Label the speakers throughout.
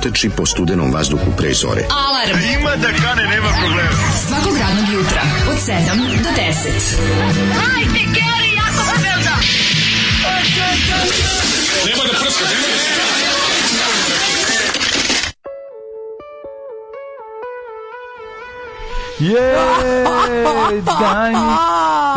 Speaker 1: trči po studenom vazduhu pre zore.
Speaker 2: Alarm!
Speaker 3: A ima da kane, nema problema.
Speaker 2: Svakog radnog jutra, od 7 do 10.
Speaker 4: Hajde, Geri, jako se velda!
Speaker 3: Nema da prska, nema da prska.
Speaker 5: Jej, Dani.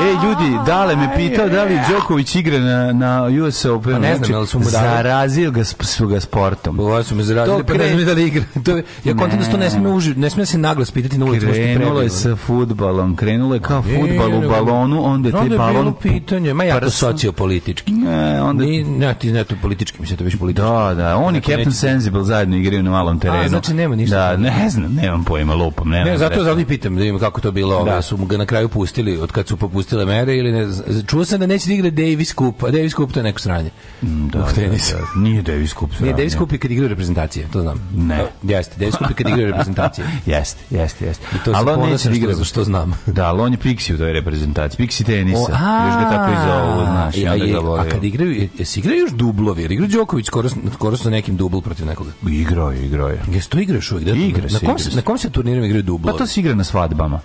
Speaker 5: Ej, ljudi, Dale me pitao da li Đoković igra na, na US Open. znači,
Speaker 6: Pa ne znam, ali su mu dali.
Speaker 5: Zarazio ga, sp- su ga sportom.
Speaker 6: Ovo su me zarazili,
Speaker 5: To
Speaker 6: pa ne
Speaker 5: kre-
Speaker 6: znam da li igra. To, je- ja
Speaker 5: Ne.
Speaker 6: kontam da se to ne smije, uži, ne smije se naglas pitati na ulicu. pošto je
Speaker 5: Krenulo je
Speaker 6: predivno.
Speaker 5: sa futbalom, krenulo je kao
Speaker 6: E,
Speaker 5: futbal u
Speaker 6: nego-
Speaker 5: balonu, onda je
Speaker 6: Onda
Speaker 5: taj
Speaker 6: je bilo
Speaker 5: balon...
Speaker 6: pitanje, ma jako
Speaker 5: prst-
Speaker 6: sociopolitički.
Speaker 5: E, onda
Speaker 6: Ni, ne, ti ne, to politički, mislim to je više politički.
Speaker 5: Da, da, on i
Speaker 6: Neko
Speaker 5: Captain
Speaker 6: Dakle, neće-
Speaker 5: Sensible zajedno igraju na malom terenu.
Speaker 6: A, znači nema ništa.
Speaker 5: Da, ne znam, nemam pojma, lupam, nemam.
Speaker 6: Ne, zato
Speaker 5: pojma.
Speaker 6: zato i pitam da im kako to bilo, da. su mu ga na kraju pustili od kad su popustile mere ili ne znam. Čuo sam da neće da igra Davis Cup, a Davis Cup to je neko sranje.
Speaker 5: Da,
Speaker 6: u
Speaker 5: da,
Speaker 6: tenisu.
Speaker 5: da, Nije Davis Cup.
Speaker 6: Nije
Speaker 5: da,
Speaker 6: Davis Cup je kad igraju reprezentacije, to znam.
Speaker 5: Ne.
Speaker 6: Jeste, Davis Cup je kad igraju reprezentacije.
Speaker 5: Jeste, jeste, jeste.
Speaker 6: I to
Speaker 5: Ali
Speaker 6: se
Speaker 5: on neće
Speaker 6: ponosim
Speaker 5: da
Speaker 6: što,
Speaker 5: igra.
Speaker 6: što znam.
Speaker 5: Da, ali on je Pixi u toj reprezentaciji. Pixi tenisa.
Speaker 6: a,
Speaker 5: Još ga tako i zovu, znaš. I
Speaker 6: a,
Speaker 5: onda
Speaker 6: je-
Speaker 5: ga vole.
Speaker 6: a kad igraju, jesi igraju još dublovi? Jer igra Đoković skoro, s- skoro sa nekim dubl protiv nekoga.
Speaker 5: Igrao je, igrao je.
Speaker 6: Jes to igraš uvijek? Da,
Speaker 5: Igra
Speaker 6: na
Speaker 5: se,
Speaker 6: kom
Speaker 5: igra
Speaker 6: se,
Speaker 5: se.
Speaker 6: na kom se turnirima igraju
Speaker 5: Pa
Speaker 6: dublovi?
Speaker 5: to se igra na svadbama.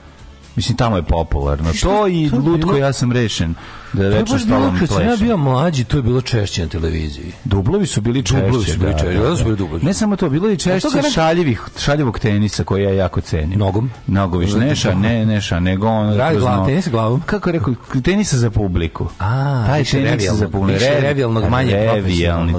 Speaker 5: Mislim, tamo je popularno.
Speaker 6: Šta
Speaker 5: To
Speaker 6: je
Speaker 5: i
Speaker 6: to
Speaker 5: Lutko,
Speaker 6: bilo?
Speaker 5: ja sam rešen. Da
Speaker 6: To je
Speaker 5: večer
Speaker 6: baš
Speaker 5: stalo
Speaker 6: bilo
Speaker 5: mi
Speaker 6: kad sam ja
Speaker 5: pleše.
Speaker 6: bio mlađi, to je bilo češće na televiziji.
Speaker 5: Dublovi su bili češće.
Speaker 6: Dublovi su bili
Speaker 5: da,
Speaker 6: češće,
Speaker 5: da,
Speaker 6: da,
Speaker 5: da.
Speaker 6: su bili dublovi.
Speaker 5: Ne samo to, bilo je i češće
Speaker 6: to garant-
Speaker 5: šaljivih, šaljivog tenisa koji ja jako cenim.
Speaker 6: Nogom?
Speaker 5: Nogović, neša, ne, neša, nego on...
Speaker 6: Radi glavom, tenis glavom.
Speaker 5: Kako je rekao, tenisa za publiku.
Speaker 6: A,
Speaker 5: Taj
Speaker 6: više
Speaker 5: tenis
Speaker 6: revijalnog,
Speaker 5: za publiku.
Speaker 6: više
Speaker 5: Revi-
Speaker 6: revijalnog,
Speaker 5: a,
Speaker 6: manje
Speaker 5: Revijalni,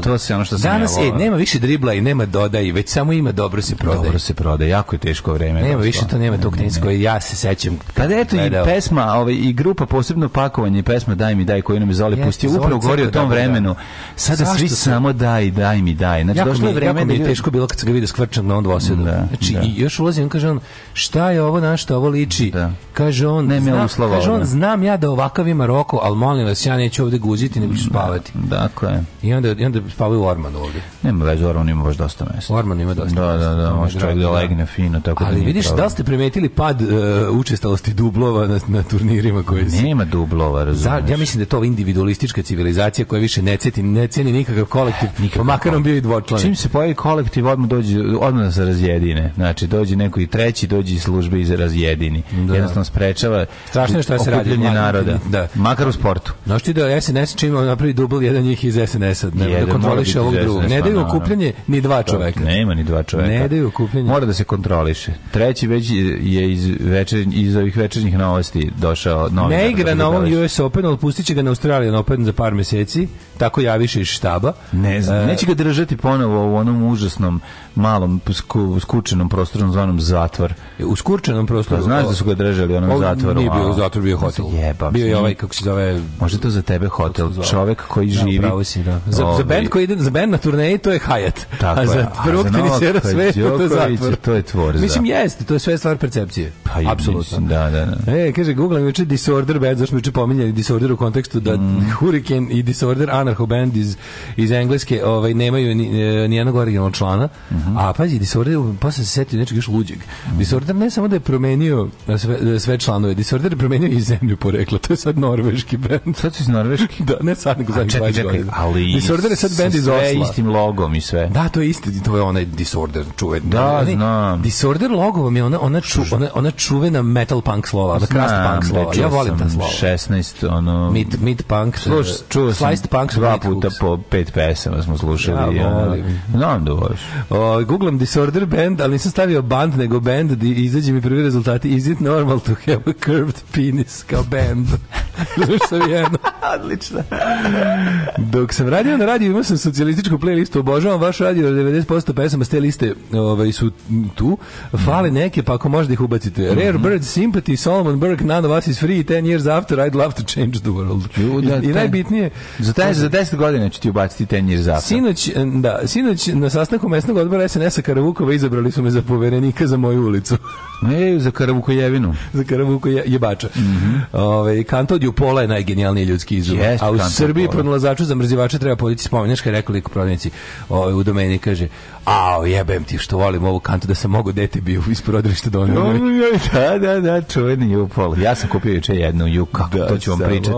Speaker 6: profesionalnog.
Speaker 5: to se ono što sam
Speaker 6: Danas,
Speaker 5: ja
Speaker 6: e,
Speaker 5: volao.
Speaker 6: nema više dribla i nema dodaji, već samo ima dobro se prodaje.
Speaker 5: Dobro se prodaje, jako je teško vreme.
Speaker 6: Nema
Speaker 5: došlo.
Speaker 6: više to, nema tog tenisa koji ja se sećam.
Speaker 5: Kada Pa eto i
Speaker 6: Gledao.
Speaker 5: pesma, ovaj i grupa posebno pakovanje pesma Daj mi daj koju nam je Zoli
Speaker 6: Jeste,
Speaker 5: pustio
Speaker 6: Zoli
Speaker 5: upravo govori o
Speaker 6: Crko,
Speaker 5: tom
Speaker 6: da, da, da.
Speaker 5: vremenu. Sada
Speaker 6: Zašto
Speaker 5: svi
Speaker 6: se-
Speaker 5: samo daj, daj mi daj. Znači
Speaker 6: Jako
Speaker 5: došlo
Speaker 6: mi,
Speaker 5: je
Speaker 6: je- jako
Speaker 5: vreme
Speaker 6: mi je
Speaker 5: ljudi-
Speaker 6: teško bilo kad sam ga vidio skvrčan na on dvosedu.
Speaker 5: Da,
Speaker 6: znači,
Speaker 5: da.
Speaker 6: i još ulazi, on kaže on, šta je ovo na šta ovo liči?
Speaker 5: Da.
Speaker 6: Kaže on,
Speaker 5: Nema
Speaker 6: znam,
Speaker 5: uslova
Speaker 6: kaže
Speaker 5: ovde.
Speaker 6: on, znam ja da ovakav ima roko, ali molim vas, ja neću ovde guziti, nego ću spavati.
Speaker 5: Dakle,
Speaker 6: I onda, i onda spavaju u Ormanu ovde.
Speaker 5: nema veze, Orman ima baš dosta mesta.
Speaker 6: U Ormanu ima dosta.
Speaker 5: Da, da,
Speaker 6: mesta,
Speaker 5: da,
Speaker 6: to mi je
Speaker 5: može čovjek da
Speaker 6: drago,
Speaker 5: legne fino, tako da
Speaker 6: Ali
Speaker 5: nije
Speaker 6: vidiš, da
Speaker 5: problem.
Speaker 6: li ste primetili pad e, učestalosti dublova na, na turnirima koji se...
Speaker 5: Nema dublova,
Speaker 6: Za,
Speaker 5: razumiješ.
Speaker 6: ja mislim da je to individualistička civilizacija koja više ne ceti, ne ceni nikakav kolektiv,
Speaker 5: Nikakav
Speaker 6: pa makar on bio i
Speaker 5: Čim
Speaker 6: dvočlan.
Speaker 5: se pojavi kolektiv, odmah dođe, odmah da se razjedine. Znači, dođe neko i treći, dođe iz službe i se razjedini. Jednostavno sprečava
Speaker 6: Strašno je šta se radi.
Speaker 5: okupljanje
Speaker 6: Mladim,
Speaker 5: naroda.
Speaker 6: da.
Speaker 5: Makar u sportu.
Speaker 6: Znaš ti da SNS čim on napravi dubl, jedan njih iz SNS-a, ne, da
Speaker 5: Jedan mora biti
Speaker 6: kontroliše ovog
Speaker 5: iz
Speaker 6: drugog.
Speaker 5: SNS-a,
Speaker 6: Ne daju
Speaker 5: naravno.
Speaker 6: okupljanje ni dva čoveka.
Speaker 5: Nema ni dva čoveka.
Speaker 6: Ne daju okupljanje.
Speaker 5: Mora da se kontroliše. Treći već je iz večer iz ovih ovih večernjih novosti došao novinar.
Speaker 6: Ne igra
Speaker 5: da
Speaker 6: na ovom
Speaker 5: Gabelić.
Speaker 6: US Open, ali pustit će ga na Australijan Open za par meseci, tako javiše iz štaba. E,
Speaker 5: Ne znam, neće ga držati ponovo u onom užasnom malom sku, skučenom prostoru zvanom zatvor.
Speaker 6: U skurčenom prostoru.
Speaker 5: Pa znaš da su ga držali u onom
Speaker 6: Ovo
Speaker 5: zatvoru,
Speaker 6: Nije bio
Speaker 5: a?
Speaker 6: u zatvoru, bio je hotel.
Speaker 5: Jebam
Speaker 6: bio
Speaker 5: se.
Speaker 6: je ovaj, kako se zove...
Speaker 5: Možda je to za tebe hotel, čovek koji
Speaker 6: Da,
Speaker 5: živi.
Speaker 6: pravo si, da. Za, za
Speaker 5: Ovaj,
Speaker 6: bend koji ide, za bend na turneji to je Hayat.
Speaker 5: Tako
Speaker 6: a
Speaker 5: je.
Speaker 6: za
Speaker 5: A
Speaker 6: prvog
Speaker 5: za
Speaker 6: tenisera
Speaker 5: Novaka
Speaker 6: sve to je zatvor.
Speaker 5: Đokovića to je tvor, da.
Speaker 6: Mislim jeste, to je sve stvar percepcije.
Speaker 5: Pa i
Speaker 6: apsolutno.
Speaker 5: mislim, da, da, da.
Speaker 6: E, kaže, googlam juče Disorder Band, zašto mi juče pominjali Disorder u kontekstu da
Speaker 5: Mm.
Speaker 6: Hurricane i Disorder Anarcho Band iz, iz Engleske ovaj, nemaju ni, e, nijednog originalnog člana,
Speaker 5: Mhm.
Speaker 6: a pazi, Disorder, posle se setio nečeg još luđeg. Disorder ne samo da je promenio e, sve, e, sve članove, Disorder je promenio i zemlju porekla, to je sad norveški band.
Speaker 5: Sad su iz Norveške.
Speaker 6: Da, ne sad, nego
Speaker 5: A
Speaker 6: zadnjih
Speaker 5: čekaj,
Speaker 6: 20
Speaker 5: čekaj,
Speaker 6: godina.
Speaker 5: ali...
Speaker 6: Disorder je sad
Speaker 5: sa
Speaker 6: band iz
Speaker 5: sve
Speaker 6: Osla.
Speaker 5: istim logom i sve.
Speaker 6: Da, to je isti, to je onaj Disorder čuven.
Speaker 5: Da,
Speaker 6: Oni-
Speaker 5: znam.
Speaker 6: Disorder logo vam je ona, ona, ču, ona, ona čuvena metal punk slova, ona crust punk
Speaker 5: Znam,
Speaker 6: slova.
Speaker 5: rečio
Speaker 6: Ja volim ta
Speaker 5: sam
Speaker 6: slova.
Speaker 5: 16, ono...
Speaker 6: Mid, mid punk,
Speaker 5: Sluš,
Speaker 6: eh,
Speaker 5: čuo sam
Speaker 6: sliced punk su
Speaker 5: dva
Speaker 6: mid
Speaker 5: puta
Speaker 6: hooks.
Speaker 5: po pet pesama smo slušali.
Speaker 6: Ja
Speaker 5: i ono,
Speaker 6: volim.
Speaker 5: Znam da voliš.
Speaker 6: O, googlam Disorder band, ali nisam stavio band, nego band, di izađe mi prvi rezultati. Is it normal to have a curved penis kao band? Znaš što je jedno? Odlično. Dok sam radio na radiju, imao sam socijalističku playlistu, obožavam vaš radio, 90% pesama s te liste ovaj, su tu. Fale neke, pa ako možda ih ubacite.
Speaker 5: Mhm.
Speaker 6: Rare Bird, Sympathy, Solomon Burke, None of Us is Free, 10 Years After, I'd Love to Change the World.
Speaker 5: Ju, da,
Speaker 6: I, i
Speaker 5: taj-
Speaker 6: najbitnije...
Speaker 5: Za, taj, za 10 godina ću ti ubaciti tenjir zapad.
Speaker 6: Sinoć, da, sinoć na sastanku mesnog odbora SNS-a Karavukova izabrali su me za poverenika za moju ulicu.
Speaker 5: Ej, za Karavukojevinu.
Speaker 6: za Karavuko je, jebača. Ove, Kanton Jupola je najgenijalniji ljudski izum.
Speaker 5: Mhm. Jeste
Speaker 6: a u
Speaker 5: Kanton
Speaker 6: Srbiji
Speaker 5: Jupola.
Speaker 6: pronalazaču za mrzivača treba podići spomenaš kad je rekao lik u prodavnici ovaj, u domeni kaže a jebem ti što volim ovu kantu da sam mogu dete bio iz prodavništa donio.
Speaker 5: Da, da, da, čuveni Jupol. Ja sam kupio juče jednu Juka, to ću vam
Speaker 6: Samo,
Speaker 5: pričati.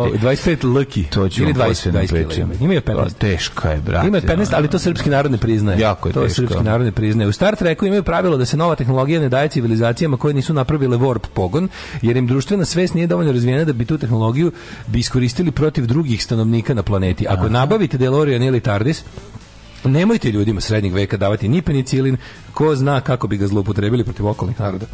Speaker 6: 25 lucky.
Speaker 5: To ću
Speaker 6: Ili
Speaker 5: vam
Speaker 6: 20,
Speaker 5: posebno
Speaker 6: 20 kila
Speaker 5: pričati. Pa,
Speaker 6: ima. Ima je 15.
Speaker 5: Teška je, brate.
Speaker 6: Ima 15, ali to srpski narod ne priznaje.
Speaker 5: Jako je
Speaker 6: to
Speaker 5: teško.
Speaker 6: srpski narod ne priznaje. U Star Treku imaju pravilo da se nova tehnologija ne daje civilizacijama koje nisu napravile warp pogon, jer im društvena svest nije dovoljno razvijena da bi tu tehnologiju bi iskoristili protiv drugih stanovnika na planeti. Ako nabavite DeLorean ili TARDIS, nemojte ljudima srednjeg veka davati ni penicilin, ko zna kako bi ga zloupotrebili protiv okolnih naroda.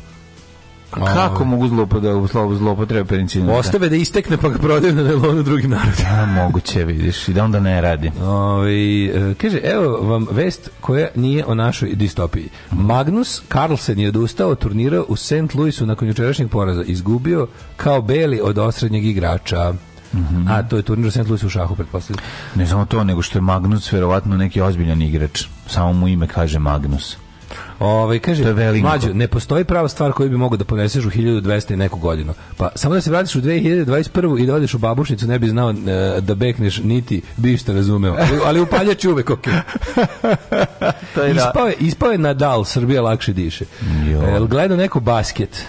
Speaker 5: Kako mogu zlopotrebe, zlopotrebe penicilina?
Speaker 6: Ostave da istekne pa ga prodaju na nelonu drugim narodima.
Speaker 5: A, moguće, vidiš, i da onda ne radi.
Speaker 6: Ovaj, e, kaže, evo vam vest koja nije o našoj distopiji. Magnus Carlsen je odustao od turnira u St. Louisu nakon jučerašnjeg poraza. Izgubio kao beli od osrednjeg igrača.
Speaker 5: Mhm.
Speaker 6: A to je turnir u St. Louisu u šahu, pretpostavljam.
Speaker 5: Ne samo to, nego što je Magnus verovatno neki ozbiljan igrač. Samo mu ime kaže Magnus.
Speaker 6: Ovaj
Speaker 5: To je
Speaker 6: kaže
Speaker 5: Velinko.
Speaker 6: mlađo, ne postoji prava stvar koju bi mogao da poneseš u 1200 i neku godinu. Pa samo da se vratiš u 2021 i da odeš u babušnicu ne bi znao e, da bekneš niti bi šta razumeo. Ali, ali upaljač je uvek okej.
Speaker 5: To je da.
Speaker 6: ispao, je, ispao je Nadal, Srbija lakše diše. E,
Speaker 5: Jo.
Speaker 6: Jel gledao neko basket?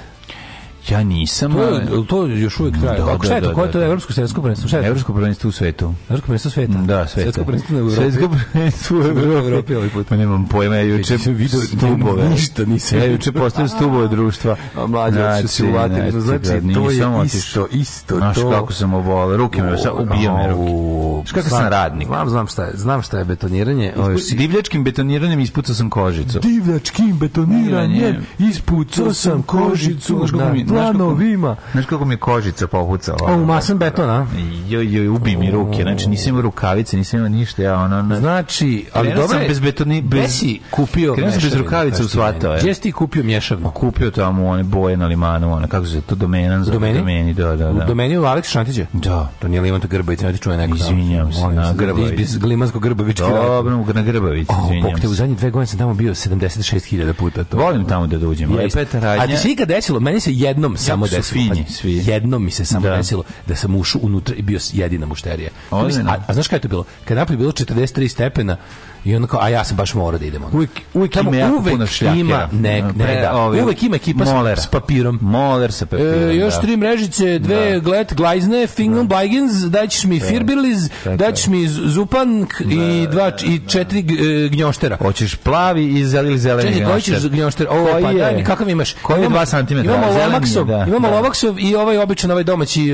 Speaker 5: Ja nisam,
Speaker 6: To,
Speaker 5: ali...
Speaker 6: je, to još uvijek traje.
Speaker 5: Da,
Speaker 6: Kako, šta je
Speaker 5: da,
Speaker 6: to?
Speaker 5: da,
Speaker 6: Koje je to
Speaker 5: da.
Speaker 6: evropsko svjetsko prvenstvo? Šta je to?
Speaker 5: Evropsko prvenstvo u svetu.
Speaker 6: Evropsko prvenstvo sveta?
Speaker 5: Da, sveta.
Speaker 6: Svjetsko prvenstvo u Evropi.
Speaker 5: Svetsko prvenstvo u Evropi.
Speaker 6: Evropi ovaj put.
Speaker 5: Pa nemam pojma, ja juče
Speaker 6: Nisam vidio
Speaker 5: stubove.
Speaker 6: ništa, nisam.
Speaker 5: Ja juče postavim stubove društva.
Speaker 6: A mlađe, otišao si u vatinu, znači,
Speaker 5: brad,
Speaker 6: to je
Speaker 5: nisam otišao.
Speaker 6: isto, isto
Speaker 5: Znaš
Speaker 6: to.
Speaker 5: kako sam ovolao, ruke me, sad ubija me ruke.
Speaker 6: Au,
Speaker 5: Znaš kako
Speaker 6: znam-
Speaker 5: sam radnik.
Speaker 6: Znam, znam šta je, znam šta je betoniranje. Ovaj, Ovo je
Speaker 5: S divljačkim betoniranjem ispucao sam kožicu.
Speaker 6: divljačkim
Speaker 5: Betoniranjem.
Speaker 6: ispucao
Speaker 5: sam kožicu
Speaker 6: Znaš kako
Speaker 5: na
Speaker 6: mi- znaš kako-
Speaker 5: planovima. Znaš kako mi je kožica popucala? ono,
Speaker 6: O, masan beton, a?
Speaker 5: Joj, joj, ubi mi ruke, znači nisam imao rukavice, nisam imao ništa, ja ono... ono-
Speaker 6: Znači, ali
Speaker 5: Krenuo
Speaker 6: dobro
Speaker 5: sam
Speaker 6: je-
Speaker 5: bez betoni- bez-
Speaker 6: Gde si kupio
Speaker 5: Krenuo sam bez
Speaker 6: mešavinu,
Speaker 5: rukavica
Speaker 6: kaži
Speaker 5: u
Speaker 6: ti
Speaker 5: svatao,
Speaker 6: meni?
Speaker 5: e.
Speaker 6: Gdje si ti kupio mješavno?
Speaker 5: kupio tamo one boje na limanu, one, kako se zove, to domena za
Speaker 6: Domeni?
Speaker 5: domeni da, da,
Speaker 6: U
Speaker 5: da.
Speaker 6: domeni u Aleksa Šantića?
Speaker 5: Da.
Speaker 6: To nije Livanta Grbavić, ne ti čuje neko. tamo.
Speaker 5: Izvinjavam se,
Speaker 6: Molim
Speaker 5: na
Speaker 6: vas,
Speaker 5: Grbavić.
Speaker 6: iz- Iz Glimanskog Grbavički rat.
Speaker 5: Dobro, na Grbavici,
Speaker 6: O,
Speaker 5: izvinjam
Speaker 6: Bog te, u
Speaker 5: se.
Speaker 6: zadnjih dve godine sam tamo bio 76.000 puta. To.
Speaker 5: Volim tamo da dođem.
Speaker 6: Jeste.
Speaker 5: Lepa je ta radnja.
Speaker 6: A ti se ikad desilo, meni se jednom samo
Speaker 5: su
Speaker 6: desilo.
Speaker 5: finji
Speaker 6: pazi,
Speaker 5: svi.
Speaker 6: Jednom mi se samo
Speaker 5: Da.
Speaker 6: desilo da sam ušao unutra i bio jedina mušterija. To
Speaker 5: Ozbiljno?
Speaker 6: mislim- A, a znaš kaj je to bilo? Kad je napolje bilo 43 stepena i onda kao, a ja sam baš morao da idem. onda.
Speaker 5: Uvijek- uvijek
Speaker 6: Tamo
Speaker 5: ima jako
Speaker 6: uvek
Speaker 5: puno šljakera.
Speaker 6: Ima, ne, ne,
Speaker 5: Pre-
Speaker 6: da.
Speaker 5: ovi-
Speaker 6: uvek ima ekipa s-
Speaker 5: molera.
Speaker 6: s papirom.
Speaker 5: Moler sa papirom,
Speaker 6: E, još
Speaker 5: da.
Speaker 6: tri mrežice, dve da. glet, glajzne, fingon, da. bajgens, daćeš mi firbiliz,
Speaker 5: je.
Speaker 6: daćeš mi z- zupan k- i, dva, i četiri g- e, gnjoštera.
Speaker 5: Hoćeš plavi i zeleni zeleni
Speaker 6: Čekaj, koji ćeš
Speaker 5: gnjošter?
Speaker 6: gnjošter? Ovo,
Speaker 5: Koji
Speaker 6: pa
Speaker 5: je?
Speaker 6: daj mi, kakav imaš?
Speaker 5: Koji je
Speaker 6: Imamo-
Speaker 5: dva santimetra?
Speaker 6: Imamo
Speaker 5: Zeleni
Speaker 6: lomak
Speaker 5: je.
Speaker 6: Lovaksov.
Speaker 5: da.
Speaker 6: Imamo
Speaker 5: Da.
Speaker 6: Lovaksov i ovaj običan ovaj domaći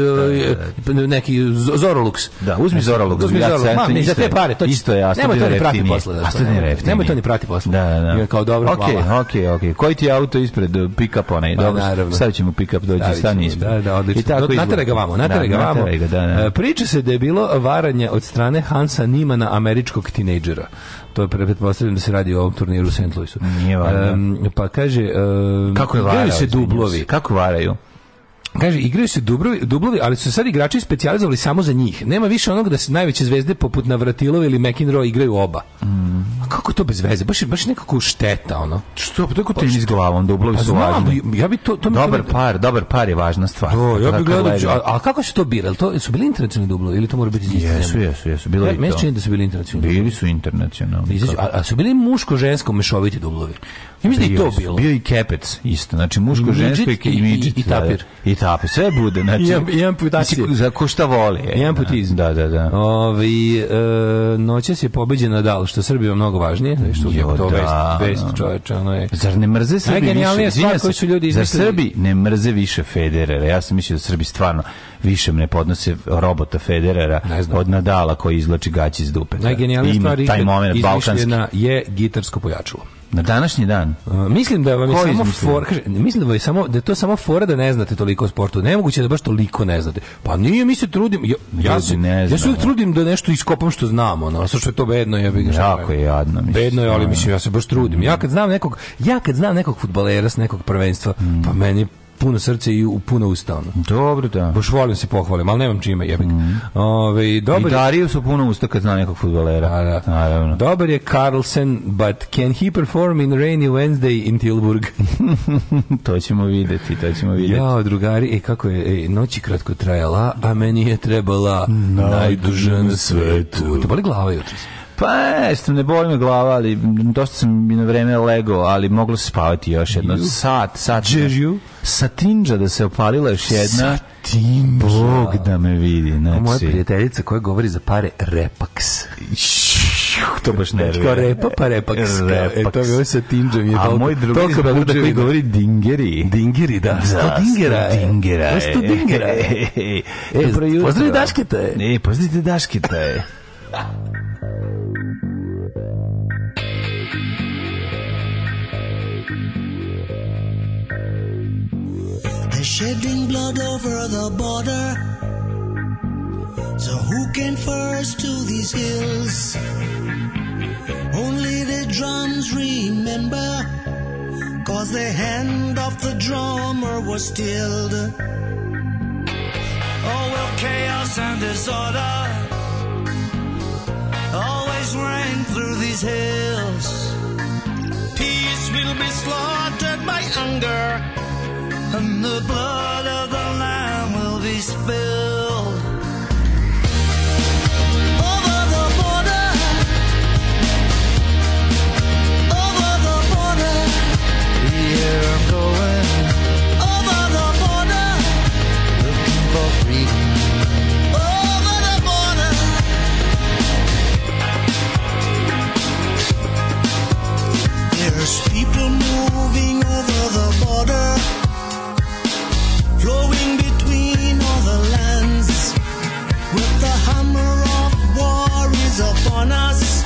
Speaker 6: e, neki Z- Zorolux.
Speaker 5: Da, uzmi Zorolog.
Speaker 6: Uzmi Zorolux. Ma, ni za te pare, to
Speaker 5: isto je, a
Speaker 6: Nemoj to
Speaker 5: ne
Speaker 6: ni prati posle. zato,
Speaker 5: Astudin
Speaker 6: nemoj-
Speaker 5: je jeftinije.
Speaker 6: Nemoj to ni prati posle.
Speaker 5: Da, da, da.
Speaker 6: Ima kao dobro,
Speaker 5: Okej,
Speaker 6: hvala.
Speaker 5: okej, okej. Koji ti je auto ispred uh, pick-up onaj?
Speaker 6: Pa,
Speaker 5: Dobro,
Speaker 6: naravno.
Speaker 5: stavit ćemo pick-up, dođe,
Speaker 6: Stavit
Speaker 5: stani
Speaker 6: ćemo,
Speaker 5: ispred.
Speaker 6: Da, da, odlično.
Speaker 5: I tako
Speaker 6: Do-
Speaker 5: izgleda.
Speaker 6: nateraj ga vamo, nateraj
Speaker 5: Da,
Speaker 6: ga vamo.
Speaker 5: nateraj ga, da, da.
Speaker 6: E, Priča se da je bilo varanje od strane Hansa Nimana, američkog tinejdžera. To je pre- pretpostavljam da se radi o ovom turniru u St. Louisu.
Speaker 5: Nije valjda.
Speaker 6: Em, pa kaže... em,
Speaker 5: Kako je
Speaker 6: igraju
Speaker 5: varao?
Speaker 6: se
Speaker 5: izvinjam
Speaker 6: dublovi.
Speaker 5: Kako varaju?
Speaker 6: Kaže, igraju se dublovi, dublovi, ali su sad igrači specijalizovali samo za njih. Nema više onog da se najveće zvezde poput Navratilova ili McEnroe igraju oba.
Speaker 5: Mm.
Speaker 6: A kako je to bez veze? Baš, je- baš je nekako šteta, ono.
Speaker 5: Što, pa tako tenis glavom, dublovi
Speaker 6: Pa
Speaker 5: su
Speaker 6: znam,
Speaker 5: važni.
Speaker 6: ja bi to... to mi- to
Speaker 5: Dobar
Speaker 6: mi-
Speaker 5: par, dobar par je važna stvar.
Speaker 6: To, ja
Speaker 5: Tako
Speaker 6: bih gledao,
Speaker 5: leži.
Speaker 6: a, a kako su to birali? To su bili internacionalni dublovi ili to mora biti iz iste
Speaker 5: Jesu,
Speaker 6: zemlje?
Speaker 5: jesu, jesu, bilo je
Speaker 6: Ja,
Speaker 5: i
Speaker 6: meni se
Speaker 5: to.
Speaker 6: čini da su bili internacionalni.
Speaker 5: Bili su internacionalni.
Speaker 6: Izađu- A, a su bili muško-žensko mešoviti dublovi? Ja mislim da i
Speaker 5: Bio
Speaker 6: to
Speaker 5: je-
Speaker 6: bilo.
Speaker 5: Bio je i kepec, isto. Znači, muško,
Speaker 6: Midget
Speaker 5: žensko i,
Speaker 6: i-
Speaker 5: i, midget,
Speaker 6: i- i
Speaker 5: da, da.
Speaker 6: tapir.
Speaker 5: I tapir, sve bude. Znači,
Speaker 6: I amp- i amputacije.
Speaker 5: Mislim, Za ko šta voli. je,
Speaker 6: I amputizam.
Speaker 5: Da, da, da.
Speaker 6: Ovi, e, noćas je pobeđen Nadal, što je Srbima mnogo važnije. Što je
Speaker 5: Jo,
Speaker 6: to
Speaker 5: da,
Speaker 6: vest,
Speaker 5: no.
Speaker 6: vest čoveče, ono je...
Speaker 5: Zar ne mrze Srbi
Speaker 6: Najgenijalnija
Speaker 5: više?
Speaker 6: stvar
Speaker 5: Izvinjam se,
Speaker 6: koju su ljudi
Speaker 5: Zar
Speaker 6: izmislili-
Speaker 5: Srbi ne mrze više Federera? Ja sam mislio da Srbi stvarno više ne podnose robota Federera
Speaker 6: Ne znam.
Speaker 5: od Nadala koji izlači gaći iz dupe.
Speaker 6: Najgenijalnija
Speaker 5: Ima
Speaker 6: stvar
Speaker 5: taj moment balkanski.
Speaker 6: izmišljena je gitarsko pojačalo.
Speaker 5: Na današnji dan.
Speaker 6: Uh, mislim da vam je
Speaker 5: Ko je
Speaker 6: samo
Speaker 5: izmislio?
Speaker 6: for, kaže, mislim da vam je samo da je to samo fora da ne znate toliko o sportu. Nemoguće da baš toliko ne znate. Pa nije, mi se trudimo. Ja, ja
Speaker 5: Ljudi
Speaker 6: se
Speaker 5: ne
Speaker 6: ja se
Speaker 5: znamo.
Speaker 6: uvijek trudim da nešto iskopam što znam, ono, a sad što je to bedno, ja bih
Speaker 5: Jako je jadno. mislim.
Speaker 6: Bedno pa je, ali mislim ja se baš trudim. Ja kad znam nekog, ja kad znam nekog fudbalera s nekog prvenstva,
Speaker 5: Mm.
Speaker 6: pa meni puno srce i u puno usta. ono.
Speaker 5: Dobro, da.
Speaker 6: Baš volim se pohvalim, ali nemam čime jebik.
Speaker 5: Mm. I
Speaker 6: dobar je-
Speaker 5: Dariju su puno usta kad zna nekog futbolera.
Speaker 6: A, da.
Speaker 5: Naravno.
Speaker 6: Dobar je Carlsen, but can he perform in rainy Wednesday in Tilburg?
Speaker 5: to ćemo videti, to ćemo videti.
Speaker 6: Jao, drugari, e, kako je, e, noć je kratko trajala, a meni je trebala najduža na svetu. Te boli glava jutros?
Speaker 5: Pa, jesam, ne boli me glava, ali dosta sam i na vreme lego, ali moglo se spavati još jedno. Sat, sat. Džežju? Satinđa da se opalila još jedna.
Speaker 6: Satinđa.
Speaker 5: Bog da me vidi,
Speaker 6: A Moja
Speaker 5: znači.
Speaker 6: prijateljica koja govori za pare repaks.
Speaker 5: To baš ne
Speaker 6: Kao repa, pa repaks. E, to je ovo sa tinđom. Je
Speaker 5: A
Speaker 6: toliko-
Speaker 5: moj drugi
Speaker 6: toliko
Speaker 5: iz Beograda koji
Speaker 6: budževina.
Speaker 5: govori dingeri.
Speaker 6: Dingeri, da. Sto dingera.
Speaker 5: sto
Speaker 6: je.
Speaker 5: dingera.
Speaker 6: Pa Sto
Speaker 5: je.
Speaker 6: dingera. je.
Speaker 5: Ej, ej, ej.
Speaker 6: E,
Speaker 5: Dobro jutro.
Speaker 6: pozdravi Daškita je.
Speaker 5: E, pozdravite Daškita je.
Speaker 7: They're shedding blood over the border. So who came first to these hills? Only the drums remember. Cause the hand of the drummer was stilled. Oh well, chaos and disorder always rang through these hills. Peace will be slaughtered by anger and the blood of the Lamb will be spilled. Over the border, over the border, here I'm going. Over the border, looking for freedom. Over the border. There's people moving over the border flowing between all the lands. With the hammer of war is upon us.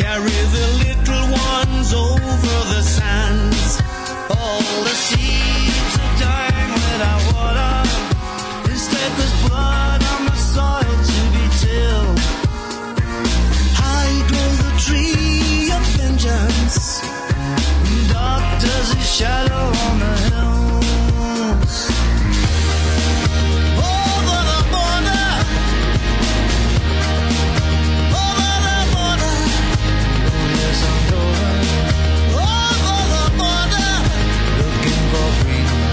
Speaker 7: Carry the little ones over the sands. All the seeds are dying without water. Instead, there's blood on the soil to be tilled. High grows the tree of vengeance. Dark does his shadow on the hills. Over the border, over the border. Oh yes, I'm going over the border, looking for freedom.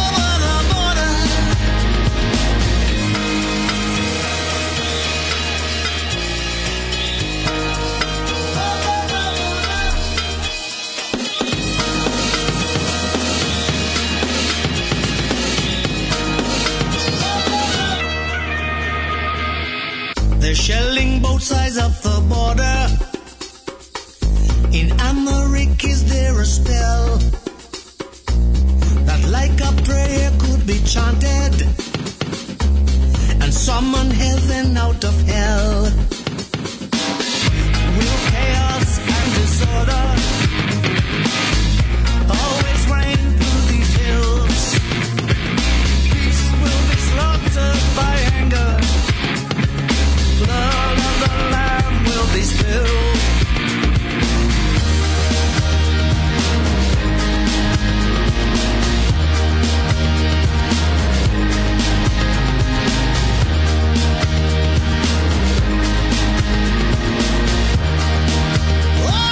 Speaker 7: Over the border. Over the border, over the border, enchanted and summon heaven out of hell. Will chaos and disorder always reign through these hills? Peace will be slaughtered by anger. Blood of the lamb will be spilled.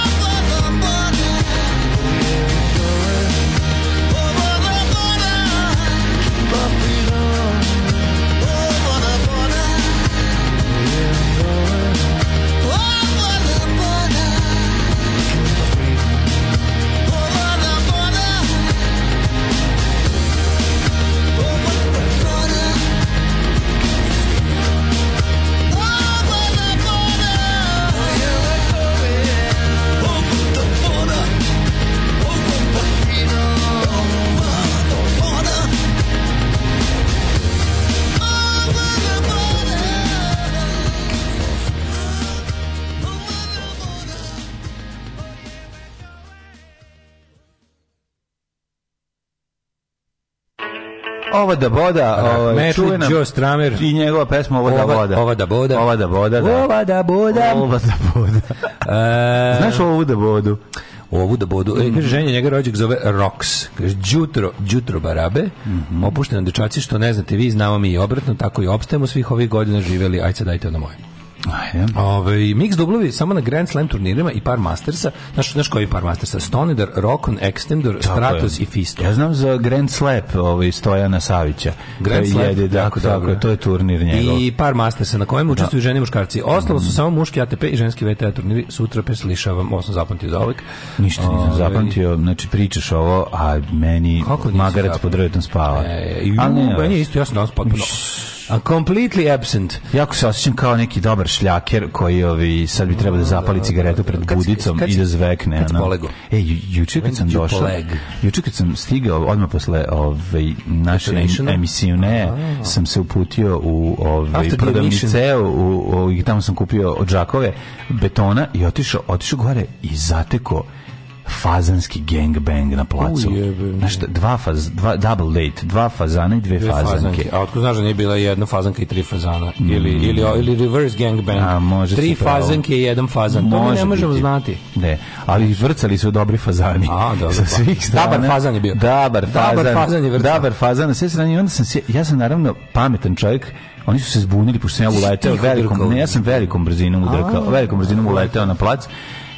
Speaker 7: Over the border, over the border, for freedom. Over the border, over the border, over the border, over the border, over the border. Over the border, over the freedom, over the border, over the border, over the border.
Speaker 5: Ova da boda, ovaj,
Speaker 6: Metli
Speaker 5: čuvena...
Speaker 6: Joe Stramer.
Speaker 5: I njegova pesma Ova da
Speaker 6: Ova-
Speaker 5: boda.
Speaker 6: Ova da boda.
Speaker 5: Ova da boda, da.
Speaker 6: Ova da boda.
Speaker 5: Ova da boda.
Speaker 6: E,
Speaker 5: Znaš ovu da bodu?
Speaker 6: ovu da bodu.
Speaker 5: Mhm.
Speaker 6: E, kaže, ženja njega rođak zove Rox. Kaže, Đutro, Đutro Barabe,
Speaker 5: Mhm.
Speaker 6: opušteno dečaci, što ne znate vi, znamo mi i obratno, tako i opstajemo svih ovih godina živeli, ajde sad dajte ono moje.
Speaker 5: Ajde.
Speaker 6: Ove, mix dublovi samo na Grand Slam turnirima i par mastersa, znaš, znaš koji par mastersa? Stoneder, Rokon, Extendor, Stratos i Fisto.
Speaker 5: Ja znam za Grand Slap ovaj, Stojana Savića.
Speaker 6: Grand
Speaker 5: To
Speaker 6: Slap,
Speaker 5: jede, da,
Speaker 6: jako
Speaker 5: tako,
Speaker 6: dobro.
Speaker 5: To je turnir njegov. Mhm.
Speaker 6: I par mastersa na kojem učestvuju žene i muškarci. Ostalo su samo muški ATP i ženski VTA turniri. Sutra pe slišavam, ovo sam zapamtio za uvek.
Speaker 5: Ništa nisam
Speaker 6: Ovaj,
Speaker 5: zapamtio, znači pričaš ovo, a meni
Speaker 6: Kako nisi
Speaker 5: magarac
Speaker 6: zapamtio?
Speaker 5: pod drvetom spava.
Speaker 6: E, ju,
Speaker 5: Ali ne,
Speaker 6: meni je isto, ja sam danas potpuno... A completely absent.
Speaker 5: Jako se osjećam kao neki dobar šljaker koji ovi, sad bi trebao da zapali cigaretu pred
Speaker 6: Kad si-
Speaker 5: budicom
Speaker 6: kad
Speaker 5: i
Speaker 6: si-
Speaker 5: da zvekne.
Speaker 6: kad si
Speaker 5: ono.
Speaker 6: polegao?
Speaker 5: E, ju, juče kad
Speaker 6: When
Speaker 5: sam
Speaker 6: did you
Speaker 5: došao,
Speaker 6: poleg?
Speaker 5: juče kad sam stigao, odmah posle ove, naše em-
Speaker 6: Detonationa?
Speaker 5: emisije, ne, sam se uputio u ovaj
Speaker 6: After the
Speaker 5: prodavnice,
Speaker 6: emission.
Speaker 5: u, u, i tamo sam kupio od džakove betona i otišao, otišao gore i zateko fazanski gangbang na placu.
Speaker 6: Ujebe.
Speaker 5: Znaš šta, dva, faz, dva double date, dva fazana i dve,
Speaker 6: Dve
Speaker 5: fazanke.
Speaker 6: A otko znaš da nije bila jedna fazanka i tri fazana? Ili, ili, ili reverse gangbang.
Speaker 5: Mm. A, može
Speaker 6: tri
Speaker 5: si pravo.
Speaker 6: fazanke i jedan fazan. to mi
Speaker 5: Može
Speaker 6: ne možemo
Speaker 5: biti.
Speaker 6: znati.
Speaker 5: Ne, ali vrcali su dobri fazani.
Speaker 6: A, dobro,
Speaker 5: Sa
Speaker 6: pa.
Speaker 5: svih strana.
Speaker 6: Dobar fazan je bio.
Speaker 5: Dobar fazan.
Speaker 6: Dobar fazan je vrcao.
Speaker 5: Dobar fazan, na sve strane. I onda sam se, ja sam naravno pametan čovjek, oni su se zbunili pošto sam ja uleteo
Speaker 6: tiho drkao.
Speaker 5: velikom, ne, ja sam velikom brzinom udrkao, velikom brzinom uleteo na plac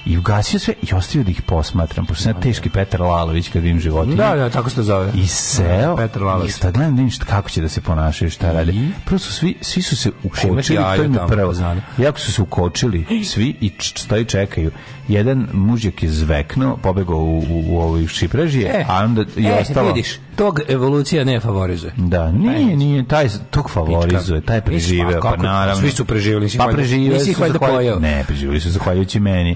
Speaker 5: i ugasio sve i ostavio da ih posmatram, pošto sam ja teški Petar Lalović kad vidim životinje.
Speaker 6: Da, da, tako se to zove.
Speaker 5: I seo,
Speaker 6: Petar Lalović.
Speaker 5: i sad gledam da vidim šta- kako će da se ponašaju, šta rade. Prvo su svi, svi su se
Speaker 6: imaš
Speaker 5: ukočili,
Speaker 6: jaja
Speaker 5: to im je
Speaker 6: tamo,
Speaker 5: prvo.
Speaker 6: znam.
Speaker 5: Jako su se ukočili, svi i č- stoji čekaju. Jedan mužjak je zveknuo, pobegao u, u, u ovoj šiprežije, a onda i
Speaker 6: e,
Speaker 5: ostalo.
Speaker 6: vidiš, tog evolucija ne favorizuje.
Speaker 5: Da, nije, nije, taj, tog favorizuje, taj je
Speaker 6: Mislim,
Speaker 5: preživeo,
Speaker 6: a
Speaker 5: pa
Speaker 6: kako?
Speaker 5: naravno.
Speaker 6: Svi su preživeli, nisi
Speaker 5: pa
Speaker 6: valjda-
Speaker 5: preživeli
Speaker 6: nisi ih
Speaker 5: su
Speaker 6: valjda
Speaker 5: zahvalju-
Speaker 6: pojeo.
Speaker 5: Ne, preživeli su zahvaljujući meni,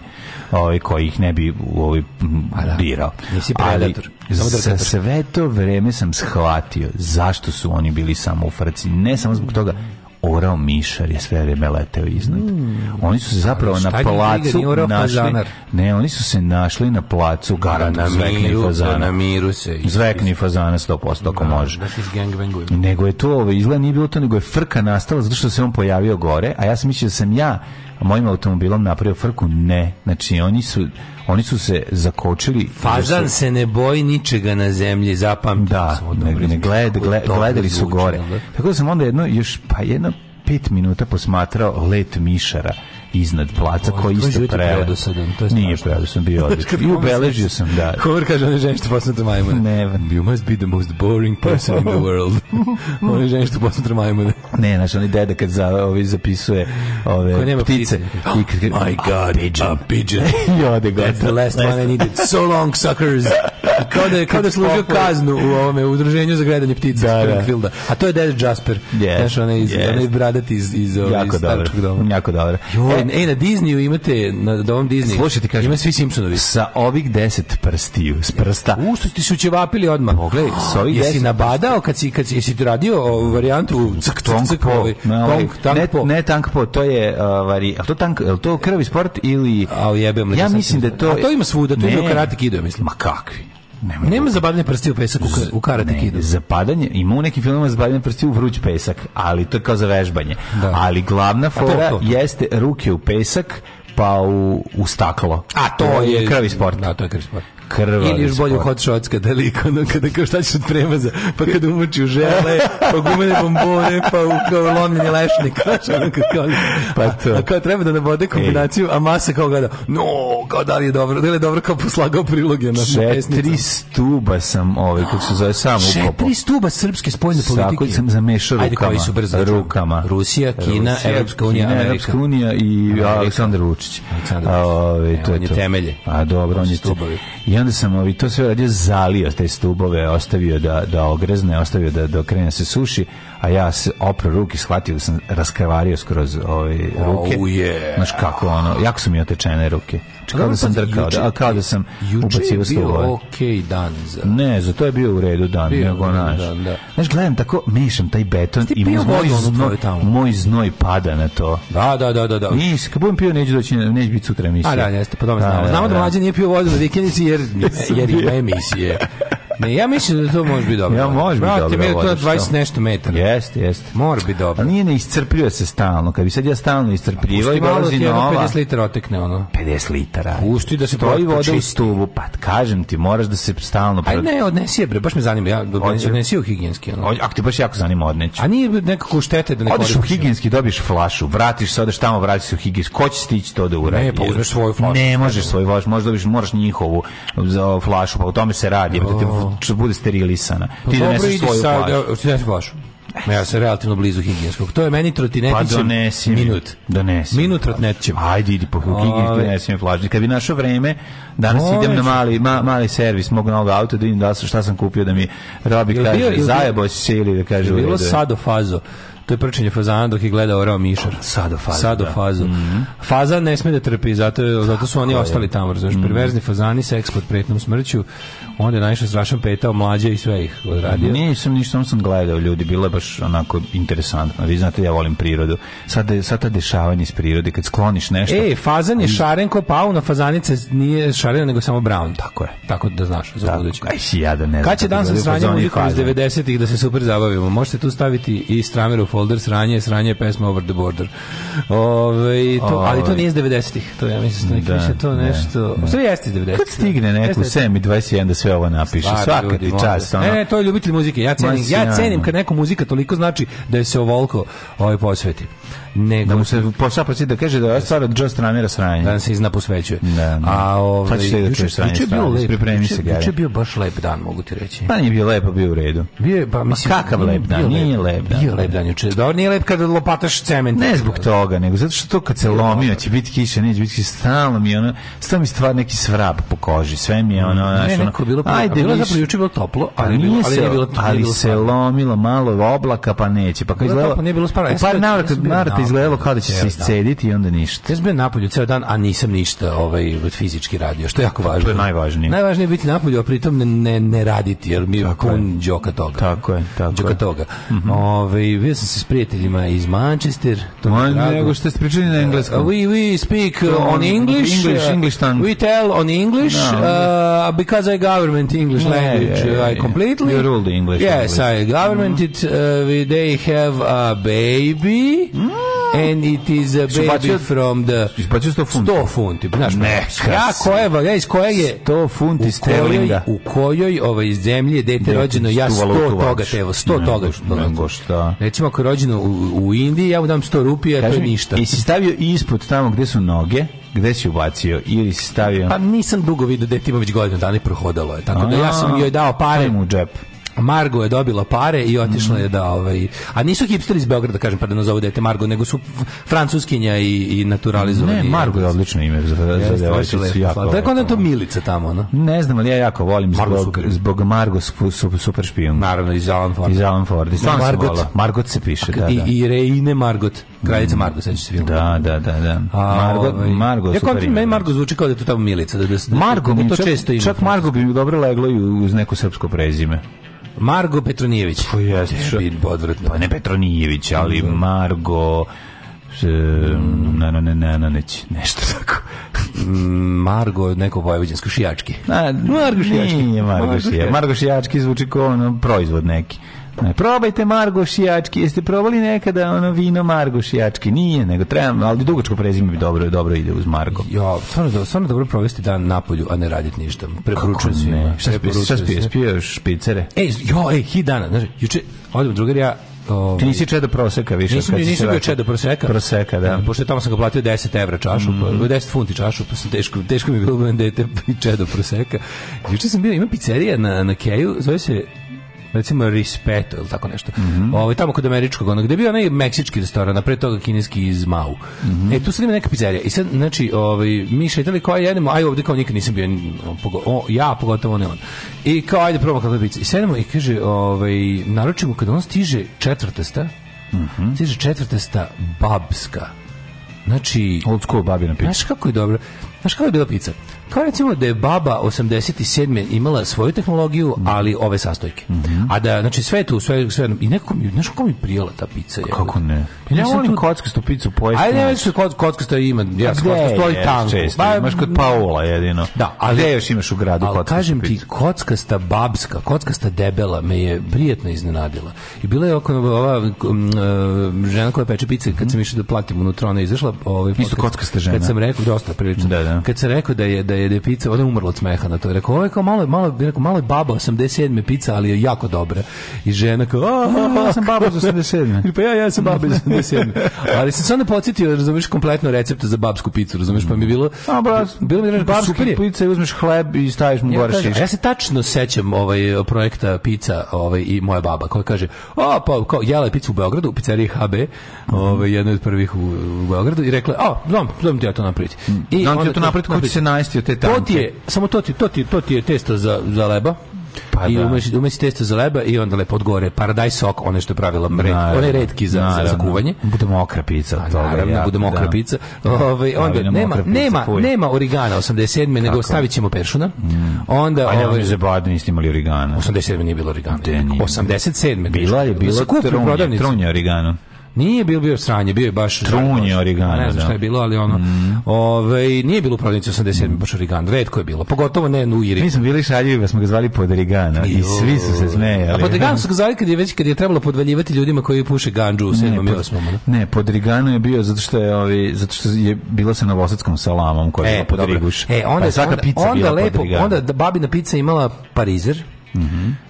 Speaker 5: ovaj, koji ih ne bi ovaj, m,
Speaker 6: da.
Speaker 5: dirao.
Speaker 6: Nisi
Speaker 5: Ali
Speaker 6: predator, samo
Speaker 5: za
Speaker 6: drkator.
Speaker 5: sve to vreme sam shvatio zašto su oni bili samo u frci, ne samo zbog toga, orao mišar je sve vreme leteo iznad. Oni su se zapravo na
Speaker 6: šta njih briga,
Speaker 5: placu
Speaker 6: nije orao
Speaker 5: našli,
Speaker 6: fazanar.
Speaker 5: ne, oni su se našli Pa na placu, garantno zvekni
Speaker 6: na
Speaker 5: fazana.
Speaker 6: miru se.
Speaker 5: Zvekni fazana 100% ako može.
Speaker 6: Da se izgangbangujemo.
Speaker 5: Nego je to, ovaj, izgleda nije bilo to, nego je frka nastala zato što se on pojavio gore, a ja sam mislio da sam ja mojim automobilom napravio frku. Ne, znači oni su, oni su se zakočili.
Speaker 6: Fazan se ne boji ničega na zemlji, zapamti.
Speaker 5: Da, ne, ne gled, gled, gledali su gore. Tako da sam onda jedno, još pa jedno pet minuta posmatrao let mišara iznad placa
Speaker 6: Oj,
Speaker 5: koji
Speaker 6: tvoj
Speaker 5: isto
Speaker 6: život je
Speaker 5: prele.
Speaker 6: predosadan, to je
Speaker 5: Nije
Speaker 6: strašno.
Speaker 5: predosadan, bio odličan. I ubeležio sam, da.
Speaker 6: Hover kaže onoj ženi što posmatra majmune.
Speaker 5: Ne,
Speaker 6: You must be the most boring person in the world. Onoj ženi što posmatra majmune.
Speaker 5: Ne, znaš, onaj deda kad za, ovi zapisuje
Speaker 6: Ko
Speaker 5: ove
Speaker 6: nema
Speaker 5: ptice.
Speaker 6: ptice. Oh
Speaker 5: I kad,
Speaker 6: My God, a pigeon.
Speaker 5: I ode
Speaker 6: That's the
Speaker 5: gotovo.
Speaker 6: last one I needed. So long, suckers. kao da je, kao da je služio
Speaker 5: Popoj.
Speaker 6: kaznu u ovome udruženju za gledanje ptica
Speaker 5: Da, da.
Speaker 6: Springfielda. A to je Dead Jasper.
Speaker 5: Yes,
Speaker 6: Znaš, onaj, iz,
Speaker 5: yes.
Speaker 6: onaj bradat iz, iz, ovaj,
Speaker 5: jako
Speaker 6: iz
Speaker 5: dobro.
Speaker 6: Starčkog doma.
Speaker 5: Jako dobro.
Speaker 6: Joj,
Speaker 5: E,
Speaker 6: ej, na Disneyu imate, na dovom Disneyu.
Speaker 5: Slušaj, ti kažem.
Speaker 6: Ima svi Simpsonovi.
Speaker 5: sa ovih deset prstiju, s prsta.
Speaker 6: U, što ti su ćevapili odmah. Pogledaj,
Speaker 5: Pa s ovih
Speaker 6: jesi
Speaker 5: deset
Speaker 6: nabadao kad si, kad si, jesi ti radio o, varijantu cak, cak,
Speaker 5: Tank
Speaker 6: cak,
Speaker 5: po.
Speaker 6: ovaj,
Speaker 5: Ne, ovaj,
Speaker 6: tong, tank
Speaker 5: ne,
Speaker 6: po.
Speaker 5: ne tank po, to je uh, vari, al to tank, al to krvi sport ili
Speaker 6: A jebem li ga
Speaker 5: Ja
Speaker 6: sad
Speaker 5: mislim da je to
Speaker 6: A to ima svuda, to ima
Speaker 5: Ne.
Speaker 6: u Karate Kidu, ja mislim.
Speaker 5: Ma kakvi? Nema.
Speaker 6: Nema zabadanje prsti u pesak u, ka- u Karate
Speaker 5: Ne,
Speaker 6: Kidu.
Speaker 5: zapadanje, ima u nekim filmima zapadanje prsti u vruć pesak, ali to je kao za vežbanje.
Speaker 6: Da.
Speaker 5: Ali glavna
Speaker 6: to,
Speaker 5: fora
Speaker 6: to.
Speaker 5: jeste ruke u pesak, pa u, u staklo. krvi sport.
Speaker 6: Da, to je krvi sport.
Speaker 5: Krvavi
Speaker 6: Ili još bolje u
Speaker 5: sport.
Speaker 6: hot shots kada lik, ono, kada kao šta ćeš od premaza, pa kada umoči u žele, pa gumene bombone, pa u kao lomljeni lešnik. znaš, ono, kao- kao-
Speaker 5: Pa to.
Speaker 6: A kao treba da nabode kombinaciju, a masa kao gleda, no, kao da li je dobro, da li je dobro kao poslagao priloge na na pesnicu.
Speaker 5: Četiri stuba sam ovaj, kako se zove, sam ukopao.
Speaker 6: Četiri stuba srpske spoljne
Speaker 5: Sa
Speaker 6: politike.
Speaker 5: koji sam zamešao
Speaker 6: Ajde,
Speaker 5: rukama.
Speaker 6: koji su brzo?
Speaker 5: Rukama.
Speaker 6: Rusija, Kina,
Speaker 5: Rusija,
Speaker 6: Evropska unija,
Speaker 5: Kina,
Speaker 6: Amerika.
Speaker 5: Evropska unija i Aleksandar Vučić.
Speaker 6: Aleksandar
Speaker 5: A,
Speaker 6: Vučić.
Speaker 5: ovaj,
Speaker 6: E,
Speaker 5: to
Speaker 6: on je
Speaker 5: to.
Speaker 6: temelje.
Speaker 5: A dobro,
Speaker 6: To
Speaker 5: on
Speaker 6: su
Speaker 5: je
Speaker 6: stubovi.
Speaker 5: I onda sam ovi, to sve radio zalio te stubove, ostavio da, da ogrezne, ostavio da, da krene se suši, a ja se opro ruke, shvatio da sam raskravario skroz ove ruke.
Speaker 6: Oh, yeah.
Speaker 5: Znaš kako ono, jako su mi otečene ruke. Znači, Kao da sam drkao, da, a kao da sam ubacio
Speaker 6: Juče je
Speaker 5: stubove.
Speaker 6: bio okej dan za...
Speaker 5: Ne, za to je bio u redu dan,
Speaker 6: Bio je
Speaker 5: nego
Speaker 6: u redu
Speaker 5: naš.
Speaker 6: dan, da.
Speaker 5: Znaš, gledam tako, mešam taj beton
Speaker 6: ti
Speaker 5: i
Speaker 6: pio
Speaker 5: moj
Speaker 6: vodu onu
Speaker 5: znoj,
Speaker 6: tvoju tamo?
Speaker 5: moj znoj pada na to.
Speaker 6: Da, da, da, da, da.
Speaker 5: Nis, kad budem pio, neću doći, neće biti sutra emisija.
Speaker 6: A Pa da, jeste, po tome znamo. Znamo da mlađe nije pio vodu na vikendici jer, jer ima emisije. Ne, ja mislim da to može biti dobro.
Speaker 5: Ja, može biti dobra
Speaker 6: Brate, mi je
Speaker 5: voda,
Speaker 6: to na 20
Speaker 5: što?
Speaker 6: nešto metara.
Speaker 5: Jeste, jeste.
Speaker 6: Mora biti dobro.
Speaker 5: A nije ne iscrpljuje se stalno, kad bi sad ja stalno iscrpljivao i
Speaker 6: Pusti malo da ti
Speaker 5: dolazi
Speaker 6: jedno
Speaker 5: nova.
Speaker 6: 50 litara otekne, ono.
Speaker 5: 50 litara.
Speaker 6: Pusti da se
Speaker 5: Stoji
Speaker 6: prosto
Speaker 5: voda u
Speaker 6: čisti.
Speaker 5: stuvu, pa kažem ti, moraš da se stalno...
Speaker 6: Aj ne, odnesi je, bre, baš me zanima. Ja,
Speaker 5: Hoće.
Speaker 6: odnesi je u higijenski, ono.
Speaker 5: Ako ti baš jako zanima, odneću.
Speaker 6: A nije nekako štete da ne
Speaker 5: Odeš u
Speaker 6: koristiš. ono.
Speaker 5: higijenski, dobiješ flašu, vratiš se, odeš tamo, vratiš se u higijenski. Ko će stići to da uradi?
Speaker 6: Ne, pa uzmeš svoju flašu.
Speaker 5: Ne možeš svoju flašu, možda dobiš, moraš njihovu za flašu, pa u tome se radi, da ti f- bude sterilisana. Ti doneseš
Speaker 6: Pa idi
Speaker 5: svoju
Speaker 6: sad,
Speaker 5: flašu.
Speaker 6: evo, ti donesi flašu. Ma ja sam relativno blizu higijenskog. To je meni
Speaker 5: Pa
Speaker 6: trotinetićem
Speaker 5: donesi mi.
Speaker 6: minut.
Speaker 5: Donesi. mi.
Speaker 6: Minut trotnetićem.
Speaker 5: Ajde, idi po higijenski,
Speaker 6: Ove.
Speaker 5: donesi mi flašu. Kad bi našao vreme, danas
Speaker 6: Može.
Speaker 5: idem na mali, ma- mali servis mog novog auta, da vidim da li sam- šta sam kupio, da mi Robi
Speaker 6: Jel bio-
Speaker 5: kaže,
Speaker 6: jel bio-
Speaker 5: zajebo si se ili da kaže,
Speaker 6: Je
Speaker 5: u
Speaker 6: bilo
Speaker 5: redu je.
Speaker 6: sado fazo. To je prčenje fazana dok je gledao Rao Mišar.
Speaker 5: Sado fazo,
Speaker 6: Sado
Speaker 5: da. Mhm.
Speaker 6: fazo. Faza ne sme da trpi, zato, zato su oni ostali tamo. Razumeš,
Speaker 5: Mhm.
Speaker 6: perverzni fazani, seks pod pretnom smrću. Onda je najviše strašan petao mlađe i sve ih odradio.
Speaker 5: Nisam ništa, samo sam gledao ljudi, bilo je baš onako interesantno. Vi znate, ja volim prirodu. Sad, je- sad ta dešavanja iz prirode, kad skloniš nešto...
Speaker 6: E, fazan je šaren ko pauna, fazanica nije šarena nego samo brown. Tako
Speaker 5: je.
Speaker 6: Tako da znaš za
Speaker 5: tako,
Speaker 6: buduće.
Speaker 5: aj, si jadan, ne znam.
Speaker 6: Kad će dan sa sranjem muzikom iz 90-ih da se super zabavimo? Možete tu staviti i Stramer u folder sranje, sranje je pesma Over the Border. Ove, to, ali to
Speaker 5: Ovaj.
Speaker 6: nije iz 90-ih. To ja mislim, da,
Speaker 5: Da,
Speaker 6: više to
Speaker 5: ne,
Speaker 6: nešto... Ne, Sve jeste iz 90-ih.
Speaker 5: Kad stigne neko u 7 i 21 da sve ovo napiše,
Speaker 6: Stvarno,
Speaker 5: svaka
Speaker 6: ljudi,
Speaker 5: ti
Speaker 6: molim vas.
Speaker 5: čast. Ono,
Speaker 6: Ne, ne, to je ljubitelj muzike. Ja
Speaker 5: Ma,
Speaker 6: cenim, ja
Speaker 5: sjajno.
Speaker 6: cenim kad neko muzika toliko znači da je se ovoliko ovaj posveti. Nego
Speaker 5: da mu se posla prosi da kaže da je ova stvar od Joe Stranera sranje.
Speaker 6: da nam se izna posvećuje.
Speaker 5: Da, da.
Speaker 6: A ovaj
Speaker 5: Sad ćeš ti da čuješ sranje
Speaker 6: juče je bio
Speaker 5: strane,
Speaker 6: lep,
Speaker 5: pripremi se,
Speaker 6: juče-
Speaker 5: Gari.
Speaker 6: juče je bio baš lep dan, mogu ti reći.
Speaker 5: Pa nije bio lepo, bio u redu.
Speaker 6: Bio je, pa mislim...
Speaker 5: kakav lep dan,
Speaker 6: bio
Speaker 5: nije lep dan.
Speaker 6: Bio lep dan juče. Dobro, nije lep kada lopataš cement.
Speaker 5: Ne zbog toga, nego zato što to kad se lomi, će biti kiša, neće biti kiša, stalno mi je ono, stalno mi stvar neki svrab po koži, sve mi je ono, znaš,
Speaker 6: Ne,
Speaker 5: ono,
Speaker 6: neko je bilo... Ajde,
Speaker 5: ajde,
Speaker 6: bilo je
Speaker 5: više.
Speaker 6: zapravo juče bilo toplo,
Speaker 5: ali
Speaker 6: ali, Pa bilo, ali
Speaker 5: se,
Speaker 6: nije bilo...
Speaker 5: ali
Speaker 6: nije bilo
Speaker 5: se lomilo malo oblaka pa neće pa kao
Speaker 6: Bilo
Speaker 5: izgledalo
Speaker 6: toplo, nije bilo E, spara.
Speaker 5: u
Speaker 6: Ja sam
Speaker 5: par
Speaker 6: bio- ja
Speaker 5: navrata
Speaker 6: sam bio
Speaker 5: navrata
Speaker 6: napolju
Speaker 5: izgledalo kao da će se
Speaker 6: cijeli
Speaker 5: iscediti i onda ništa
Speaker 6: Ja sam bio napolju ceo dan, a nisam ništa ovaj, fizički radio, što je jako važno.
Speaker 5: je najvažnije.
Speaker 6: Najvažnije je biti napolju, a pritom ne, ne, ne raditi, jer mi je pun džoka toga.
Speaker 5: Tako je, tako
Speaker 6: Džoka
Speaker 5: je. Mhm.
Speaker 6: toga. Ovaj, bio sam se s prijateljima iz Manchester. to mi je
Speaker 5: Ma,
Speaker 6: drago.
Speaker 5: nego što ste pričali na engleskom.
Speaker 6: Uh, We, we speak uh, on English.
Speaker 5: English,
Speaker 6: uh,
Speaker 5: English tongue.
Speaker 6: We tell on English uh, because I government English
Speaker 5: Yeah,
Speaker 6: language.
Speaker 5: yeah,
Speaker 6: uh, I
Speaker 5: yeah.
Speaker 6: completely.
Speaker 5: You rule the English
Speaker 6: Yes,
Speaker 5: language. Mm-hmm.
Speaker 6: I government it. Uh, we, they have a baby. And it is a
Speaker 5: Si
Speaker 6: baby
Speaker 5: Mm-hmm. bacio-
Speaker 6: from the...
Speaker 5: isbacio 100 funti.
Speaker 6: 100 funti, znaš.
Speaker 5: Neka
Speaker 6: Ja
Speaker 5: si.
Speaker 6: kojeva, ja iz kojeg je...
Speaker 5: 100 funti
Speaker 6: u kojoj-
Speaker 5: sterlinga.
Speaker 6: U kojoj ovaj, iz zemlje je dete
Speaker 5: Dete,
Speaker 6: rođeno, ja
Speaker 5: tu
Speaker 6: 100
Speaker 5: valutu
Speaker 6: toga
Speaker 5: vadiš.
Speaker 6: tevo, 100
Speaker 5: Nego
Speaker 6: toga.
Speaker 5: šta, nego šta.
Speaker 6: Recimo, ako je rođeno u, u Indiji, ja mu dam 100 rupija, to je
Speaker 5: Kaži mi,
Speaker 6: ništa.
Speaker 5: jesi stavio ispod tamo gde su noge gde si ubacio ili si stavio
Speaker 6: Pa nisam dugo vidio dete ima već godinu dana i prohodalo je. Tako da ja sam joj dao
Speaker 5: Stavi
Speaker 6: pare.
Speaker 5: mu u džep
Speaker 6: Margo je dobila pare i otišla je da ovaj a nisu hipsteri iz Beograda kažem pa da nazovu dete Margo nego su f- francuskinja i i naturalizovani.
Speaker 5: Ne, Margo je odlično ime za, za
Speaker 6: Jeste, baš je
Speaker 5: devojčicu.
Speaker 6: lepo,
Speaker 5: jako
Speaker 6: slatko. Tako onda je to
Speaker 5: lepo.
Speaker 6: Milica tamo, ono. no.
Speaker 5: Ne znam, ali ja jako volim
Speaker 6: Margo
Speaker 5: zbog,
Speaker 6: super.
Speaker 5: zbog Margo su- su- super špijun.
Speaker 6: Naravno iz Alan Forda.
Speaker 5: Iz Alan Forda. Stvarno sam
Speaker 6: Margot.
Speaker 5: volao. Margot se piše, da, da.
Speaker 6: I, I Reine Margot, kraljica Margot, sećaš se filma.
Speaker 5: Da, da, da, da. Margo,
Speaker 6: ovaj,
Speaker 5: Margo,
Speaker 6: ja
Speaker 5: super
Speaker 6: kontim,
Speaker 5: ime.
Speaker 6: meni Margo zvuči kao da je to tamo Milica, da, da, da,
Speaker 5: Margo
Speaker 6: da
Speaker 5: mi
Speaker 6: to
Speaker 5: čak,
Speaker 6: često ima.
Speaker 5: čak Margo bi mi dobro leglo i uz neko srpsko prezime.
Speaker 6: Margo Petronijević.
Speaker 5: Pa jeste, što-
Speaker 6: Bit odvratno.
Speaker 5: Pa ne Petronijević, ali Margo s- na na na na na neć nešto tako.
Speaker 6: Margo, neko vojvođansko šijački.
Speaker 5: Na, Margo
Speaker 6: Šijački.
Speaker 5: Nije Margo
Speaker 6: Margo
Speaker 5: Šijački.
Speaker 6: Šijački.
Speaker 5: Margo Šijački zvuči kao ono proizvod neki. Ne, probajte Margo Šijački. Jeste probali nekada ono vino Margo Šijački? Nije, nego treba, ali dugačko prezime bi dobro, dobro ide uz Margo.
Speaker 6: Ja, stvarno, do- stvarno dobro provesti dan napolju, a ne raditi ništa. Preporučujem svima.
Speaker 5: Ne, šta spiješ? Šta
Speaker 6: Preporučujem
Speaker 5: spiješ?
Speaker 6: svima.
Speaker 5: Spiješ špicere?
Speaker 6: Ej, jo, ej, hi dana, znaš, juče, odem drugar ja,
Speaker 5: Ti
Speaker 6: ovaj,
Speaker 5: nisi čedo proseka više.
Speaker 6: Nisam,
Speaker 5: kad si se
Speaker 6: nisam bio
Speaker 5: vratio.
Speaker 6: čedo proseka. Dakle,
Speaker 5: Proseka, da. Mhm.
Speaker 6: Pošto tamo sam ga platio 10 evra čašu, mm. 10 funti čašu, pa sam teško, teško mi je bilo budem dete i čedo proseka. Juče sam bio, ima pizzerija na, na Keju, zove se recimo Respeto ili tako nešto. Mm
Speaker 5: Mhm.
Speaker 6: Ovo, tamo kod američkog, ono, gde je bio onaj meksički restoran, a pre toga kineski iz Mau.
Speaker 5: Mhm.
Speaker 6: E, tu sad ima neka pizzerija. I sad, znači, ovaj, mi šetali kao jedemo, aj ovde kao nikad nisam bio, o, pogo- o, ja pogotovo ne on. I kao, ajde probamo kako je pizza. I sedemo i kaže, ovaj, naručimo, kada on stiže četvrtasta, stiže četvrtasta babska. Znači,
Speaker 5: Old school babina pizza.
Speaker 6: Znaš kako je dobro? Znaš kako je bila pizza? Kao recimo da je baba 87. imala svoju tehnologiju, ali ove sastojke.
Speaker 5: Mhm.
Speaker 6: A da, znači sve je tu, sve, sve i nekako mi, znaš kako mi prijela ta pizza. jebote.
Speaker 5: Kako ne?
Speaker 6: Ja
Speaker 5: Ja
Speaker 6: sam
Speaker 5: volim
Speaker 6: tu-
Speaker 5: kockastu ppicu pojesti.
Speaker 6: Pa Ajde,
Speaker 5: znaš.
Speaker 6: već se kod, kockasta ima, ja sam
Speaker 5: Gde
Speaker 6: kockasto, ali
Speaker 5: je
Speaker 6: tanko.
Speaker 5: često? Imaš kod Paola jedino.
Speaker 6: Pa- Da, ali
Speaker 5: Gde još imaš u gradu
Speaker 6: ali
Speaker 5: kockastu
Speaker 6: kažem ti
Speaker 5: pizzu?
Speaker 6: kockasta babska, kockasta debela me je prijetno iznenadila. I bila je oko ova um, uh, žena koja peče pice kad sam išao da platim unutra ona je izašla, ovaj
Speaker 5: Mhm. Isto
Speaker 6: kad-
Speaker 5: kockasta žena.
Speaker 6: Kad sam rekao dosta prilično.
Speaker 5: Da, da.
Speaker 6: Kad sam rekao da je da je, da je pizza, ona je umrla od smeha na to. Rekao, ovo je kao malo malo rekao malo je baba 87 pizza, ali je jako dobra. I žena kao, "A,
Speaker 5: Ja sam baba iz 87..
Speaker 6: i pa ja, ja sam baba iz 87. Ali sam se onda podsjetio, razumiješ, kompletno recept za babsku picu, razumiješ, pa mi je bilo...
Speaker 5: A, brat,
Speaker 6: bilo mi je,
Speaker 5: babske
Speaker 6: super je.
Speaker 5: pizza i uzmeš hleb i staviš mu
Speaker 6: Ja,
Speaker 5: gore
Speaker 6: kažem,
Speaker 5: šiš.
Speaker 6: ja se tačno sećam ovaj projekta pizza ovaj i moja baba koja kaže: "O, pa kao jela je picu u Beogradu, u pizzeriji HB, ovaj jedna od prvih u, u Beogradu i rekla: "A, znam, znam ti ja to napraviti." I
Speaker 5: Mm. Znam ti
Speaker 6: e, onda
Speaker 5: ja to napraviti kako ti se najesti od te
Speaker 6: To ti je,
Speaker 5: tanke.
Speaker 6: samo to ti, to ti, to ti je testo za za leba.
Speaker 5: Pa
Speaker 6: I
Speaker 5: da.
Speaker 6: umeš, umeš testo za leba i onda lepo odgore paradajz sok, one što je pravila red, one redki za, za, za kuvanje.
Speaker 5: Bude mokra pizza.
Speaker 6: Pa
Speaker 5: od toga,
Speaker 6: naravno,
Speaker 5: jako,
Speaker 6: bude mokra
Speaker 5: da.
Speaker 6: pizza. Ovaj
Speaker 5: Da,
Speaker 6: onda
Speaker 5: ali na
Speaker 6: nema
Speaker 5: mokra pizza
Speaker 6: nema
Speaker 5: fulj.
Speaker 6: nema origana 87. nego stavit ćemo peršuna. Onda
Speaker 5: Pa ja
Speaker 6: ovaj
Speaker 5: mi zabadni niste imali origana.
Speaker 6: 87. nije bilo origana.
Speaker 5: Da, nije.
Speaker 6: 87.
Speaker 5: Bila je,
Speaker 6: Da
Speaker 5: bila
Speaker 6: se kupi u
Speaker 5: trunje,
Speaker 6: prodavnici.
Speaker 5: trunje origana.
Speaker 6: Nije bio bio sranje, bio je baš
Speaker 5: Trunje origana,
Speaker 6: Ne
Speaker 5: da. Mhm.
Speaker 6: znam šta je bilo, ali ono. Ovaj nije bilo u prodavnici 87 baš origan. Retko je bilo. Pogotovo ne u Iri.
Speaker 5: Mi smo bili šaljivi, pa smo ga zvali pod origana i svi su se
Speaker 6: A
Speaker 5: smejali.
Speaker 6: pod origanu su ga zvali kad je već kad je trebalo podvaljivati ljudima koji puše gandžu u 7. i 8. ono.
Speaker 5: Ne, pod Riganu je bio zato što je ovi zato što je bila sa novosadskom salamom koja je bila pod
Speaker 6: dobro.
Speaker 5: Riguš.
Speaker 6: E,
Speaker 5: Pa
Speaker 6: onda,
Speaker 5: je svaka
Speaker 6: onda,
Speaker 5: pizza
Speaker 6: onda
Speaker 5: bila pod
Speaker 6: lepo,
Speaker 5: Riganom.
Speaker 6: onda da babina pizza imala parizer.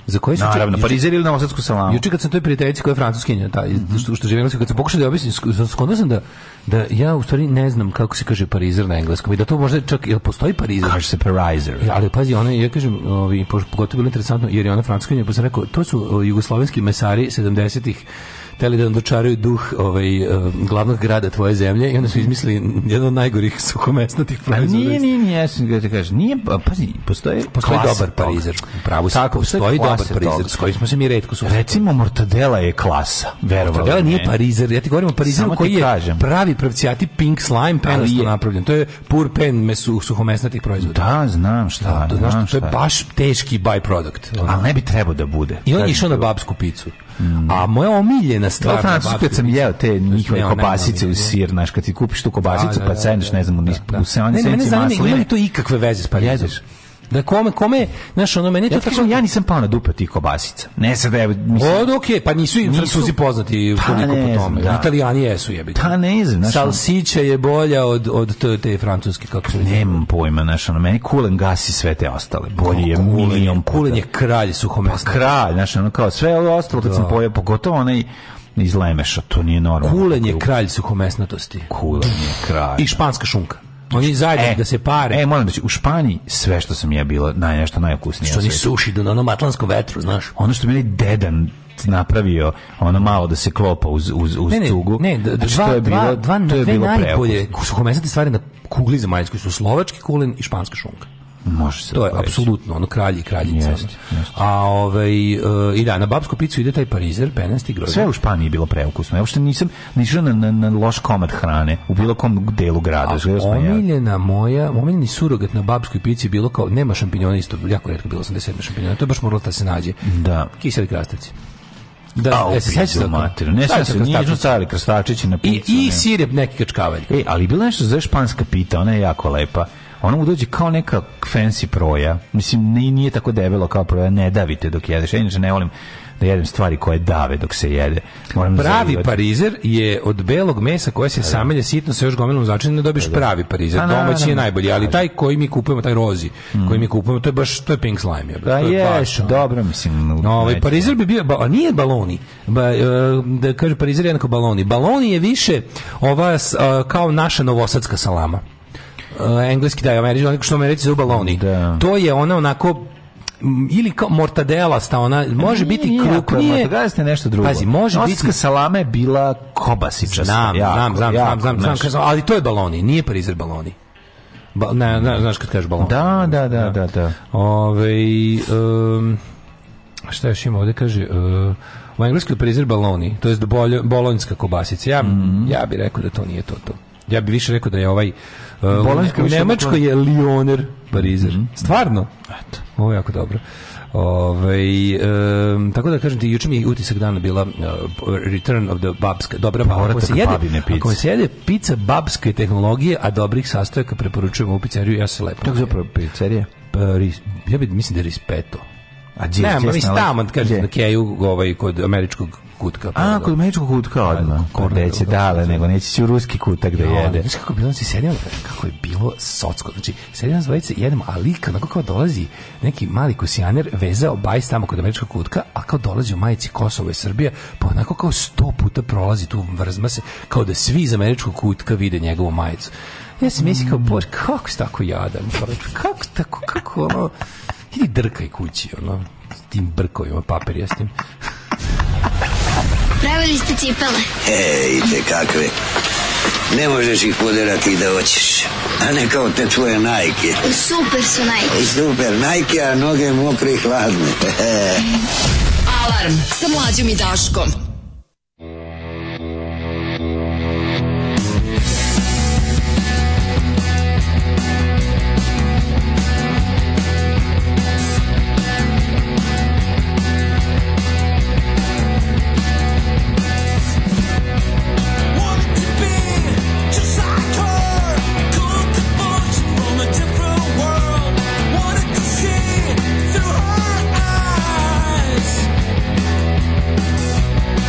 Speaker 6: Za koji se
Speaker 5: Mhm. Naravno, Parizer ili novosadsku salamu.
Speaker 6: Juče kad sam toj prijateljici koja je francuskinja, ta, iz- što, što živi u Engleskoj, kad sam pokušao da je objasnim, sk- skonao sam da, da ja u stvari ne znam kako se kaže parizer na engleskom i da to možda čak, jel postoji parizer?
Speaker 5: Kaže se Parizer.
Speaker 6: Ja, ali pazi, ona, je, ja kažem, ovi, poš- pogotovo bilo interesantno, jer je ona francuskinja, pa sam rekao, to su o, jugoslovenski mesari 70-ih, teli da nam dočaraju duh ovaj, e, glavnog grada tvoje zemlje i onda su izmislili jedan od najgorih suhomesnatih
Speaker 5: Pa
Speaker 6: proizvoda.
Speaker 5: nije, nije, nije, ja sam ga te kažem, nije, pa, pazi, postoje,
Speaker 6: Postoji
Speaker 5: klasa
Speaker 6: dobar
Speaker 5: toga.
Speaker 6: parizer. Pravo si,
Speaker 5: Tako, postoji
Speaker 6: postoji dobar
Speaker 5: klasa
Speaker 6: parizer,
Speaker 5: toga.
Speaker 6: s kojim smo se mi redko susretali.
Speaker 5: Recimo, mortadela je klasa, verovalo.
Speaker 6: Mortadela nije parizer, ja ti govorim o parizeru
Speaker 5: Samo ti
Speaker 6: koji je
Speaker 5: kažem.
Speaker 6: pravi pravcijati pink slime penasto
Speaker 5: je-
Speaker 6: napravljen. To je pur pen mesu suhomesnatih proizvoda.
Speaker 5: Da, znam šta,
Speaker 6: to,
Speaker 5: znam
Speaker 6: znaš, to
Speaker 5: šta.
Speaker 6: je baš teški byproduct. ono.
Speaker 5: Ali ne bi trebao da bude.
Speaker 6: I on je
Speaker 5: Kažem
Speaker 6: išao na
Speaker 5: ti.
Speaker 6: babsku picu.
Speaker 5: Mm.
Speaker 6: A moja omiljena
Speaker 5: To
Speaker 6: stvar...
Speaker 5: je francuski,
Speaker 6: babsku
Speaker 5: kad znači, sam
Speaker 6: picu-
Speaker 5: jeo te njihove
Speaker 6: Ne, ona je
Speaker 5: kobasice u
Speaker 6: omiljena.
Speaker 5: sir, znaš, kad ti kupiš tu kobasicu,
Speaker 6: Da, da,
Speaker 5: pa
Speaker 6: da,
Speaker 5: ceneš, ne znam, u nis- u
Speaker 6: Ne,
Speaker 5: sevanci
Speaker 6: ne, mene zanima, ima
Speaker 5: masline.
Speaker 6: li to ikakve veze s parizerom?
Speaker 5: Jedeš.
Speaker 6: Da kome, kome, znaš, ono, meni je to
Speaker 5: Ja ti kažem, ja nisam pao na dupe tih kobasica. Ne sad, evo, mislim,
Speaker 6: O, ok, pa nisu i
Speaker 5: Nisu.
Speaker 6: Francuzi poznati
Speaker 5: Pa
Speaker 6: toliko
Speaker 5: ne
Speaker 6: po
Speaker 5: znam,
Speaker 6: tome.
Speaker 5: da.
Speaker 6: Italijani jesu jebi.
Speaker 5: Pa ne znam, znaš,
Speaker 6: Salsića je bolja od, od te, te francuske, kako se ne,
Speaker 5: nemam pojma, znaš, ono, meni kulen gasi sve te ostale. Bolje je milion puta.
Speaker 6: Kulen je Pa kralj suhomesna.
Speaker 5: kralj, znaš, ono kao sve ovo ostalo kad sam pojeo, pogotovo onaj iz Lemeša, to nije normalno.
Speaker 6: Kulen je kralj suhomesnatosti.
Speaker 5: Kulen je kralj.
Speaker 6: I španska šunka. Oni zajedno da se pare.
Speaker 5: E, moram da će, u Španiji sve što sam ja bila, naj, nešto najokusnije.
Speaker 6: što
Speaker 5: na
Speaker 6: oni
Speaker 5: svetu.
Speaker 6: suši do na onom atlantskom vetru, znaš.
Speaker 5: ono što mi je dedan napravio ono malo da se klopa uz, uz, uz
Speaker 6: ne,
Speaker 5: cugu.
Speaker 6: Ne, d-
Speaker 5: Znači,
Speaker 6: dva,
Speaker 5: to je bilo,
Speaker 6: dva, dva,
Speaker 5: to je
Speaker 6: dve
Speaker 5: bilo
Speaker 6: najbolje
Speaker 5: preukusno.
Speaker 6: suhomesnate stvari na kugli zemaljskoj su slovački kulen i španska šunka.
Speaker 5: Može se
Speaker 6: To je
Speaker 5: tako reći.
Speaker 6: apsolutno ono kralj i kraljica.
Speaker 5: Jeste,
Speaker 6: ono. A ovaj e, i da na babsku picu ide taj parizer, penasti grožđe.
Speaker 5: Sve u Španiji je bilo preukusno. Ja uopšte nisam nišao na, na, na loš komad hrane u bilo kom delu grada. Želeo sam ja.
Speaker 6: Omiljena moja, omiljeni surogat na babskoj pici je bilo kao, nema šampinjona isto, jako redko bilo sam desetna šampinjona, to je baš moralo da se nađe.
Speaker 5: Da.
Speaker 6: Kiseli krastavci. Da,
Speaker 5: A,
Speaker 6: e, se sećaš tako?
Speaker 5: mater. Ne
Speaker 6: Stavio
Speaker 5: sam
Speaker 6: sam
Speaker 5: se nižno
Speaker 6: krastavčić.
Speaker 5: stavili krstačići na
Speaker 6: I,
Speaker 5: picu.
Speaker 6: i
Speaker 5: ne.
Speaker 6: sirep neki kačkavalj.
Speaker 5: E, ali bila nešto za španska pita, ona je jako lepa. Ona mu dođe kao neka fancy proja. Mislim, ni- nije tako debelo kao proja. Ne davite dok jedeš. Ja inače ne volim da jedem stvari koje dave dok se jede. Moram
Speaker 6: Pravi
Speaker 5: zalivati.
Speaker 6: parizer je od belog mesa koje se samelje sitno sa još gomilom začina ne dobiješ pravi parizer.
Speaker 5: Pa,
Speaker 6: Domaći je
Speaker 5: naravno. Mm.
Speaker 6: najbolji, ali taj koji mi kupujemo, taj rozi, koji mi kupujemo, to je baš to je pink slime. Je, bre.
Speaker 5: Pa Da
Speaker 6: to je baš,
Speaker 5: je,
Speaker 6: ono.
Speaker 5: dobro, mislim.
Speaker 6: No, ovaj
Speaker 5: neću.
Speaker 6: parizer bi bio, ba- a nije baloni. Ba, e, da kaže parizer je jednako baloni. Baloni je više ova s- a, kao naša novosadska salama. E, engleski da, američki, onako što američki zove baloni.
Speaker 5: Da.
Speaker 6: To je ona onako m, ili kao mortadela sta ona može biti
Speaker 5: E, Nije, ako je
Speaker 6: krupnije
Speaker 5: mortadela, jeste nešto drugo.
Speaker 6: pazi može
Speaker 5: Nosačka
Speaker 6: biti
Speaker 5: salama je bila kobasičasta.
Speaker 6: Znam,
Speaker 5: jako,
Speaker 6: znam, znam,
Speaker 5: jako,
Speaker 6: znam, znam, znam,
Speaker 5: znaš.
Speaker 6: kad sam- ali to je baloni, nije parizer baloni. Ba, ne, ne, znaš kad kažeš baloni.
Speaker 5: Da, da, da, da, da.
Speaker 6: Ove, um, šta još ima ovde, kaže... Uh, u engleskoj je parizer baloni, to je bolonjska kobasica. Ja,
Speaker 5: Mhm.
Speaker 6: ja bih rekao da to nije to to. Ja bih više rekao da je ovaj... Uh,
Speaker 5: Bolonjska
Speaker 6: u
Speaker 5: više Mhm.
Speaker 6: Nemačkoj je lioner parizer. Stvarno? Eto. Ovo je jako dobro. Ove, um, tako da kažem ti, juče mi je utisak dana bila uh, Return of the Babska, dobra
Speaker 5: Povratak
Speaker 6: ako se jede,
Speaker 5: babine pice.
Speaker 6: Ako se jede pizza babske tehnologije, a dobrih sastojaka preporučujemo u pizzeriju, ja se lepo.
Speaker 5: Tako zapravo pizzerija.
Speaker 6: Pa, ris- ja bi mislim da je rispeto.
Speaker 5: A gdje?
Speaker 6: Ne,
Speaker 5: gdje
Speaker 6: ma
Speaker 5: se
Speaker 6: mislim
Speaker 5: nalazi?
Speaker 6: tamo,
Speaker 5: Gdje?
Speaker 6: kažem, na Keju, ovaj, kod američkog kutka. pa
Speaker 5: A,
Speaker 6: da.
Speaker 5: kod američkog kutka odmah.
Speaker 6: kod
Speaker 5: Gde će
Speaker 6: kod-
Speaker 5: dale, nego neće će u ruski kutak da
Speaker 6: Ja,
Speaker 5: jede.
Speaker 6: Znaš kako je bilo, znači, sedimo, kako je bilo socko. Znači, sedimo nas dvojice, jedemo, a lik, onako kao dolazi neki mali kosijaner, vezao bajs tamo kod američkog kutka, a kao dolazi u majici Kosova i Srbija, pa onako kao sto puta prolazi tu vrzma se, kao da svi iz američkog kutka vide njegovu majicu. Ja sam mislim kao, bože, kako si tako jadan? čoveče, Kako tako, kako ono... Idi drkaj kući, ono, s tim brkovima papirjastim.
Speaker 2: Pravili ste cipele.
Speaker 8: Ejte kakve. E, Ne možeš ih poderati da hoćeš. A ne kao te tvoje najke.
Speaker 2: Super su naj.
Speaker 8: I super, najke, a noge mokre i hladne.
Speaker 2: Alarm sa mlađom i Daškom.
Speaker 9: Through her eyes,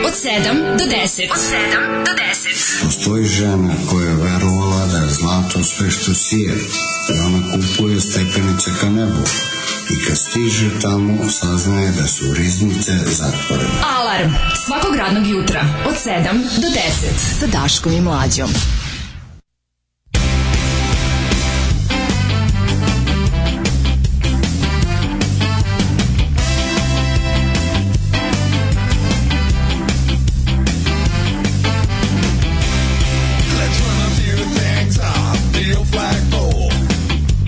Speaker 2: 10.
Speaker 10: Od 7 do 10.
Speaker 9: Postoji žena koja je verovala da je zlato sve što sije i ona kupuje stepenice ka nebu i kad stiže tamo saznaje da su riznice zatvorene.
Speaker 2: Alarm svakog radnog jutra od 7 do 10 sa Daškom i Mlađom.
Speaker 7: Let's run a few things up. Deal flagpole.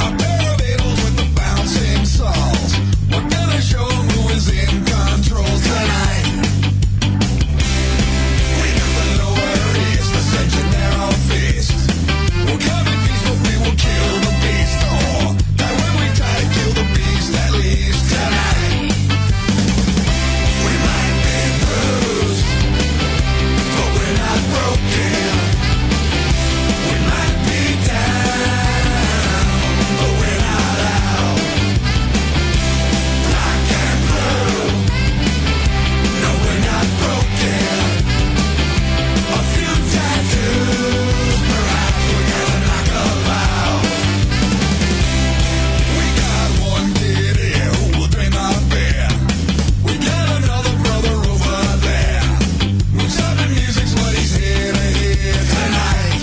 Speaker 7: A pair of Beatles with the bouncing saws. We're gonna show 'em who is in control tonight. We got the lower east, the such a narrow fist. We'll come in peace, but we will kill the beast. Oh, that when we try to kill the beast, at least tonight. We might be bruised, but we're not broken. We might be down, but we're not out. Black and blue. No, we're not broken. A few tattoos, perhaps we're gonna knock 'em out. We got one kid here who will drain our beer. We got another brother over there. Moves up in music's what he's here to hear tonight.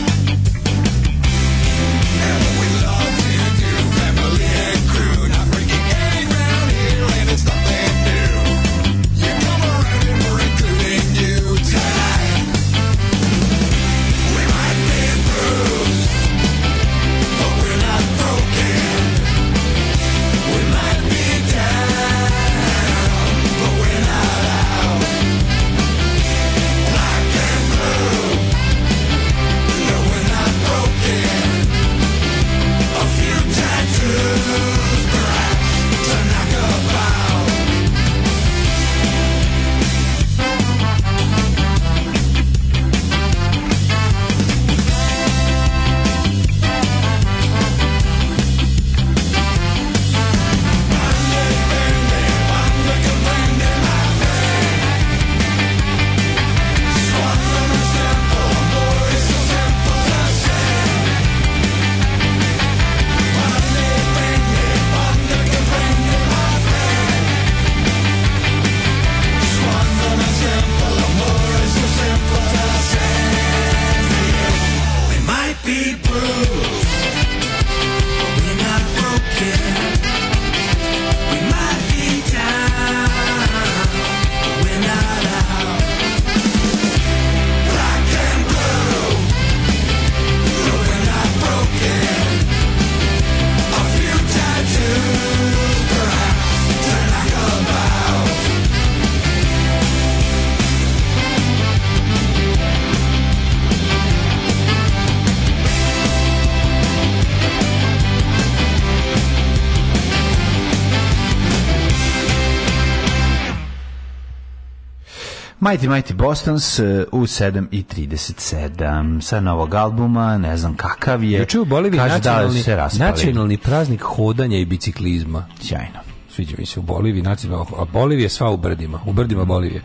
Speaker 5: Mighty Mighty Bostons eh, u 7.37 sa novog albuma, ne znam kakav je.
Speaker 6: Juče u Boliviji
Speaker 5: Kaže da
Speaker 6: nacionalni,
Speaker 5: se raspali.
Speaker 6: nacionalni praznik hodanja i biciklizma.
Speaker 5: Sjajno.
Speaker 6: Sviđa mi se u Boliviji, nacionalno, a Bolivija je sva u brdima, u brdima Bolivije.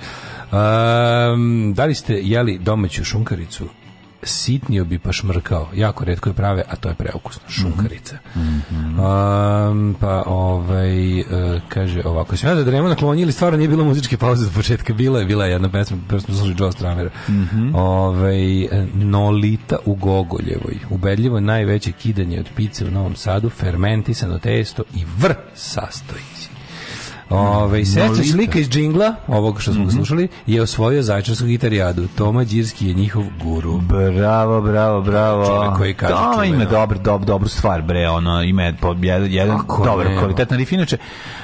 Speaker 6: Um, da li ste jeli domaću šunkaricu? Sitnio bi pa šmrkao. Jako redko je prave, a to je preukusno. Šunkarica. um, pa ovaj, e, kaže ovako, sam ja da nema naklonili, stvarno nije bilo muzičke pauze do početka. Bila je, bila je jedna pesma, prvo smo slušali Joe Stramera. Ovaj, e, Nolita u Gogoljevoj. Ubedljivo najveće kidanje od pice u Novom Sadu, fermentisano testo i vr sastojci. Ove, sestra
Speaker 5: Nolita.
Speaker 6: slika iz džingla, ovog što smo ga slušali, je osvojio zajčarsku gitarijadu. Toma Đirski je njihov guru.
Speaker 5: Bravo, bravo, bravo.
Speaker 6: Čovjek koji kaže
Speaker 5: da,
Speaker 6: čuveno.
Speaker 5: ima dobar, dob, dobru stvar, bre, ono, ima je po- jedan, jedan
Speaker 6: Kako
Speaker 5: dobar,
Speaker 6: ne,
Speaker 5: kvalitetan riff. Inače,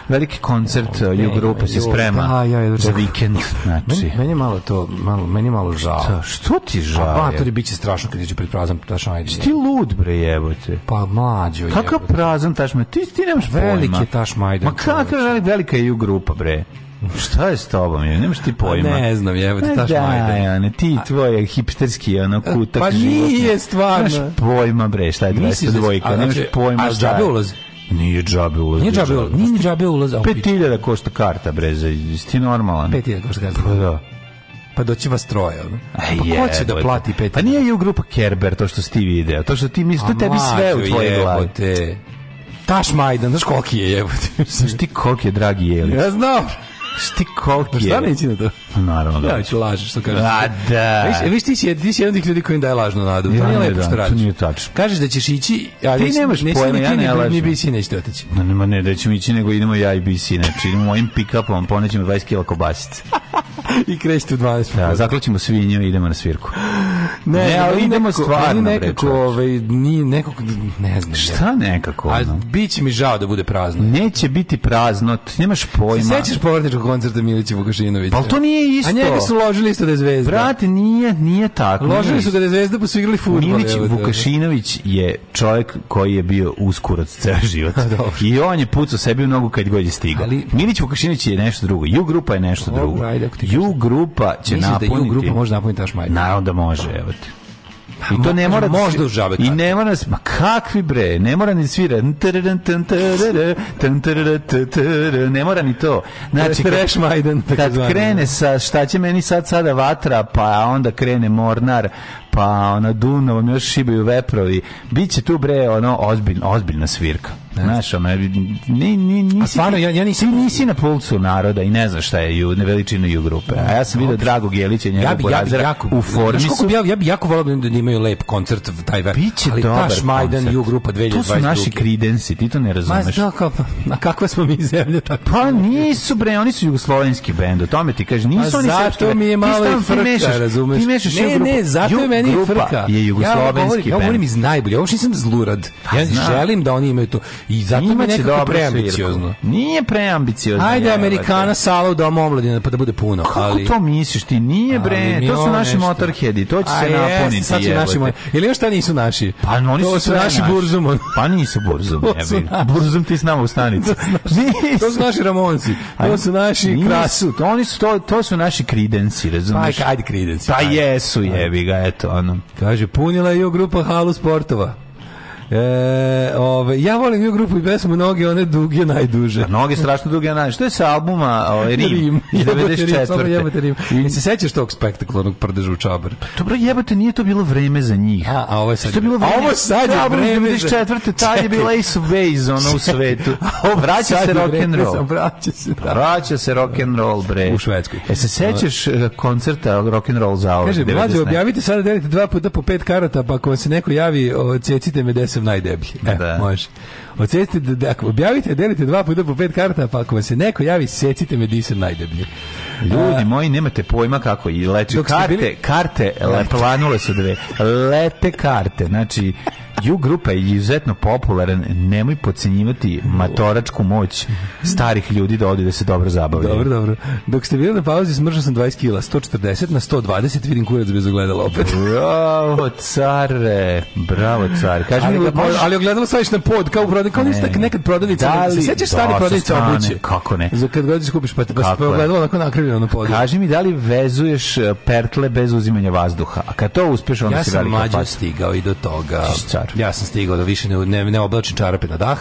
Speaker 5: veliki koncert eh, u grupe se
Speaker 6: joj,
Speaker 5: sprema
Speaker 6: da, ja jedva
Speaker 5: za
Speaker 6: čekam.
Speaker 5: vikend, znači.
Speaker 6: Meni, meni je malo to, malo, meni je malo žao.
Speaker 5: Šta, što ti
Speaker 6: A
Speaker 5: žao?
Speaker 6: matori bit će strašno kad iđe pred prazan taš ajde.
Speaker 5: Ti lud, bre, jebote.
Speaker 6: Pa mlađo je.
Speaker 5: Kakav prazan taš ma- Ti, ti nemaš pojma.
Speaker 6: Velik je taš majdan,
Speaker 5: Ma kakav
Speaker 6: čoveče.
Speaker 5: je velika je i u grupa, bre. Šta je s tobom? Je? Nemaš ti pojma.
Speaker 6: Pa, Ne znam, jevo ti
Speaker 5: Ma
Speaker 6: taš
Speaker 5: da,
Speaker 6: majdan.
Speaker 5: Jane, ti i tvoj hipsterski ono, kutak
Speaker 6: Pa nije
Speaker 5: životni.
Speaker 6: stvarno.
Speaker 5: Nemaš pojma, bre, šta je
Speaker 6: Misliš da-
Speaker 5: 22
Speaker 6: a,
Speaker 5: nemaš
Speaker 6: znači,
Speaker 5: pojma.
Speaker 6: a
Speaker 5: šta
Speaker 6: džabe
Speaker 5: je.
Speaker 6: ulazi?
Speaker 5: Nije džabe ulaz.
Speaker 6: Nije džabe ulaz, nije džabe ulaz. a u pičku.
Speaker 5: 5000 košta karta, bre, za, jesi ti normalan?
Speaker 6: Pet je, kao što kažem.
Speaker 5: Pa da.
Speaker 6: pa doći vas troje. ono.
Speaker 5: Ej,
Speaker 6: pa ko će da
Speaker 5: jebote.
Speaker 6: plati pet?
Speaker 5: Pa nije je u grupa Kerber to što si ti video. To što ti misliš, to
Speaker 6: A,
Speaker 5: tebi sve u
Speaker 6: mlađo,
Speaker 5: tvojoj glavi.
Speaker 6: jebote. Taš Majdan, znaš koliki je jebote.
Speaker 5: Znaš ti koliki je dragi jeli?
Speaker 6: ja znam.
Speaker 5: Znaš ti koliki je?
Speaker 6: Pa, Šta neće na to?
Speaker 5: Naravno da.
Speaker 6: Ja ću lažeš, što kažeš.
Speaker 5: A da.
Speaker 6: Viš, viš ti si, jed- ti si jedan od tih ljudi koji im daje lažnu nadu.
Speaker 5: Ja
Speaker 6: to nije
Speaker 5: ne
Speaker 6: lepo
Speaker 5: dam,
Speaker 6: što
Speaker 5: to
Speaker 6: radiš.
Speaker 5: nije tačno.
Speaker 6: Kažeš da ćeš ići, ali
Speaker 5: Ti
Speaker 6: neće-
Speaker 5: nemaš
Speaker 6: neće
Speaker 5: pojma,
Speaker 6: ni ti,
Speaker 5: ja
Speaker 6: ni-
Speaker 5: ne
Speaker 6: Ni
Speaker 5: lažem.
Speaker 6: bi si nećete otići.
Speaker 5: Ma nema ne, da ćemo ići, nego idemo ja i BC, znači idemo mojim pick-upom, ponećemo 20 kila kobasice.
Speaker 6: I krećete u 12.
Speaker 5: Da, zaklaćemo svinju i idemo na svirku. Ne, ali idemo
Speaker 6: nekako-
Speaker 5: stvarno,
Speaker 6: ali
Speaker 5: bre,
Speaker 6: nekako,
Speaker 5: čoveče.
Speaker 6: ovaj, ni nekako, ne znam. jebote.
Speaker 5: Šta nekako?
Speaker 6: A
Speaker 5: ono?
Speaker 6: bit će mi žao da bude prazno.
Speaker 5: Neće biti prazno, ti nemaš pojma.
Speaker 6: Se sećaš povratničkog koncerta Milića Vukašinovića?
Speaker 5: Pa ali to nije isto.
Speaker 6: A njega su ložili isto da je zvezda.
Speaker 5: Brate, nije, nije tako.
Speaker 6: ložili
Speaker 5: Nije
Speaker 6: su da je zvezda, pa su igrali futbol.
Speaker 5: Milić Vukašinović je čovjek koji je bio uskurac ceo život. I on je pucao sebi u nogu kad god je stigao.
Speaker 6: Ali-
Speaker 5: Milić Vukašinović je nešto drugo. Ju grupa je nešto
Speaker 6: Dobro,
Speaker 5: drugo.
Speaker 6: ajde, ako ti kažeš.
Speaker 5: Ju grupa će
Speaker 6: Mislim da
Speaker 5: napuniti.
Speaker 6: ju grupa može napuniti Taš Majdan.
Speaker 5: Naravno da može, evo ti. I to ne
Speaker 6: mo-
Speaker 5: mora da
Speaker 6: Ovaj. Pa možda
Speaker 5: svi-
Speaker 6: u žabe
Speaker 5: I
Speaker 6: karte.
Speaker 5: ne mora da s- ma kakvi bre, ne mora ni svira. Tararun, tan, tarara, tan, tarara, ta, tara, Ne mora ni to. Znači kad-
Speaker 6: Trash Majdan,
Speaker 5: kad
Speaker 6: takozvani.
Speaker 5: krene sa šta će meni sad sada vatra, pa onda krene Mornar, pa ona Dunavom još šibaju veprovi. Biće tu bre ono ozbiljna ozbiljna svirka. Znaš, ono, ni, ni, nisi,
Speaker 6: A stvarno, ja- ja nisam-
Speaker 5: ti nisi na pulcu naroda i ne znaš šta je ju, veličina ju grupe. A ja sam vidio Dragog Jelića i
Speaker 6: Ja
Speaker 5: njegovog
Speaker 6: bi, ja bi
Speaker 5: Borazera
Speaker 6: jako,
Speaker 5: u formi
Speaker 6: Znaš koliko
Speaker 5: su.
Speaker 6: bi ja, ja bi jako volao da imaju lep koncert v taj ver.
Speaker 5: Biće
Speaker 6: ali
Speaker 5: dobar
Speaker 6: Taš Majdan
Speaker 5: koncert.
Speaker 6: i U grupa 2022.
Speaker 5: To su naši kridensi, ti to ne
Speaker 6: Ma,
Speaker 5: razumeš.
Speaker 6: da, kao, pa, na kakva smo mi zemlja tako?
Speaker 5: Pa nisu bre, oni su jugoslovenski bend, o tome ti kažem, nisu
Speaker 6: Pa
Speaker 5: oni
Speaker 6: zato
Speaker 5: srpski bend.
Speaker 6: mi je
Speaker 5: Ti
Speaker 6: malo
Speaker 5: stalno-
Speaker 6: i frka,
Speaker 5: ti mešaš,
Speaker 6: razumeš?
Speaker 5: Ti mešaš
Speaker 6: ne,
Speaker 5: ju grupu.
Speaker 6: ne, zato je
Speaker 5: Ju
Speaker 6: meni i
Speaker 5: grupa
Speaker 6: frka.
Speaker 5: je
Speaker 6: ja, govorim,
Speaker 5: jugoslovenski
Speaker 6: ja
Speaker 5: bend.
Speaker 6: govorim iz najbolje, ovo što nisam zlurad. ja
Speaker 5: znam.
Speaker 6: želim da oni imaju to. I zato mi je
Speaker 5: Imaće
Speaker 6: nekako
Speaker 5: dobru
Speaker 6: preambiciozno.
Speaker 5: svirku. Nije preambiciozno.
Speaker 6: Ajde
Speaker 5: jebote.
Speaker 6: Amerikana sala u domu omladine pa da bude puno,
Speaker 5: Kako
Speaker 6: ali
Speaker 5: to misliš ti? Nije bre,
Speaker 6: ali
Speaker 5: to su
Speaker 6: milion
Speaker 5: naši
Speaker 6: nešto.
Speaker 5: motorheadi, to će
Speaker 6: A
Speaker 5: se
Speaker 6: jes,
Speaker 5: napuniti.
Speaker 6: Sad su naši
Speaker 5: jebote.
Speaker 6: moji. Ili još šta nisu naši?
Speaker 5: Pa oni
Speaker 6: to
Speaker 5: su, sve
Speaker 6: naši burzum.
Speaker 5: Pa nisu burzum,
Speaker 6: To su
Speaker 5: jebi.
Speaker 6: naši.
Speaker 5: Burzum ti s nama u stanici.
Speaker 6: To su naši Ramonci. To su naši
Speaker 5: Nisu,
Speaker 6: Krasu.
Speaker 5: to oni su to, to su naši kridensi, razumeš?
Speaker 6: Ajde, ajde Creedence.
Speaker 5: Pa
Speaker 6: ajde.
Speaker 5: jesu, jebi ga, eto, ono.
Speaker 6: Kaže, punila je i grupa halu sportova. E, ove, ja volim i grupu i pesmu Noge, one duge najduže.
Speaker 5: A Noge strašno duge, ja najviše. Što je sa albuma ovaj, Rim, iz
Speaker 6: Jebote Rim, samo
Speaker 5: 94.
Speaker 6: jebote Rim. Jel se sećaš tog spektakularnog prdeža u Čabar?
Speaker 5: Dobro, jebote, nije to bilo vreme za njih.
Speaker 6: A, a ovo je sad-
Speaker 5: Što je bilo
Speaker 6: a
Speaker 5: vreme?
Speaker 6: ovo sad je
Speaker 5: Da, ovo iz
Speaker 6: vreme za-
Speaker 5: 94. Tad je bila Ace of Base, ono, u svetu. Vraća
Speaker 6: Sad
Speaker 5: se
Speaker 6: je vreme
Speaker 5: rock'n'roll.
Speaker 6: za- Vraća se, da.
Speaker 5: Vraća se rock and roll bre.
Speaker 6: U Švedskoj.
Speaker 5: E se sećaš eh, koncerta rock and roll za ove
Speaker 6: Kaže,
Speaker 5: 90.
Speaker 6: mlađe, objavite sada delite dva puta po pet karata, pa ako vam se neko javi, o, cecite me gde sam najdeblji. E,
Speaker 5: Da.
Speaker 6: može. Ocecite, da- da, ako objavite, delite dva puta po pet karata, pa ako vam se neko javi, secite me gde sam najdeblji.
Speaker 5: Ljudi moji, nemate pojma kako i leče
Speaker 6: Dok ste
Speaker 5: karte,
Speaker 6: bili-
Speaker 5: karte le, planule su dve. Lete karte. Znači U grupa je izuzetno popularan, nemoj podcenjivati matoračku moć starih ljudi da odi da se dobro zabavljaju.
Speaker 6: Dobro, dobro. Dok ste bili na pauzi, smržao sam 20 kila, 140 na 120, vidim kurac bez ogledala opet.
Speaker 5: Bravo, care. Bravo, care. Kaži
Speaker 6: Ali,
Speaker 5: mi,
Speaker 6: ga,
Speaker 5: možeš-
Speaker 6: ali ogledalo staviš na pod, kao u prodavnici, kao nisam nekad prodavnica.
Speaker 5: Da li-
Speaker 6: se sećaš
Speaker 5: Da,
Speaker 6: stane
Speaker 5: sa
Speaker 6: prodavnice
Speaker 5: strane,
Speaker 6: obuće?
Speaker 5: kako ne.
Speaker 6: Za kad godiš kupiš, pa, te- pa se
Speaker 5: Kako je.
Speaker 6: ogledalo onako nakrivljeno na podu.
Speaker 5: Kaži mi da li vezuješ eh, pertle bez uzimanja vazduha. A kad to uspeš, onda
Speaker 6: ja
Speaker 5: si
Speaker 6: sam
Speaker 5: velika
Speaker 6: mlađe
Speaker 5: faca.
Speaker 6: stigao i do toga.
Speaker 5: Ti si car.
Speaker 6: Ja sam stigao da više ne, ne, ne oblačim čarape na dah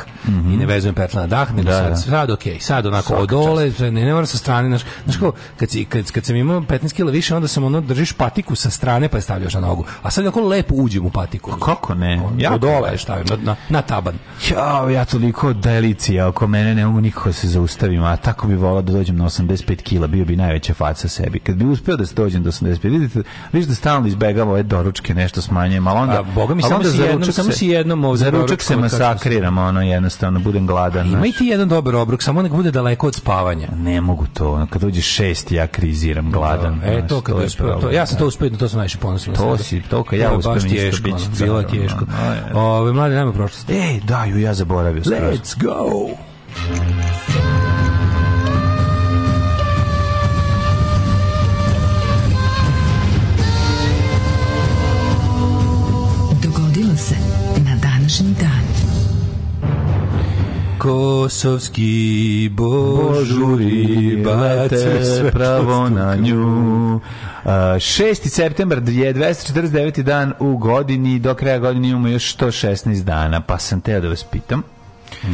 Speaker 6: i ne vezujem petle na dah, nego
Speaker 5: Mhm. Da,
Speaker 6: sad,
Speaker 5: da.
Speaker 6: sad ok, sad onako od dole, ne, ne moram sa strane, znaš, znaš kao, kad, si, kad, kad sam imao 15 kila više, onda sam ono, držiš patiku sa strane pa je stavljaš na nogu. A sad onako lepo uđem u patiku.
Speaker 5: Kako ne?
Speaker 6: Ja
Speaker 5: Jako
Speaker 6: od dole je stavim, na, na, na taban.
Speaker 5: Ja, ja toliko delicija oko mene ne mogu nikako da se zaustavim, a tako bi volao da dođem na 85 kila, bio bi najveća faca sebi. Kad bi uspeo da se dođem do 85, vidite, vidiš da stalno izbegavam ove doručke, nešto smanjujem, ali onda...
Speaker 6: A, boga mi,
Speaker 5: ali
Speaker 6: samo
Speaker 5: onda
Speaker 6: si
Speaker 5: za
Speaker 6: jednom-
Speaker 5: ručak
Speaker 6: samo
Speaker 5: se-
Speaker 6: si jednom ovde
Speaker 5: Za ručak
Speaker 6: doručkom
Speaker 5: se
Speaker 6: od kad sam-
Speaker 5: masakriram, ono, jednostavno, budem gladan.
Speaker 6: Ima
Speaker 5: znaš.
Speaker 6: i ti jedan dobar obrok, samo nek bude daleko od spavanja.
Speaker 5: Ne mogu to, ono, kad dođe šest, ja kriziram gladan.
Speaker 6: E,
Speaker 5: znaš,
Speaker 6: to kad
Speaker 5: je
Speaker 6: uspeo, to,
Speaker 5: problem,
Speaker 6: ja sam to
Speaker 5: da.
Speaker 6: uspeo, na to sam najviše ponosan. na
Speaker 5: To
Speaker 6: sebe.
Speaker 5: si- to kad ja
Speaker 6: je
Speaker 5: uspem
Speaker 6: baš
Speaker 5: isto
Speaker 6: teško,
Speaker 5: bit će
Speaker 6: ono, bilo je
Speaker 5: carno,
Speaker 6: teško.
Speaker 5: ono, ajde.
Speaker 6: Ove, mlade, nema prošlost.
Speaker 5: Ej, da, ju E, ja zaboravio skroz.
Speaker 6: Let's go!
Speaker 2: Dogodilo se na današnji dan.
Speaker 6: Kosovski božuri,
Speaker 5: Požurivate pravo na nju. Uh, 6. septembar je 249. dan u godini, do kraja godine imamo još 116 dana, pa sam teo da vas pitam.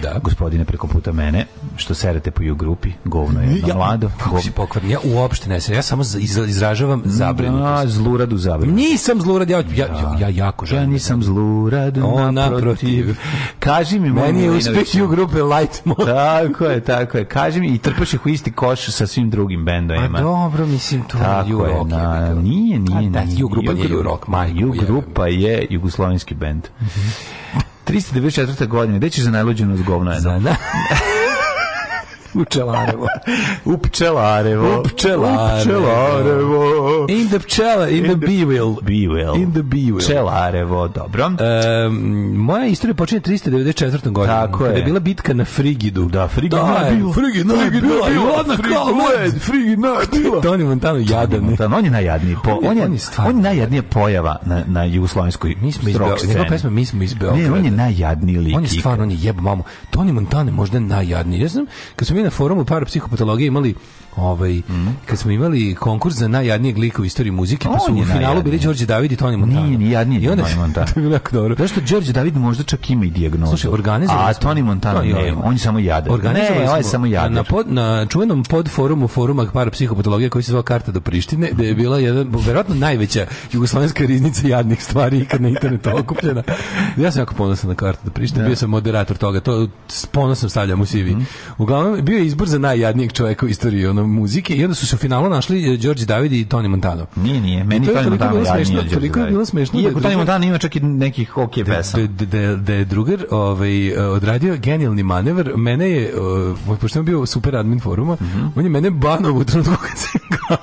Speaker 5: Da. Gospodine preko puta mene, što serete po ju grupi, govno je na mlado.
Speaker 6: Kako si pokvarn? Ja uopšte ne se, ja samo za- izra- izražavam zabrinutost.
Speaker 5: A, zluradu zabrinutost.
Speaker 6: Nisam zlurad, ja, ja, ja, ja jako
Speaker 5: Ja
Speaker 6: želim.
Speaker 5: nisam zlurad,
Speaker 6: O, naprotiv.
Speaker 5: naprotiv. Kaži mi,
Speaker 6: Meni je
Speaker 5: Milinoviću.
Speaker 6: uspeh u grupe Light Mode.
Speaker 5: Tako je, tako je. Kaži mi, i trpaš ih u isti koš sa svim drugim bendovima.
Speaker 6: Pa dobro, mislim, to je
Speaker 5: Tako je,
Speaker 6: Eurook.
Speaker 5: na, nije,
Speaker 6: A
Speaker 5: nije.
Speaker 6: da,
Speaker 5: nije.
Speaker 6: Jugrupa nije
Speaker 5: Jugru-
Speaker 6: Jurok, majko,
Speaker 5: Jugrupa je jugoslovenski bend. 394. godine, gde ćeš za najluđenu zgovno jedno?
Speaker 6: Za na... u Čelarevo.
Speaker 5: U pčelarevo.
Speaker 6: U pčelarevo.
Speaker 5: U pčelarevo.
Speaker 6: In the pčela, in, the bee wheel.
Speaker 5: Be well.
Speaker 6: In the bee wheel.
Speaker 5: Pčelarevo, dobro.
Speaker 6: Ehm, moja istorija počinje 394. godine.
Speaker 5: Tako je.
Speaker 6: Kada je bila bitka na Frigidu. Da,
Speaker 5: Frigidna je bila.
Speaker 6: Frigidna je bila.
Speaker 5: Frigidna je bila.
Speaker 6: Jadna kao
Speaker 5: Frigidna je-
Speaker 6: led. Frigidna je bila. Tony Montano jadan.
Speaker 5: Montana, on je najjadniji po, on je, on je, najjadnija pojava na, na jugoslovenskoj
Speaker 6: Mi smo iz
Speaker 5: rock
Speaker 6: Beograda. Njegova
Speaker 5: sceni.
Speaker 6: pesma Mi smo iz Beograda.
Speaker 5: Ne, on je najjadniji lik.
Speaker 6: On je stvarno, on je jeb mamu. Tony Montana je možda najjadniji. Ja znam, kad smo mi na forumu parapsihopatologije imali ovaj, kad smo imali konkurs za najjadnijeg lika u istoriji muzike, pa
Speaker 5: Mhm. On
Speaker 6: su
Speaker 5: je
Speaker 6: u finalu bili
Speaker 5: najjadniji.
Speaker 6: Đorđe David i Tony Montana.
Speaker 5: Nije, nije jadniji
Speaker 6: I onda,
Speaker 5: Tony Montana.
Speaker 6: to je bilo jako dobro.
Speaker 5: Zašto Đorđe David možda čak ima i dijagnozu?
Speaker 6: Slušaj, organizovali
Speaker 5: A
Speaker 6: smo- Pa
Speaker 5: Tony Montana
Speaker 6: To je
Speaker 5: ne,
Speaker 6: ovo.
Speaker 5: on je samo jadan. Ne,
Speaker 6: Organizovali
Speaker 5: on je
Speaker 6: smo
Speaker 5: samo jadan.
Speaker 6: ovaj, Na, pod, na čuvenom podforumu foruma parapsihopatologije koji se zvao Karta do Prištine, gde je bila jedan, verovatno najveća jugoslovenska riznica jadnih stvari ikad na internetu okupljena. Ja sam jako ponosan na Karta do Prištine, bio sam moderator toga, to s ponosom stavljam u CV.
Speaker 5: Mhm.
Speaker 6: Uglavnom, bio je izbor za najjadnijeg čoveka u istoriji ono, muzike i onda su se u finalu našli eh, Đorđe David i Tony Montano.
Speaker 5: Nije, nije, meni
Speaker 6: To je
Speaker 5: Tony
Speaker 6: toliko
Speaker 5: Montana
Speaker 6: bilo smešno,
Speaker 5: jadniji od Đorđe
Speaker 6: toliko je
Speaker 5: Davida.
Speaker 6: bilo smešno da
Speaker 5: Iako
Speaker 6: je
Speaker 5: Tony
Speaker 6: drugar-
Speaker 5: Montana ima čak i nekih okej pesama.
Speaker 6: da, da, da je drugar ovaj, eh, odradio genijalni manever, mene je, eh, pošto sam bio super admin foruma, on je mene banao u trenutku kad se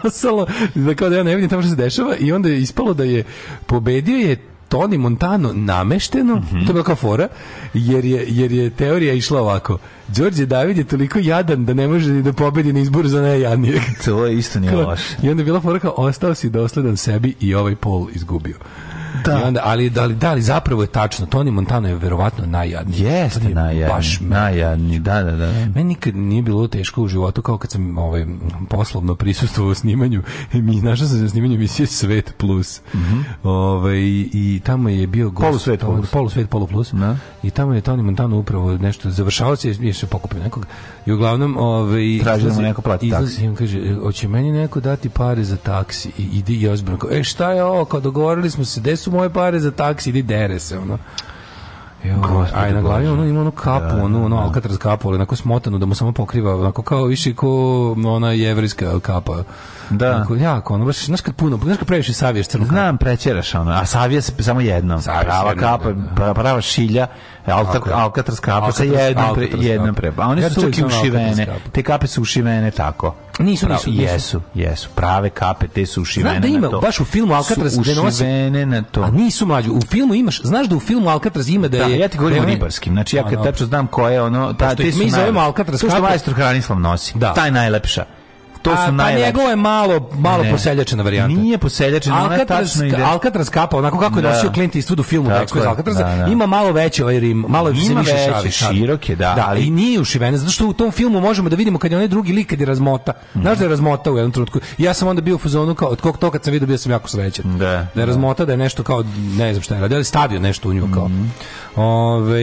Speaker 6: glasalo, da kao da ja ne vidim tamo što se dešava i onda je ispalo da je pobedio je Tony Montano namešteno, to je bila kao fora, jer je, jer je teorija išla ovako. Đorđe David je toliko jadan da ne može ni da pobedi na izboru za najjadnijeg.
Speaker 5: To je isto nije loše.
Speaker 6: I onda je bila fora kao, ostao si dosledan sebi i ovaj pol izgubio. Da. I onda, ali, da, ali, da, ali zapravo je tačno. Tony Montano je verovatno najjadniji.
Speaker 5: Jeste
Speaker 6: On je
Speaker 5: najjadniji,
Speaker 6: Baš me-
Speaker 5: najjadniji, da, da, da.
Speaker 6: Meni nikad nije bilo teško u životu kao kad sam ovaj, poslovno prisustvovao snimanju. I mi, našao sam se na snimanju emisije Svet Plus. ovaj, I tamo je bio gost...
Speaker 5: Mhm. Polusvet
Speaker 6: Tony-
Speaker 5: Plus.
Speaker 6: Polusvet, polu plus.
Speaker 5: Da.
Speaker 6: I tamo je Tony Montano upravo nešto završavao se, je se pokupio nekog. I uglavnom... Ovaj,
Speaker 5: Tražio da mu
Speaker 6: izlazi-
Speaker 5: neko plati
Speaker 6: izlazi-
Speaker 5: taksi.
Speaker 6: i on kaže, e, hoće meni neko dati pare za taksi i idi i ozbiljno, kao, e šta je ovo, kao dogovorili smo se, gde su moje pare za taksi, idi dere se, ono. Jo, aj na glavi ono ima onu kapu, onu, ono Alcatraz kapu, ali onako smotanu da mu samo pokriva, onako kao više ko ono, ona jevrijska kapa.
Speaker 5: Da.
Speaker 6: Onako, jako, ono baš, znaš kad puno, znaš kad previše saviješ crnu kapu.
Speaker 5: Znam, prećeraš ono, a savija se samo jednom.
Speaker 6: Savija se
Speaker 5: prava
Speaker 6: jednom,
Speaker 5: kapa,
Speaker 6: da, da.
Speaker 5: pra- prava šilja,
Speaker 6: Tako
Speaker 5: altar,
Speaker 6: je.
Speaker 5: alcatraz kapa sa
Speaker 6: Alcatraz-
Speaker 5: jednom, pre,
Speaker 6: Alcatraz
Speaker 5: jednom
Speaker 6: kapa.
Speaker 5: pre. A one
Speaker 6: Ja
Speaker 5: su
Speaker 6: čak
Speaker 5: čak i
Speaker 6: imam
Speaker 5: ušivene.
Speaker 6: Alcatraz kapu.
Speaker 5: Te kape su ušivene tako.
Speaker 6: Nisu,
Speaker 5: Pravo-
Speaker 6: nisu, nisu.
Speaker 5: Jesu, jesu. Prave kape, te su ušivene
Speaker 6: Znam da ima,
Speaker 5: na to.
Speaker 6: baš u filmu Alcatraz
Speaker 5: Su
Speaker 6: gde nosi-
Speaker 5: ušivene na to.
Speaker 6: A nisu mlađu, u filmu imaš, znaš da u filmu Alcatraz ima da
Speaker 5: Da,
Speaker 6: je...
Speaker 5: ja ti govorim
Speaker 6: da
Speaker 5: o
Speaker 6: je onaj-
Speaker 5: ribarskim. Znači ja
Speaker 6: Ono,
Speaker 5: kad tačno znam ko je ono, ta
Speaker 6: Pošto
Speaker 5: ti
Speaker 6: ih
Speaker 5: su
Speaker 6: mi zovemo
Speaker 5: najlepši.
Speaker 6: Alcatraz
Speaker 5: To što
Speaker 6: kape.
Speaker 5: majstor Hranislav nosi.
Speaker 6: Da.
Speaker 5: Taj najlepša. To
Speaker 6: A,
Speaker 5: su
Speaker 6: pa
Speaker 5: najlepše.
Speaker 6: njegovo je malo, malo
Speaker 5: Ne.
Speaker 6: poseljačena varijanta.
Speaker 5: Nije poseljačena, ona
Speaker 6: Alcatraz,
Speaker 5: tačno ide.
Speaker 6: Alcatraz kapa, onako kako je
Speaker 5: Da.
Speaker 6: nosio Clint Eastwood u filmu
Speaker 5: Tako
Speaker 6: Dečko iz
Speaker 5: je,
Speaker 6: Alcatraza,
Speaker 5: da, da.
Speaker 6: ima malo veći ovaj rim, malo
Speaker 5: Ima
Speaker 6: se više
Speaker 5: veći,
Speaker 6: šali. šali.
Speaker 5: širok je, da,
Speaker 6: ali...
Speaker 5: ali-
Speaker 6: I nije ušivena, zato što u tom filmu možemo da vidimo kad je onaj drugi lik kad je razmota. Znaš da je razmota u jednom trenutku. Ja sam onda bio u fazonu kao, od kog to kad sam vidio bio sam jako srećan.
Speaker 5: Da.
Speaker 6: Da je razmota, da je nešto kao, ne znam šta je radio, ali stavio nešto u nju kao.
Speaker 5: Mhm.
Speaker 6: Ove,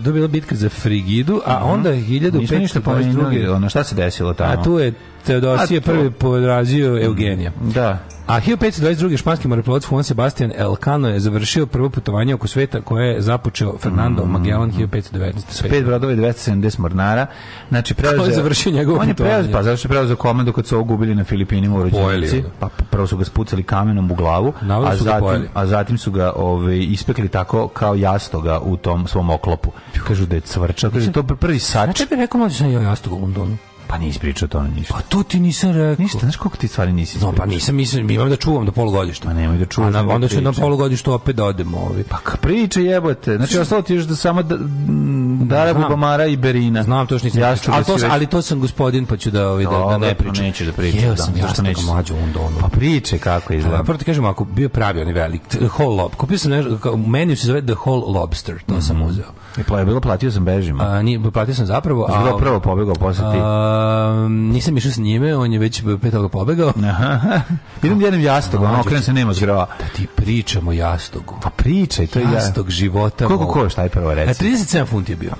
Speaker 6: dobila bitka za Frigidu, a onda
Speaker 5: Mhm. Nismo ništa
Speaker 6: 1522.
Speaker 5: pomenuli, ono, šta se desilo tamo?
Speaker 6: A tu je Teodosije
Speaker 5: A to-
Speaker 6: prvi podrazio Eugenija.
Speaker 5: Da.
Speaker 6: A 1522. španski moreplovac Juan Sebastian Elcano je završio prvo putovanje oko sveta koje je započeo Fernando
Speaker 5: Mhm.
Speaker 6: Magellan 1519.
Speaker 5: pet brodova i 270 mornara. Znači preuzeo.
Speaker 6: Ko je završio njegovo
Speaker 5: On je preuzeo,
Speaker 6: putovanje?
Speaker 5: pa zašto je preuzeo komandu kad su ovo gubili na Filipinima u rođenici.
Speaker 6: Pojeli ga.
Speaker 5: Pa prvo su ga spucali kamenom u glavu,
Speaker 6: Navodno
Speaker 5: a
Speaker 6: su ga
Speaker 5: zatim
Speaker 6: pojeli.
Speaker 5: a zatim su ga ovaj ispekli tako kao jastoga u tom svom oklopu. Kažu da je cvrčao, kažu to je prvi sač.
Speaker 6: Znači bi rekao mlađe sam ja jastog u Londonu.
Speaker 5: Pa nije ispričao to ništa.
Speaker 6: Pa to ti nisam rekao.
Speaker 5: Ništa, znaš koliko ti stvari nisi
Speaker 6: No, pa
Speaker 5: ispričao?
Speaker 6: nisam, mislim, imam da čuvam do polugodišta.
Speaker 5: Ma nemoj Pa da čuvaš,
Speaker 6: A na-
Speaker 5: nego
Speaker 6: onda ću na
Speaker 5: pričam.
Speaker 6: polugodištu opet da odemo. Ovi. Pa
Speaker 5: Ka priče jebote. Znači ostalo ti još da samo da, mm, Dara
Speaker 6: Znam.
Speaker 5: Bubamara i Berina.
Speaker 6: Znam to što nisam
Speaker 5: Ja
Speaker 6: pričao, ali, to,
Speaker 5: si
Speaker 6: sam-
Speaker 5: već-
Speaker 6: ali to sam gospodin, pa ću da, ovi, da, da
Speaker 5: Dobro,
Speaker 6: ne
Speaker 5: pa
Speaker 6: pričam.
Speaker 5: nećeš da pričaš,
Speaker 6: Jeo
Speaker 5: da,
Speaker 6: sam
Speaker 5: zašto
Speaker 6: jastoga
Speaker 5: nećeš?
Speaker 6: mlađe u Londonu.
Speaker 5: Pa priče kako
Speaker 6: Da,
Speaker 5: izgleda.
Speaker 6: prvo ti kažem, ako bio pravi onaj velik, t- whole lob, kupio sam nešto, kao, u meniju se zove The Whole Lobster, to sam
Speaker 5: Mhm.
Speaker 6: uzeo.
Speaker 5: I pla- je bilo platio sam bežima.
Speaker 6: A, nije, platio sam zapravo,
Speaker 5: Znači, bilo
Speaker 6: a...
Speaker 5: prvo pobegao posle ti.
Speaker 6: a, nisam išao s njime, on je već pet toga pobegao.
Speaker 5: Aha. Idem jednim jastogom, ono
Speaker 6: Mlađe,
Speaker 5: okrenem se nema zgrava.
Speaker 6: Da ti pričamo o jastogu.
Speaker 5: Pa pričaj, to je ja.
Speaker 6: Jastog života.
Speaker 5: Koliko
Speaker 6: mog.
Speaker 5: košta, aj prvo
Speaker 6: A
Speaker 5: reci.
Speaker 6: 37 funti je bio.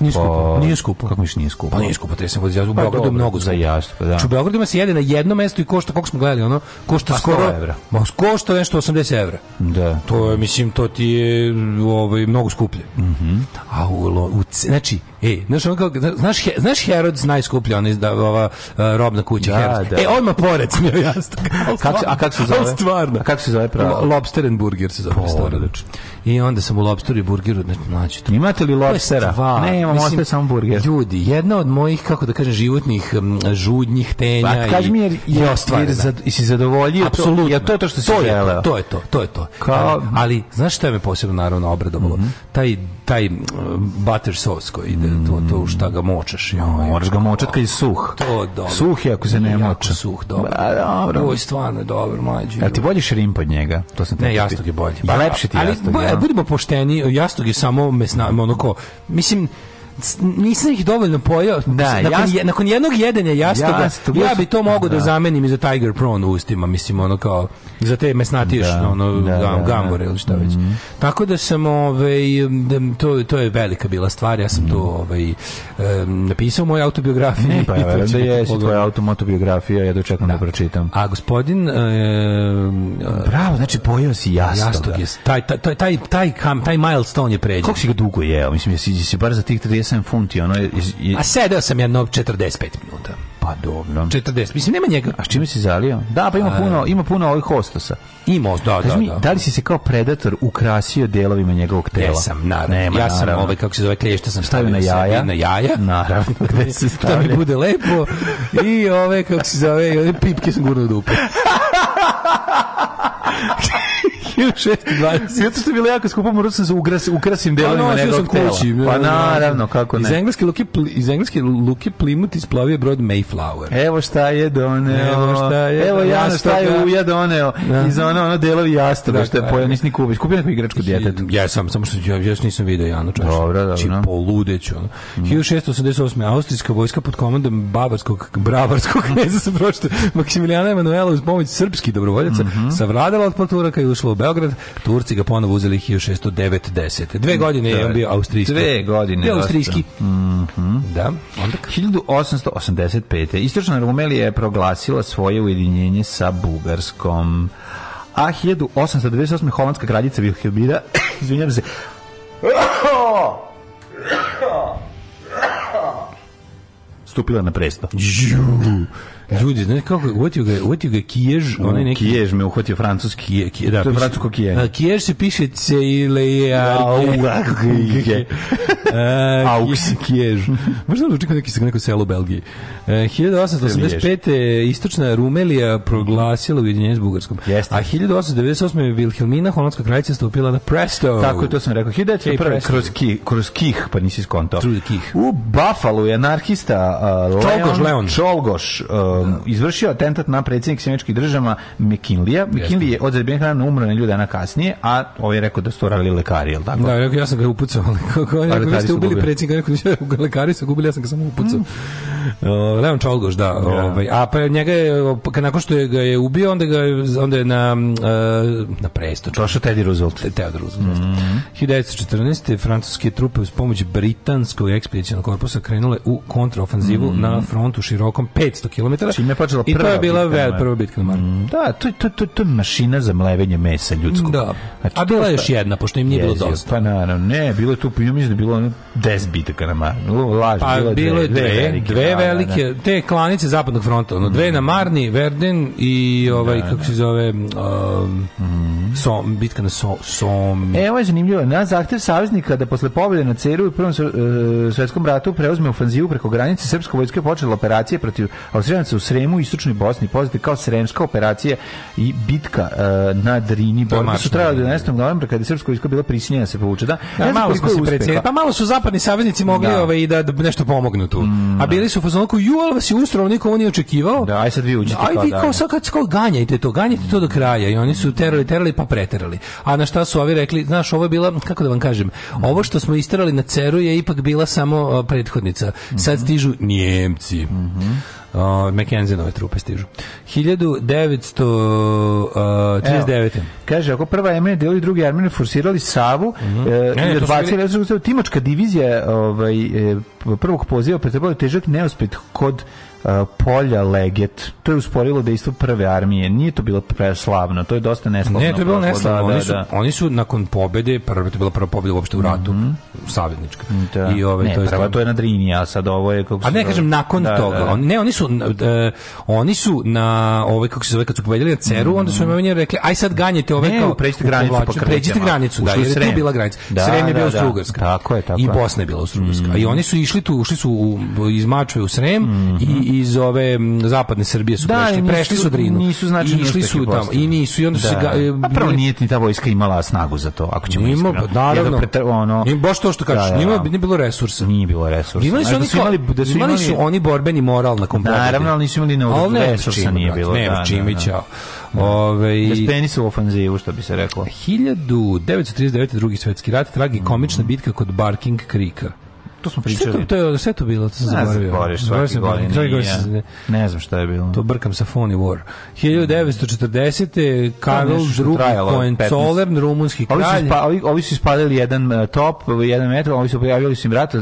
Speaker 6: Nije skupo, nije skupo.
Speaker 5: Kako miš nije skupo?
Speaker 6: Pa nije skupo, 30 godina. Ja u
Speaker 5: Pa
Speaker 6: Beogradu je
Speaker 5: dobro,
Speaker 6: mnogo
Speaker 5: za
Speaker 6: skupo.
Speaker 5: jastvo, da.
Speaker 6: Znači, u Beogradu ima se jede na jedno mesto i košta, koliko smo gledali, ono, košta
Speaker 5: Pa, 100
Speaker 6: skoro...
Speaker 5: evra.
Speaker 6: Ma, košta nešto 80 evra.
Speaker 5: Da.
Speaker 6: To je, mislim, to ti je ovaj, mnogo skuplje.
Speaker 5: Mhm.
Speaker 6: A u, lo- u, c- znači, ej, znaš, ono kao, znaš, He- znaš Herods najskuplja, ona izda, ova a, robna kuća,
Speaker 5: Da,
Speaker 6: Herods.
Speaker 5: da.
Speaker 6: E, odmah pored sam joj jastak. Ali
Speaker 5: Kak se- a kako se
Speaker 6: stvarno, ali
Speaker 5: zove?
Speaker 6: Stvarno.
Speaker 5: A kako se zove pravo?
Speaker 6: Lo- Lobster and Burger se zove. restoran.
Speaker 5: Odlično.
Speaker 6: I onda sam u Lobsteru i Burgeru, znači, mlađe, to
Speaker 5: Imate li lobstera?
Speaker 6: Stvar.
Speaker 5: Ne, imam
Speaker 6: Mislim,
Speaker 5: ostaje samo burger.
Speaker 6: Ljudi, jedna od mojih, kako da kažem, životnih um, žudnjih tenja
Speaker 5: Pa kaži
Speaker 6: i,
Speaker 5: mi jer,
Speaker 6: je
Speaker 5: jer, jer
Speaker 6: ostvarena.
Speaker 5: zad, si zadovoljio to,
Speaker 6: Apsolutno.
Speaker 5: jer to je to što si
Speaker 6: je
Speaker 5: želeo.
Speaker 6: To, to je to, to je to.
Speaker 5: Kao- Mhm.
Speaker 6: Ali, ali, znaš šta me posebno naravno obradovalo? Taj, taj mm, butter sauce koji ide, to, to u šta ga močeš. joj.
Speaker 5: Mhm. Moraš ga močat kad je suh.
Speaker 6: To je dobro.
Speaker 5: Suh je ako se ne
Speaker 6: Jako
Speaker 5: moča.
Speaker 6: suh, dobro.
Speaker 5: Ba, dobro.
Speaker 6: Joj, stvarno je dobro, mlađi.
Speaker 5: Jel ti bolji šrimp od njega? To sam te
Speaker 6: Ne,
Speaker 5: pitao.
Speaker 6: jastuk je bolji.
Speaker 5: Pa lepši ti ono?
Speaker 6: Ali,
Speaker 5: jastuk.
Speaker 6: bo-
Speaker 5: ja.
Speaker 6: budimo pošteni, jastuk je samo mesna, ono ko, mislim, s- nisam ih dovoljno pojeo.
Speaker 5: Da,
Speaker 6: nakon,
Speaker 5: jast-
Speaker 6: je- nakon jednog jedenja jastoga,
Speaker 5: Jastug-
Speaker 6: ja bi to mogao da.
Speaker 5: da.
Speaker 6: zamenim i za Tiger Prawn u ustima, mislim, ono kao, za te mesnatiješ,
Speaker 5: Da,
Speaker 6: ono,
Speaker 5: da,
Speaker 6: gam-
Speaker 5: da, da. Mhm.
Speaker 6: gambore ili šta već. Tako da sam, ovaj, da- to, to je velika bila stvar, ja sam to ovaj, em, napisao u mojoj autobiografiji.
Speaker 5: Ne, Mhm. pa
Speaker 6: I
Speaker 5: ja
Speaker 6: to
Speaker 5: verujem da
Speaker 6: ćete
Speaker 5: jesi
Speaker 6: pogledati.
Speaker 5: tvoja automotobiografija, ja dočekam da pročitam.
Speaker 6: A gospodin... em,
Speaker 5: Bravo, znači pojeo si jastoga.
Speaker 6: Jastog je taj taj taj taj taj kam taj milestone je pređen.
Speaker 5: Koliko si ga dugo jeo? Mislim, jesi, jesi bar za tih 37 funti, ono je... je
Speaker 6: A sedeo sam jedno 45 minuta.
Speaker 5: pa dobro.
Speaker 6: 40. Mislim nema njega.
Speaker 5: A s čime si zalio? Da, pa ima puno, ima puno ovih hostosa.
Speaker 6: I most, da, da,
Speaker 5: Kaži mi,
Speaker 6: da.
Speaker 5: da li si se kao predator ukrasio delovima njegovog tela?
Speaker 6: Jesam, naravno.
Speaker 5: Nema,
Speaker 6: ja sam
Speaker 5: naravno.
Speaker 6: ovaj kako se zove klješta sam
Speaker 5: Stavio na
Speaker 6: sebi
Speaker 5: jaja.
Speaker 6: na jaja.
Speaker 5: Naravno, gde se
Speaker 6: da mi
Speaker 5: stavlja.
Speaker 6: bude lepo i ove kako se zove i ove pipke sam gurno u dupe. 1620.
Speaker 5: Zato što je bilo jako skupo, morao sam se ugras, ukrasim delovima
Speaker 6: nosio ono,
Speaker 5: njegovog tela. pa naravno, kako
Speaker 6: Iz
Speaker 5: ne.
Speaker 6: engleske luke, Pli- iz engleske luke Plymouth isplavio brod Mayflower.
Speaker 5: Evo šta je doneo.
Speaker 6: Evo šta je-
Speaker 5: Evo ja šta je
Speaker 6: jastoga.
Speaker 5: uja doneo.
Speaker 6: Da.
Speaker 5: Iz ono, ono delovi jastoga
Speaker 6: Da,
Speaker 5: što je
Speaker 6: da.
Speaker 5: pojao. Nisi ni kupić. Kupio neku igračku djetetu.
Speaker 6: Ja sam, samo što ja još nisam video Janu Čašu.
Speaker 5: Dobro, dobro.
Speaker 6: Znači, poludeću. Ono. 1688. Austrijska vojska pod komandom Bavarskog, Bravarskog knjeza se prošto Maksimilijana Emanuela uz pomoć srpskih dobrovoljaca savladala od Turaka i ušla u Beograd. Turci ga ponovo uzeli 1690. Dve godine je on bio austrijski.
Speaker 5: Dve godine,
Speaker 6: Bio austrijski.
Speaker 5: dosta.
Speaker 6: Da, onda k-
Speaker 5: 1885. Istočna Rumelija je proglasila svoje ujedinjenje sa Bugarskom. A 1898. holandska kraljica Wilhelmina, izvinjam se, stupila na presto.
Speaker 6: Ljudi, znaš kako, uvatio ga, je- uvatio ga je Kijež, onaj neki
Speaker 5: Kijež me uhvatio francuski.
Speaker 6: Kije, kije, da,
Speaker 5: to je
Speaker 6: piše-
Speaker 5: francusko kijež.
Speaker 6: A, Kijež se piše Ceilejarge.
Speaker 5: Auge. Aux.
Speaker 6: Kijež. Možda li očekao neki neko selo u Belgiji. E, 1885. istočna Rumelija proglasila ujedinjenje s Bugarskom.
Speaker 5: Jeste.
Speaker 6: A 1898. je Vilhelmina, holandska kraljica, stupila na Presto.
Speaker 5: Tako je, to sam rekao.
Speaker 6: Ej,
Speaker 5: 1901.
Speaker 6: presto.
Speaker 5: kroz, ki, kroz kih, pa nisi skontao.
Speaker 6: Through the kih.
Speaker 5: U Buffalo je anarhista uh,
Speaker 6: Čolgoš Leon.
Speaker 5: Čolgoš um, izvršio atentat na predsjednik Sjemeničkih država McKinlija. McKinley je od zabijenih rana umro na ljudi dana kasnije, a ovaj je rekao da su to radili lekari, jel tako?
Speaker 6: Da, rekao, ja sam ga upucao, ali kako on je rekao, vi
Speaker 5: lekari
Speaker 6: ste
Speaker 5: su
Speaker 6: ubili
Speaker 5: gubili.
Speaker 6: predsjednika, rekao, ja, lekari su gubili, ja sam ga samo upucao. Mm. O, Leon Čolgoš, da. Ovaj, a pa njega je, o, pa nakon što je ga je ubio, onda, ga je, onda je na, mm, e, na presto,
Speaker 5: Došao Teddy Roosevelt.
Speaker 6: Te- Theodor Roosevelt. Mm. 1914. francuske trupe uz pomoć britanskog ekspedicijalnog korpusa krenule u kontraofanzivu na frontu širokom 500 km.
Speaker 5: Čime je počela
Speaker 6: I to
Speaker 5: prva
Speaker 6: Mm. je bila
Speaker 5: bitka na
Speaker 6: ve-
Speaker 5: Marku.
Speaker 6: prva bitka na Marku.
Speaker 5: Da, to, to, to, to je mašina za mlevenje mesa ljudskog.
Speaker 6: Da.
Speaker 5: Znači,
Speaker 6: A
Speaker 5: to
Speaker 6: bila je
Speaker 5: šta-
Speaker 6: još jedna, pošto im nije bilo
Speaker 5: Jezio,
Speaker 6: dosta.
Speaker 5: Pa naravno, ne, bilo je tu, ja mislim da je bilo ono 10 bitaka na Marni. Laž,
Speaker 6: Pa bilo je dve,
Speaker 5: velike,
Speaker 6: dve
Speaker 5: da, da, da. Mhm.
Speaker 6: velike, te klanice zapadnog fronta, ono, dve na Marni, Verden i ovaj, kako se zove, um,
Speaker 5: Mhm.
Speaker 6: Som, bitka na Som, Som.
Speaker 5: E, ovo je zanimljivo. Na zahtev saveznika da posle pobjede na Ceru u Prvom sv- e, svetskom ratu preuzme ofanzivu preko granice, srpska vojska je počela operacije protiv Austrijanaca u Sremu i Istočnoj Bosni, poznate kao Sremska operacija i bitka e, na Drini.
Speaker 6: je
Speaker 5: Borbe su
Speaker 6: marš
Speaker 5: trajale
Speaker 6: na
Speaker 5: do 11. novembra kada je srpska vojska bila prisinjena da se povuče. Da,
Speaker 6: Ja,
Speaker 5: ne znam
Speaker 6: malo smo
Speaker 5: koliko je
Speaker 6: se
Speaker 5: uspeha.
Speaker 6: predsjedili. Pa malo su zapadni saveznici mogli
Speaker 5: Da. Mhm.
Speaker 6: ovaj, i da, da nešto pomognu tu. A bili su u fazonu kao, ju, ali vas je ustralo, niko ovo nije očekivao.
Speaker 5: pa, Da, aj sad vi uđite
Speaker 6: Aj
Speaker 5: kao
Speaker 6: vi
Speaker 5: da.
Speaker 6: kao sad kad kao ganjajte to, ganjajte to do kraja i oni su terali, terali pa preterali. A na šta su ovi rekli, znaš, ovo je bila, kako da vam kažem, ovo što smo isterali na ceru je ipak bila samo a, prethodnica. Sad stižu Njemci. O, McKenzie-nove trupe stižu. 1939.
Speaker 5: Evo, Kaže, ako prva E Armenija deli drugi Armenija forsirali Savu, mm -hmm.
Speaker 6: Mhm. Ne,
Speaker 5: e,
Speaker 6: ne,
Speaker 5: i
Speaker 6: to su
Speaker 5: odbacili
Speaker 6: bili-
Speaker 5: Austrougarsko- timačka divizija ovaj, e, prvog poziva pretrpala je težak neuspet kod e, polja Leget. To je usporilo dejstvo prve armije. Nije to bilo preslavno, to je dosta neslavno.
Speaker 6: Ne, to je bilo
Speaker 5: prošlo,
Speaker 6: neslavno.
Speaker 5: da,
Speaker 6: oni,
Speaker 5: da,
Speaker 6: su,
Speaker 5: da. Mhm.
Speaker 6: oni su nakon pobede, prva, to je bila prva pobeda uopšte u ratu, mm -hmm. savjetnička.
Speaker 5: Da.
Speaker 6: I ove,
Speaker 5: ne,
Speaker 6: to je
Speaker 5: prva, to je na Drini, a sad ovo je... Kako se
Speaker 6: A Pa ne
Speaker 5: zove?
Speaker 6: kažem nakon
Speaker 5: Da,
Speaker 6: toga.
Speaker 5: da, da.
Speaker 6: Oni, ne, oni su na- e, oni su na ovaj kako se zove kad su pobedili na Ceru, onda su im meni rekli aj sad ganjete ove
Speaker 5: Mm. Ne,
Speaker 6: kao
Speaker 5: pređite granicu pa
Speaker 6: povlačite,
Speaker 5: po krvicama.
Speaker 6: pređite granicu, da,
Speaker 5: Ušli u
Speaker 6: jer je
Speaker 5: Srem.
Speaker 6: tu bila granica.
Speaker 5: Da,
Speaker 6: Srem je
Speaker 5: da,
Speaker 6: bio
Speaker 5: da.
Speaker 6: Austrougarska.
Speaker 5: Tako je, tako
Speaker 6: I
Speaker 5: je. Mm.
Speaker 6: Bosna je bila Austrougarska. I oni su išli tu, ušli su u, iz Mačve u Srem i iz ove m, zapadne Srbije su
Speaker 5: Mhm. Da, i
Speaker 6: prešli,
Speaker 5: nisu-
Speaker 6: prešli su Drinu.
Speaker 5: nisu značajni
Speaker 6: I išli
Speaker 5: uspehi
Speaker 6: su tamo
Speaker 5: Bosne.
Speaker 6: i nisu i onda su se ga, e,
Speaker 5: A Pa prvo
Speaker 6: bili-
Speaker 5: nije ni ta vojska imala snagu za to, ako ćemo
Speaker 6: Nima,
Speaker 5: iskreno.
Speaker 6: naravno.
Speaker 5: Jer da pretra- ono,
Speaker 6: Nije baš to što kažeš,
Speaker 5: Da, da,
Speaker 6: nima
Speaker 5: da.
Speaker 6: nije bilo resursa.
Speaker 5: Nije bilo resursa.
Speaker 6: Imali su
Speaker 5: Ali
Speaker 6: oni
Speaker 5: da
Speaker 6: kao,
Speaker 5: imali, da su
Speaker 6: imali su oni borbeni moral na kompozitu.
Speaker 5: Naravno, ali nisu imali na- resursa nije bilo,
Speaker 6: Ne,
Speaker 5: da, da,
Speaker 6: Čimića.
Speaker 5: Bez
Speaker 6: Ove,
Speaker 5: penisa u ofanzivu, što bi se reklo.
Speaker 6: 1939. drugi svetski rat, tragikomična bitka kod Barking Krika.
Speaker 5: To smo
Speaker 6: Šta je to,
Speaker 5: Mm. pričali.
Speaker 6: to je sve to bilo, to sam
Speaker 5: Ne
Speaker 6: zaboravio.
Speaker 5: zaboraviš
Speaker 6: Zaboravio
Speaker 5: svake
Speaker 6: sam Barking
Speaker 5: godine.
Speaker 6: Krika,
Speaker 5: nije.
Speaker 6: zaboravio sam-
Speaker 5: Ne znam šta je bilo.
Speaker 6: To brkam sa Phony War. 1940. Karol
Speaker 5: nešto što
Speaker 6: II.
Speaker 5: trajalo,
Speaker 6: Hohenzollern, rumunski
Speaker 5: Ovi su,
Speaker 6: kralj.
Speaker 5: ispa, ovi, ovi su ispalili jedan e, top, jedan metak, ovi su pojavili su im rat, e,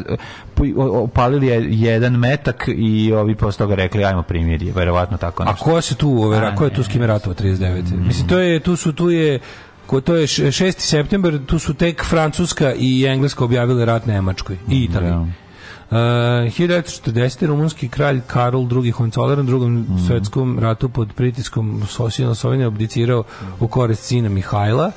Speaker 5: pu- o- opalili je jedan metak i ovi posle toga rekli ajmo primirje, verovatno tako
Speaker 6: A
Speaker 5: nešto.
Speaker 6: ko se tu overa,
Speaker 5: A,
Speaker 6: ko je tu s kim ratovao 39. Mislim to je tu su tu je ko to je š- 6. september, tu su tek Francuska i Engleska objavile rat Nemačkoj i Italiji.
Speaker 5: da.
Speaker 6: Uh, 1940. rumunski kralj Karol II. Hohenzollern u drugom
Speaker 5: Mhm.
Speaker 6: svetskom ratu pod pritiskom Sosijana Sovjena abdicirao u korist sina Mihajla.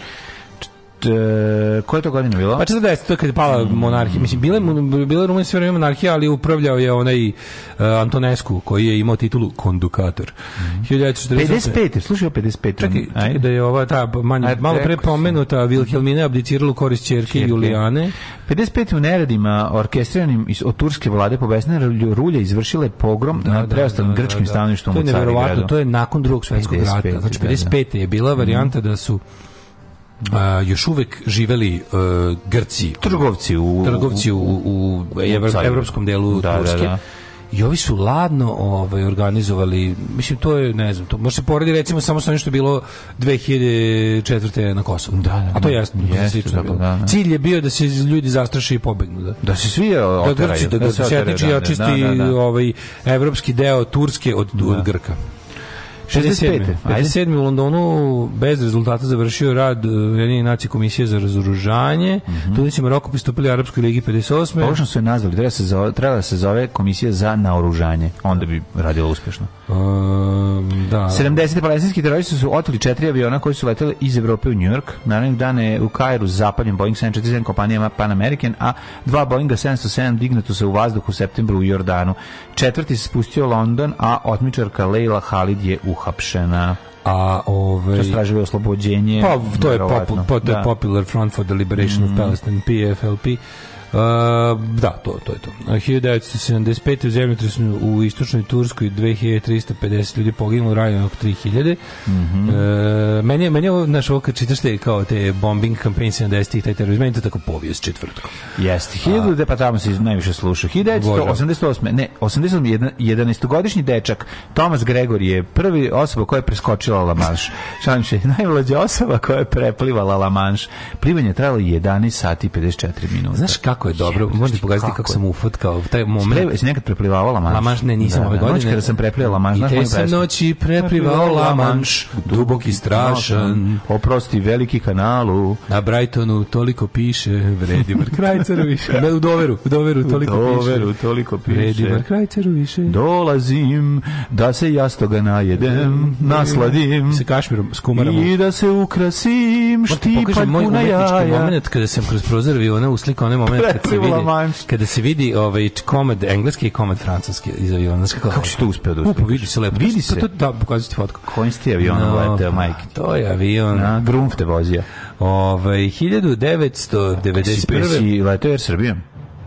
Speaker 5: E, koja je to godina bila?
Speaker 6: Pa 40. to je kad je pala
Speaker 5: Mhm.
Speaker 6: monarhija. Mislim, bila, je mon- bila je Rumunija sve vreme monarhija, ali upravljao je onaj uh, Antonescu, koji je imao titulu kondukator.
Speaker 5: Mhm.
Speaker 6: 1948.
Speaker 5: 55. Slušaj o 55.
Speaker 6: Čekaj, čekaj
Speaker 5: Mm, Ajde.
Speaker 6: da je ova ta manje,
Speaker 5: Ajde,
Speaker 6: malo pre
Speaker 5: rekao sam.
Speaker 6: pomenuta Vilhelmina abdicirala u korist ćerke
Speaker 5: Ćerke.
Speaker 6: Julijane.
Speaker 5: 55. u neredima orkestriranim iz, od turske vlade po Vesne rulje izvršile pogrom da, nad preostalim grčkim stanovništvom
Speaker 6: To je
Speaker 5: u Carigradu.
Speaker 6: neverovatno, to je nakon drugog svetskog
Speaker 5: 55,
Speaker 6: rata. Znači
Speaker 5: da, Mhm. da.
Speaker 6: 55. je bila varijanta da su a, još uvek živeli e, Grci,
Speaker 5: trgovci u
Speaker 6: trgovci u, u, evro-
Speaker 5: Carigradu.
Speaker 6: evropskom delu
Speaker 5: Da, da,
Speaker 6: Turske.
Speaker 5: da.
Speaker 6: I ovi su ladno ovaj, organizovali, mislim, to je, ne znam, to može se poredi recimo samo sa onim što je bilo 2004. na Kosovu. Da,
Speaker 5: da,
Speaker 6: A to
Speaker 5: da.
Speaker 6: jasno,
Speaker 5: Jeste,
Speaker 6: slično je
Speaker 5: da,
Speaker 6: bilo.
Speaker 5: da, da.
Speaker 6: Cilj je bio da se ljudi zastraše i pobegnu, da.
Speaker 5: da se svi oteraju.
Speaker 6: Da Grci, da, da,
Speaker 5: se oteraju,
Speaker 6: Setić i
Speaker 5: da,
Speaker 6: očisti
Speaker 5: da, da, da.
Speaker 6: ovaj evropski deo Turske od, od Grka.
Speaker 5: 65.
Speaker 6: 67.
Speaker 5: Ajde.
Speaker 6: 57. u Londonu bez rezultata završio rad eh, Ujedinjene nacije komisije za razoružanje. Mm
Speaker 5: Mhm.
Speaker 6: -hmm. Tunis i Maroko pristupili Arapskoj ligi 58.
Speaker 5: Pogrešno su je nazvali, treba, se zove, treba da se zove Komisija za naoružanje, onda bi radila uspešno.
Speaker 6: Um, da.
Speaker 5: 70. palestinski teroristi su oteli četiri aviona koji su leteli iz Evrope u Njujork. Narednog dana je u Kairu zapaljen Boeing 747 kompanijama Pan American, a dva Boeinga 707 dignuto se u vazduh u septembru u Jordanu. Četvrti se spustio u London, a otmičarka Leila Halid je uhapšena.
Speaker 6: A ovaj, ove
Speaker 5: Stražuje oslobođenje.
Speaker 6: pa to je pop,
Speaker 5: verovatno.
Speaker 6: pa, to je
Speaker 5: Da. Mm.
Speaker 6: Popular Front for the Liberation of Palestine PFLP. Uh, da, to, to Uh, je to. A 1975. u zemljotresu u istočnoj Turskoj 2350 ljudi poginulo, ranjeno oko 3000. Mm
Speaker 5: Mhm.
Speaker 6: -hmm. meni, je- meni je ovo, znaš, ovo kad čitaš te, kao te bombing campaign 70-ih, taj terorizam, meni je to tako povijest četvrtkom.
Speaker 5: Jeste, 1000, pa tamo se najviše slušao. 1988. Ne, 88. jedan- 11-godišnji dečak Thomas Gregory je prvi osoba koja je preskočila La Manche. Šalim se, najmlađa osoba koja je preplivala La Manche. Plivanje je trajalo 11 sati i 54 minuta.
Speaker 6: Znaš kako je dobro,
Speaker 5: Jebote,
Speaker 6: možete pokazati kako,
Speaker 5: kako je?
Speaker 6: sam ufotkao, taj moment.
Speaker 5: Pre, si nekad preplivala La Manche?
Speaker 6: La Manche, ne, nisam
Speaker 5: Da,
Speaker 6: ove
Speaker 5: da, noć
Speaker 6: godine.
Speaker 5: kada sam preplio La Manche,
Speaker 6: I
Speaker 5: znaš
Speaker 6: te
Speaker 5: moju
Speaker 6: sam
Speaker 5: pesmu?
Speaker 6: noći preplivao La Manche, dubok i strašan.
Speaker 5: Oprosti, veliki kanalu.
Speaker 6: Na Brightonu toliko piše, Vredimir Krajcer više. Ne, u Doveru, u Doveru toliko
Speaker 5: Doveru,
Speaker 6: piše.
Speaker 5: toliko piše.
Speaker 6: Vredimir Krajcer više.
Speaker 5: Dolazim da se jastoga najedem, nasladim.
Speaker 6: Sa Kašmirom, s Kumarom.
Speaker 5: I da se ukrasim
Speaker 6: Pokažem
Speaker 5: štipanj
Speaker 6: moj
Speaker 5: puna
Speaker 6: umetnički
Speaker 5: pa jaja.
Speaker 6: moment kada sam kroz prozor aviona uslikao onaj moment kad se
Speaker 5: Preplivo La
Speaker 6: vidi,
Speaker 5: Manche.
Speaker 6: kada se vidi ovaj, komad engleski i komad francuski iz aviona. Znaš kako,
Speaker 5: Kako si to uspeo da
Speaker 6: Upo,
Speaker 5: uslikaš?
Speaker 6: vidi se lepo.
Speaker 5: Vidi
Speaker 6: To-
Speaker 5: se.
Speaker 6: To, da, pokazuju ti fotku.
Speaker 5: Kojim ste avionom
Speaker 6: No,
Speaker 5: leteo, majke?
Speaker 6: pa, To je avion.
Speaker 5: Na Grunf te vozio.
Speaker 6: Ovaj 1991.
Speaker 5: Jesi leteo Air Srbijom?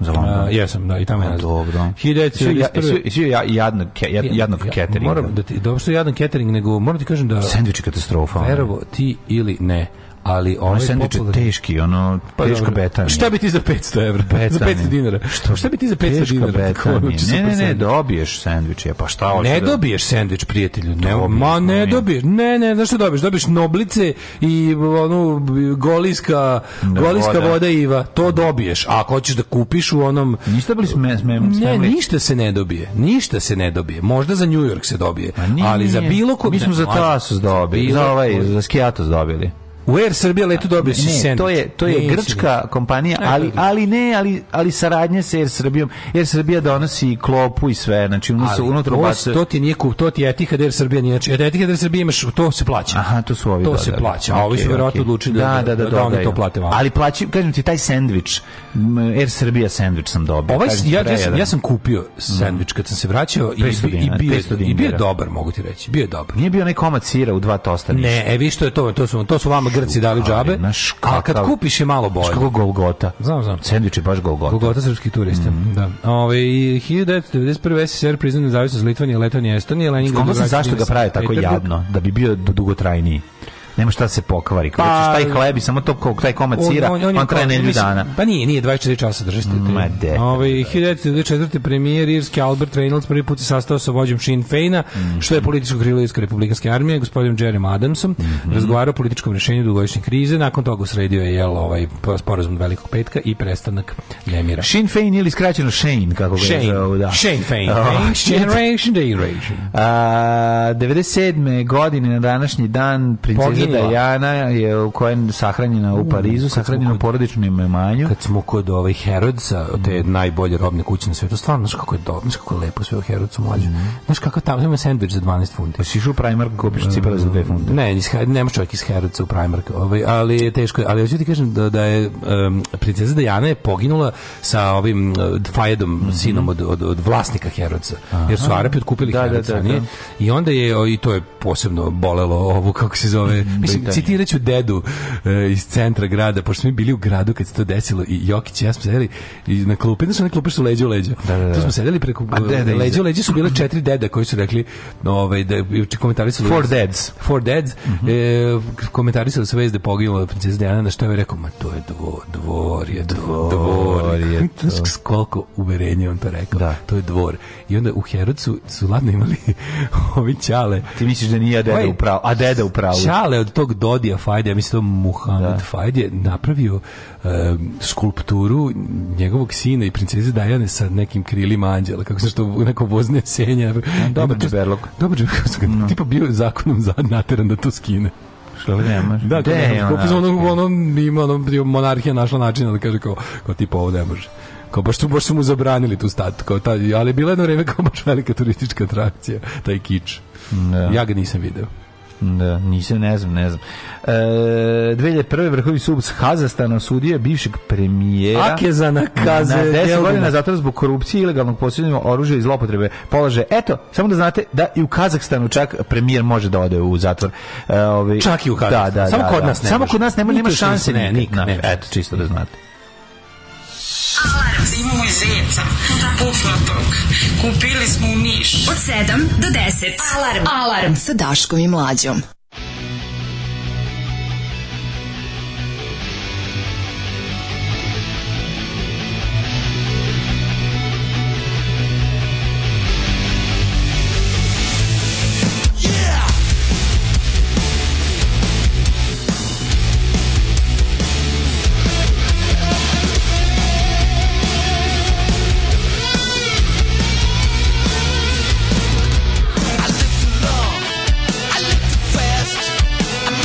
Speaker 5: Za
Speaker 6: A,
Speaker 5: London.
Speaker 6: jesam, da, i tamo je. nazad.
Speaker 5: Pa Dobro. Jesi joj ja- jesi joj-
Speaker 6: 1991.
Speaker 5: jesi joj ja- jadnog ke- jad- jadnog
Speaker 6: Ja,
Speaker 5: cateringa.
Speaker 6: Moram da ti, dobro što je jadan catering, nego moram ti kažem da
Speaker 5: Sandvič je katastrofa. ono.
Speaker 6: verovo ti ili ne, ali ovaj
Speaker 5: Ovaj sendvič je
Speaker 6: popularni-
Speaker 5: teški, ono,
Speaker 6: Pa
Speaker 5: teško
Speaker 6: dobro.
Speaker 5: betanje.
Speaker 6: Šta bi ti za 500 evra? Za 500 dinara.
Speaker 5: Što,
Speaker 6: Šta bi ti za 500
Speaker 5: Teško
Speaker 6: dinara?
Speaker 5: betanje.
Speaker 6: Tako, hoću
Speaker 5: Ne,
Speaker 6: super
Speaker 5: ne, ne,
Speaker 6: sendvič.
Speaker 5: dobiješ sendvič, je, pa šta hoćeš
Speaker 6: Ne
Speaker 5: da-
Speaker 6: dobiješ sendvič, prijatelju. Ne,
Speaker 5: Dobiješ,
Speaker 6: ma ne
Speaker 5: molim.
Speaker 6: dobiješ. Ne, ne, znaš što dobiješ? Dobiješ noblice i onu goliska,
Speaker 5: Da,
Speaker 6: goliska voda.
Speaker 5: voda.
Speaker 6: Iva. To dobiješ. A ako hoćeš da kupiš u onom...
Speaker 5: Niste bili sme, sme,
Speaker 6: Ne,
Speaker 5: smemli?
Speaker 6: ništa se ne dobije. Ništa se ne dobije. Možda za New York se dobije.
Speaker 5: Pa nije,
Speaker 6: ali za
Speaker 5: nije.
Speaker 6: bilo kog...
Speaker 5: Mi smo
Speaker 6: ne,
Speaker 5: za
Speaker 6: mlađe,
Speaker 5: Tasos dobili,
Speaker 6: bilo
Speaker 5: za ovaj,
Speaker 6: kog-
Speaker 5: za Skiatos dobili.
Speaker 6: U Air Srbija letu dobio si
Speaker 5: Ne,
Speaker 6: sendvič.
Speaker 5: to je to je
Speaker 6: Nisi.
Speaker 5: grčka kompanija,
Speaker 6: Ne,
Speaker 5: ali
Speaker 6: to je-
Speaker 5: ali ne, ali ali saradnja sa Air Srbijom. Air Srbija donosi klopu i sve, znači unutra
Speaker 6: Ali
Speaker 5: unutra
Speaker 6: to,
Speaker 5: ubace.
Speaker 6: to ti nije kup, to ti Etihad Air Srbija nije. Znači, Etihad Air Srbija imaš, to se plaća.
Speaker 5: Aha, to su ovi
Speaker 6: To
Speaker 5: dodali.
Speaker 6: se plaća, a ovi su
Speaker 5: Okej,
Speaker 6: verovatno
Speaker 5: okej.
Speaker 6: odlučili da-
Speaker 5: da, da,
Speaker 6: da- da
Speaker 5: da,
Speaker 6: oni to
Speaker 5: da.
Speaker 6: plate vama.
Speaker 5: Ali plaći, kažem ti taj sendvič, m, Air Srbija sendvič sam dobio.
Speaker 6: Ovaj
Speaker 5: Kažem ti,
Speaker 6: ja, ja, sam,
Speaker 5: prejedan.
Speaker 6: ja sam kupio sendvič kad sam se vraćao i,
Speaker 5: 500
Speaker 6: bi- i,
Speaker 5: dinara,
Speaker 6: bio,
Speaker 5: 500
Speaker 6: i bio je
Speaker 5: dinara.
Speaker 6: dobar, mogu ti reći. Bio je dobar.
Speaker 5: nije bio onaj komad sira u dva tosta. ništa.
Speaker 6: Ne, e vi što je to, to su to su vama Grci dali džabe.
Speaker 5: Ali, znaš
Speaker 6: A kad
Speaker 5: kakav-
Speaker 6: kupiš je malo
Speaker 5: Znaš
Speaker 6: bolje.
Speaker 5: kako Golgota.
Speaker 6: Znam, znam.
Speaker 5: Sendvič je baš Golgota.
Speaker 6: Golgota srpskih turista.
Speaker 5: Mm,
Speaker 6: Da. Ove, 1991. SSR priznao nezavisnost Litvanije, Letonije, Estonije, Leningrad.
Speaker 5: Skontao sam zašto ga prave tako jadno, da bi bio du- dugotrajniji. Nema šta da se pokvari. Kad
Speaker 6: Pa-
Speaker 5: hoćeš taj hleb i samo to kao taj komad sira, on, traje nedelju dana.
Speaker 6: Pa nije, nije 24 časa drži ste.
Speaker 5: Ma, de.
Speaker 6: Ovaj 1994. premijer irski Albert Reynolds prvi put se sastao sa vođom Sinn Feina,
Speaker 5: Mhm.
Speaker 6: što je političko krilo irske republikanske armije, gospodinom Jerem Adamsom,
Speaker 5: Mhm.
Speaker 6: razgovarao o političkom rešenju dugogodišnje krize, nakon toga usredio je jel ovaj sporazum velikog petka i prestanak nemira.
Speaker 5: Sinn Fein ili skraćeno Shane, kako ga je zovu,
Speaker 6: Shane,
Speaker 5: da.
Speaker 6: Shane Fein,
Speaker 5: Oh,
Speaker 6: Fein,
Speaker 5: shit.
Speaker 6: Generation Generation.
Speaker 5: A, 97. godine na današnji dan princeza
Speaker 6: Poginula.
Speaker 5: Dajana je u kojem sahranjena u Parizu, sahranjena u porodičnom imanju.
Speaker 6: Kad smo kod ovaj Herodsa, te najbolje robne kuće na svetu, stvarno, znaš kako je dobro, znaš kako je lepo sve u Herodsu mlađe. Znaš kako tamo ima sandvič za 12 funti.
Speaker 5: Pa si išao u Primark, kupiš cipele za dve funte.
Speaker 6: Ne, iz, Her- nema čovjek iz Herodca u Primark, ovaj, ali je teško. Ali hoću ti kažem da, da je em, princeza Dajana je poginula sa ovim uh, Fajedom,
Speaker 5: Mhm.
Speaker 6: sinom od, od, od vlasnika Herodca, jer su Arapi otkupili
Speaker 5: Da, da,
Speaker 6: Herodca.
Speaker 5: da,
Speaker 6: nije?
Speaker 5: da.
Speaker 6: I onda je, o, i to je posebno bolelo ovu, kako se zove, mislim,
Speaker 5: Britaniju.
Speaker 6: citirat ću dedu e, iz centra grada, pošto smo mi bili u gradu kad se to desilo i Jokić i ja smo sedeli i na klupi, znaš, na klupi su leđa u leđa.
Speaker 5: Da, da, da.
Speaker 6: Tu smo sedeli preko,
Speaker 5: A deda iza.
Speaker 6: leđa u leđa su bile četiri deda koji su rekli, ovaj, da, komentari su
Speaker 5: Four Dads.
Speaker 6: Four Dads, e, komentarisali su vez da je poginula princeza Diana, na što je rekao, ma to je dvo, dvor, je dvor, dvor.
Speaker 5: je to.
Speaker 6: Znaš koliko uverenja on to rekao,
Speaker 5: Da.
Speaker 6: to je dvor. I onda u Herodcu su ladno imali ovi ćale,
Speaker 5: Ti misliš da nije deda
Speaker 6: Ovaj-
Speaker 5: u pravu, a deda u pravu.
Speaker 6: Čale od tog Dodija Fajde, ja mislim da je to Muhammed da. Fajde, napravio e, skulpturu njegovog sina i princeze Dajane sa nekim krilima anđela, kako se što neko vozne senja.
Speaker 5: dobar
Speaker 6: Ima čas-
Speaker 5: džeberluk.
Speaker 6: Dobar džeberluk, su ga- tipa bio je zakonom za, nateran da to skine.
Speaker 5: Što li nemaš?
Speaker 6: Da,
Speaker 5: Gde
Speaker 6: kao,
Speaker 5: je
Speaker 6: kao,
Speaker 5: ona?
Speaker 6: kao, ono, ono, ima, ono, bio monarhija našla načina da kaže kao, kao tipa ovo ne može. Kao baš, su, baš su mu zabranili tu stat, kao, ta, ali je bila jedno vreme kao baš velika turistička atrakcija, taj kič. Ja ga nisam video.
Speaker 5: Da, nisam, ne znam, ne znam. E, 2001. vrhovni sud s Hazastana osudio je bivšeg premijera
Speaker 6: Akezana Kaze
Speaker 5: na 10
Speaker 6: Gelbina.
Speaker 5: godina zatvora zbog korupcije, ilegalnog posjedovanja oružja i zlopotrebe položaja. Eto, samo da znate da i u Kazahstanu čak premijer može da ode u zatvor. E, ovaj,
Speaker 6: Čak i u Kazahstanu.
Speaker 5: Da, da,
Speaker 6: Samo
Speaker 5: da,
Speaker 6: kod
Speaker 5: da.
Speaker 6: nas ne
Speaker 5: Samo
Speaker 6: može.
Speaker 5: kod nas nema, nema
Speaker 6: Nikad
Speaker 5: šanse.
Speaker 6: ne,
Speaker 5: nikad,
Speaker 6: nikad,
Speaker 5: znaš.
Speaker 6: ne.
Speaker 5: Eto, čisto da znate.
Speaker 4: Alarm. Imamo i zeca. Pufnatog. Kupili smo u Niš.
Speaker 2: Od 7 do 10. Alarm. Alarm sa Daškom i Mlađom.
Speaker 7: I live to love, I live to fail.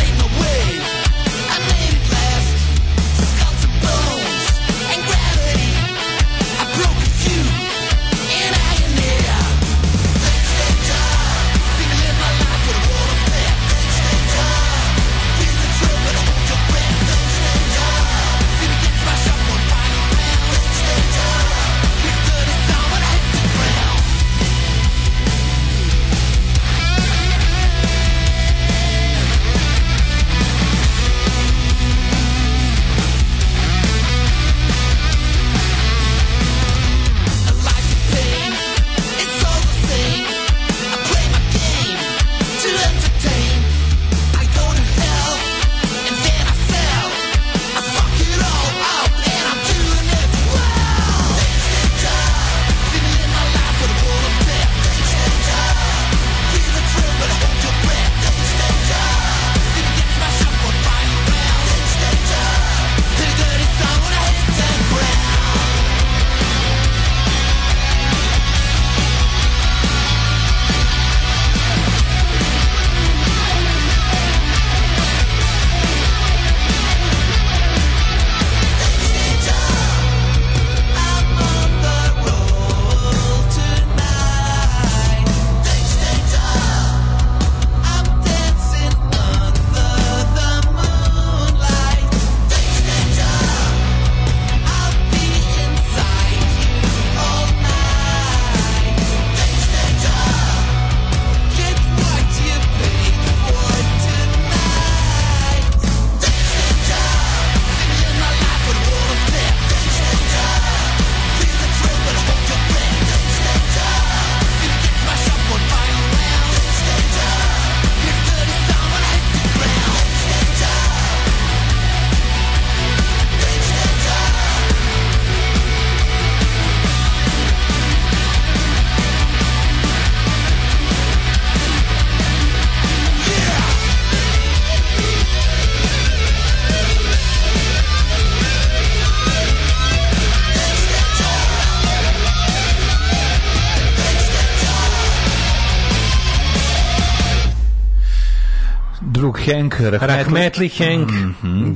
Speaker 5: Hank, Rahmetli. Mhm,
Speaker 6: Rahmetli Hank.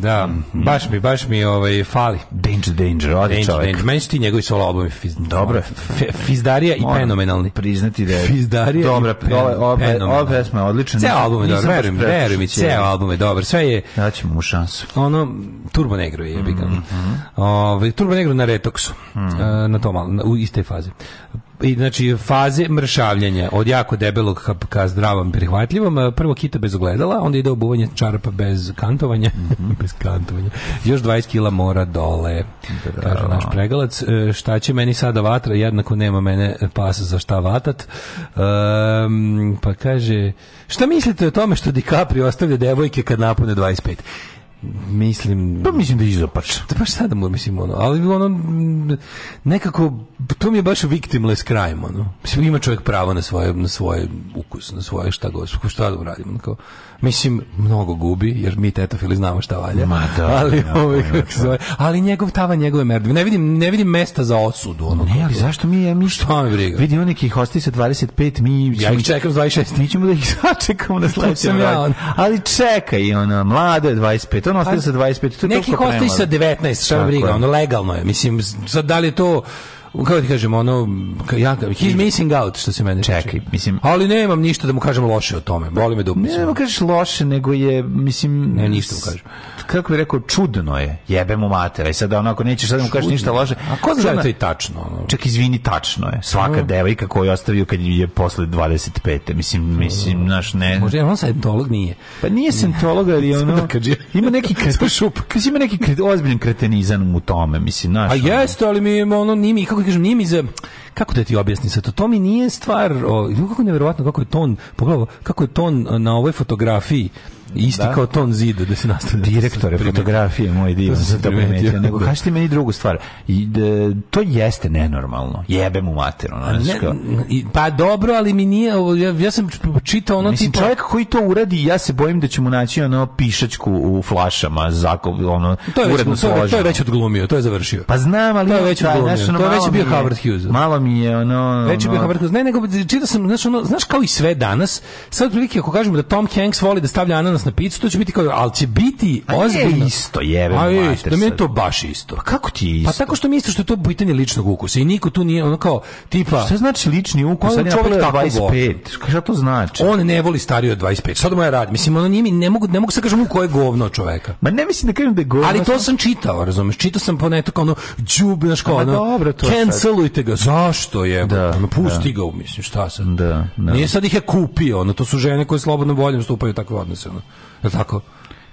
Speaker 6: Da, baš mi, baš mi ovaj, fali.
Speaker 5: Danger, danger, odi
Speaker 6: Danger,
Speaker 5: čovjek.
Speaker 6: Danger. Meni su ti njegovi solo albumi fiz...
Speaker 5: Dobro.
Speaker 6: Fe- Fizdarija i
Speaker 5: Moram
Speaker 6: fenomenalni.
Speaker 5: Priznati da je...
Speaker 6: Fizdarija
Speaker 5: Dobra,
Speaker 6: i pen-
Speaker 5: ova- ova- ova
Speaker 6: fenomenalna.
Speaker 5: pesma je odlična.
Speaker 6: Ceo album je
Speaker 5: Nisam
Speaker 6: dobar,
Speaker 5: baš
Speaker 6: verujem,
Speaker 5: preslušao
Speaker 6: verujem mi,
Speaker 5: cijeli.
Speaker 6: ceo album je dobar. Sve je
Speaker 5: Daćemo mu šansu.
Speaker 6: ono Turbo Negro je jebi ga. Ovaj, Turbo Negro na retoksu. E, na tom al- na- u istoj fazi. I znači faze mršavljenja od jako debelog ka, ka zdravom prihvatljivom, E, prvo kita bez ogledala, onda ide obuvanje čarapa bez kantovanja, bez kantovanja. Još 20 kila mora dole. Kaže naš pregalac, E, šta će meni sada vatra, jednako nema mene pas za šta vatat. Ehm, pa kaže, šta mislite o tome što DiCaprio ostavlja devojke kad napune 25? Mislim...
Speaker 5: Pa mislim da je izopač.
Speaker 6: Da baš sada mu mislim ono, ali ono m, nekako to mi je baš victimless crime ono. Mislim ima čovjek pravo na svoje na svoje ukus, na svoje šta god, šta da uradimo ono kao. Mislim mnogo gubi jer mi tetofili znamo šta valja.
Speaker 5: Ma da,
Speaker 6: ali
Speaker 5: nema
Speaker 6: ovaj,
Speaker 5: pojma,
Speaker 6: kako se zove, ali njegov tava njegove merdve. Ne vidim ne vidim mesta za osudu ono.
Speaker 5: Ne,
Speaker 6: kao
Speaker 5: ali
Speaker 6: to.
Speaker 5: zašto mi je mi
Speaker 6: Šta me briga?
Speaker 5: Vidi oni ih ostaje sa 25, mi
Speaker 6: Ja ih čekam s 26.
Speaker 5: Mi ćemo da ih sačekamo na sledećem
Speaker 6: sam ja,
Speaker 5: vratu.
Speaker 6: ono.
Speaker 5: Ali čekaj, ona mlada je 25, ona ostaje sa 25, to je
Speaker 6: Pa, Neki
Speaker 5: toliko
Speaker 6: ostaje sa
Speaker 5: premlada.
Speaker 6: 19, šta me
Speaker 5: Tako je.
Speaker 6: briga, ono legalno je. Mislim, sad da li je to kako ti kažem, ono, ka- ja, he's missing out, što se mene tiče.
Speaker 5: Čekaj, mislim-
Speaker 6: Ali nemam ništa da mu kažem loše o tome, boli me dupe.
Speaker 5: Ne, ne kažeš loše, nego je, mislim...
Speaker 6: Ne, ništa mu kažem.
Speaker 5: Kako bih rekao, čudno je. Jebe mu matera. I sad ono, ako nećeš sad da mu kažeš ništa loše...
Speaker 6: A ko zna da
Speaker 5: čudno-
Speaker 6: je Mm. to i tačno? Ono?
Speaker 5: Čak izvini, tačno je. Svaka devojka koju je ostavio kad je posle 25. Mislim, mislim, znaš, ne...
Speaker 6: Možda je on sajentolog, nije.
Speaker 5: Pa nije sentolog, ali ono...
Speaker 6: Smrkađe.
Speaker 5: Ima neki kreten... Mislim, ima neki kret, ozbiljen kretenizam u tome, mislim, znaš.
Speaker 6: A
Speaker 5: ono.
Speaker 6: Pa jeste, ali mi je, ono nije mi, kako ti kažem, nije mi za kako da ti objasnim sad, to? to mi nije stvar, o, ju, kako je neverovatno kako je ton, pogledaj, kako je ton e, na ovoj fotografiji isti
Speaker 5: Da.
Speaker 6: kao ton zida da se nastavlja.
Speaker 5: direktore
Speaker 6: Primetio.
Speaker 5: fotografije moj
Speaker 6: To
Speaker 5: divan
Speaker 6: sam
Speaker 5: sam to
Speaker 6: primetio.
Speaker 5: primetio nego kaži ti meni drugu stvar I, d- to jeste nenormalno jebe mu mater ono znaš
Speaker 6: Ne,
Speaker 5: kao.
Speaker 6: i- pa dobro, ali mi nije, ovo, ja, ja sam čitao ono
Speaker 5: Mislim,
Speaker 6: tipa...
Speaker 5: čovjek koji to uradi, ja se bojim da će mu naći ono pišačku u flašama, zako, ono,
Speaker 6: to je, već,
Speaker 5: uredno
Speaker 6: to, je, to je
Speaker 5: složenu.
Speaker 6: već odglumio, to je završio.
Speaker 5: Pa znam, ali...
Speaker 6: to je
Speaker 5: ono,
Speaker 6: već
Speaker 5: taj,
Speaker 6: odglumio.
Speaker 5: znaš, ono,
Speaker 6: To je već
Speaker 5: malo
Speaker 6: bio
Speaker 5: mi je-
Speaker 6: Howard Hughes.
Speaker 5: Malo mi je, ono...
Speaker 6: Već je bio
Speaker 5: ono,
Speaker 6: Howard Hughes. Ne, nego čitao sam, znaš, ono, znaš kao i sve danas, sad prilike ako kažemo da Tom Hanks voli da stavlja ananas na picu, to će biti kao, ali će biti
Speaker 5: A nije
Speaker 6: ozbiljno.
Speaker 5: isto, jebe mu
Speaker 6: A je
Speaker 5: mater
Speaker 6: isto, da mi je
Speaker 5: sad.
Speaker 6: to baš isto.
Speaker 5: Pa kako ti je isto?
Speaker 6: Pa tako što misliš što je to pitanje ličnog ukusa i niko tu nije ono kao tipa
Speaker 5: Šta znači lični ukus?
Speaker 6: On
Speaker 5: Sad je
Speaker 6: um? čovjek
Speaker 5: napravio
Speaker 6: tako
Speaker 5: 25. Šta to znači?
Speaker 6: on ne voli starije od 25. Sad moja rad, mislim ono nije mi ne mogu ne mogu se kažem u koje govno od čoveka.
Speaker 5: Ma ne mislim da kažem da je govno.
Speaker 6: Ali to sam čitao, razumeš? Čitao sam poneto kao ono đub naš kao
Speaker 5: Pa
Speaker 6: ono.
Speaker 5: dobro, to je sad.
Speaker 6: cancelujte ga. Zašto je?
Speaker 5: Da,
Speaker 6: ono, pusti ga, mislim, šta sad?
Speaker 5: Da, da.
Speaker 6: Nije sad ih je kupio, ono to su žene koje slobodno voljom stupaju u takve odnose, ono. Jel tako?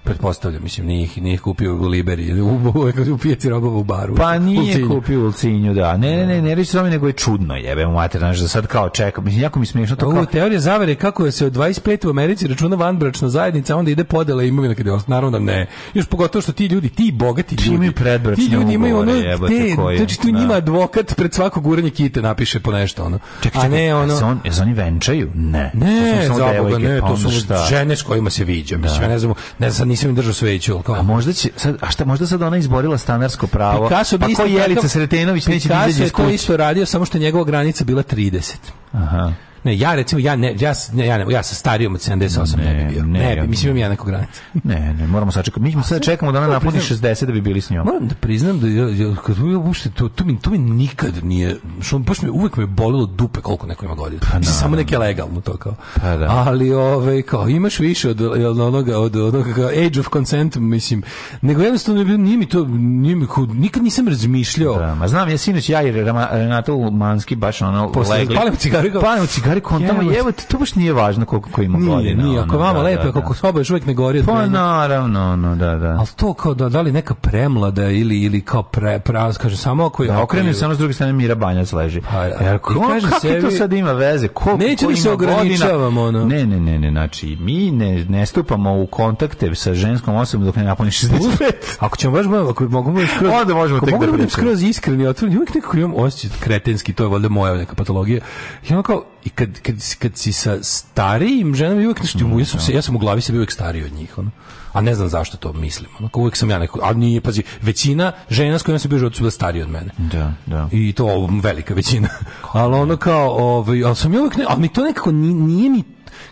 Speaker 6: pretpostavljam, mislim, nije ih, nije ih kupio u Liberi, u, u, u pijaci robova u baru.
Speaker 5: Pa nije
Speaker 6: kupio.
Speaker 5: kupio Ulcinju, da. Ne, ne, ne, ne reći tome, nego je čudno, jebe mu mater, znaš, da sad kao čekam. Mislim, jako mi smiješno to kao...
Speaker 6: Ovo teorija zavere kako je se od 25 u Americi računa vanbračna zajednica, a onda ide podela imovina kada je os- naravno da ne. Još pogotovo što ti ljudi, ti bogati
Speaker 5: imaju
Speaker 6: ljudi,
Speaker 5: predbračne
Speaker 6: ti ljudi imaju ono,
Speaker 5: ugovore, jebote,
Speaker 6: te,
Speaker 5: koji,
Speaker 6: znači tu
Speaker 5: da.
Speaker 6: njima advokat pred svako guranje kite napiše po nešto ono. a ne ono,
Speaker 5: Se on, jesu oni venčaju? Ne. To
Speaker 6: ne,
Speaker 5: su samo
Speaker 6: za Boga,
Speaker 5: devojke,
Speaker 6: ne,
Speaker 5: pa
Speaker 6: to
Speaker 5: onda
Speaker 6: su
Speaker 5: šta?
Speaker 6: žene s kojima se viđa, mislim, ja ne znam, ne znam, sad nisam im držao sveću, ali kao,
Speaker 5: A možda će sad a šta možda sad ona izborila stanarsko pravo.
Speaker 6: Picasso bi
Speaker 5: pa
Speaker 6: isto
Speaker 5: ko Jelica
Speaker 6: takav-
Speaker 5: Sretenović neće da
Speaker 6: Picasso
Speaker 5: izađe
Speaker 6: je
Speaker 5: iz
Speaker 6: to
Speaker 5: kuće.
Speaker 6: isto radio, samo što je njegova granica bila 30.
Speaker 5: Aha.
Speaker 6: Ne, ja recimo, ja ne, ja, s- ne, ja, ne, ja sa starijom od 78 ne,
Speaker 5: Ne,
Speaker 6: bi bio.
Speaker 5: ne,
Speaker 6: Ne,
Speaker 5: ja-
Speaker 6: bi, mislim imam ja neku granicu.
Speaker 5: Ne, ne, moramo sačekati. Mi ćemo sad čekamo da ona napuni 60 da bi bili s njom.
Speaker 6: Moram da priznam da ja, ja kad ja uopšte to to mi to mi nikad nije što baš mi uvek me bolelo dupe koliko neko ima godina. Pa, samo neke legalno to kao.
Speaker 5: Pa da.
Speaker 6: Ali ovaj kao imaš više od jel, onoga od onoga kao age of consent mislim. Nego jednostavno je bilo- nije mi to nije mi kao- nikad nisam razmišljao.
Speaker 5: Da, ma znam, ja sinoć ja i Rama- Renato Lumanski baš ono
Speaker 6: Posle-
Speaker 5: legli.
Speaker 6: palimo cigaru i kao-
Speaker 5: Palimo cigaru i kontamo,
Speaker 6: Jebote.
Speaker 5: jevo, to baš nije važno koliko ko ima
Speaker 6: Nije,
Speaker 5: godina.
Speaker 6: nije,
Speaker 5: ono,
Speaker 6: ako vama
Speaker 5: da,
Speaker 6: lepo,
Speaker 5: da,
Speaker 6: ako
Speaker 5: da.
Speaker 6: soba još uvek ne gori od
Speaker 5: Pa
Speaker 6: mene.
Speaker 5: naravno, no, da, da.
Speaker 6: Ali to kao da, da li neka premlada ili, ili kao pre, praz, kaže, samo ako je...
Speaker 5: Da,
Speaker 6: ako
Speaker 5: okrenu
Speaker 6: je-
Speaker 5: se ono s druge strane Mira Banjac leži. E,
Speaker 6: Pa, a,
Speaker 5: Jer ko,
Speaker 6: i kaže
Speaker 5: kakve
Speaker 6: sebi-
Speaker 5: to sad ima veze? Ko,
Speaker 6: Neće
Speaker 5: ko
Speaker 6: li se
Speaker 5: ima godina?
Speaker 6: ograničavamo, ono?
Speaker 5: Ne, ne, ne, ne, znači mi ne, ne stupamo u kontakte sa ženskom osobom dok ne napuni 65.
Speaker 6: Ako ćemo baš malo, ako mogu budem skroz...
Speaker 5: Onda možemo
Speaker 6: ako
Speaker 5: tek
Speaker 6: mogu
Speaker 5: da
Speaker 6: budem
Speaker 5: pričamo.
Speaker 6: skroz iskren i otvoren, uvijek nekako imam osjećaj kretenski, to je valjda moja neka patologija. I ono kao, i kad, kad, kad si sa starijim ženama, uvijek nešto,
Speaker 5: Mm,
Speaker 6: ti mu- ja, sam, se, ja sam u glavi sebi uvijek stariji od njih, ono. A ne znam zašto to mislim. Ono, kao uvijek sam ja neko, a nije, pazi, većina žena s kojima se bio život su bile starije od mene.
Speaker 5: Da, da.
Speaker 6: I to ovom velika većina. ali ono kao, ovaj, ali sam ja uvijek, ne, ali mi to nekako ni- nije mi,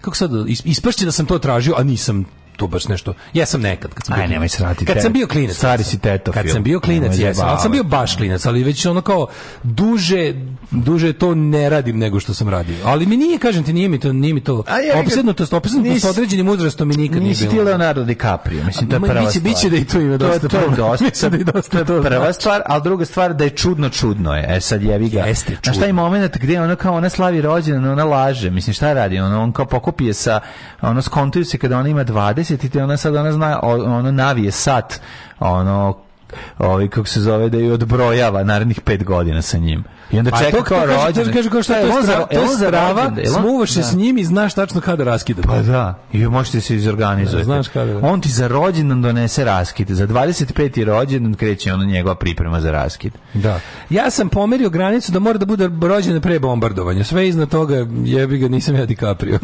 Speaker 6: kako sad, is- ispašće da sam to tražio, a nisam to tu baš nešto. Ja sam nekad kad sam bio.
Speaker 5: Aj, nemoj srati.
Speaker 6: Kad
Speaker 5: te-
Speaker 6: sam bio klinac.
Speaker 5: Stari si tetofil.
Speaker 6: Kad sam bio klinac,
Speaker 5: Nemoj
Speaker 6: jesam, ali sam bio baš klinac, ali već ono kao duže duže to ne radim nego što sam radio. Ali mi nije, kažem ti, nije mi to, nije mi to.
Speaker 5: A ja ga-
Speaker 6: Opsedno to, opsedno
Speaker 5: Nisi-
Speaker 6: to određenim uzrastom mi nikad nije
Speaker 5: Nisi ti
Speaker 6: bilo.
Speaker 5: Leonardo DiCaprio, mislim, to je
Speaker 6: Ma,
Speaker 5: prva
Speaker 6: biće-
Speaker 5: stvar.
Speaker 6: biće da i tu ima dosta
Speaker 5: To, to je
Speaker 6: problema.
Speaker 5: dosta,
Speaker 6: Mislim da i dosta
Speaker 5: to je
Speaker 6: to
Speaker 5: prva
Speaker 6: znači.
Speaker 5: stvar, ali druga stvar da je čudno, čudno je. E sad jevi ga.
Speaker 6: Jeste
Speaker 5: Znaš taj moment gde ona kao ona slavi rođendan, ona laže, mislim šta radi, ona, on kao pokupi je sa, ono skontuju se kada ona ima 20 i te ona sad ona zna, o- ono navije sat, ono ovi kako se zove da ju odbrojava narednih pet godina sa njim. I onda
Speaker 6: A
Speaker 5: čeka
Speaker 6: Pa to
Speaker 5: kao
Speaker 6: kao rođen.
Speaker 5: rođendan.
Speaker 6: Kaže kao šta
Speaker 5: Pa
Speaker 6: je
Speaker 5: jel
Speaker 6: to,
Speaker 5: on za-
Speaker 6: stra- to
Speaker 5: jel
Speaker 6: je
Speaker 5: on za
Speaker 6: strava,
Speaker 5: rođendan? Jel on-
Speaker 6: smuvaš se s njim i znaš tačno kada raskida.
Speaker 5: Pa da, i možete se izorganizovati.
Speaker 6: Znaš kada, da.
Speaker 5: On ti za rođendan donese raskid. Za 25. rođendan kreće ona njegova priprema za raskid.
Speaker 6: Da. Ja sam pomerio granicu da mora da bude rođen pre bombardovanja. Sve iznad toga jebi ga nisam ja DiCaprio.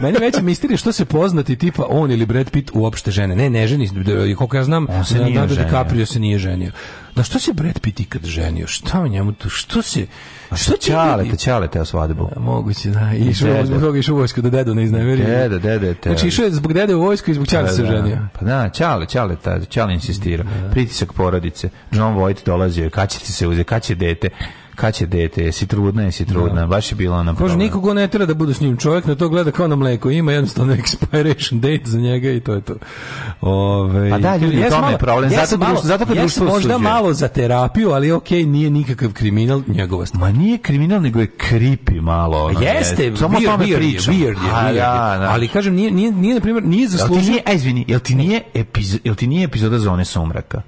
Speaker 6: Meni je veća misterija što se poznati tipa on ili Brad Pitt uopšte žene. Ne, ne ženi, se. koliko ja znam,
Speaker 5: On se
Speaker 6: Leonardo
Speaker 5: nije ženio.
Speaker 6: DiCaprio se nije ženio. Da što se Brad Pitt ikad ženio? Šta u njemu tu? Što se...
Speaker 5: Pa
Speaker 6: Što ti
Speaker 5: Čale
Speaker 6: ljudi-
Speaker 5: te, čale te o svadbu.
Speaker 6: Moguće, da. I Išao
Speaker 5: Deda.
Speaker 6: je zbog toga išao u vojsku da dedu ne izneveri.
Speaker 5: Deda, deda je te.
Speaker 6: Znači išao je zbog dede u vojsku i zbog čara se ženio.
Speaker 5: Pa da, čale, čale, ta, čale insistira. Pritisak porodice. John Voight dolazio, kad će ti se uzeti, kad će dete, kad će dete, jesi trudna, jesi trudna, baš je bila ona
Speaker 6: Kaže
Speaker 5: problem.
Speaker 6: nikogo ne tera da bude s njim čovjek, na to gleda kao na mleko, ima jednostavno expiration date za njega i to je to. Ove,
Speaker 5: Pa da, ljudi, u tome je problem, zato
Speaker 6: sam
Speaker 5: društvo- zato kad
Speaker 6: ja sam
Speaker 5: društvo
Speaker 6: možda
Speaker 5: osuđuje.
Speaker 6: malo za terapiju, ali okej, nije nikakav kriminal njegova stvar.
Speaker 5: Ma nije kriminal, nego je creepy malo. Ono,
Speaker 6: pa Jeste,
Speaker 5: je. samo o
Speaker 6: weird,
Speaker 5: tome
Speaker 6: weird je,
Speaker 5: pričam.
Speaker 6: weird je,
Speaker 5: A,
Speaker 6: weird je.
Speaker 5: da, da.
Speaker 6: Ali kažem, nije, nije, nije, na primjer, nije
Speaker 5: Jel ti
Speaker 6: zaslužio...
Speaker 5: nije, a izvini, jel ti nije, epizo, jel ti nije epizoda Zone sumraka?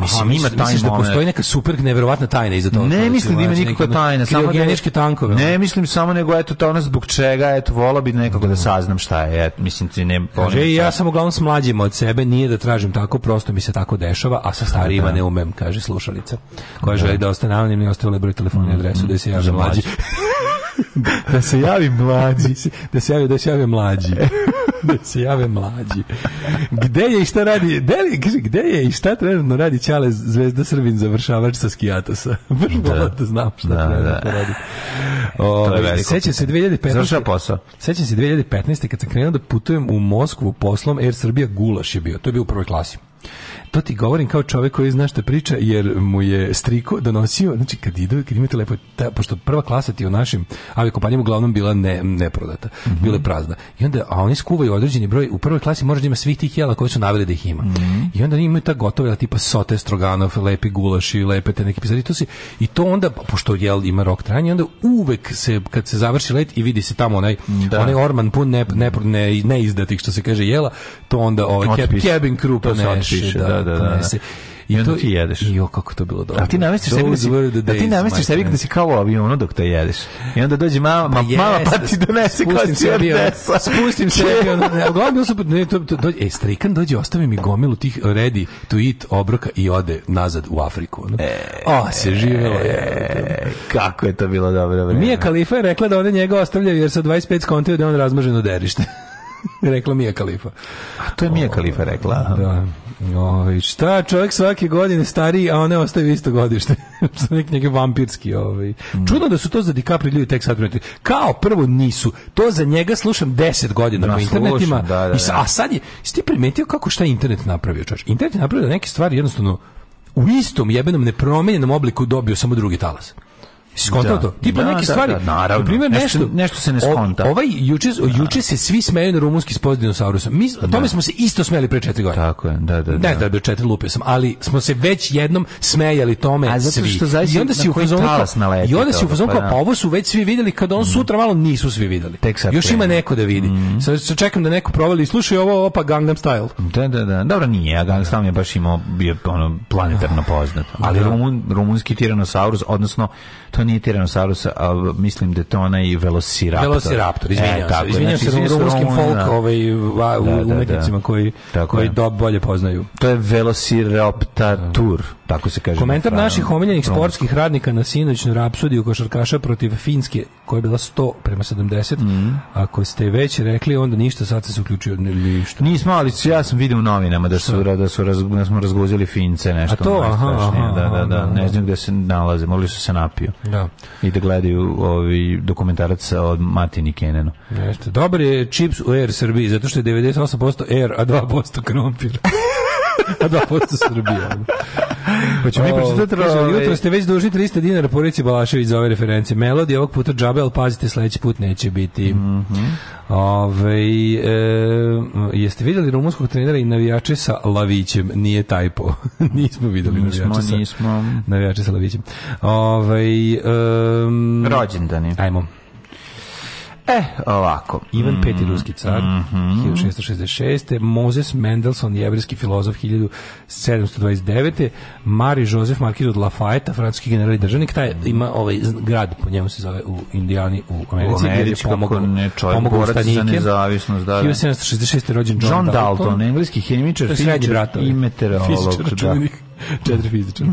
Speaker 5: Mislim, ima
Speaker 6: misliš-
Speaker 5: taj
Speaker 6: misliš da
Speaker 5: moment.
Speaker 6: postoji neka super neverovatna tajna iza toga. ono,
Speaker 5: Ne mislim da ima nikakva tajna, samo da
Speaker 6: Kriogeničke tankove. ono.
Speaker 5: Ne mislim samo nego eto to ono zbog čega, eto vola bi nekako da saznam šta je. Et, mislim ti ne ono,
Speaker 6: Kaže,
Speaker 5: ne-
Speaker 6: ja sam uglavnom s mlađima od sebe, nije da tražim tako, prosto mi se tako dešava, a sa starijima ne umem, kaže slušalica. Koja želi da ostane anonimni, ostavila je broj telefona
Speaker 5: Mm-hmm.
Speaker 6: i adresu da se javi mlađi.
Speaker 5: da se javi mlađi.
Speaker 6: da se javi, da se jave mlađi. da se jave mlađi. Gde je i šta radi, gde, li- kaže, gde je i šta trenutno radi Ćale Zvezda Srbin završavač sa skijatosa? Baš da. da znam šta
Speaker 5: Da,
Speaker 6: trenutno
Speaker 5: da.
Speaker 6: radi.
Speaker 5: To je
Speaker 6: Ove,
Speaker 5: veliko.
Speaker 6: sećam se 2015.
Speaker 5: Završava posao.
Speaker 6: Sećam se 2015. kad sam krenuo da putujem u Moskvu poslom Air Srbija Gulaš je bio. To je bio u prvoj klasi. To ti govorim kao čovjek koji zna šta priča jer mu je striko donosio, znači kad idu, kad imate lepo, ta, pošto prva klasa ti u našim aviokompanijama uglavnom bila ne, neprodata, bila je prazna. I onda, a oni skuvaju određeni broj, u prvoj klasi možda ima svih tih jela koji su naveli da ih ima.
Speaker 5: Mhm.
Speaker 6: I onda oni imaju ta gotova jela tipa sote, stroganov, lepi gulaši, lepe te neke pizarije. To se, I to onda, pošto jel ima rok trajanja, onda uvek se, kad se završi let i vidi se tamo onaj, onaj orman pun ne, ne, ne, neizdatih, što se kaže, jela, to onda ovaj, cab,
Speaker 5: Otpiše.
Speaker 6: cabin crew
Speaker 5: To se otpiše,
Speaker 6: ponese.
Speaker 5: da, da, da, da.
Speaker 6: ponese.
Speaker 5: I onda ti jedeš.
Speaker 6: I o, kako to bilo dobro.
Speaker 5: A ti namestiš sebi da si, da ti namestiš sebi da si kao u avionu dok to jedeš. I onda dođe mama, ma, mama pa ti donese kao si odnesa.
Speaker 6: Spustim sebi ono. Ne, uglavnom bilo super. Ne, to, to, dođe, e, strikan dođe, ostavi mi gomilu tih ready to eat obroka i ode nazad u Afriku. Ono. E, o, se živelo. E,
Speaker 5: Kako je to bilo dobro vreme.
Speaker 6: Mija Kalifa je rekla da one njega ostavljaju jer sa 25 skontaju da je on razmaženo derište. rekla Mija Kalifa.
Speaker 5: To je Mija Kalifa rekla. aha.
Speaker 6: Da. Ovaj šta, čovjek svake godine stariji, a one ostaju isto godište. Što neki neki vampirski, ovaj.
Speaker 5: Mm.
Speaker 6: Čudno da su to za DiCaprio ljudi tek sad primetili. Kao prvo nisu. To za njega slušam 10 godina
Speaker 5: Da,
Speaker 6: po
Speaker 5: slušam,
Speaker 6: internetima.
Speaker 5: da, da,
Speaker 6: i sa-
Speaker 5: da.
Speaker 6: a sad je, jesi ti primetio kako šta je internet napravio, čoveč? Internet je napravio da neke stvari jednostavno u istom jebenom nepromenjenom obliku dobio samo drugi talas. Skontao
Speaker 5: Da.
Speaker 6: to? Tipa
Speaker 5: Da,
Speaker 6: neke
Speaker 5: da,
Speaker 6: stvari,
Speaker 5: da, naravno.
Speaker 6: na primjer,
Speaker 5: Nešto-
Speaker 6: nešto,
Speaker 5: nešto se ne
Speaker 6: o-
Speaker 5: skonta.
Speaker 6: Ovaj juče, juče se svi smeju na rumunski spos dinosaurusa. Mi, o tome smo se isto smeli pre četiri godine.
Speaker 5: Tako je, da, da, da.
Speaker 6: Ne, da bi četiri lupio sam, ali smo se već jednom smejali tome
Speaker 5: A zato
Speaker 6: svi.
Speaker 5: što zavisi
Speaker 6: I onda si
Speaker 5: na
Speaker 6: u
Speaker 5: koji
Speaker 6: fazonu kao-
Speaker 5: talas naleti
Speaker 6: I onda si u
Speaker 5: toga,
Speaker 6: fazonu
Speaker 5: pa
Speaker 6: kao,
Speaker 5: da. Mhm.
Speaker 6: pa ovo su već svi vidjeli, kad on sutra malo nisu svi vidjeli.
Speaker 5: Tek sad Mhm.
Speaker 6: Još ima
Speaker 5: krene.
Speaker 6: neko da vidi. Sad sad čekam da neko provali i slušaj ovo, opa Gangnam Style.
Speaker 5: Da, da, da. Dobro nije, a Gangstam je baš imao bio ono planetarno poznat. Ali Rumun, rumunski tiranosaurus, odnosno to nije tiranosaurus, a mislim da je to onaj velociraptor.
Speaker 6: Velociraptor, izvinjam
Speaker 5: E, tako
Speaker 6: se.
Speaker 5: je.
Speaker 6: Izvinjam
Speaker 5: Znači,
Speaker 6: se
Speaker 5: izvinjam
Speaker 6: rumunskim
Speaker 5: Rumunima.
Speaker 6: folk ovaj, va-
Speaker 5: Da, da, da.
Speaker 6: umetnicima koji,
Speaker 5: Tako
Speaker 6: koji
Speaker 5: je.
Speaker 6: do bolje poznaju.
Speaker 5: To je velociraptor. tako se kaže.
Speaker 6: Komentar
Speaker 5: na Fra-
Speaker 6: naših omiljenih
Speaker 5: Fra-
Speaker 6: sportskih radnika na sinoćnu rapsodiju košarkaša protiv Finske, koja je bila 100 prema 70. Ako ste već rekli, onda ništa, sad se uključio ne, ništa.
Speaker 5: Nismo, ali ja sam vidio u novinama da su da su raz, da smo razguzili Fince nešto.
Speaker 6: A to,
Speaker 5: ono
Speaker 6: aha,
Speaker 5: najstrašnije.
Speaker 6: aha,
Speaker 5: da, da, da,
Speaker 6: aha, da.
Speaker 5: ne znam gde se nalaze, morali su se napiju.
Speaker 6: Da.
Speaker 5: I da gledaju ovi dokumentarac od Matini Kenenu.
Speaker 6: Jeste. Dobar je čips u Air Srbiji, zato što je 98% Air, a 2% krompir. a 2% Srbija. ono. Pa ćemo mi pročitati.
Speaker 5: ovaj-
Speaker 6: jutro ste već dužni 300 dinara porici Balašević za ove reference. Melodija ovog puta džabe, ali pazite, sledeći put neće biti.
Speaker 5: Mhm.
Speaker 6: Ovaj, e, jeste vidjeli rumunskog trenera i navijače sa Lavićem? Nije tajpo. nismo vidjeli
Speaker 5: Nismo,
Speaker 6: navijače sa,
Speaker 5: nismo.
Speaker 6: navijače sa Lavićem. Ovaj, em,
Speaker 5: Rođendan je.
Speaker 6: Ajmo.
Speaker 5: E, ovako.
Speaker 6: Ivan
Speaker 5: Mm,
Speaker 6: V. ruski car,
Speaker 5: mhm.
Speaker 6: 1666. Mozes Mendelssohn, jevrijski filozof, 1729. Mari Jozef Markiz od Lafayette, francuski general i državnik, taj ima ovaj z- grad, po njemu se zove u Indijani, u Americi,
Speaker 5: U
Speaker 6: gdje je
Speaker 5: Americi, kako
Speaker 6: pomogao,
Speaker 5: ne, čovjek,
Speaker 6: pomogao
Speaker 5: borac za
Speaker 6: ustanike.
Speaker 5: nezavisnost, da, da.
Speaker 6: 1766. rođen John,
Speaker 5: John Dalton, engleski hemičar,
Speaker 6: To je
Speaker 5: fizičar
Speaker 6: sređi brat, ovaj.
Speaker 5: i meteorolog.
Speaker 6: Fizičar,
Speaker 5: Da. Mm.
Speaker 6: računik. Četiri fizičara.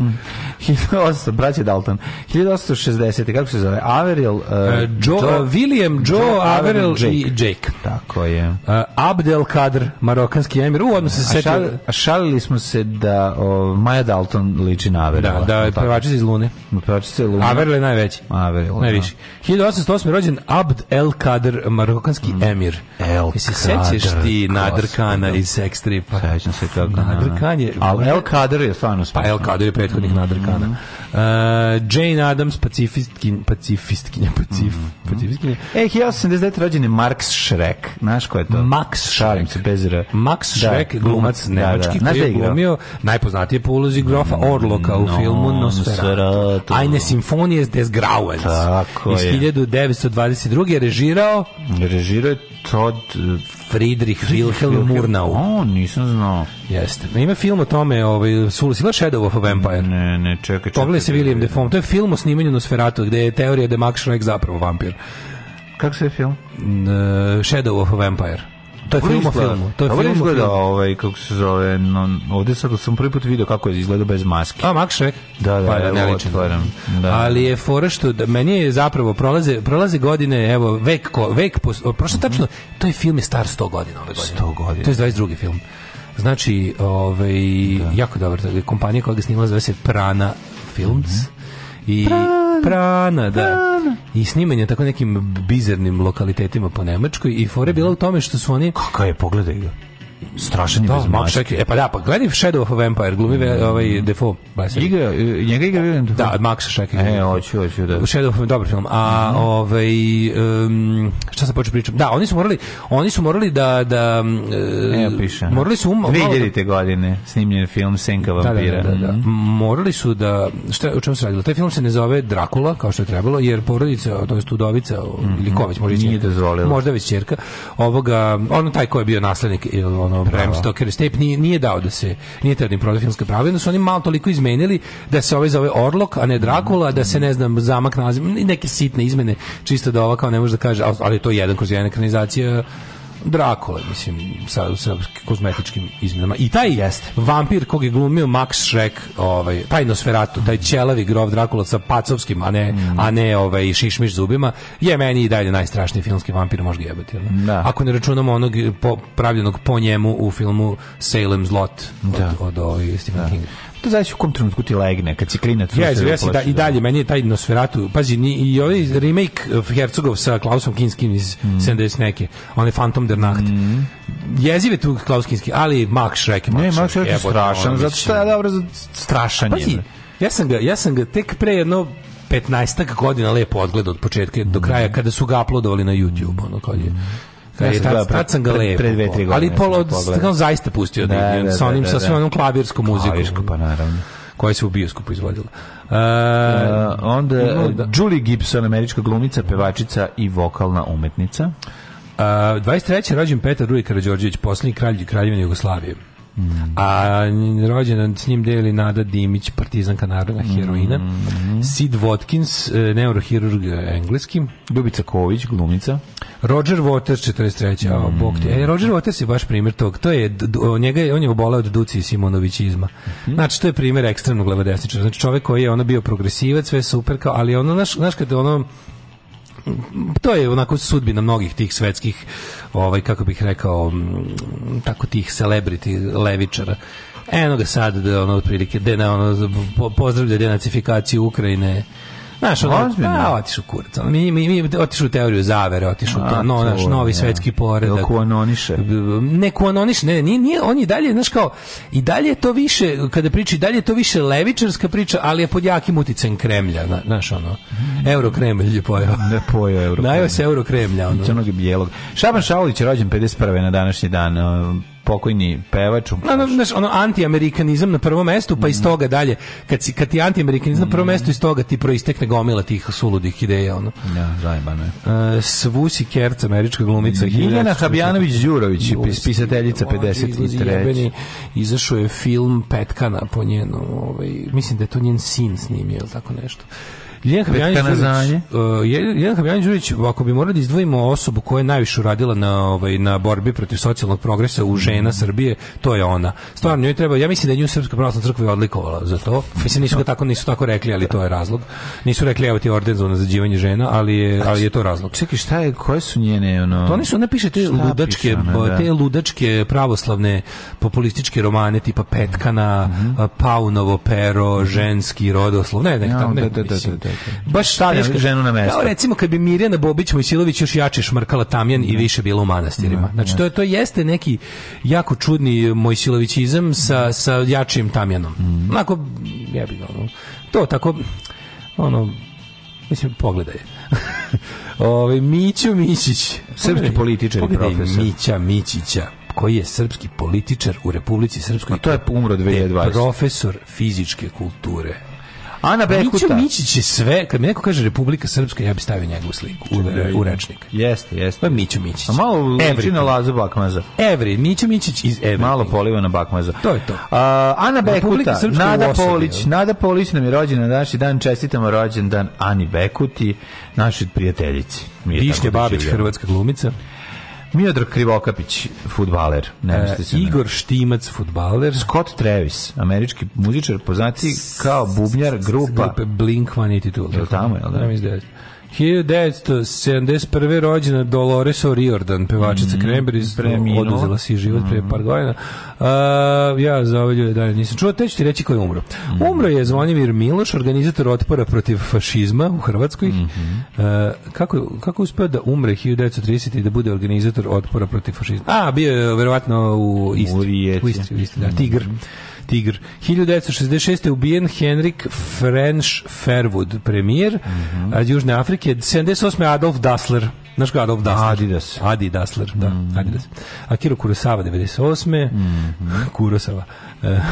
Speaker 5: 1800, braće Dalton. 1860. Kako se zove? Averill... Uh,
Speaker 6: E, Joe, e, William, Joe,
Speaker 5: Joe
Speaker 6: Averill
Speaker 5: Averill
Speaker 6: i Jake.
Speaker 5: Tako je.
Speaker 6: Uh, Abdel Kadr, marokanski emir, u odnosu se
Speaker 5: A, šal,
Speaker 6: setio...
Speaker 5: a šalili smo se da o, Maja Dalton liči na Averilla.
Speaker 6: Da, da,
Speaker 5: je li tako?
Speaker 6: pevačica iz Lune.
Speaker 5: Pevačica je Luna.
Speaker 6: Averil je najveći.
Speaker 5: Averil, da.
Speaker 6: Najviši. 1808. rođen Abd el Kader, marokanski emir.
Speaker 5: Mm. El
Speaker 6: Jesi se sećaš
Speaker 5: Kadr,
Speaker 6: ti Nader
Speaker 5: gospodo.
Speaker 6: Kana iz sex stripa?
Speaker 5: Sećam se kako.
Speaker 6: Nader Khan je...
Speaker 5: Al El Mm. Kader je stvarno
Speaker 6: Pa El Kader je prethodnik Nader Kana. Uh, Jane Adams, pacifistkin, pacifistkinja, pacif, pacifistkinja.
Speaker 5: E, 1879. rođen je Marx Schreck. Znaš ko je to?
Speaker 6: Max
Speaker 5: Šalim se, bez ra-
Speaker 6: Max
Speaker 5: Da,
Speaker 6: Schreck, glumac
Speaker 5: da, da.
Speaker 6: nemački,
Speaker 5: Znaš
Speaker 6: koji
Speaker 5: da
Speaker 6: je
Speaker 5: igrao? Mm,
Speaker 6: glumio najpoznatije po ulozi grofa Orloka u filmu Nosferatu.
Speaker 5: Nosferatu.
Speaker 6: Eine Sinfonie des Grauens.
Speaker 5: Tako
Speaker 6: Iz
Speaker 5: je.
Speaker 6: 1922. režirao
Speaker 5: Režirao je Todd eh,
Speaker 6: Friedrich Wilhelm Murnau.
Speaker 5: O, nisam znao.
Speaker 6: Jeste. Ima film o tome, ovaj, Sulu Sila Shadow of a Vampire.
Speaker 5: Ne, ne, čekaj, čekaj.
Speaker 6: Pa Pogledaj se William Defoe. To je film o snimanju Nosferatu, gde je teorija da je Max Schreck zapravo vampir.
Speaker 5: Kako se je film?
Speaker 6: N- e, Shadow of a Vampire. To je
Speaker 5: Dobro
Speaker 6: film o
Speaker 5: izgleda.
Speaker 6: filmu. To je
Speaker 5: Dobro
Speaker 6: film o
Speaker 5: izgleda,
Speaker 6: filmu.
Speaker 5: ovaj, kako se zove, no, ovde sad sam prvi put video kako je izgleda bez maske.
Speaker 6: A, Max Schreck?
Speaker 5: Da, da,
Speaker 6: Pa,
Speaker 5: evo,
Speaker 6: ne ličim.
Speaker 5: otvaram. Da.
Speaker 6: Ali je fora što da, meni je zapravo prolaze prolaze godine, evo vek ko, vek pos- o, prošlo tačno, to je film je star 100 godina ove godine.
Speaker 5: 100 Mhm. godina.
Speaker 6: To je 22. film. Znači, ovaj jako dobar taj kompanija koja ga snimala zove se Prana Films.
Speaker 5: Mhm.
Speaker 6: I Prana, da. I snimanje tako nekim bizarnim lokalitetima po Nemačkoj i fora je bila u tome što su oni
Speaker 5: Kako je, pogledaj ga. Strašan je
Speaker 6: Da,
Speaker 5: bez
Speaker 6: Max
Speaker 5: maske. Mhm.
Speaker 6: Schreck je- E pa da, pa gledaj Shadow of a Vampire, glumi ve- ovaj Defoe. baš je-
Speaker 5: Igra, e, njega igra William Defoe.
Speaker 6: Da, Max Schreck. je
Speaker 5: E,
Speaker 6: glumi.
Speaker 5: hoću, hoću, da.
Speaker 6: Shadow of dobar film. A ovaj em, šta se počeo pričam? Da, oni su morali, oni su morali da da e,
Speaker 5: Evo piše.
Speaker 6: morali su um, malo da-
Speaker 5: 2000. godine snimljen je film Senka
Speaker 6: da, da,
Speaker 5: vampira.
Speaker 6: da, da, da. Morali su da šta o čemu se radilo? Taj film se ne zove Drakula kao što je trebalo jer porodica, to jest udovica ili ko već može
Speaker 5: Nije
Speaker 6: ćerka.
Speaker 5: dozvolila.
Speaker 6: Možda već ćerka. Ovoga, ono taj ko je bio naslednik ili ono Bram Stoker Step nije, nije dao da se nije teo da im proda filmska prava, onda su oni malo toliko izmenili da se ovaj zove Orlok, a ne Drakula, da se ne znam zamak naziv, neke sitne izmene, čisto da ova kao ne može da kaže, al- ali to je jedan kroz jedan ekranizacija Drakule, mislim, sa, sa kozmetičkim izmenama. I taj Jeste. vampir kog je glumio Max Schreck, ovaj, taj Nosferatu, taj ćelavi grov Drakula sa pacovskim, a ne, a ne ovaj, šišmiš zubima, je meni i dalje najstrašniji filmski vampir, možda jebati. jel ne?
Speaker 5: Da.
Speaker 6: Ako ne računamo onog po, pravljenog po njemu u filmu Salem Zlot od,
Speaker 5: Da.
Speaker 6: od, ovaj, Stephen Kinga.
Speaker 5: To zavisi u kom trenutku ti legne, kad si klinac.
Speaker 6: Ja,
Speaker 5: uopšte
Speaker 6: ja se da,
Speaker 5: uplaši,
Speaker 6: i dalje, meni je taj Nosferatu, pazi, ni, i ovaj remake eh, Hercogov sa Klausom Kinskim iz
Speaker 5: Mm.
Speaker 6: 70 neke, on je Phantom der Nacht. Jeziv je tu Klaus Kinski, ali Max Schreck je
Speaker 5: Ne, Max Schreck je
Speaker 6: jebote,
Speaker 5: strašan,
Speaker 6: ono,
Speaker 5: zato što je
Speaker 6: mislim.
Speaker 5: dobro, zato- strašan
Speaker 6: Pazi,
Speaker 5: je.
Speaker 6: ja sam ga, ja sam ga tek pre jedno 15 godina lepo odgledao od početka
Speaker 5: Mm.
Speaker 6: do kraja kada su ga uploadovali na YouTube, ono kad je kad
Speaker 5: Ja
Speaker 6: je
Speaker 5: sam
Speaker 6: tad,
Speaker 5: gledao pre-
Speaker 6: tad sam ga
Speaker 5: pre-
Speaker 6: lepo.
Speaker 5: pre dve, tri godine
Speaker 6: ali
Speaker 5: sam
Speaker 6: polo
Speaker 5: ga
Speaker 6: od,
Speaker 5: pogledao.
Speaker 6: sam zaista pustio da,
Speaker 5: Da,
Speaker 6: ide,
Speaker 5: da,
Speaker 6: sa onim
Speaker 5: da,
Speaker 6: sa
Speaker 5: da,
Speaker 6: svojom
Speaker 5: da.
Speaker 6: onom klavirskom muzikom.
Speaker 5: Klavirsko, pa naravno.
Speaker 6: Koja se u bioskopu izvodila. E,
Speaker 5: Uh, onda
Speaker 6: imao da-
Speaker 5: Julie Gibson, američka glumica, pevačica i vokalna umetnica.
Speaker 6: A, 23. rođen Petar Ruje Karadžorđević, posljednji kralj Kraljevine Jugoslavije. A rođena s njim deli Nada Dimić, partizanka narodna heroina. Sid Watkins, e, neurohirurg e, engleski.
Speaker 5: Ljubica Ković, glumica.
Speaker 6: Roger Waters 43. Mm. O, bog ti. E, Roger Waters je baš primjer tog. To je, d- d- o, njega, je- on je obolao od Duci Simonovićizma. Znači, to je primjer ekstremnog levodesničara. Znači, čovjek koji je ono bio progresivac, sve super, kao, ali ono, znaš, znaš kad ono, to je onako sudbina mnogih tih svetskih ovaj kako bih rekao m, tako tih celebrity levičara eno ga sad da ono otprilike da na ono po- pozdravlja denacifikaciju Ukrajine Znaš, ono,
Speaker 5: Ozbiljno?
Speaker 6: pa, otišu kurac. Ono, mi, mi, mi, otišu u teoriju zavere, otišu u to, ono,
Speaker 5: A,
Speaker 6: no,
Speaker 5: to,
Speaker 6: naš, novi
Speaker 5: da.
Speaker 6: svetski poredak.
Speaker 5: Jel kuanoniše?
Speaker 6: Ne kuanoniše, ne, nije, nije, on je i dalje, znaš kao, i dalje je to više, kada priča, i dalje je to više levičarska priča, ali je pod jakim uticem Kremlja, na- znaš, ono, Eurokremlj je pojao.
Speaker 5: Ne pojao Euro.
Speaker 6: Najao se euro kremlja. Ono.
Speaker 5: Crnog i bijelog. Šaban Šaulić je rođen 51. na današnji dan. e, Pokojni pevač.
Speaker 6: Ono, znaš, ono antiamerikanizam na prvom mestu, pa iz toga dalje, kad, si, kad ti je antiamerikanizam na prvom mestu, iz toga ti proistekne gomila tih suludih ideja. Ono.
Speaker 5: Ja, zajebano je.
Speaker 6: Uh, Svusi Kerc, američka glumica.
Speaker 5: Miljana
Speaker 6: 1940.
Speaker 5: Habjanović-Đurović,
Speaker 6: Joj,
Speaker 5: pis- pisateljica
Speaker 6: mlađi, izlazi
Speaker 5: 53.
Speaker 6: jebeni. Izašao je film Petkana po njenom, ovaj, mislim da je to njen sin snimio ili tako nešto. Jelena
Speaker 5: Petkana Zanje.
Speaker 6: Habjanić Jelena Habjanić uh, Đurić, ako bi morali da izdvojimo osobu koja je najviše uradila na ovaj na borbi protiv socijalnog progresa u žena Srbije, to je ona. Stvarno njoj treba, ja mislim da je nju Srpska pravoslavna crkva i odlikovala za to. Mislim nisu ga tako nisu tako rekli, ali to je razlog. Nisu rekli evo ti orden za unazađivanje žena, ali je ali je to razlog.
Speaker 5: Čekaj, šta je, koje su njene, ono...
Speaker 6: To oni su, ona piše te
Speaker 5: Šta
Speaker 6: ludačke, pa,
Speaker 5: piše ona, da?
Speaker 6: te ludačke pravoslavne populističke romane tipa Petkana,
Speaker 5: Mhm.
Speaker 6: a, Paunovo pero, ženski rodoslov, ne, ne,
Speaker 5: Ja,
Speaker 6: tamo, ne,
Speaker 5: da, da, da,
Speaker 6: mislim.
Speaker 5: da, da.
Speaker 6: Baš stavlja
Speaker 5: Teško, ženu na mesto.
Speaker 6: Kao recimo kad bi Mirjana Bobić Mojsilović još jače šmrkala tamjan
Speaker 5: Mhm.
Speaker 6: i više bila u manastirima. Znači to je to jeste neki jako čudni Mojsilovićizam sa sa jačim tamjanom.
Speaker 5: Mhm.
Speaker 6: Onako jebi ga, ono. To tako ono mislim pogledaj. Ove, Mićo Mićić.
Speaker 5: Srpski političar i
Speaker 6: Pogledaj
Speaker 5: profesor.
Speaker 6: Mića Mićića, koji je srpski političar u Republici Srpskoj.
Speaker 5: A to je umro
Speaker 6: Te
Speaker 5: 2020.
Speaker 6: Profesor fizičke kulture.
Speaker 5: Ana
Speaker 6: Mićo
Speaker 5: Bekuta.
Speaker 6: Mićić je sve, kad mi neko kaže Republika Srpska, ja bi stavio njegovu sliku u, u rečnik.
Speaker 5: Jeste,
Speaker 6: To
Speaker 5: jeste.
Speaker 6: je Mićo Mićić.
Speaker 5: A malo liči
Speaker 6: Everything.
Speaker 5: na Lazu Bakmaza.
Speaker 6: Evri, Mićo Mićić iz Evri.
Speaker 5: Malo poliva na Bakmaza.
Speaker 6: To je to.
Speaker 5: A, Ana
Speaker 6: Republika
Speaker 5: Bekuta,
Speaker 6: Srpska u
Speaker 5: Nada
Speaker 6: osobi,
Speaker 5: Polić.
Speaker 6: jel?
Speaker 5: Nada Polić nam je rođena na današnji dan. Čestitamo rođen dan Ani Bekuti, našoj prijateljici. Mi je
Speaker 6: Višnja
Speaker 5: tako
Speaker 6: Babić,
Speaker 5: doživljavamo.
Speaker 6: hrvatska glumica.
Speaker 5: Miodrag Krivokapić, futbaler. Ne
Speaker 6: E,
Speaker 5: mislite se na-
Speaker 6: Igor Štimac, futbaler.
Speaker 5: Scott Travis, američki muzičar, poznati kao bubnjar grupa.
Speaker 6: Grupe Blink-182.
Speaker 5: Jel tamo, jel da?
Speaker 6: Ja mislim da je. 1971. rođena Dolores O'Riordan, pevačica mm, Cranberries,
Speaker 5: preminula.
Speaker 6: oduzela si život prije
Speaker 5: Mm.
Speaker 6: par godina. Uh, ja za ove ljude dalje nisam čuo, te ću ti reći ko je umro.
Speaker 5: Mm.
Speaker 6: Umro je Zvonimir Miloš, organizator otpora protiv fašizma u Hrvatskoj.
Speaker 5: Mhm.
Speaker 6: Uh, kako, je- kako je uspeo da umre 1930 i da bude organizator otpora protiv fašizma? A, bio je verovatno u Istri.
Speaker 5: U Rijeci.
Speaker 6: Istri, u Istri, da, Tigr. Tigr. 1966. je ubijen Henrik French Fairwood, premijer od Južne Afrike. 78. je Adolf Dassler. Znaš ko je Adolf Dassler?
Speaker 5: Adidas.
Speaker 6: Adi Dassler, da. Adidas. Akiro Kurosawa, 98. Kurosawa. E,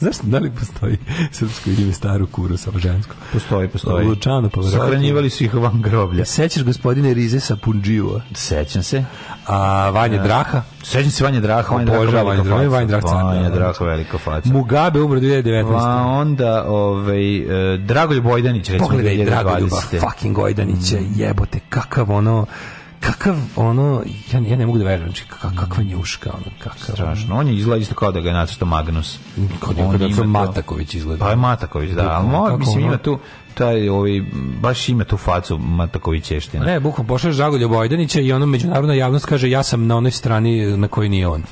Speaker 6: Znaš, da li postoji srpsko ime staro Kurosawa žensko?
Speaker 5: Postoji, postoji.
Speaker 6: Lučano, pa verovatno.
Speaker 5: Sahranjivali su ih van groblja.
Speaker 6: Sećaš gospodine Rize Sapunđiva,
Speaker 5: Sećam se.
Speaker 6: a Vanje Draha,
Speaker 5: Sećam se Vanje Draha, Vanje Draha
Speaker 6: Obožavam
Speaker 5: velika
Speaker 6: Vanje Draha,
Speaker 5: faca.
Speaker 6: Vanje Draha car,
Speaker 5: Vanje
Speaker 6: da,
Speaker 5: Draha velika faca.
Speaker 6: Mugabe umro 2019.
Speaker 5: Pa onda ovaj e, Dragoljub Bojdanić recimo
Speaker 6: Pogledaj Mm. Dragoljuba
Speaker 5: 2020.
Speaker 6: fucking Gojdanića, jebote, kakav ono kakav ono ja, ja ne mogu da verujem znači kak, kakva njuška ono kakav
Speaker 5: Strašno. On je izgleda isto kao da ga je nacrtao Magnus.
Speaker 6: Kao
Speaker 5: On
Speaker 6: da- kao da
Speaker 5: ima
Speaker 6: to
Speaker 5: to-
Speaker 6: Mataković izgleda.
Speaker 5: Pa je Mataković, da. Ali
Speaker 6: Kako
Speaker 5: mora, mislim,
Speaker 6: ono?
Speaker 5: ima tu, taj, ovaj, baš ima tu facu Matakovićeština.
Speaker 6: Pa, Ne, bukvalno pošalješ Dragolja Bojdanića i ono međunarodna javnost kaže ja sam na onoj strani na kojoj nije on.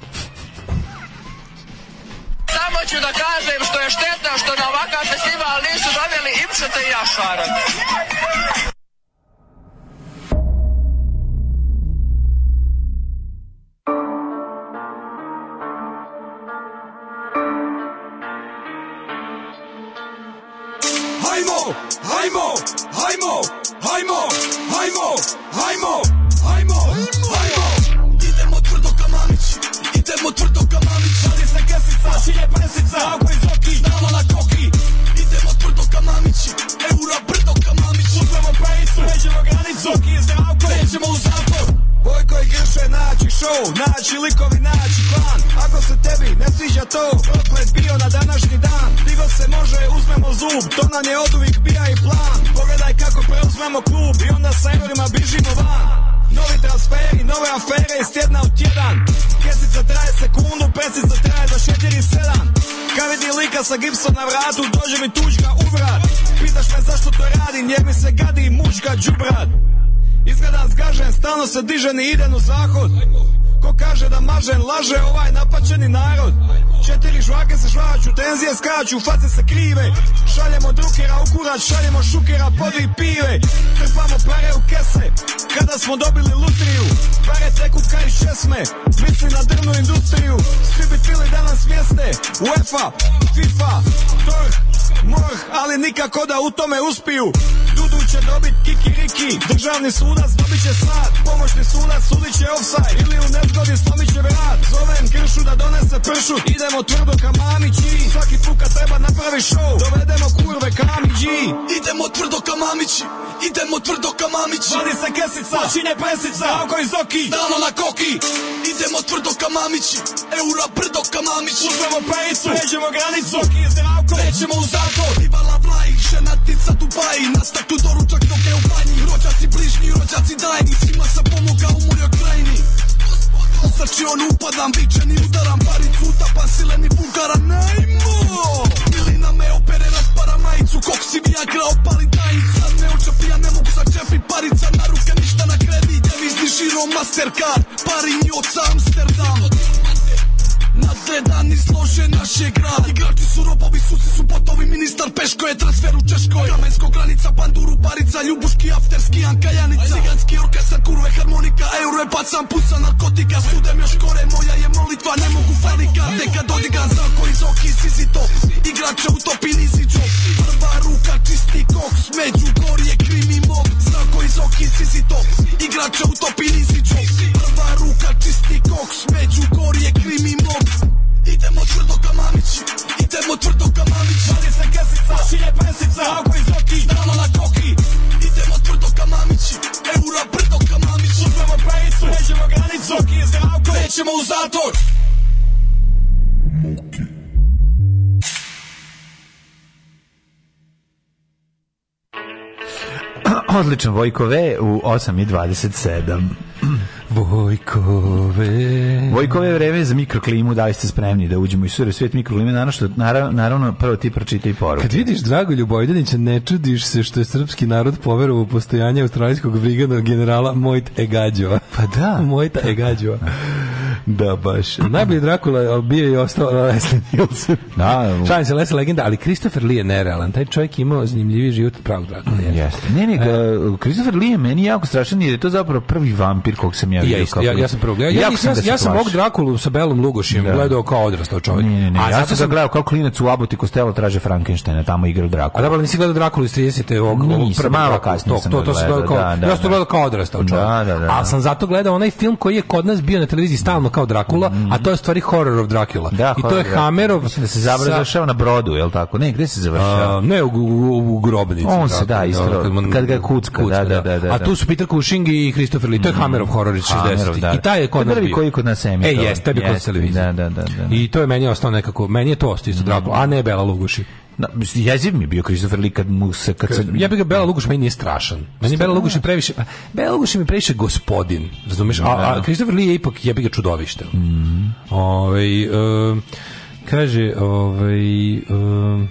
Speaker 11: Samo ću da kažem što je štetno što na ovakav festival nisu doveli Ipšeta i Jašara.
Speaker 9: Hajmo, hajmo, hajmo, hajmo, hajmo, hajmo, hajmo, hajmo. Idemo tvrdo ka mamići, idemo tvrdo ka mamići. Šalje se kesica, šilje presica, ako iz oki, znamo na koki. Idemo tvrdo ka mamići, eura brdo ka mamići. Uzmemo pejicu, nećemo granicu, oki je zdravko, nećemo u zatvor. Boj koji grše naći show, Naći likovi, naći plan Ako se tebi ne sviđa to Proklet bio na današnji dan Digo se može, uzmemo zub To nam je oduvijek bija i plan Pogledaj kako preuzmemo klub I onda sa eurima bižimo van Novi transferi, nove afere iz tjedna u tjedan Kesica traje sekundu, pesica traje za 4-7 Kad vidi lika sa gipsom na vratu Dođe mi tučka u vrat Pitaš me zašto to radim Jer mi se gadi i mučka džubrat Izgledan zgažen, stalno se diže ni iden u zahod Ko kaže da mažen, laže ovaj napačeni narod Četiri žvake se žvaću, tenzije skaču, face se krive Šaljemo drukera u kurac, šaljemo šukera, podvi pive Trpamo pare u kese, kada smo dobili lutriju Pare teku kaj iz česme, misli na drvnu industriju Svi bi tili danas mjeste, UEFA, FIFA, DORH, MORH Ali nikako da u tome uspiju Dudu će dobit kikiriki Državni sudac dobit će sad Pomoćni sudac sudit će offside Ili u nezgodi slomit će vrat Zovem Kršu da donese pršut Idemo tvrdo ka mami G. Svaki put kad treba napravi show Dovedemo kurve ka mami G. Idemo tvrdo ka mamići Idemo tvrdo ka mamići Vadi se kesica Počinje presica Oko iz oki Stalno na koki Idemo tvrdo ka mamići Eura brdo ka mamići Uzmemo pejicu Pređemo granicu Oki iz Zdravko Krećemo u zakon Ivala vlaj Šenatica Dubaji Na staklu doručak dok je u banji Rođaci bližnji, rođaci dajni Svima sam pomogao u mojoj krajini Srči on upadam, vičeni udaram Paricu utapam, sileni vulgaran Najmo! Milina me opere, raspara majicu Kok si mi jagra, opali tajnica Ne očepi, ja ne mogu začepi Parica na ruke, ništa na kredit Devizni žiro, mastercard Parinj oca Amsterdam Nadgledan i složen naš je grad Igrači su robovi, suci su botovi Ministar Peško je transfer u Češkoj Kamensko granica, banduru, parica Ljubuški, afterski, Anka Janica Ciganski orkestar, kurve, harmonika Euro je pacan, pusa, narkotika Sudem još gore, moja je molitva Ne mogu falika, teka dodigan Zrako iz oki, sizito Igrače u topi, niziđo Prva ruka, čisti koks Među gor je krim i mob Zrako iz oki, sizito Igrače u topi, niziđo Prva ruka, čisti koks Među gor je krim i mob Idemo tvrdo ka mamići, idemo tvrdo ka mamići Vadi se kesica, šilje pesica, ako iz oki, stalno na koki Idemo tvrdo ka mamići, eura brdo ka mamići Uzmemo pejicu, pređemo granicu, oki iz zdravko, krećemo u zatvor
Speaker 5: Odličan Vojkove u 8.27.
Speaker 6: Vojkove.
Speaker 5: Vojkove je vreme za mikroklimu, da li ste spremni da uđemo u sure svijet mikroklime, naravno, što, naravno, naravno prvo ti pročitaj poruku.
Speaker 6: Kad vidiš Drago Ljubojdanića, ne čudiš se što je srpski narod poverovao u postojanje australijskog brigadnog generala Mojt Egađova.
Speaker 5: Pa da.
Speaker 6: Mojta Egađova. Da, baš. Najbolji Drakula ali bio je i ostao Leslie Nielsen.
Speaker 5: Da,
Speaker 6: Šalim se, Leslie legenda, ali Christopher Lee je nerealan. Taj čovjek je imao zanimljiviji život od pravog Drakula. jeste.
Speaker 5: Jeste. Ne, ne, ga- Christopher Lee je meni jako strašan jer je to zapravo prvi vampir kog sam ja
Speaker 6: I Ja,
Speaker 5: vidio.
Speaker 6: isto, ja, ja sam prvo gledao. Ja, ja, ja,
Speaker 5: ga se
Speaker 6: ja sam ovog
Speaker 5: plašio.
Speaker 6: Drakulu sa Belom Lugošem
Speaker 5: Da.
Speaker 6: gledao kao odrastao čovjek.
Speaker 5: Ne, ne, ne.
Speaker 6: A
Speaker 5: ja
Speaker 6: zato
Speaker 5: sam ga gledao kao klinac u Aboti Costello traže Frankensteina, tamo igra Drakula.
Speaker 6: A dobro, ali nisi gledao Drakulu iz 30. ovog,
Speaker 5: Nisam,
Speaker 6: ovog prvog
Speaker 5: malo
Speaker 6: Drakulu,
Speaker 5: kasnije
Speaker 6: to-
Speaker 5: sam
Speaker 6: to,
Speaker 5: ga
Speaker 6: to sam gledao
Speaker 5: gledao,
Speaker 6: kao,
Speaker 5: da, da,
Speaker 6: ja sam to
Speaker 5: da.
Speaker 6: gledao kao odrastao čovjek.
Speaker 5: Da, da, da, da.
Speaker 6: Ali sam zato gledao onaj film koji je kod nas bio na televiziji stalno kao Drakula, a to je u stvari Horror of Dracula.
Speaker 5: Mhm. Da,
Speaker 6: I to
Speaker 5: horor,
Speaker 6: je
Speaker 5: da.
Speaker 6: Hammerov...
Speaker 5: Mislim da se završava na brodu, je l' tako? Ne, gde se završava?
Speaker 6: A, ne u, u, u grobnici.
Speaker 5: On se, da,
Speaker 6: Drakula,
Speaker 5: isto,
Speaker 6: ono, mu-
Speaker 5: kad ga kucka, da, da, da, da,
Speaker 6: A tu su Peter Cushing i Christopher Lee. To je Hammerov horror iz 60.
Speaker 5: da.
Speaker 6: I taj je kod
Speaker 5: To je
Speaker 6: nas
Speaker 5: prvi
Speaker 6: bio.
Speaker 5: koji kod nas emitovan.
Speaker 6: E, jeste, taj je kod nas
Speaker 5: Jeste,
Speaker 6: televiziji.
Speaker 5: da, Mm-hmm. da, da, da.
Speaker 6: I to je meni ostao nekako, meni je to ostao isto Drakula, a ne Bela Lugoši.
Speaker 5: Da, mislim, jeziv mi je bio Christopher Lee kad mu se... Kad se
Speaker 6: Ja bih ga Bela Lugoš meni nije strašan. Meni je Bela Lugoš i previše pa, Bela Lugoš mi je previše gospodin, razumeš? A, a Christopher Lee je ipak jebi ga čudovište.
Speaker 5: Mhm.
Speaker 6: Ovaj em, kaže, ovaj em,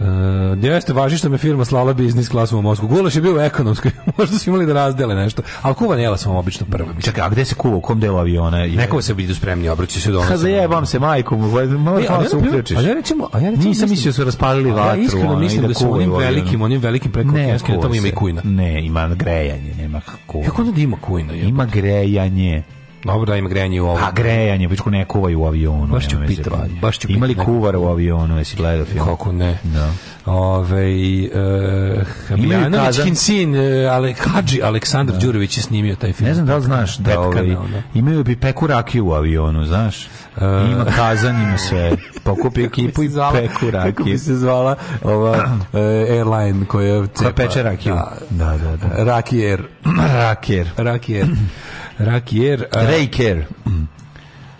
Speaker 6: Uh, jeste, važi što me firma slala biznis klasom u Moskvu. Gulaš je bio u ekonomskoj, možda su imali da razdele nešto. Ali kuvan jela sam vam obično prvo.
Speaker 5: Čekaj, a gde se kuva, u kom delu aviona? je?
Speaker 6: Neko se vidu spremni, obraći se do
Speaker 5: Kad zajebam se majkom, malo
Speaker 6: E, ali
Speaker 5: malo
Speaker 6: ja
Speaker 5: se
Speaker 6: na primer-
Speaker 5: uključiš.
Speaker 6: A ja recimo, a ja recimo
Speaker 5: Nisam mislio da su raspalili
Speaker 6: a
Speaker 5: vatru,
Speaker 6: Ja iskreno
Speaker 5: ono, i
Speaker 6: mislim
Speaker 5: da
Speaker 6: da su
Speaker 5: kuvaju
Speaker 6: onim
Speaker 5: ovdje,
Speaker 6: velikim,
Speaker 5: ono.
Speaker 6: onim velikim preko
Speaker 5: Ne,
Speaker 6: okeanskim, da tamo
Speaker 5: kuva
Speaker 6: ima i
Speaker 5: se.
Speaker 6: kujna.
Speaker 5: Ne, ima grejanje, nema kuva.
Speaker 6: Kako E, onda da ima kujna? jebote?
Speaker 5: Ima grejanje.
Speaker 6: Dobro da ima grejanje i u ovo.
Speaker 5: A grejanje, već ko ne kuvaju u avionu.
Speaker 6: Baš ću
Speaker 5: nema veze.
Speaker 6: pitati, baš ću
Speaker 5: Ima li
Speaker 6: pitati.
Speaker 5: kuvara u avionu, jesi gledao film?
Speaker 6: Kako ne? Ovaj,
Speaker 5: Da.
Speaker 6: Ove, e, Habijanović,
Speaker 5: kazan-
Speaker 6: Kinsin, e, ale, Hadži Aleksandar Đurović je snimio taj film.
Speaker 5: Ne znam da li znaš da
Speaker 6: Tetkana,
Speaker 5: ovaj,
Speaker 6: ono. E.
Speaker 5: imaju bi peku rakiju u avionu, znaš? Ima kazan, ima sve. pokupi ekipu i peku
Speaker 6: Kako bi
Speaker 5: rakiju.
Speaker 6: se zvala ova e, airline koja cepa.
Speaker 5: Koja peče rakiju.
Speaker 6: Da,
Speaker 5: Da, da, da.
Speaker 6: Rakijer.
Speaker 5: Raker.
Speaker 6: Rakijer. Rakijer. a-
Speaker 5: Raker.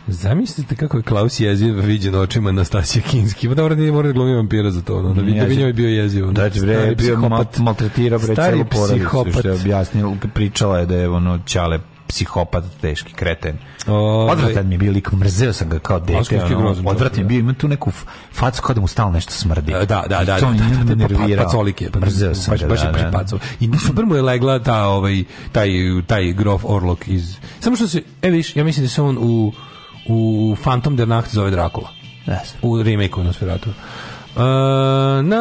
Speaker 6: Zamislite kako je Klaus jeziv viđen očima Nastasija Kinski. Ma dobro, nije mora da glumi vampira za to. Ono. Da bi, da bi njoj bio jeziv. Ono.
Speaker 5: Da je bre
Speaker 6: Stari
Speaker 5: je bio mal,
Speaker 6: psihopat.
Speaker 5: maltretirao bre
Speaker 6: Stari
Speaker 5: celu porodicu
Speaker 6: psihopat.
Speaker 5: što je objasnila, pričala je da je ono ćale psihopat, teški kreten.
Speaker 6: Ovaj.
Speaker 5: Odvratan mi je bio lik, mrzeo sam ga kao
Speaker 6: Oskar
Speaker 5: dete,
Speaker 6: je
Speaker 5: ono,
Speaker 6: grozan,
Speaker 5: odvratan mi je
Speaker 6: da.
Speaker 5: bio, ima tu neku f- facu kao da mu stalno nešto smrdi.
Speaker 6: E, Da, da, da.
Speaker 5: To mi
Speaker 6: da,
Speaker 5: je
Speaker 6: da, da, pa-
Speaker 5: nervirao.
Speaker 6: Pacolike. pa-
Speaker 5: Mrzeo sam
Speaker 6: baš,
Speaker 5: ga,
Speaker 6: baš je
Speaker 5: da, da.
Speaker 6: pripacao. I super mu je legla ta, ovaj, taj, taj grof Orlok iz... Samo što se, e vidiš, ja mislim da se on u, u Phantom der Nacht zove Dracula.
Speaker 5: Yes.
Speaker 6: U remake-u Nosferatu. Uh, na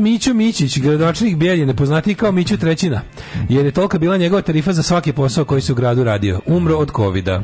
Speaker 6: Miću Mićić, gradonačelnik Bijeljine, poznatiji kao Miću Trećina, jer je tolika bila njegova tarifa za svaki posao koji se u gradu radio. Umro od covida.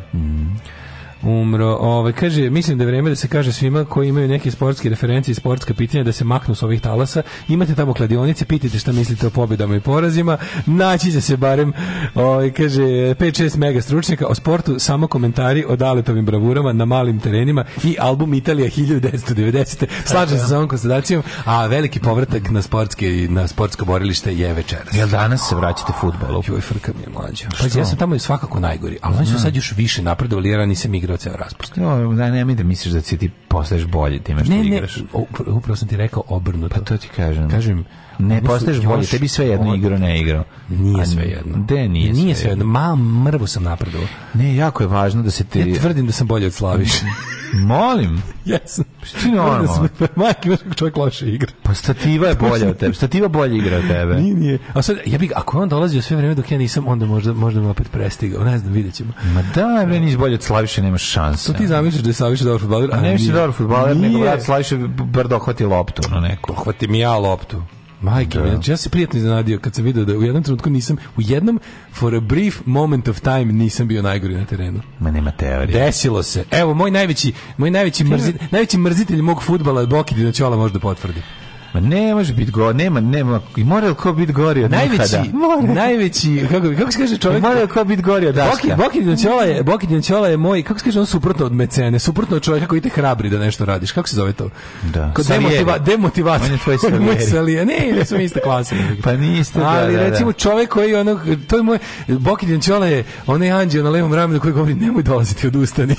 Speaker 6: Umro, ovaj, kaže, mislim da je vreme da se kaže svima koji imaju neke sportske referencije i sportska pitanja da se maknu s ovih talasa. Imate tamo kladionice, pitajte šta mislite o pobedama i porazima. Naći će se barem, ovaj, kaže, 5-6 mega stručnjaka o sportu, samo komentari o daletovim bravurama na malim terenima i album Italija 1990. Slažem se sa ovom konstatacijom, a veliki povratak na, sportske, i na sportsko borilište je večeras.
Speaker 5: Jel danas se vraćate futbolu?
Speaker 6: Joj, frka mi je mlađa. Pa ja sam tamo i svakako najgori, ali oni su sad još više napredovali jer ja nisam igrao ceo raspust.
Speaker 5: Jo, da, nemoj da misliš da si ti postaješ bolji time što
Speaker 6: Ne, ne,
Speaker 5: igraš.
Speaker 6: upra- upravo sam ti rekao obrnuto.
Speaker 5: Pa to ti kažem.
Speaker 6: Kažem, oni
Speaker 5: Ne
Speaker 6: su
Speaker 5: postaješ bolji,
Speaker 6: još-
Speaker 5: tebi sve jedno
Speaker 6: on-
Speaker 5: igro ne igrao.
Speaker 6: Nije
Speaker 5: A,
Speaker 6: sve jedno.
Speaker 5: De, nije,
Speaker 6: nije sve jedno. Ma, mrvo sam napredovao.
Speaker 5: Ne, jako je važno da se ti...
Speaker 6: Ja tvrdim da sam bolji od Slaviša.
Speaker 5: Molim,
Speaker 6: Jesam.
Speaker 5: Pa ti normalno?
Speaker 6: Tvrdim da sam- Majke, imaš kako čovjek loše igra.
Speaker 5: pa stativa je bolja od tebe. Stativa bolje igra od tebe.
Speaker 6: Nije, nije. A sad, ja bih, ako je on dolazio sve vreme dok ja nisam, onda možda, možda me opet prestigao. Ne znam, vidjet ćemo.
Speaker 5: Ma da, bre, nisi bolje od Slaviše, nemaš šanse.
Speaker 6: To ti zamisliš da je Slaviša dobar futbaler?
Speaker 5: A Pa ne misliš dobar futbaler, nego brat Slaviše brdo hvati loptu ono na neku.
Speaker 6: pohvati mi ja loptu. Majke, mi, znači ja se prijatno iznenadio kad sam video da u jednom trenutku nisam, u jednom, for a brief moment of time, nisam bio najgori na terenu.
Speaker 5: Ma nema teorije.
Speaker 6: Desilo se. Evo, moj najveći, moj najveći, mrzi, najveći mrzitelj mog futbala je Bokidina Ćola može da potvrdi.
Speaker 5: Ma ne može biti go, nema, nema. I mora li ko biti gori od
Speaker 6: Najveći,
Speaker 5: nekada?
Speaker 6: najveći, kako, bi- kako se kaže čovjek?
Speaker 5: Mora li ko biti gori od
Speaker 6: Boki,
Speaker 5: Daška?
Speaker 6: Bokidina Ćola je, Bokidina Ćola je moj, kako se kaže on suprotno od mecene, suprotno od čovjeka koji te hrabri da nešto radiš. Kako se zove to?
Speaker 5: Da.
Speaker 6: Kod
Speaker 5: Salieri.
Speaker 6: demotiva, demotivator.
Speaker 5: On je tvoj
Speaker 6: Moj
Speaker 5: Salieri.
Speaker 6: Salieri. Ne, ne smo iste klase.
Speaker 5: Pa niste, da,
Speaker 6: Ali
Speaker 5: da, da.
Speaker 6: recimo čovjek koji je ono, to je moj, Bokidin Čola je onaj anđeo na levom ramenu koji govori nemoj dolaziti,
Speaker 5: E,
Speaker 6: odustani.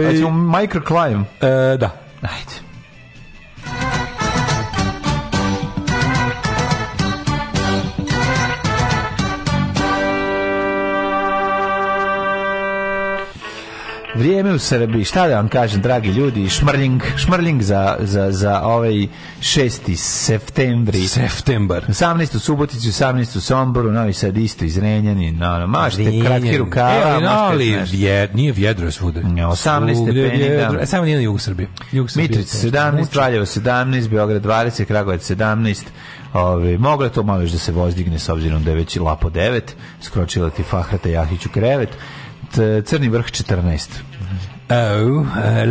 Speaker 5: Znači, microclimb.
Speaker 6: E, da.
Speaker 5: Ajde. Vrijeme u Srbiji, šta da vam kažem, dragi ljudi, šmrljing, šmrljing za, za, za ovaj 6. septembri.
Speaker 6: Septembar.
Speaker 5: 18. u Subotici, 18. u Somboru, Novi Sad isto iz Renjanin, no, no, mašte kratki rukava,
Speaker 6: E, ali,
Speaker 5: mašte,
Speaker 6: ali
Speaker 5: znaš.
Speaker 6: vjed, nije vjedro svuda.
Speaker 5: 18
Speaker 6: Svugdje
Speaker 5: stepeni,
Speaker 6: vjedro.
Speaker 5: da.
Speaker 6: E, Samo nije na jugu Srbije. Jug Srbije
Speaker 5: Mitrovica
Speaker 6: je teško.
Speaker 5: 17, Kraljevo 17, Beograd 20, Kragovac 17. Ove, moglo je to malo još da se vozdigne s obzirom da je već i Lapo 9, skročila ti Fahrata Jahić u krevet, T- Crni vrh 14.
Speaker 6: Oh, uh,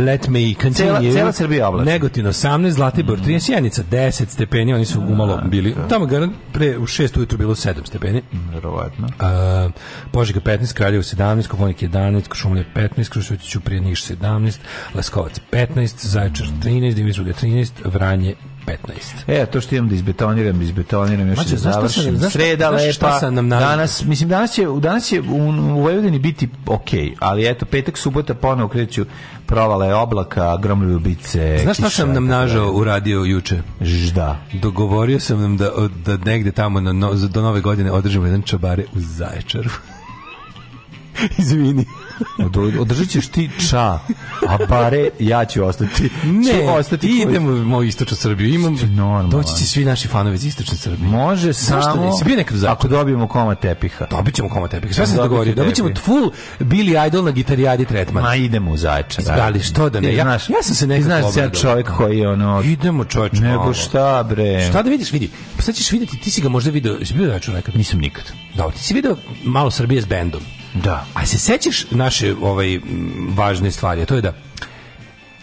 Speaker 6: let me continue.
Speaker 5: Cela- cela Srbija je Mm. oblačno.
Speaker 6: Negotin 18, Zlatibor 13, Sjenica 10 stepeni, oni su umalo bili. Tamo ga pre u 6 ujutru bilo 7 stepeni.
Speaker 5: Mm. Verovatno.
Speaker 6: Uh, Požega 15, Kraljevo 17, Koponik 11, Košumlje 15, Krušović ću prije Niš 17, Leskovac 15, Zaječar 13, Divizruga 13, Vranje 15.
Speaker 5: E, to što imam da izbetoniram, da izbetoniram, još
Speaker 6: Mađo,
Speaker 5: da
Speaker 6: znaš šta sam-
Speaker 5: završim.
Speaker 6: znaš šta-
Speaker 5: Sreda
Speaker 6: znaš šta
Speaker 5: lepa,
Speaker 6: sam nam navikao?
Speaker 5: danas, mislim, danas će, danas će u, u Vojvodini biti ok, ali eto, petak, subota, ponovo kreću provale oblaka, gromljubice,
Speaker 6: Znaš šta sam nam nažao uradio juče?
Speaker 5: Žda.
Speaker 6: Dogovorio sam nam da, da negde tamo na, no, do nove godine održimo jedan čabare u Zaječaru. Izvini.
Speaker 5: Od- Održat ćeš ti ča, a bare ja ću ostati. ću ostati kući.
Speaker 6: idemo u istočnu Srbiju. Imam,
Speaker 5: Što je normalno.
Speaker 6: doći će svi naši fanovi iz istočne Srbije.
Speaker 5: Može
Speaker 6: Zašto
Speaker 5: samo
Speaker 6: ne? Si bio nekad u Zaječaru?
Speaker 5: ako dobijemo koma tepiha.
Speaker 6: Dobit ćemo koma tepih. Sve sam se
Speaker 5: Dobit će
Speaker 6: dogovorio. Dobit ćemo
Speaker 5: tepih.
Speaker 6: full Billy Idol na gitarijadi tretman.
Speaker 5: Ma idemo u Zaječar.
Speaker 6: Da, ali što da ne?
Speaker 5: Ti
Speaker 6: Ja-
Speaker 5: znaš,
Speaker 6: ja sam se nekako
Speaker 5: ti Znaš se ja
Speaker 6: obradovao.
Speaker 5: čovjek koji je ono...
Speaker 6: Idemo čoveče.
Speaker 5: Nego
Speaker 6: malo.
Speaker 5: šta bre?
Speaker 6: Šta da vidiš, vidi. Pa sad ćeš vidjeti, ti si ga možda video, jesi bio da nekad?
Speaker 5: Nisam nikad.
Speaker 6: Dobro, ti si video malo Srbije s bendom.
Speaker 5: Da.
Speaker 6: A se sećaš naše ovaj m, važne stvari, a to je da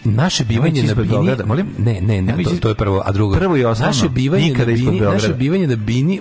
Speaker 6: naše bivanje na
Speaker 5: ispred
Speaker 6: bini,
Speaker 5: Beograda, molim?
Speaker 6: ne, ne, ne,
Speaker 5: Nemoj
Speaker 6: to,
Speaker 5: ići-
Speaker 6: to je prvo, a drugo.
Speaker 5: Prvo i osnovno,
Speaker 6: naše bivanje
Speaker 5: nikada
Speaker 6: na
Speaker 5: ispred
Speaker 6: bini,
Speaker 5: Beograda.
Speaker 6: naše bivanje na bini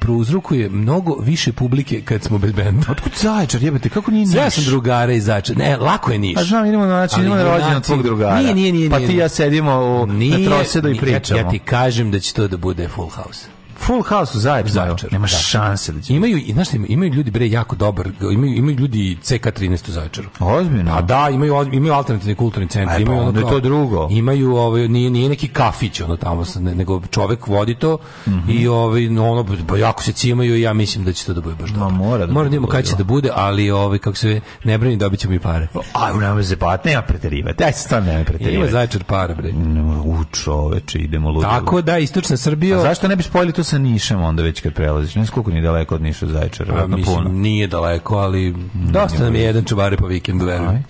Speaker 6: prouzrokuje mnogo više publike kad smo bez benda.
Speaker 5: Otkud Zaječar, jebete, kako nije
Speaker 6: Ja
Speaker 5: Niš?
Speaker 6: sam drugare iz Zača. Ne, lako je Niš.
Speaker 5: A znam, idemo na način,
Speaker 6: Ali
Speaker 5: idemo na rođendan
Speaker 6: junaci-
Speaker 5: tvog drugara.
Speaker 6: Nije, nije, nije.
Speaker 5: Pa
Speaker 6: nije,
Speaker 5: ti i
Speaker 6: nije.
Speaker 5: ja sedimo u, na
Speaker 6: Nije,
Speaker 5: trosedu i
Speaker 6: nije,
Speaker 5: pričamo.
Speaker 6: Ja, ja ti kažem da će to da bude full house.
Speaker 5: Full house u Zaječaru.
Speaker 6: Zaječaru,
Speaker 5: Nema
Speaker 6: da.
Speaker 5: šanse da će.
Speaker 6: Imaju, i, znaš šta, ima- imaju ljudi bre jako dobar, imaju, imaju ljudi CK13 u Zaječaru.
Speaker 5: Ozbiljno.
Speaker 6: A Pa da, imaju oz- imaju alternativni kulturni centar,
Speaker 5: E, pa
Speaker 6: imaju ono
Speaker 5: onda je
Speaker 6: kao-
Speaker 5: to drugo.
Speaker 6: Imaju ovaj nije nije neki kafić ono tamo sa- ne- nego čovek vodi to
Speaker 5: Mhm.
Speaker 6: i ovaj no, ono pa jako se cimaju i ja mislim da će to da bude baš dobro.
Speaker 5: mora da
Speaker 6: Mora
Speaker 5: bude
Speaker 6: vidimo kad će
Speaker 5: dobro.
Speaker 6: da bude, ali ovaj kako se ne brini dobićemo i pare.
Speaker 5: Aj, nema se pa, nema preterivati. Aj, stvarno nema
Speaker 6: Ima
Speaker 5: preterivati.
Speaker 6: Zaječar para bre.
Speaker 5: Nema, U čoveče, idemo ludo.
Speaker 6: Tako da istočna Srbija
Speaker 5: A zašto ne bi spojili to sa Nišem onda već kad prelaziš? Ne znam koliko nije daleko od Niša Zaječara,
Speaker 6: Pa,
Speaker 5: vjerojatno puno.
Speaker 6: mislim, nije daleko, ali dosta nam je jedan čubare po vikendu, verujem.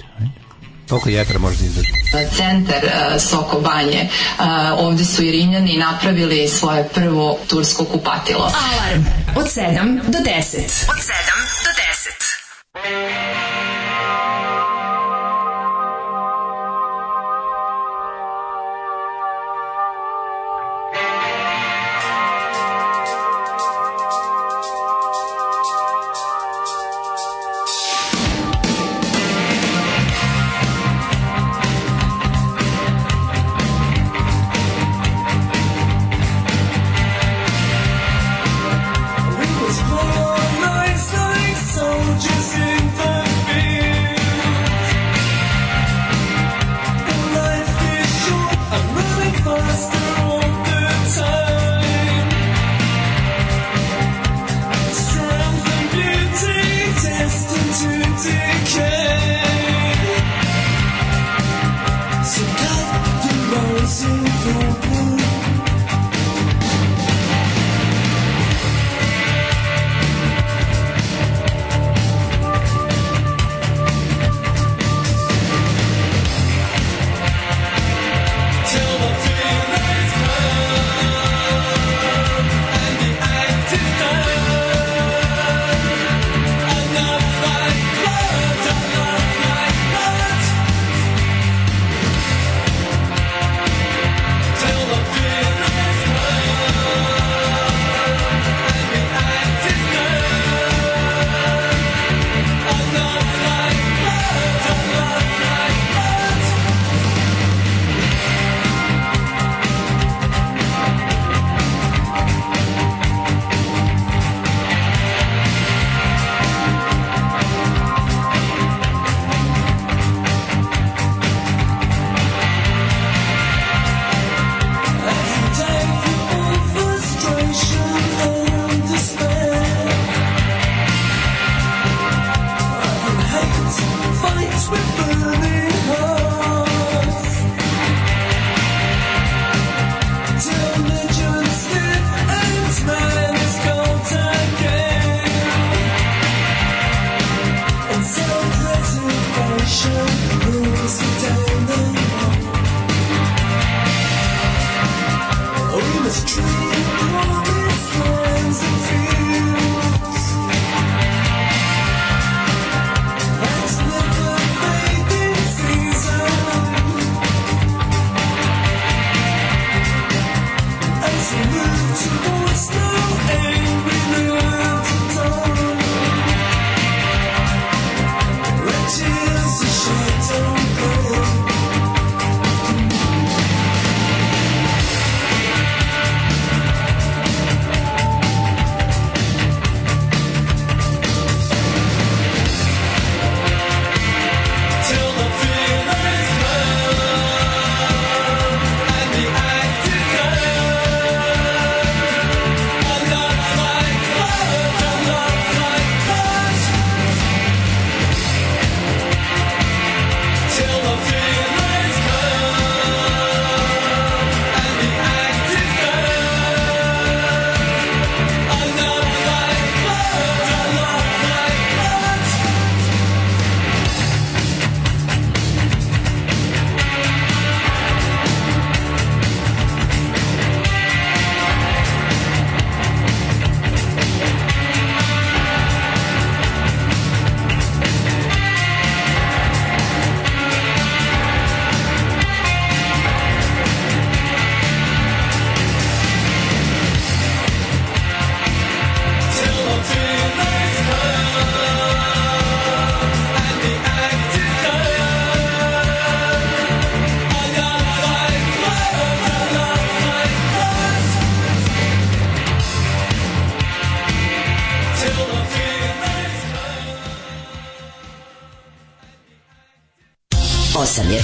Speaker 6: Toliko jetra može da izdrži.
Speaker 12: centar e, Soko Banje. E, Ovde su i Rimljani napravili svoje prvo tursko kupatilo.
Speaker 2: Alarm od 7 do 10. Od 7 do 10.
Speaker 7: We was poor on nights like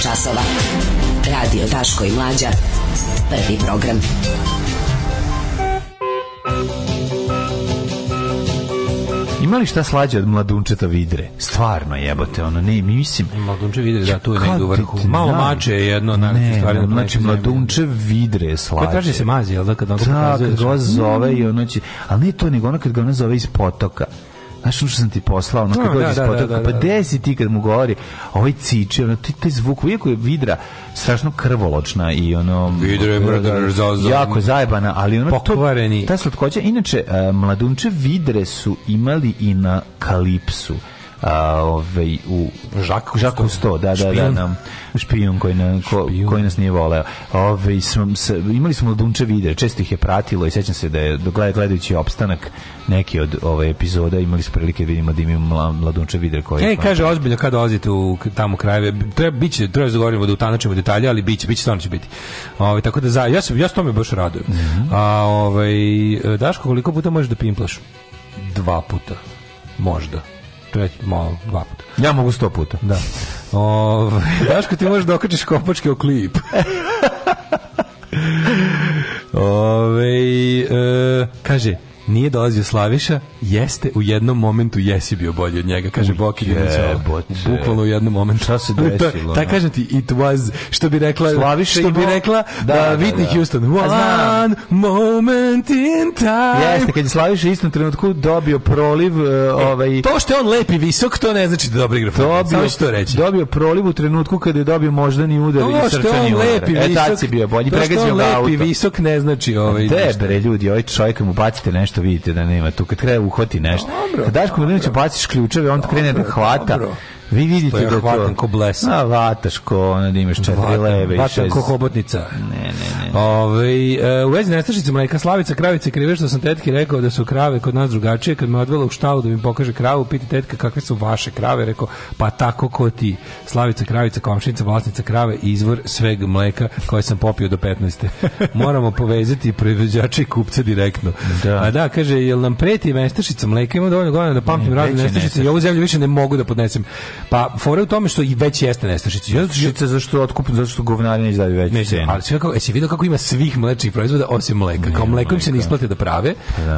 Speaker 2: časova. Radio Daško i Mlađa. Prvi program.
Speaker 5: Ima li šta slađe od mladunčeta vidre? Stvarno jebote, ono, ne, mislim.
Speaker 6: Mladunče vidre, da, tu je negdje u vrhu.
Speaker 5: Kad ti
Speaker 6: Malo
Speaker 5: naj-
Speaker 6: mače je jedno od najlepših
Speaker 5: ne,
Speaker 6: stvari. na
Speaker 5: znači,
Speaker 6: planetu Zemlji.
Speaker 5: mladunče vidre je slađe.
Speaker 6: Pa traži se mazi, jel da, kad on
Speaker 5: Da,
Speaker 6: pokazuje mm.
Speaker 5: kad
Speaker 6: da
Speaker 5: ga
Speaker 6: se-
Speaker 5: zove i ono će... Ali ne to, nego ono kad ga ona zove iz potoka. Znaš ono što sam ti poslao, ono kad
Speaker 6: Da,
Speaker 5: dođe
Speaker 6: da,
Speaker 5: iz
Speaker 6: da,
Speaker 5: potoka,
Speaker 6: da, da,
Speaker 5: pa
Speaker 6: da.
Speaker 5: gde si ti kad mu govori, a ovaj ciči, ono, ti taj zvuk, uvijek je vidra strašno krvoločna i ono...
Speaker 6: Vidra je mrdar, za- za-
Speaker 5: Jako je zajebana, ali ono... to-
Speaker 6: Pokvareni.
Speaker 5: Ta slatkoća, inače, e, mladunče vidre su imali i na kalipsu. A, ovaj, u
Speaker 6: Žak Cousteau.
Speaker 5: Žak Cousteau, da, da, da,
Speaker 6: Špijun.
Speaker 5: nam špijun koji, na, ko, koji nas nije voleo. Ove, smo, s, imali smo mladunče videre, često ih je pratilo i sećam se da je do- gleda- gledajući opstanak neki od ove epizoda imali smo prilike da vidimo da imaju mla, mladunče videre koji
Speaker 6: Ej, kaže ozbiljno E, kad dolazite u tamo krajeve, treba biće, treba zagovorimo da utanačimo detalje, ali biće, biće stvarno će biti. Ovaj tako da za ja se ja se tome baš radujem. A ovaj Daško koliko puta možeš da pimplaš? Dva puta. Možda. To je malo, dva puta.
Speaker 5: ja mogu sto puta.
Speaker 6: Da. Ovaj Daško ti možeš da okačiš kopačke u klip. Ove, e, kaže, nije dolazio Slaviša, jeste u jednom momentu jesi bio bolji od njega, kaže Boki Granićala.
Speaker 5: jebote.
Speaker 6: Bukvalno u jednom momentu.
Speaker 5: Šta se desilo,
Speaker 6: Ta,
Speaker 5: ono?
Speaker 6: kažem ti, it was, što bi rekla,
Speaker 5: Slaviša
Speaker 6: što bi
Speaker 5: imao-
Speaker 6: rekla da,
Speaker 5: Da, da,
Speaker 6: Whitney
Speaker 5: da.
Speaker 6: Houston.
Speaker 5: A, znam.
Speaker 6: One moment in time.
Speaker 5: Jeste, kad je Slaviša u istom trenutku dobio proliv, e, ovaj,
Speaker 6: To što je on lep i visok, to ne znači da je dobar igra. Samo
Speaker 5: dobio,
Speaker 6: ću to reći.
Speaker 5: dobio proliv u trenutku kada je dobio moždani udar
Speaker 6: To
Speaker 5: i
Speaker 6: što je
Speaker 5: srčani
Speaker 6: on
Speaker 5: udar.
Speaker 6: lep i
Speaker 5: E,
Speaker 6: visok,
Speaker 5: tad si bio bolji,
Speaker 6: to što je
Speaker 5: pregazio
Speaker 6: on
Speaker 5: ga
Speaker 6: lep i
Speaker 5: auto.
Speaker 6: visok ne znači ovaj
Speaker 5: Te
Speaker 6: ništa.
Speaker 5: bre ljudi, ovaj čovjek kad mu bacite nešto, vidite da nema tu kad krene uhvati nešto. Kad daš Komiliniću baciš ključeve, on krene da hvata.
Speaker 6: dobro.
Speaker 5: Vi vidite
Speaker 6: To ja
Speaker 5: da to.
Speaker 6: hvatam ko blesav.
Speaker 5: A vataš ko, ono da imaš četiri
Speaker 6: Vatan-
Speaker 5: leve i
Speaker 6: vatan
Speaker 5: šest.
Speaker 6: ko hobotnica.
Speaker 5: Ne, ne, ne.
Speaker 6: Ovaj, e, u vezi nestašice mleka Slavica kravice krive što sam tetki rekao da su krave kod nas drugačije kad me odvela u štalu da mi pokaže kravu piti tetka kakve su vaše krave rekao pa tako ko ti Slavica kravica komšinica vlasnica krave izvor sveg mleka koje sam popio do 15. moramo povezati proizvođače i kupce direktno
Speaker 5: Da.
Speaker 6: a da kaže jel nam preti nestašica mleka ima dovoljno godina da pamtim
Speaker 5: Ne,
Speaker 6: razne
Speaker 5: već je
Speaker 6: nestašice i ovu zemlju više ne mogu da podnesem pa fora je u tome što i već jeste nestašica ja,
Speaker 5: Žica zašto otkup, zašto govnari neće daju veću
Speaker 6: Neće,
Speaker 5: cenu.
Speaker 6: ali sve kako, jesi vidio kako ima svih mlečnih proizvoda osim mleka. Kao mlekom se ne isplati da prave,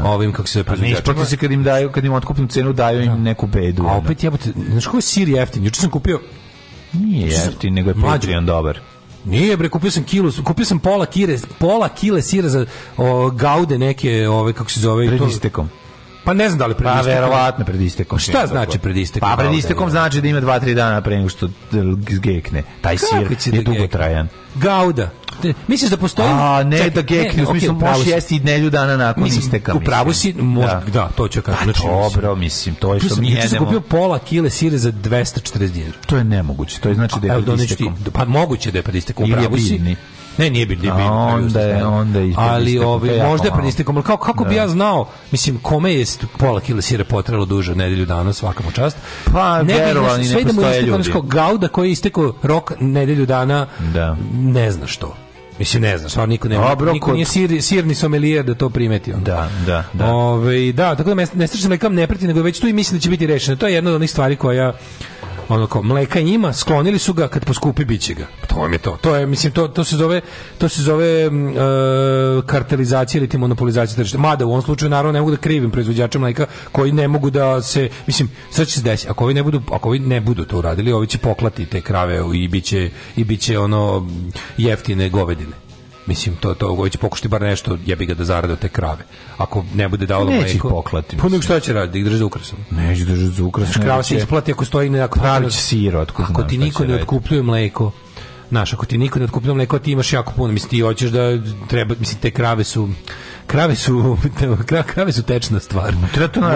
Speaker 6: ovim kako se
Speaker 5: Pa Ne isplati se kad im daju, kad im otkupnu cenu daju im neku bedu. ono.
Speaker 6: A opet jebote, znaš kako je sir jeftin? Juče sam kupio,
Speaker 5: nije jeftin, nego je
Speaker 6: Mlađo.
Speaker 5: Patreon dobar.
Speaker 6: nije bre, kupio sam kilu, kupio sam pola kire, pola kile sira za o, gaude neke, ove kako se zove,
Speaker 5: Pred
Speaker 6: to-
Speaker 5: istekom.
Speaker 6: Pa ne znam da li pred
Speaker 5: Pa
Speaker 6: istekom.
Speaker 5: verovatno pred istekom.
Speaker 6: Šta znači pred istekom?
Speaker 5: Pa pred
Speaker 6: Gaude,
Speaker 5: istekom
Speaker 6: je?
Speaker 5: znači da ima 2-3 dana pre nego što gekne. Taj
Speaker 6: Kako
Speaker 5: sir
Speaker 6: će
Speaker 5: je
Speaker 6: da gekne?
Speaker 5: dugotrajan.
Speaker 6: Gauda. Te- Misliš da postoji?
Speaker 5: A, ne
Speaker 6: Čekaj,
Speaker 5: da gekne, u
Speaker 6: okej,
Speaker 5: smislu
Speaker 6: upravo
Speaker 5: možeš
Speaker 6: si.
Speaker 5: jesti i nedlju dana nakon
Speaker 6: Mislim,
Speaker 5: isteka.
Speaker 6: u pravu si, možda, da. to ću kažem.
Speaker 5: Pa
Speaker 6: Znači, mislim,
Speaker 5: dobro, mislim, to je
Speaker 6: tu
Speaker 5: što
Speaker 6: sam-
Speaker 5: mi
Speaker 6: Juče sam
Speaker 5: jedemo.
Speaker 6: kupio pola kile sire za 240 dinara.
Speaker 5: To je nemoguće, to je znači da
Speaker 6: Evo,
Speaker 5: je pred
Speaker 6: doneš ti-
Speaker 5: istekom.
Speaker 6: Pa moguće da je pred istekom.
Speaker 5: Ili je
Speaker 6: upravo si.
Speaker 5: biljni.
Speaker 6: Ne, nije bil, nije
Speaker 5: A
Speaker 6: biljni,
Speaker 5: onda je-
Speaker 6: pravo si,
Speaker 5: onda je i pred
Speaker 6: Ali
Speaker 5: istekom, to je
Speaker 6: ovaj,
Speaker 5: jako
Speaker 6: možda je pred
Speaker 5: malo.
Speaker 6: istekom, ali kako, kako bi ja znao, mislim, kome je st- pola kile sire potrelo duže od nedelju dana, svaka mu čast.
Speaker 5: Pa,
Speaker 6: bi, znaš,
Speaker 5: verovali, ne
Speaker 6: sve da mu je
Speaker 5: postoje
Speaker 6: istekao,
Speaker 5: ljudi.
Speaker 6: znaš, kao Gauda koji je istekao rok nedelju dana,
Speaker 5: Da.
Speaker 6: ne zna što. Mislim, ne znam, stvarno niko, nema,
Speaker 5: Dobro,
Speaker 6: niko
Speaker 5: kod-
Speaker 6: nije sir, sirni sommelier da to primeti. ono.
Speaker 5: Da, da, da.
Speaker 6: Ove, da, tako da mes- ne strašno mleka ne preti, nego već tu i mislim da će biti rešeno. To je jedna od onih stvari koja ono kao, mleka ima, sklonili su ga kad poskupi biće ga. To vam je to. To je mislim to to se zove to se zove mm, e, kartelizacija ili ti monopolizacija tržišta. Mada u ovom slučaju naravno ne mogu da krivim proizvođače mleka koji ne mogu da se mislim sve će se desiti. Ako ovi ne budu ako ovi ne budu to uradili, ovi će poklati te krave i biće i biće ono mm, jeftine govedine. Mislim, to, to ovo će pokušati bar nešto, jebi ga da zarade od te krave. Ako ne bude davalo
Speaker 5: Neće
Speaker 6: mleko...
Speaker 5: ih poklati,
Speaker 6: Pa nego šta će raditi, da ih drži za ukrasom.
Speaker 5: Neću da žut za ukras.
Speaker 6: Krava se isplati ako stoji nekako...
Speaker 5: Pravit će sir, otkud
Speaker 6: Ako
Speaker 5: znam
Speaker 6: ti
Speaker 5: šta
Speaker 6: niko
Speaker 5: će
Speaker 6: ne
Speaker 5: raditi.
Speaker 6: otkupljuje mleko, Znaš, ako ti niko ne otkupljuje mleko, a ti imaš jako puno. Mislim, ti hoćeš da treba... Mislim, te krave su... Krave su, kra- krave su tečna stvar.
Speaker 5: Treba to
Speaker 6: Moje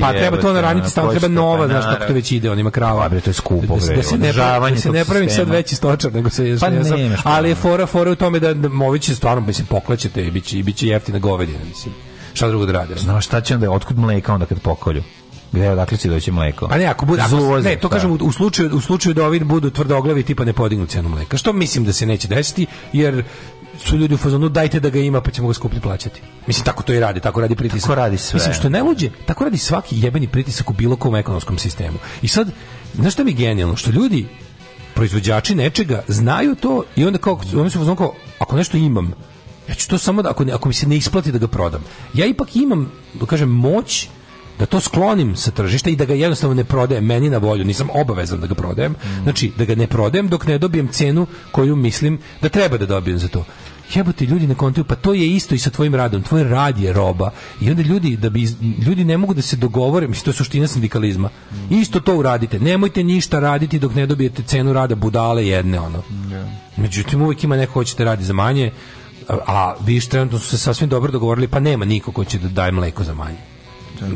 Speaker 6: stalne- Pa treba
Speaker 5: jebote,
Speaker 6: to naraniti,
Speaker 5: ono,
Speaker 6: stalno treba
Speaker 5: početka,
Speaker 6: nova,
Speaker 5: pa
Speaker 6: znaš kako to
Speaker 5: naravno.
Speaker 6: već ide, on ima krava.
Speaker 5: Pa, bre, to je skupo,
Speaker 6: Da se- Da
Speaker 5: bre,
Speaker 6: se ne,
Speaker 5: održavanje
Speaker 6: da se
Speaker 5: tog
Speaker 6: ne pravim sad
Speaker 5: sistema.
Speaker 6: veći stočar, nego se...
Speaker 5: Pa
Speaker 6: ja sam-
Speaker 5: nemaš
Speaker 6: ali je fora, fora u tome da, da ovi će stvarno, mislim, poklaćete i biće, i biće jeftina govedina, mislim. Šta drugo da rade? ono?
Speaker 5: Znaš šta će onda, otkud mleka onda kad pokolju? Gde, odakle će doći mleko? pa.
Speaker 6: Pa ne, ako bude,
Speaker 5: Iz
Speaker 6: ako-
Speaker 5: uvoza,
Speaker 6: ne, to
Speaker 5: da.
Speaker 6: kažem u, u slučaju u slučaju da ovi budu tvrdoglavi tipa ne podignu cenu mleka. Što mislim da se neće desiti jer su ljudi u fazonu dajte da ga ima pa ćemo ga skuplje plaćati. Mislim tako to i radi, tako radi pritisak.
Speaker 5: Tako radi sve.
Speaker 6: Mislim što je najluđe, tako radi svaki jebeni pritisak u bilo kom ekonomskom sistemu. I sad znaš šta mi je genijalno što ljudi proizvođači nečega znaju to i onda kao, oni su u fazonu kao, ako nešto imam, ja ću to samo da, ako, ne- ako mi se ne isplati da ga prodam. Ja ipak imam, da kažem, moć da to sklonim sa tržišta i da ga jednostavno ne prodajem meni na volju, nisam obavezan da ga prodajem. Znači, da ga ne prodajem dok ne dobijem cenu koju mislim da treba da dobijem za to. Jebote, ljudi na kontaju, pa to je isto i sa tvojim radom. Tvoj rad je roba. I onda ljudi da bi iz- ljudi ne mogu da se dogovore, mislim to je suština sindikalizma. Isto to uradite. Nemojte ništa raditi dok ne dobijete cenu rada budale jedne ono. Međutim, uvijek ima neko ko će te radi za manje, a, a vi ste trenutno su se sasvim dobro dogovorili, pa nema niko ko će da daje mleko za manje.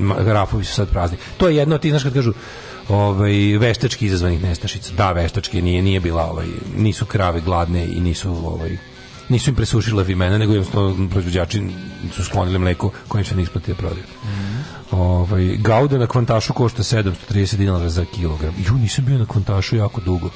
Speaker 6: Ma- Grafovi su sad prazni. To je jedno, ti znaš kad kažu ovaj veštački izazvanih nestašica. Da, veštački nije nije bila ovaj nisu krave gladne i nisu ovaj nisu im presušile vimena, nego jednostavno proizvođači su sklonili mleko kojim se ne isplati da prodaju. Ovaj, gauda na kvantašu košta 730 dinara za kilogram. Ju, nisam bio na kvantašu jako dugo.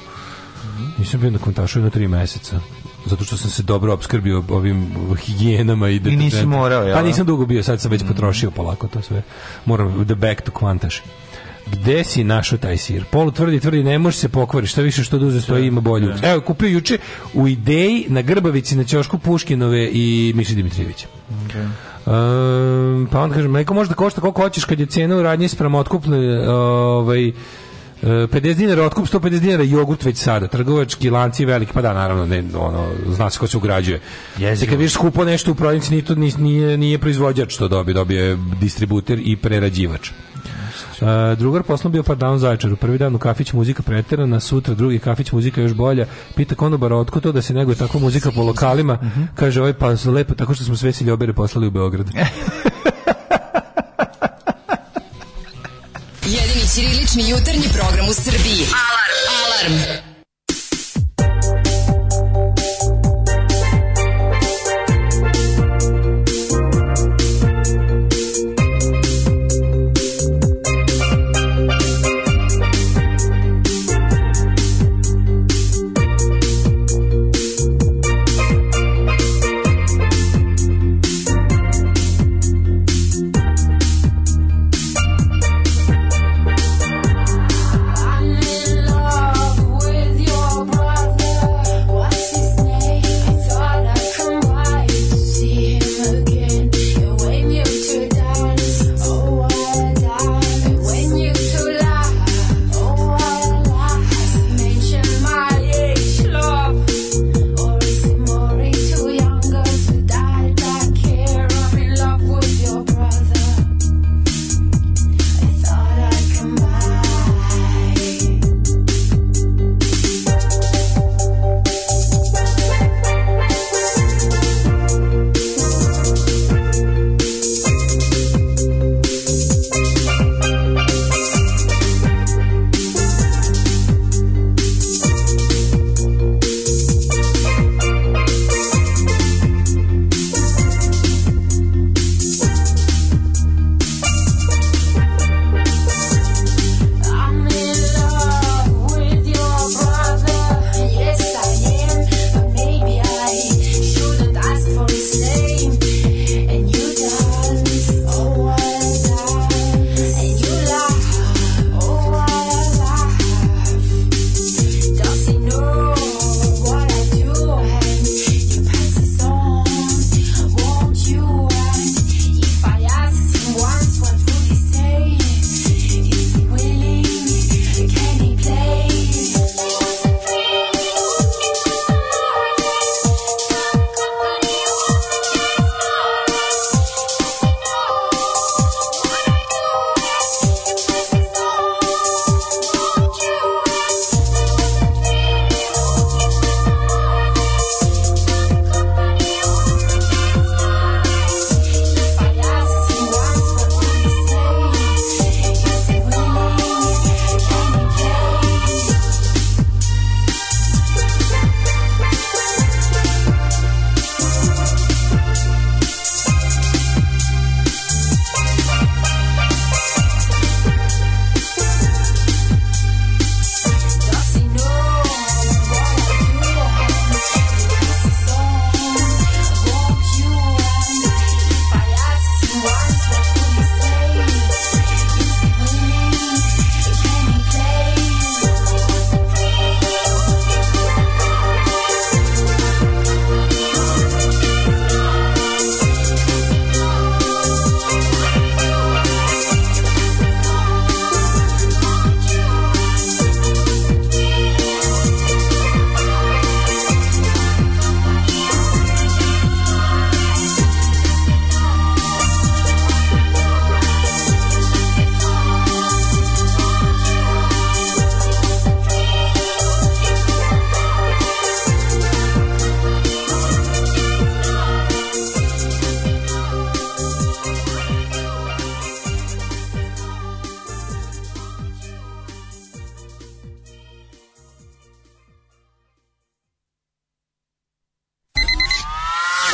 Speaker 6: Nisam bio na kontašu jedno tri meseca. Zato što sam se dobro opskrbio ovim higijenama i deterđentima.
Speaker 5: nisi morao, jel? Mm.
Speaker 6: Pa nisam dugo bio, sad sam već potrošio polako to sve. Moram the back to kvantaš. Gde si našao taj sir? Polu tvrdi, tvrdi, ne može se pokvariti, šta više što duže stoji ima bolju. Evo, kupio juče u ideji na Grbavici na ćošku Puškinove i Miše Dimitrijevića. Um, pa onda kaže, mleko može da košta koliko hoćeš kad je cena u radnji sprem otkupne, ovaj, e, 50 dinara otkup, 150 dinara jogurt već sada. Trgovački lanci veliki, pa da, naravno, ne, ono, zna se ko se ugrađuje. Jezivo. Kad vidiš skupo nešto u prodavnici, nije, to- ni- nije, nije proizvođač to dobio, dobio je distributer i prerađivač. E, drugar poslom bio par dana u Zaječaru. Prvi dan u kafić muzika preterana, sutra drugi kafić muzika još bolja. Pita konobara otko to da se neguje tako muzika po lokalima.
Speaker 5: Mhm.
Speaker 6: Kaže ovaj pa lepo tako što smo sve siljobere poslali u
Speaker 5: E,
Speaker 6: Beograd.
Speaker 2: Jedini ćirilični jutarnji program u Srbiji. Alarm! Alarm!
Speaker 13: I'm in love with Oh, Oh,
Speaker 14: Oh,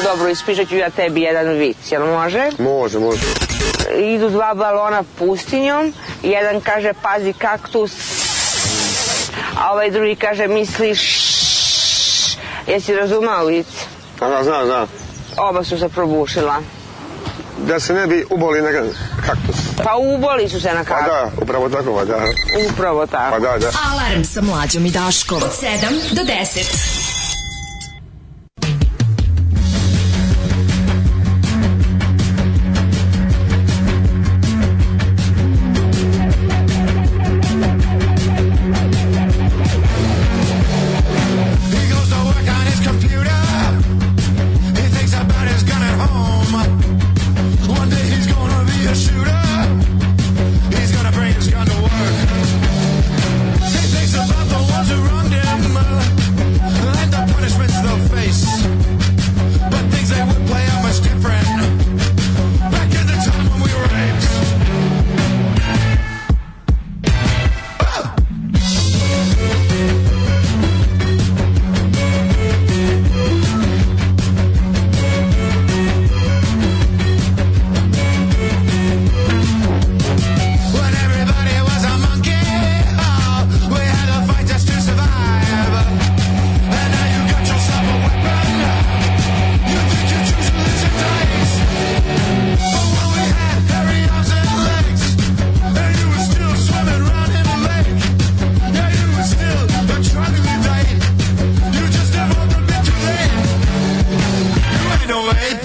Speaker 13: Dobro, ispišat ću ja tebi jedan vic, jel može?
Speaker 15: Može, može.
Speaker 13: Idu dva balona pustinjom, jedan kaže pazi kaktus, a ovaj drugi kaže misliš, jesi razumao vic?
Speaker 15: Pa da, znam, znam.
Speaker 13: Oba su se probušila.
Speaker 15: Da se ne bi uboli na kaktus.
Speaker 13: Pa uboli su se na
Speaker 15: Pa
Speaker 13: kaktus.
Speaker 9: Ah,
Speaker 15: da, upravo
Speaker 9: tá
Speaker 15: tako, pa
Speaker 9: né?
Speaker 15: da.
Speaker 13: Upravo tako.
Speaker 15: Pa da, da.
Speaker 2: Alarm sa mlađom i Daškom. Od 7 do 10.
Speaker 9: He goes to work on his computer. He thinks about his gun at home. One day he's gonna be a shooter. He's gonna bring his gun to work. He thinks about the ones who wronged him and the punishments they'll face. But things they would play out much different back in the time when we were apes. When everybody was a monkey, oh, we had to fight just to survive. And now you got yourself a weapon. You think you choose to lose your dice. But when we had hairy arms and legs, and you were still swimming round in the lake, yeah, you were still a troglodyte. You just never opened it too late. You ain't no ape.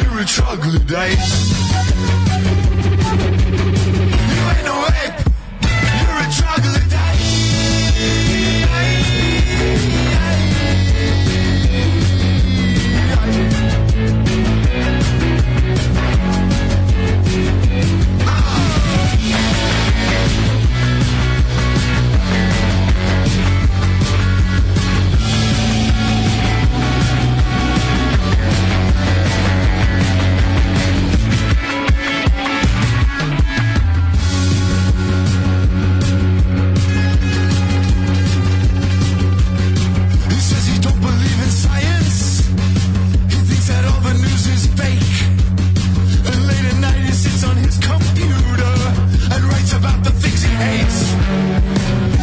Speaker 9: You're a troglodyte. You ain't no ape. You're a troglodyte. He says he don't believe in science. He thinks that all the news is fake. And late at night he sits on his computer and writes about the things he hates.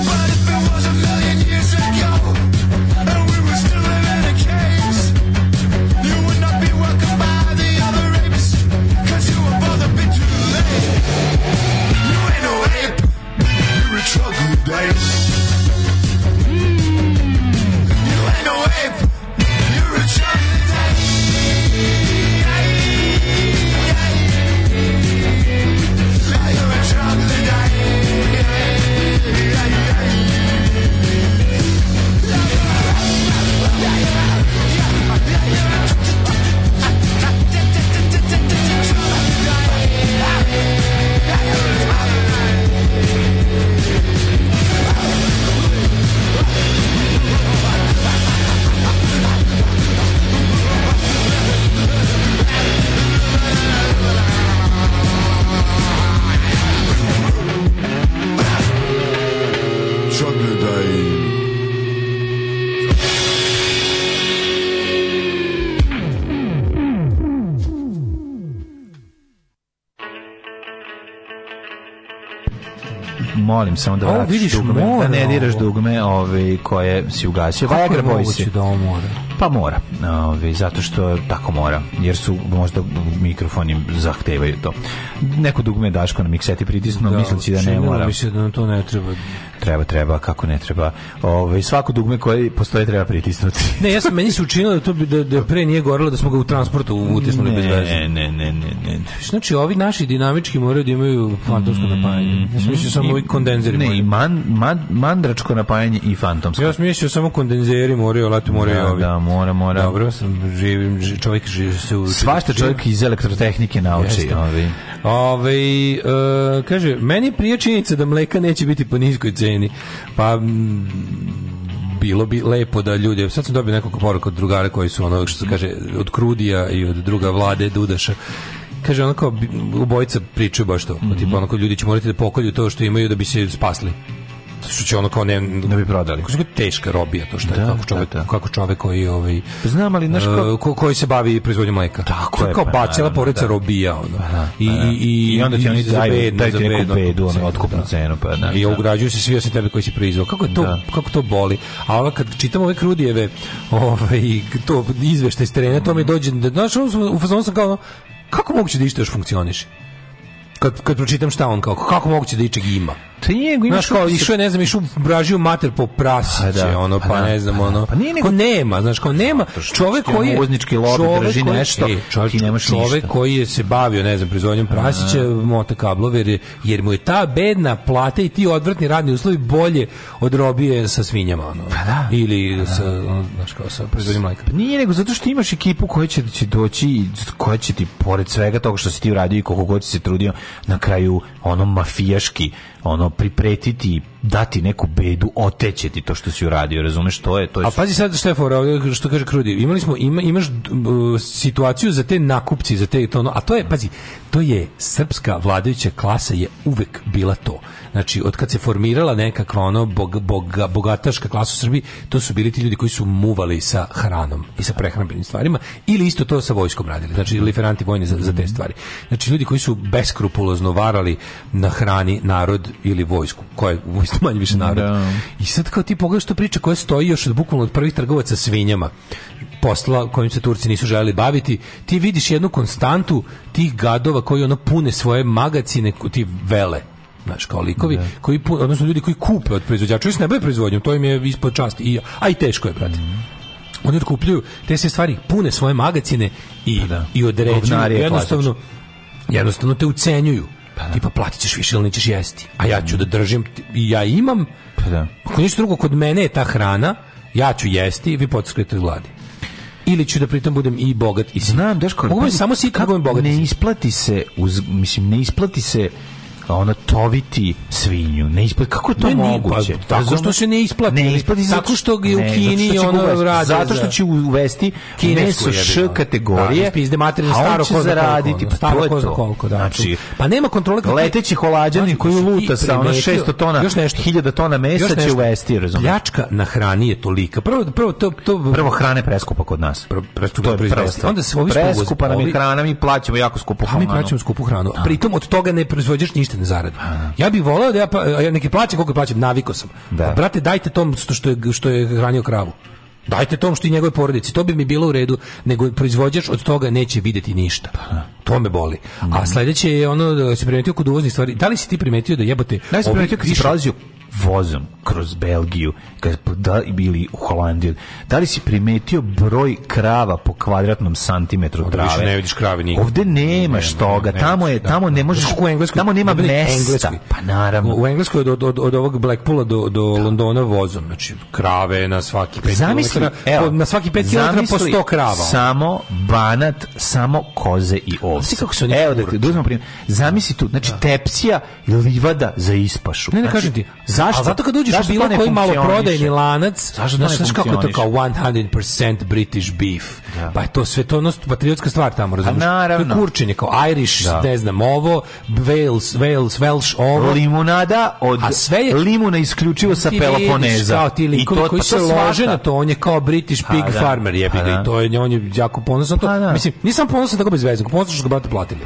Speaker 9: But if it was a million years ago and we were still living in caves, you would not be welcomed by the other apes. Cause you were both a bit too late. You ain't no ape. You're a troglodyte. You ain't no ape. You're a troglodyte. You're a troglodyte. Troglodyte.
Speaker 5: Molim samo da
Speaker 6: Ovo
Speaker 5: vratiš
Speaker 6: vidiš,
Speaker 5: dugme, da
Speaker 6: mora
Speaker 5: ne diraš
Speaker 6: ovo.
Speaker 5: dugme ove, koje si ugasio.
Speaker 6: Kako je
Speaker 5: Viagra Boys
Speaker 6: moguće
Speaker 5: je.
Speaker 6: da ovo mora?
Speaker 5: Pa mora, ove, zato što tako mora, jer su možda mikrofoni zahtevaju to. Neko dugme Daško na mikseti pritisnuo, da, misleći da ne
Speaker 6: činilo
Speaker 5: mora.
Speaker 6: mi se da nam to ne treba.
Speaker 5: Treba, treba, kako ne treba. Ove, svako dugme koje postoje treba pritisnuti.
Speaker 6: Ne, ja sam, meni se učinilo da, to, bi- da, da pre nije gorelo da smo ga u transportu utisnuli bez veze.
Speaker 5: Ne, ne, ne, ne, ne.
Speaker 6: Znači, ovi naši dinamički moraju da imaju fantomsko napajanje. Ja sam mislio samo
Speaker 5: Mm, I-
Speaker 6: ovi kondenzeri.
Speaker 5: Ne,
Speaker 6: moraju.
Speaker 5: i man, man, mandračko napajanje i fantomsko.
Speaker 6: Ja sam mislio samo kondenzeri moraju, lati moraju
Speaker 5: Da,
Speaker 6: ovi.
Speaker 5: da, mora, mora.
Speaker 6: Dobro, sam živim, ži- čovjek živi se u...
Speaker 5: Svašta čovjek iz elektrotehnike nauči.
Speaker 6: Jeste.
Speaker 5: Ovi.
Speaker 6: Ove, e, kaže, meni je prije činjenica da mleka neće biti po niskoj ceni. Pa, mm, bilo bi lepo da ljudi, sad sam dobio nekoliko poruka od drugara koji su ono, što se kaže, od Krudija i od druga vlade Dudaša, kaže ono kao,
Speaker 5: Mhm.
Speaker 6: bi- obojica pričaju baš to, mm -hmm. tipa ono kao ljudi će morati da pokolju to što imaju da bi se spasli. što će ono kao ne da bi prodali. Kako je teška robija to što je
Speaker 5: Da,
Speaker 6: kako čovjek
Speaker 5: da, da.
Speaker 6: kako čovjek koji ovaj
Speaker 5: Znam, ali, znaš,
Speaker 6: e,
Speaker 5: kao-
Speaker 6: ko, koji se bavi proizvodnjom mleka. Tako
Speaker 5: je,
Speaker 6: kao
Speaker 5: pa
Speaker 6: bacila
Speaker 5: naravno,
Speaker 6: porodica
Speaker 5: da.
Speaker 6: robija ono. I,
Speaker 5: Pa, da.
Speaker 6: i, i,
Speaker 5: I onda ti oni
Speaker 6: za
Speaker 5: daju,
Speaker 6: bedno,
Speaker 5: daju
Speaker 6: za
Speaker 5: ti neku
Speaker 6: bednu
Speaker 5: bedu, ono,
Speaker 6: cenu,
Speaker 5: otkupnu
Speaker 6: da.
Speaker 5: cenu, pa da.
Speaker 6: I
Speaker 5: da.
Speaker 6: ugrađuju se svi osim tebe koji si proizveo. Kako je to,
Speaker 5: Da.
Speaker 6: kako to boli? A ono kad čitam ove Krudijeve ovaj, to izveštaj s terena, to mi dođe, da, znaš, ono sam- u fazonu sam kao, ono, kako moguće da išta još funkcioniše? Kad, kad pročitam šta on kao, kako moguće da ičeg ima?
Speaker 5: To nije, ima
Speaker 6: Znaš kao,
Speaker 5: što-
Speaker 6: išao je, ne znam, išao u bražiju mater po prasiće,
Speaker 5: Pa da,
Speaker 6: ono,
Speaker 5: pa
Speaker 6: pa,
Speaker 5: da,
Speaker 6: ne znam,
Speaker 5: pa da.
Speaker 6: ono.
Speaker 5: Pa nije nego- Pa
Speaker 6: Ko nema, znaš, kao nema. Čovek
Speaker 5: što
Speaker 6: koji je...
Speaker 5: uvoznički lobby
Speaker 6: čovek
Speaker 5: drži
Speaker 6: koji-
Speaker 5: nešto,
Speaker 6: e, čovek,
Speaker 5: ti nemaš
Speaker 6: čovek
Speaker 5: ništa.
Speaker 6: koji je se bavio, ne znam, proizvodnjom prasića, mota kablove, jer, jer mu je ta bedna plata i ti odvrtni radni uslovi bolje od robije sa svinjama, ono. Ili sa, ono, znaš, kao sa proizvodnjom mleka.
Speaker 5: Pa Nije nego zato što imaš ekipu koja će, će doći i koja će ti pored svega toga što si ti uradio i koliko god si se trudio na kraju ono mafijaški ono pripretiti i dati neku bedu oteće ti to što si uradio razumeš to je to je
Speaker 6: A pazi sad šta je fora, ovdje što kaže Krudi, imali smo, ima, imaš uh, situaciju za te nakupci, za te to ono, a to je, pazi, to je srpska vladajuća klasa je uvek bila to. Znači, od kad se formirala nekakva ono bog, boga, bogataška klasa u Srbiji, to su bili ti ljudi koji su muvali sa hranom i sa prehrambenim stvarima ili isto to sa vojskom radili. Znači, liferanti vojni za, za
Speaker 5: Mhm.
Speaker 6: te stvari. Znači, ljudi koji su beskrupulozno varali na hrani narod ili vojsku, koja je vojska manje
Speaker 5: Mhm.
Speaker 6: više narod. I sad kao ti pogledaš to priča koja stoji još od bukvalno od prvih trgovaca svinjama posla kojim se Turci nisu želeli baviti, ti vidiš jednu konstantu tih gadova koji ono pune svoje magacine, ko- ti vele znaš, kao likovi, koji, pu- odnosno ljudi koji kupe od proizvođača, oni se ne bave proizvodnjom, to im je ispod časti, i, a i teško je, brate oni otkupljuju te sve stvari, pune svoje magacine i, i određuju,
Speaker 5: Govnar je
Speaker 6: jednostavno, jednostavno te ucenjuju. Tipa, platit ćeš više ili nećeš jesti. A ja ću da držim, ti- i ja imam,
Speaker 5: Pa
Speaker 6: ako ništa drugo, kod mene je ta hrana, ja ću jesti, vi potiskujete od gladi. Ili ću da pritom budem i bogat i sin.
Speaker 5: Znam, Daško, ali
Speaker 6: Mogu biti
Speaker 5: pazi,
Speaker 6: samo sit,
Speaker 5: kako
Speaker 6: mogu biti bogat i
Speaker 5: Ne
Speaker 6: sit.
Speaker 5: isplati se, uz, mislim, ne isplati se ono toviti svinju. Ne isplati, kako je to
Speaker 6: Ne, ne,
Speaker 5: moguće?
Speaker 6: pa, tako
Speaker 5: Razumeš?
Speaker 6: što se ne isplati,
Speaker 5: Ne
Speaker 6: ali
Speaker 5: isplati se-
Speaker 6: tako što ga u
Speaker 5: Ne,
Speaker 6: Kini
Speaker 5: zato što će
Speaker 6: ono
Speaker 5: ga uvesti.
Speaker 6: rade
Speaker 5: Zato što
Speaker 6: za-
Speaker 5: će uvesti
Speaker 6: Kinesku
Speaker 5: meso
Speaker 6: jebeno.
Speaker 5: š kategorije.
Speaker 6: ono. Da, ispizde materine
Speaker 5: a on
Speaker 6: staro
Speaker 5: će
Speaker 6: ko zna koliko,
Speaker 5: zaraditi,
Speaker 6: ono,
Speaker 5: pa
Speaker 6: staro
Speaker 5: to je
Speaker 6: ko zna
Speaker 5: to.
Speaker 6: koliko, da.
Speaker 5: Znači,
Speaker 6: Pa nema kontrole kad ti-
Speaker 5: leteći holađanin
Speaker 6: Znači,
Speaker 5: koji
Speaker 6: ti
Speaker 5: luta sa ono
Speaker 6: primetio-
Speaker 5: 600 tona,
Speaker 6: još nešto.
Speaker 5: 1000 tona mesa
Speaker 6: Još
Speaker 5: će
Speaker 6: nešto.
Speaker 5: uvesti, razumiješ?
Speaker 6: Pljačka na hrani je tolika. Prvo, prvo to, to
Speaker 5: Prvo hrane preskupa kod nas.
Speaker 6: Prvo,
Speaker 5: To je prva stvar.
Speaker 6: Onda se ovi što uvoze-
Speaker 5: Preskupa nam je
Speaker 6: ovi-
Speaker 5: hrana, mi plaćamo jako skupu
Speaker 6: Pa mi
Speaker 5: hranu.
Speaker 6: plaćamo skupu hranu. A pritom od toga ne proizvođaš ništa ne zaradi. Ja bih voleo da ja, pa, ja neki plaćam koliko plaćam, naviko sam.
Speaker 5: Da.
Speaker 6: Pa, brate, dajte tom što, što, je, što je hranio kravu. Dajte tom što i njegove porodici. To bi mi bilo u redu, nego proizvođač od toga neće videti ništa.
Speaker 5: Pa
Speaker 6: To me boli.
Speaker 5: Mhm.
Speaker 6: A sledeće je ono da se primetio kod uvoznih stvari. Da li si ti primetio da jebote...
Speaker 5: Ja sam
Speaker 6: ovi
Speaker 5: primetio kad si
Speaker 6: više-
Speaker 5: prolazio vozom kroz Belgiju, kad da, bili u Holandiji, da li si primetio broj krava po kvadratnom santimetru
Speaker 6: Ovde više
Speaker 5: trave?
Speaker 6: ne vidiš krave nigde.
Speaker 5: Ovde nemaš
Speaker 6: Nema,
Speaker 5: toga,
Speaker 6: nema,
Speaker 5: tamo je,
Speaker 6: da.
Speaker 5: tamo ne možeš,
Speaker 6: Znaš kako u Engleskoj-
Speaker 5: tamo nema
Speaker 6: ne,
Speaker 5: mesta.
Speaker 6: Engleskoj.
Speaker 5: Pa naravno.
Speaker 6: U Engleskoj od, od, od, od ovog Blackpoola do, do Londona vozom, znači krave na svaki 5
Speaker 5: Zamisli, evo,
Speaker 6: na svaki 5 km po
Speaker 5: zamisli
Speaker 6: 100 krava. ono.
Speaker 5: Samo banat, samo koze i ovce.
Speaker 6: Znaš kako su oni
Speaker 5: evo da ti da uzmemo primjer. Zamisli tu, znači tepsija i livada za ispašu.
Speaker 6: Ne, ne,
Speaker 5: Znači,
Speaker 6: kažem ti.
Speaker 5: Zašto?
Speaker 6: A zato kad uđeš
Speaker 5: Zašto
Speaker 6: u bilo
Speaker 5: to ne
Speaker 6: koji
Speaker 5: funkcioniše?
Speaker 6: maloprodajni lanac,
Speaker 5: Zašto to
Speaker 6: znaš,
Speaker 5: ne
Speaker 6: znaš kako je to kao 100% British beef.
Speaker 5: Da.
Speaker 6: Pa je to sve to ono patriotska stvar tamo, razumiješ?
Speaker 5: naravno.
Speaker 6: To je kurčenje, kao Irish,
Speaker 5: Da.
Speaker 6: ne znam, ovo, Wales, Wales, Welsh, ovo.
Speaker 5: limunada od
Speaker 6: A sve je-
Speaker 5: limuna isključivo sa
Speaker 6: Ti vidiš
Speaker 5: Peloponeza.
Speaker 6: Kao ti likovi koji se lože na to, on je kao British
Speaker 5: Pa
Speaker 6: pig
Speaker 5: da.
Speaker 6: farmer, jebi
Speaker 5: Pa
Speaker 6: ga,
Speaker 5: da.
Speaker 6: i to je, on je jako ponosan na to.
Speaker 5: Pa da. Pa
Speaker 6: Mislim, nisam ponosan tako bez veze, ponosan što su ga brate platili.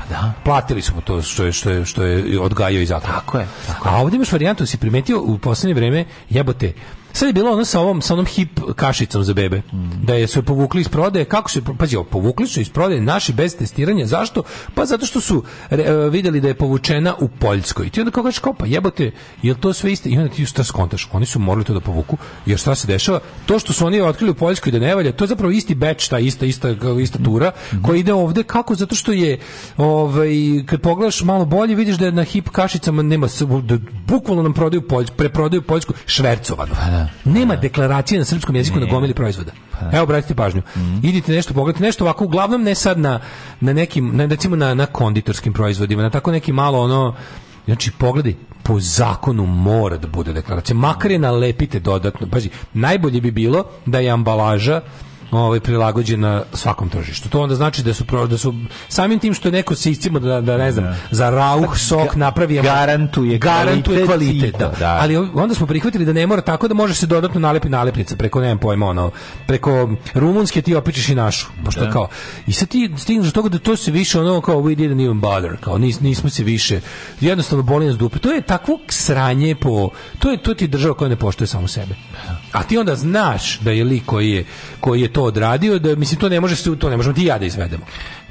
Speaker 6: Platili smo to što je, što je, što je odgajio i zakon.
Speaker 5: Tako je,
Speaker 6: A ovdje imaš varijantu, si primetio u posljednje vreme, jebote, Sad je bilo ono sa ovom sa onom hip kašicom za bebe. Da je su je povukli iz prodaje. Kako su je, pro- pazi, ovo, povukli su iz prodaje naši bez testiranja. Zašto? Pa zato što su re, e, vidjeli da je povučena u Poljskoj. I ti onda kao kažeš, kao, pa jebote, jel to sve isto? I onda ti šta skontaš? Oni su morali to da povuku. Jer šta se dešava? To što su oni otkrili u Poljskoj da ne valja, to je zapravo isti batch, ta ista ista ista tura koja ide ovde kako zato što je ovaj kad pogledaš malo bolje vidiš da je na hip kašicama nema s- da bukvalno nam prodaju poljsku, preprodaju poljsku švercovanu. Nema deklaracije na srpskom jeziku na gomili proizvoda. Evo obratite pažnju. Idite nešto pogledajte nešto ovako uglavnom ne sad na na nekim na recimo na na konditorskim proizvodima, na tako neki malo ono Znači, pogledaj, po zakonu mora da bude deklaracija. Makar je nalepite dodatno. Pazi, najbolje bi bilo da je ambalaža ovaj prilagođena svakom tržištu. To onda znači da su pro- da su samim tim što je neko sistem da da ne znam za rauh sok napravi emo-
Speaker 5: garantuje
Speaker 6: garantuje
Speaker 5: kvalitet
Speaker 6: kvalitet, da.
Speaker 5: tipa, da.
Speaker 6: Ali onda smo prihvatili da ne mora tako da može se dodatno nalepi nalepnica preko nemam pojma ono preko rumunske ti opičeš i našu. Pošto
Speaker 5: Da.
Speaker 6: kao i sad ti stigneš do toga da to se više ono kao we didn't even bother, kao nis, nismo se više jednostavno boli nas dupe. To je takvo sranje po to je to ti je država koja ne poštuje samo sebe. A ti onda znaš da je lik koji je koji je to odradio da mislim to ne može se to ne možemo ti i ja da izvedemo.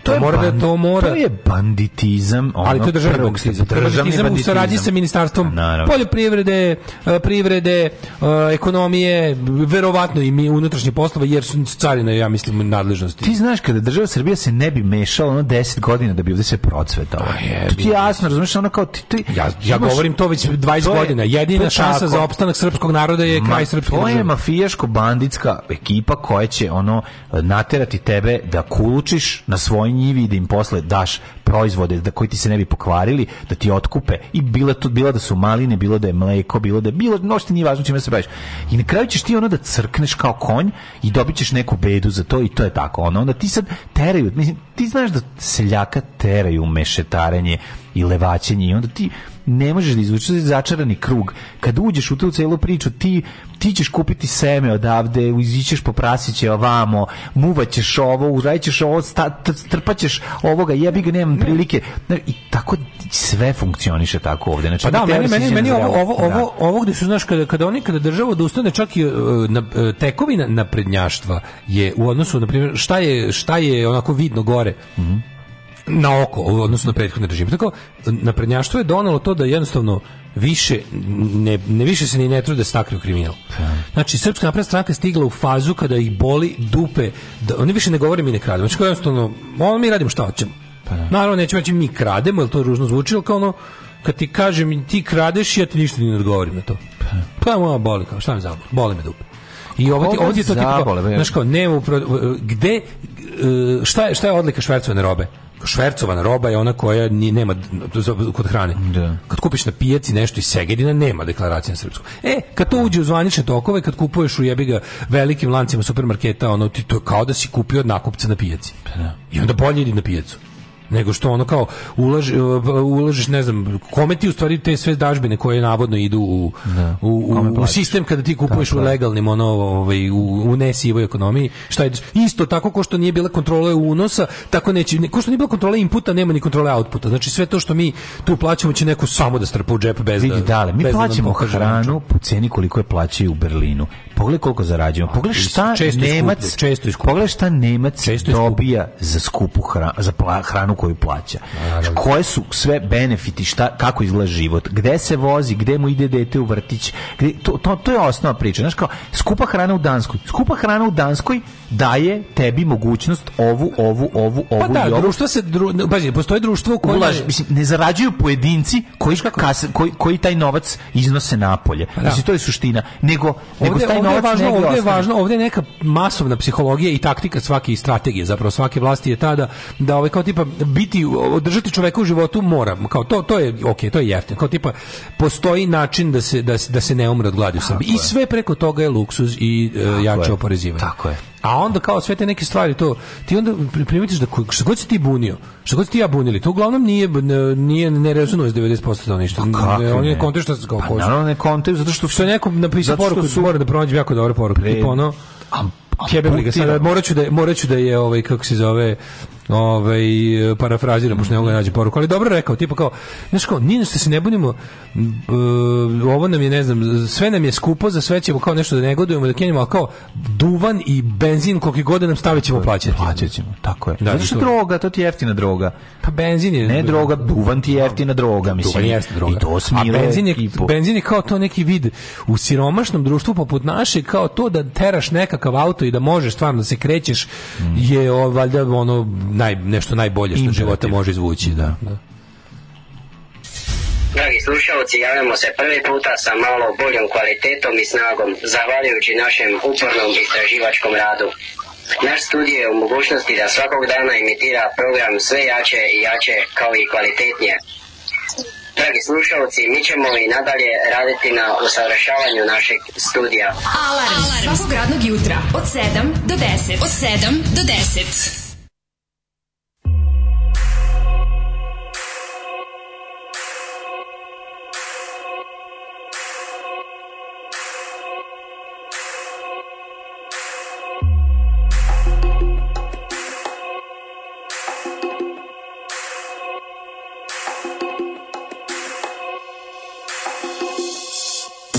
Speaker 6: To,
Speaker 5: je
Speaker 6: mora da
Speaker 5: ban-
Speaker 6: to mora
Speaker 5: To je banditizam. Ono,
Speaker 6: ali to je državni
Speaker 5: prvog
Speaker 6: banditizam.
Speaker 5: stepena. Državni
Speaker 6: Banditizam u
Speaker 5: banditizam.
Speaker 6: saradnji sa ministarstvom
Speaker 5: Naravno.
Speaker 6: poljoprivrede, e, privrede, e, ekonomije, verovatno i mi unutrašnje poslova, jer su carine, ja mislim, nadležnosti.
Speaker 5: Ti znaš kada država Srbija se ne bi mešala ono 10 godina da bi ovde se procvetalo. To ti je jasno, razumeš, ono kao ti... ti
Speaker 6: Pa Ja, ja
Speaker 5: imaš-
Speaker 6: govorim to već 20
Speaker 5: To je-
Speaker 6: godina.
Speaker 5: to
Speaker 6: Jedina
Speaker 5: je
Speaker 6: šansa
Speaker 5: tako.
Speaker 6: za opstanak srpskog naroda je kraj
Speaker 5: Ma,
Speaker 6: srpske
Speaker 5: To je
Speaker 6: države.
Speaker 5: mafijaško-banditska ekipa koja će ono naterati tebe da kulučiš na svoj njivi i da im posle daš proizvode da koji ti se ne bi pokvarili, da ti otkupe i bilo to bilo da su maline, bilo da je mleko, bilo da je bilo no što nije važno čime se baviš. I na kraju ćeš ti ono da crkneš kao konj i dobit ćeš neku bedu za to i to je tako. Ono onda ti sad teraju, mislim ti znaš da seljaka teraju u mešetarenje i levaćenje i onda ti ne možeš da izvučeš to je začarani krug. Kad uđeš u tu celu priču, ti, ti ćeš kupiti seme odavde, izićeš po prasiće ovamo, muvaćeš ovo, uraćeš ovo, sta, tr- trpaćeš ovoga, jebi ga, nemam prilike. Znaš, I tako sve funkcioniše tako ovde. Znači,
Speaker 6: Pa da,
Speaker 5: teorija
Speaker 6: meni, meni,
Speaker 5: siđe
Speaker 6: meni
Speaker 5: na
Speaker 6: ovo,
Speaker 5: zdravo.
Speaker 6: ovo, ovo, ovo gde su, znaš, kada, kada oni, kada država odustane čak i e, na, e, tekovina naprednjaštva je u odnosu, na primjer, šta je, šta je onako vidno gore, na oko, odnosno na prethodne režime. Tako, naprednjaštvo je donalo to da jednostavno više, ne, ne više se ni ne trude da stakriju kriminal. Znači, Srpska napredna stranka je stigla u fazu kada ih boli dupe, da, oni više ne govore mi ne krademo. Znači, kao jednostavno, ono mi radimo šta hoćemo.
Speaker 5: Pa
Speaker 6: Naravno, nećemo reći mi krademo, jer to ružno zvuči, ali kao ono, kad ti kažem ti kradeš, ja ti ništa ni ne odgovorim na to. Pa, moja boli, kao, šta mi zaboli? Boli me dupe. I ovo ti,
Speaker 5: Koga
Speaker 6: ovo ti je to tipa,
Speaker 5: zabole, bre?
Speaker 6: kao, znaš, kao, ne, upro- gde, e, šta je, šta je odlika švercovane robe? Švercovana roba je ona koja ni, nema d- za- kod hrane. Kad kupiš na pijaci nešto iz Segedina, nema deklaracije na srpsku. E, kad to uđe u zvanične tokove, kad kupuješ u jebiga velikim lancima supermarketa, ono, ti to je kao da si kupio od nakupca na pijaci.
Speaker 5: Pa
Speaker 6: I onda bolje idi na pijacu nego što ono kao ulaži, ulažiš ne znam kome ti u stvari te sve dažbine koje navodno idu u, u, u-
Speaker 5: Kome
Speaker 6: u
Speaker 5: plaćaš?
Speaker 6: sistem kada ti kupuješ
Speaker 5: Tako
Speaker 6: u
Speaker 5: je.
Speaker 6: legalnim ono ovaj u, u nesivoj ekonomiji šta je isto tako ko što nije bila kontrola unosa tako neće ne- ko što nije bila kontrola inputa nema ni kontrole outputa znači sve to što mi tu plaćamo će neko samo da strpa u džep bez
Speaker 5: Vidi
Speaker 6: da
Speaker 5: dale, mi
Speaker 6: bez da nam
Speaker 5: plaćamo
Speaker 6: pokaže račun.
Speaker 5: hranu po ceni koliko je plaćaju u Berlinu. Pogledaj koliko zarađujemo. Pogledaj šta
Speaker 6: često je skuplje,
Speaker 5: Nemac,
Speaker 6: često je skuplje.
Speaker 5: pogledaj šta Nemac
Speaker 6: Često je skuplje.
Speaker 5: dobija za skupu hranu, za pla- hranu koju plaća. Koje su sve benefiti, šta, kako izgleda život, gde se vozi, gde mu ide dete u vrtić. gde- to, to, to je osnova priče. Znaš kao, skupa hrana u Danskoj. Skupa hrana u Danskoj daje tebi mogućnost ovu, ovu, ovu, ovu
Speaker 6: pa
Speaker 5: i
Speaker 6: da
Speaker 5: ovu
Speaker 6: društvo se dru, pazi postoji društvo u kojem
Speaker 5: ulaž, mislim, ne zarađuju pojedinci koji, kas, koji, koji taj novac iznose napolje.
Speaker 6: Pa da.
Speaker 5: Mislim, to je suština. Nego, nego
Speaker 6: Ovdje,
Speaker 5: taj
Speaker 6: ovdje je
Speaker 5: novac
Speaker 6: važno,
Speaker 5: negdje
Speaker 6: ovdje je
Speaker 5: ostane.
Speaker 6: važno, ovdje je neka masovna psihologija i taktika svake i strategije, zapravo svake vlasti je ta da, da ovaj kao tipa biti, održati čoveka u životu mora, kao to, to je, ok, to je jeftino, kao tipa postoji način da se, da, se- da se ne umre od gladi u Srbiji i sve preko toga je luksuz i e, jače
Speaker 5: je.
Speaker 6: oporezivanje.
Speaker 5: Tako je.
Speaker 6: A onda kao sve te neke stvari to ti onda pri- primetiš da ko- što god si ti bunio, što god si ti ja bunili, to uglavnom nije n- nije ne rezonuje s 90% stanovništva.
Speaker 5: Pa Kako
Speaker 6: Ne, On je
Speaker 5: ne?
Speaker 6: kontekst što se kao
Speaker 5: Pa
Speaker 6: ko-
Speaker 5: naravno ne kontaju, zato što
Speaker 6: što je neko napisao
Speaker 5: zato što
Speaker 6: poruku
Speaker 5: su-
Speaker 6: mora da pronađe jako dobru poruku
Speaker 5: Pre-
Speaker 6: tipa ono
Speaker 5: A- a
Speaker 6: Jebem li ga sada,
Speaker 5: Putin-
Speaker 6: morat ću da, je- morat ću da je, ovaj, kako se zove, ovaj, parafraziram, pošto ne mogu da nađem poruku, ali dobro rekao, tipa kao, znaš kao, nije što se ne bunimo, m, e, ovo nam je, ne znam, sve nam je skupo, za sve ćemo kao nešto da negodujemo, da kenjamo, ali kao, duvan i benzin, koliki god da nam stavit ćemo plaćati.
Speaker 5: Plaćat ćemo, tako je.
Speaker 6: Da,
Speaker 5: zato što
Speaker 6: i
Speaker 5: je
Speaker 6: to.
Speaker 5: droga, to ti je jeftina droga.
Speaker 6: Pa benzin je...
Speaker 5: Ne droga, duvan ti je jeftina droga, mislim.
Speaker 6: Duvan jeste droga.
Speaker 5: I to
Speaker 6: A
Speaker 5: smile
Speaker 6: benzin je,
Speaker 5: i po-
Speaker 6: benzin je kao to neki vid u siromašnom društvu poput naše, kao to da teraš nekakav auto i da možeš stvarno da se krećeš
Speaker 5: Mm.
Speaker 6: je o, valjda ono naj, nešto najbolje što
Speaker 5: Imperativ.
Speaker 6: života može izvući. Da, da.
Speaker 16: Dragi slušalci, javljamo se prvi puta sa malo boljom kvalitetom i snagom, zahvaljujući našem upornom istraživačkom radu. Naš studij je u mogućnosti da svakog dana imitira program sve jače i jače, kao i kvalitetnije. Dragi slušalci, mi ćemo i nadalje raditi na usavršavanju našeg studija.
Speaker 2: Alarm, Alarm. svakog radnog jutra od 7 do 10. Od 7 do 10.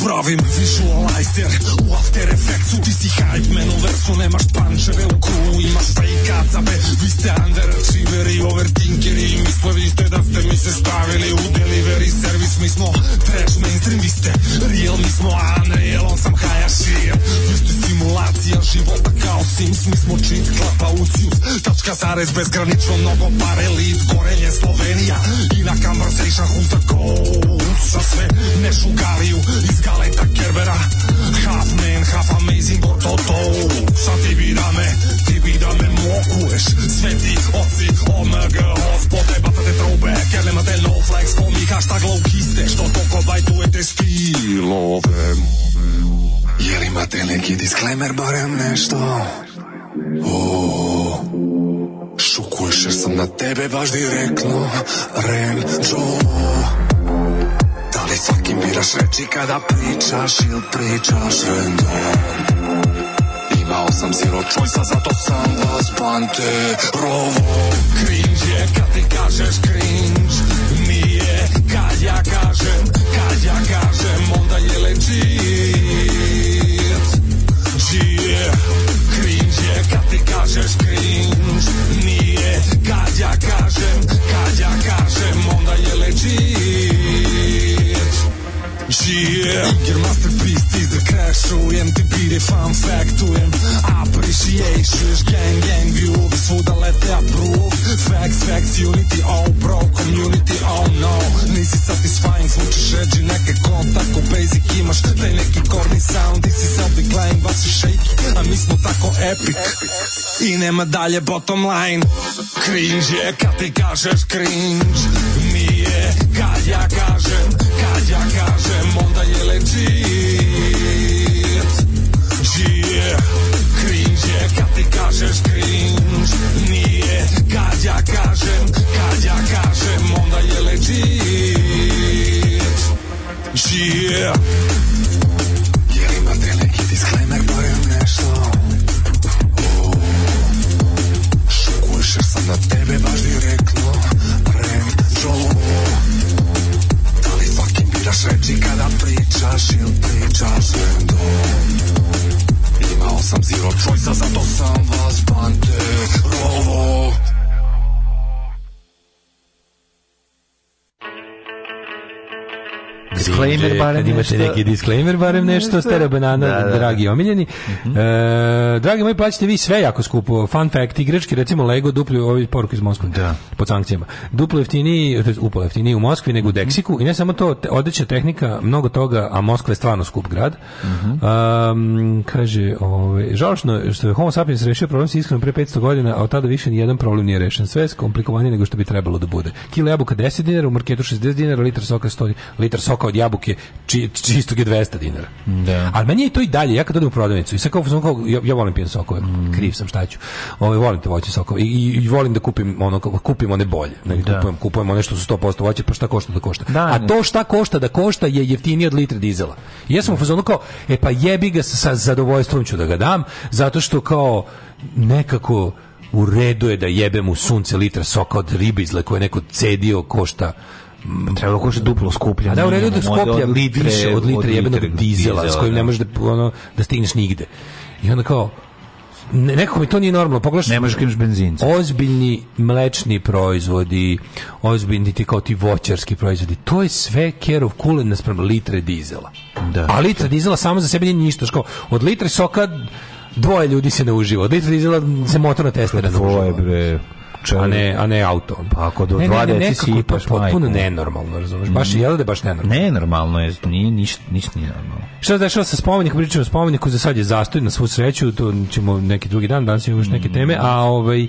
Speaker 9: Pravim visualizer U After Effectsu ti si hype man u versu Nemaš pančeve u krugu, imaš fake acabe Vi ste underachieveri, overthinkeri Mislili ste da ste mi se stavili u delivery servis Mi smo trash mainstream, vi ste real Mi smo unreal, on sam Hayashi Vi ste simulacija života kao Sims Mi smo cheat, klapa u Sims Tačka zarez, bezgranično mnogo pare Lid, gorenje, Slovenija I na conversation, who's the coach Sa sve nešugariju iz Galeta Kerbera Half man, half amazing, bo to to Sad ti bi da me, ti bi da me mokuješ Sveti oci, omg, oz Pote batate trobe, ker nemate no flex Komi hashtag low kiste, što toko bajtujete stilove Jel imate neki disclaimer, barem nešto? O, šukuješ jer sam na tebe baš direktno Renđo da li svakim biraš reći kada pričaš ili pričaš random? Imao sam zero choice-a, zato sam vas panterovo Cringe je kad ti kažeš cringe Nije kad ja kažem, kad ja kažem Onda je legit Čije cringe je kad ti kažeš cringe Nije kad ja kažem, kad ja kažem Onda je legit Čije Inger masterpiece ti zakrešujem Ti bide fun factujem Appreciations gang gang view Svuda lete approve Facts facts unity oh bro Community oh no Nisi satisfying Zvučiš edgy neke kontak U basic imaš taj neki korni sound Ti si self decline Baš si shaky A mi smo tako epic I nema dalje bottom line Cringe je kad ti kažeš cringe Nije kad ja kažem Kad ja kažem Onda je legit Čije Cringe je kad ti kažeš cringe Nije kad ja kažem Kad ja kažem Onda je legit Čije Jel imate neki disclaimer Barem nešto O, Šukuješ jer sam na tebe baš direktno Renđo da li fucking biraš reći kada pričaš ili pričaš random? Imao sam zero choice-a, zato sam vas panterovo
Speaker 6: Disclaimer barem
Speaker 5: Kad
Speaker 6: nešto.
Speaker 5: imate neki
Speaker 6: disclaimer barem nešto, stera banana,
Speaker 5: Da,
Speaker 6: da,
Speaker 5: da.
Speaker 6: dragi omiljeni. e, dragi moji, plaćate vi sve jako skupo. Fun fact, igrački, recimo Lego, duplo, ovi poruku iz Moskve, da. pod sankcijama. Duplo jeftiniji, to je upola jeftiniji u Moskvi nego u Deksiku. I ne samo to, te- odeća tehnika, mnogo toga, a Moskva je stvarno skup grad. Mhm. Um, kaže, ovaj, žalosno je što je Homo sapiens rešio problem sa iskreno pre 500 godina, a od tada više nijedan problem nije rešen. Sve je komplikovanije nego što bi trebalo da bude. Kilo jabuka 10 dinara, u marketu 60 dinara, litar soka 100 dinara, litar soka od jabuke či, čistog je 200 dinara. Da. Ali meni je to i dalje, ja kad odem u prodavnicu i sad kao, sam kao ja, ja volim pijen sokove, kriv sam šta ću. Ovaj volim te voće sokove i, i, i volim da kupim ono kao- kupim one bolje. Ne, kupujem, kupujem one što su 100% voće, pa šta košta da košta. A to šta košta da košta je jeftinije od litre dizela. I ja sam u fazonu kao, e pa jebi ga sa zadovoljstvom ću da ga dam, zato što kao nekako u redu je da jebem u sunce litra soka od ribizle koje je neko cedio košta
Speaker 5: Treba košta duplo skuplja.
Speaker 6: a Pa da u redu da
Speaker 5: minimum, od-
Speaker 6: skoplja
Speaker 5: ono. od litre-
Speaker 6: više od litre jebenog dizela s kojim ne možeš da, ono, da stigneš nigde. I onda kao, ne, nekako mi to nije normalno. Pogledaš, ne možeš
Speaker 5: kreneš benzinca.
Speaker 6: Ozbiljni mlečni proizvodi, ozbiljni ti kao ti voćarski proizvodi, to je sve kerov kulen naspram litre dizela. Da. A litra dizela samo za sebe nije ništa. Ško, od litre soka dvoje ljudi se ne uživa. Od litre dizela se motorna testera ne uživa.
Speaker 5: bre.
Speaker 6: A ne, a ne auto.
Speaker 5: Pa ako do
Speaker 6: Ne, ne, ne,
Speaker 5: dva deci
Speaker 6: nekako
Speaker 5: si
Speaker 6: je to
Speaker 5: ipaš,
Speaker 6: potpuno nenormalno, razumeš?
Speaker 5: Mm.
Speaker 6: Baš je da baš nenormalno.
Speaker 5: Nenormalno je, nije ništa, ništa nije normalno.
Speaker 6: Šta se dešava sa spomenikom? Pričamo o
Speaker 5: Mm.
Speaker 6: spomeniku, za sad je zastoj na svu sreću, to ćemo neki drugi dan, danas imamo još neke teme, a ovaj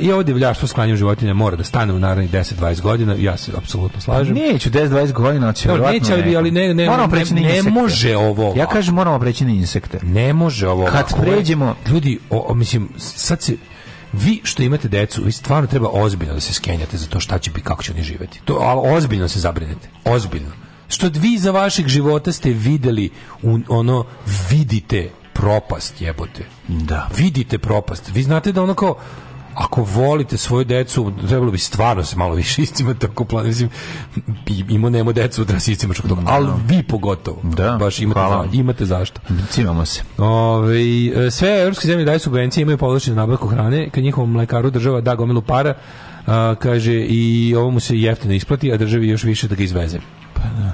Speaker 6: I ovo divljaštvo sklanjaju životinja mora da stane u narednih 10-20 godina, ja se apsolutno slažem.
Speaker 5: Pa Neću 10-20 godina, će
Speaker 6: Evo,
Speaker 5: verovatno Ono,
Speaker 6: neće, ali, bi-
Speaker 5: neko.
Speaker 6: ali ne, ne,
Speaker 5: moramo preći
Speaker 6: ne,
Speaker 5: na
Speaker 6: ne
Speaker 5: insekte.
Speaker 6: može ovo.
Speaker 5: Ja kažem moramo preći na insekte.
Speaker 6: Ne može ovo.
Speaker 5: Kad
Speaker 6: ovako.
Speaker 5: pređemo-
Speaker 6: Ljudi, o, o, mislim, sad se vi što imate decu, vi stvarno treba ozbiljno da se skenjate za to šta će biti, kako će oni živjeti. To, ali ozbiljno se zabrinete. Ozbiljno. Što vi za vašeg života ste videli, u- ono, vidite propast, jebote. Da. Vidite propast. Vi znate da ono kao, ako volite svoju decu, trebalo bi stvarno se malo više iscimati oko plan. Mislim, i- imao nemo decu, od nas iscimati oko toga. Ali vi pogotovo. Da. Baš imate,
Speaker 5: hvala.
Speaker 6: za- imate zašto.
Speaker 5: Cimamo se.
Speaker 6: Ove, e, sve evropske zemlje daju subvencije, imaju povlačenu nabavku hrane, kad njihovom mlekaru država da gomilu para, a, kaže i ovo mu se jeftino isplati, a državi još više da ga izveze. Pa da.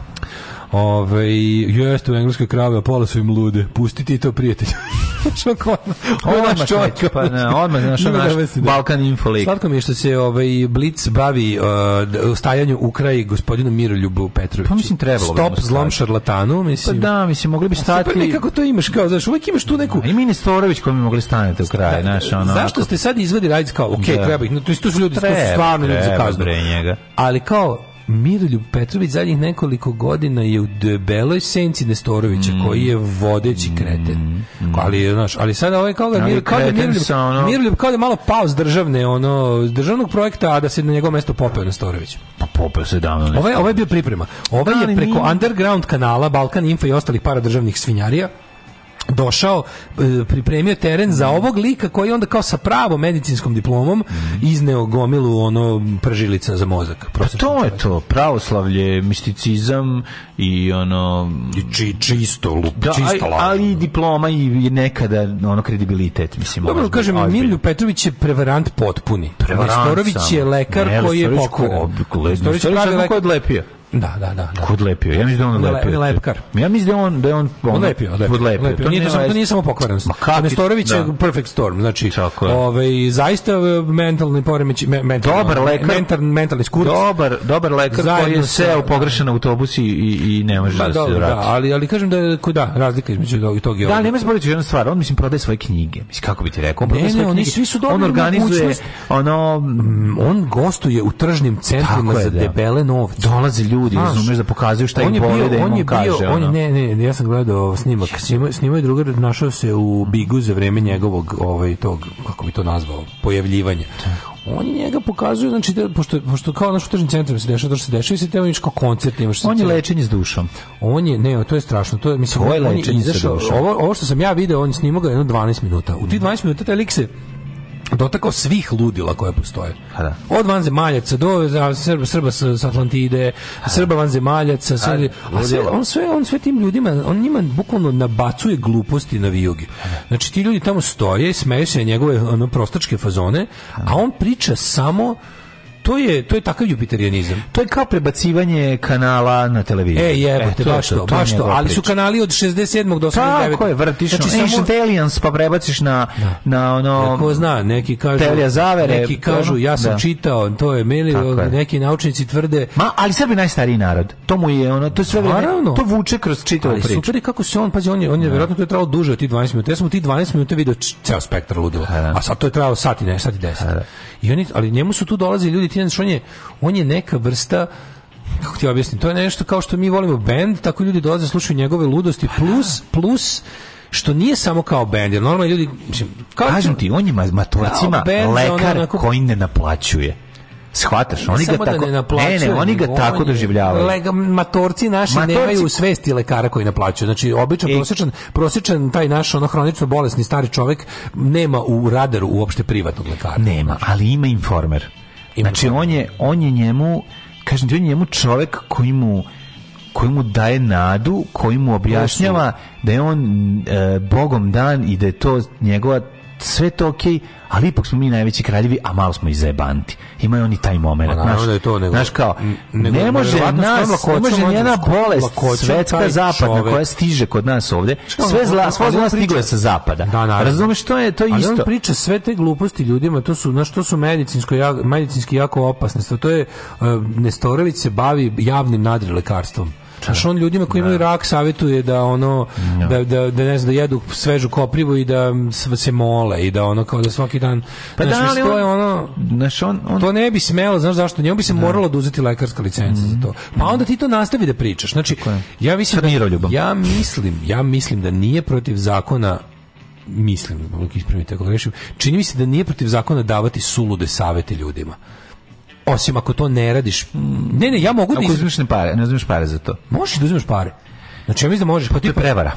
Speaker 6: Ove, jeste u engleskoj krave, a pola su im lude. Pustiti to, prijatelj. Što ko- Ovo je
Speaker 5: Odmah
Speaker 6: naš čovjek.
Speaker 5: kreće, pa ne, odmah naš-
Speaker 6: Nema
Speaker 5: naš
Speaker 6: veze,
Speaker 5: Balkan Info lik.
Speaker 6: Slatko mi je što se ovaj Blitz bavi uh, d- stajanju u kraj gospodinu Miroljubu Petroviću.
Speaker 5: Pa mislim, trebalo bi
Speaker 6: Stop
Speaker 5: mu stati.
Speaker 6: zlom šarlatanu,
Speaker 5: Pa
Speaker 6: mislim.
Speaker 5: da, mislim, mogli bi stati...
Speaker 6: Super nekako to imaš, kao, znaš, uvijek imaš tu neku...
Speaker 5: I mi Nestorović koji bi mogli stanete u kraj, znaš, ono...
Speaker 6: Pa, Zašto ste sad izvadi radic kao, ok,
Speaker 5: Da.
Speaker 6: treba ih, no, to su- to su ljudi, to su stvarno ljudi za kaznu.
Speaker 5: Treba, bre, njega.
Speaker 6: Ali kao, Miroljub Petrović zadnjih nekoliko godina je u debeloj senci Nestorovića,
Speaker 5: Mm.
Speaker 6: koji je vodeći kreten. Ali, znaš, ali sad ovaj kao da
Speaker 5: Ali
Speaker 6: Mir, kao da
Speaker 5: kreten
Speaker 6: Miroljub,
Speaker 5: sa ono-
Speaker 6: Miroljub kao da je malo pao s državne, ono, s državnog projekta, a da se na njegovo mesto popeo Nestorović.
Speaker 5: Pa popeo se davno. Nestorović.
Speaker 6: Ovaj, ovaj je bio priprema. Ovaj
Speaker 5: Da,
Speaker 6: je
Speaker 5: ali
Speaker 6: preko
Speaker 5: nije.
Speaker 6: underground kanala Balkan Info i ostalih paradržavnih svinjarija došao, e, pripremio teren
Speaker 5: Mhm.
Speaker 6: za ovog lika koji je onda kao sa pravom medicinskom diplomom izneo gomilu ono pržilica za mozak.
Speaker 5: Pa to je to, pravoslavlje, misticizam i ono... I
Speaker 6: čisto, lup,
Speaker 5: da,
Speaker 6: čista
Speaker 5: ali-
Speaker 6: laž.
Speaker 5: ali i diploma i i nekada ono kredibilitet, mislim. ono,
Speaker 6: Dobro,
Speaker 5: ozbilj-
Speaker 6: kažem,
Speaker 5: ozbilj.
Speaker 6: Milju Petrović je prevarant potpuni.
Speaker 5: Prevarant
Speaker 6: Nestorović
Speaker 5: samo.
Speaker 6: je lekar
Speaker 5: Ne,
Speaker 6: koji je
Speaker 5: Nestorović ko-
Speaker 6: pokoran.
Speaker 5: ob- ko- Nestorović
Speaker 6: pravi
Speaker 5: samo
Speaker 6: lekar-
Speaker 5: ko je odlepio.
Speaker 6: Da, da, da. da.
Speaker 5: Ko odlepio? Ja mislim da on
Speaker 6: Ne,
Speaker 5: odlepio.
Speaker 6: ne, lepkar.
Speaker 5: Ja mislim da je on da je on ono,
Speaker 6: Odlepio, odlepio.
Speaker 5: odlepio.
Speaker 6: odlepio. Nije, to,
Speaker 5: nema
Speaker 6: samo, to
Speaker 5: veze.
Speaker 6: nije samo pokvarenost.
Speaker 5: Ma kakvi-
Speaker 6: Nestorović je
Speaker 5: da.
Speaker 6: perfect storm, znači
Speaker 5: Tako je.
Speaker 6: ovaj, zaista e, mentalni poremeći, me, mentalni,
Speaker 5: Dobar lekar.
Speaker 6: mental, mentalni skurac.
Speaker 5: Dobar, dobar lekar koji
Speaker 6: Zajedno
Speaker 5: je
Speaker 6: sa-
Speaker 5: seo u pogrešan autobus i, i, i ne može
Speaker 6: Pa
Speaker 5: da, se
Speaker 6: dobro, da,
Speaker 5: vrati.
Speaker 6: ali, ali kažem da je ko- da, razlika između tog i tog je
Speaker 5: Da,
Speaker 6: ovog.
Speaker 5: ali nema zboriću jednu stvar, on mislim prodaje svoje knjige, mislim kako bi ti rekao, on prodaje
Speaker 6: Ne, ne,
Speaker 5: svoje
Speaker 6: oni
Speaker 5: knjige,
Speaker 6: svi su dobili
Speaker 5: on organizuje,
Speaker 6: mogućnost.
Speaker 5: ono,
Speaker 6: Mm, on gostuje u tržnim centrima
Speaker 5: Tako je,
Speaker 6: za
Speaker 5: da.
Speaker 6: debele novce.
Speaker 5: dolaze ljudi,
Speaker 6: Znaš,
Speaker 5: razumeš, da pokazuju šta
Speaker 6: on
Speaker 5: im
Speaker 6: je
Speaker 5: boli,
Speaker 6: bio-
Speaker 5: da im
Speaker 6: on
Speaker 5: on
Speaker 6: je
Speaker 5: kaže,
Speaker 6: bio, on je,
Speaker 5: ono.
Speaker 6: ne, ne, ne, ja sam gledao snimak. Snima, snima je drugar, našao se u Bigu za vreme njegovog, ovaj, tog, kako bi to nazvao, pojavljivanja. On je njega pokazuje, znači, da, pošto, pošto kao naš tržnim centrum se dešava, to što se dešava, i se tamo kao koncert, imaš
Speaker 5: On je
Speaker 6: scenu.
Speaker 5: lečenje s dušom.
Speaker 6: On je, ne, to je strašno, to je, mislim,
Speaker 5: To je
Speaker 6: on
Speaker 5: lečenje sa
Speaker 6: izašao-
Speaker 5: dušom.
Speaker 6: ovo, ovo što sam ja video, on je snimao ga jedno 12 minuta. U tih 12 minuta taj lik se dotakao svih ludila koje postoje.
Speaker 5: Pa da.
Speaker 6: Od vanzemaljaca do za- Srba, Srba sa sa Atlantide, Srba vanzemaljaca, sve-
Speaker 5: Ajde,
Speaker 6: a sve,
Speaker 5: ludilo.
Speaker 6: on sve, on sve tim ljudima, on njima bukvalno nabacuje gluposti na vijuge. Znači ti ljudi tamo stoje, smeju se na njegove ono, prostačke fazone, a on priča samo To je, to je takav jupiterijanizam.
Speaker 5: To je kao prebacivanje kanala na televiziju.
Speaker 6: E, jebote,
Speaker 5: E, to je
Speaker 6: baš to,
Speaker 5: je
Speaker 6: baš to.
Speaker 5: njegova
Speaker 6: Ali su
Speaker 5: priča.
Speaker 6: kanali od 67. do 89.
Speaker 5: Tako je, vrtiš
Speaker 6: Znači,
Speaker 5: znači,
Speaker 6: samo...
Speaker 5: Aliens, pa prebaciš na, na ono...
Speaker 6: Ko zna, neki kažu,
Speaker 5: Telija Zavere,
Speaker 6: neki kažu, ja sam
Speaker 5: da.
Speaker 6: čitao, to ono, je mili,
Speaker 5: Tako je.
Speaker 6: neki naučnici tvrde,
Speaker 5: Ma, ali Srbi je najstariji narod. To mu je ono, to je sve vreme,
Speaker 6: Naravno.
Speaker 5: to vuče kroz čitavu
Speaker 6: ali
Speaker 5: priču.
Speaker 6: Pa super je kako se on, pazi, on je, on je vjerojatno to je trajalo duže od tih 12 minuta. Ja sam u tih 12 minuta video č- ceo spektar ludila. A sad to je trajalo sat i ne, sat i deset. I oni, ali njemu su tu dolazili ljudi, ti ne znaš, on je, on je neka vrsta kako ti objasnim, to je nešto kao što mi volimo band, tako ljudi dolaze slušaju njegove ludosti, plus, plus, što nije samo kao band, jer normalno ljudi, mislim, kao
Speaker 5: Kažem ti, on je ma- maturcima
Speaker 6: Kao bend za ono
Speaker 5: lekar
Speaker 6: onako-
Speaker 5: koji ne naplaćuje. Shvataš, oni ga
Speaker 6: Samo da
Speaker 5: tako...
Speaker 6: ne naplaćuju,
Speaker 5: ne, oni ga
Speaker 6: nego
Speaker 5: tako
Speaker 6: on je-
Speaker 5: doživljavaju.
Speaker 6: Lega, matorci naši
Speaker 5: Matorci-
Speaker 6: nemaju svesti lekara koji naplaćuju. Znači, običan, prosječan, prosječan taj naš ono hronično bolesni stari čovek nema u radaru uopšte privatnog lekara.
Speaker 5: Nema, ali ima informer. znači, on je, on je njemu, kažem ti, on je njemu čovek koji mu koji mu daje nadu, koji mu objašnjava da je on e, bogom dan i da je to njegova sve to okej, ali ipak smo mi najveći kraljevi, a malo smo i zajebanti. Imaju oni taj moment.
Speaker 6: Pa naravno
Speaker 5: znaš,
Speaker 6: da je to, nego-
Speaker 5: znaš kao,
Speaker 6: nego
Speaker 5: ne može
Speaker 6: verovatno s tom
Speaker 5: nas, ne
Speaker 6: lakoćom,
Speaker 5: može njena
Speaker 6: s tom
Speaker 5: bolest
Speaker 6: lakoćom
Speaker 5: svetska
Speaker 6: taj
Speaker 5: zapadna
Speaker 6: čovek-
Speaker 5: koja stiže kod nas ovde,
Speaker 6: Čekaj,
Speaker 5: sve
Speaker 6: on-
Speaker 5: zla,
Speaker 6: on-
Speaker 5: svo
Speaker 6: on
Speaker 5: zlo
Speaker 6: priča-
Speaker 5: stiglo je sa zapada.
Speaker 6: Da, naravno.
Speaker 5: Razumeš, to je, to je
Speaker 6: Ali
Speaker 5: isto.
Speaker 6: on priča sve te gluposti ljudima, to su, znaš, to su medicinsko, ja- uh, medicinski jako opasne stvari. To je, e, Nestorović se bavi javnim nadrilekarstvom. Znaš, on ljudima koji imaju rak savjetuje da ono, da, da, da ne znam, da jedu svežu koprivu i da s- se mole i da ono, kao da svaki dan,
Speaker 5: Pa
Speaker 6: znaš,
Speaker 5: da, ali
Speaker 6: mislim, to
Speaker 5: on-
Speaker 6: je ono,
Speaker 5: znaš, on, on...
Speaker 6: to ne bi smelo, znaš zašto, njemu bi se moralo da uzeti lekarska licenca za to. Pa
Speaker 5: Mhm.
Speaker 6: onda ti to nastavi da pričaš. Znači, ja mislim, da, ja mislim, ja mislim da nije protiv zakona mislim, mogu ispraviti ako grešim, čini mi se da nije protiv zakona davati sulude savete ljudima. Osim ako to ne radiš. Ne, ne, ja mogu da
Speaker 5: Ako
Speaker 6: iz-
Speaker 5: uzmeš ne pare, ne uzmeš pare za to.
Speaker 6: Možeš da uzmeš pare. Znači, ja mislim da možeš. Pa to je prevara.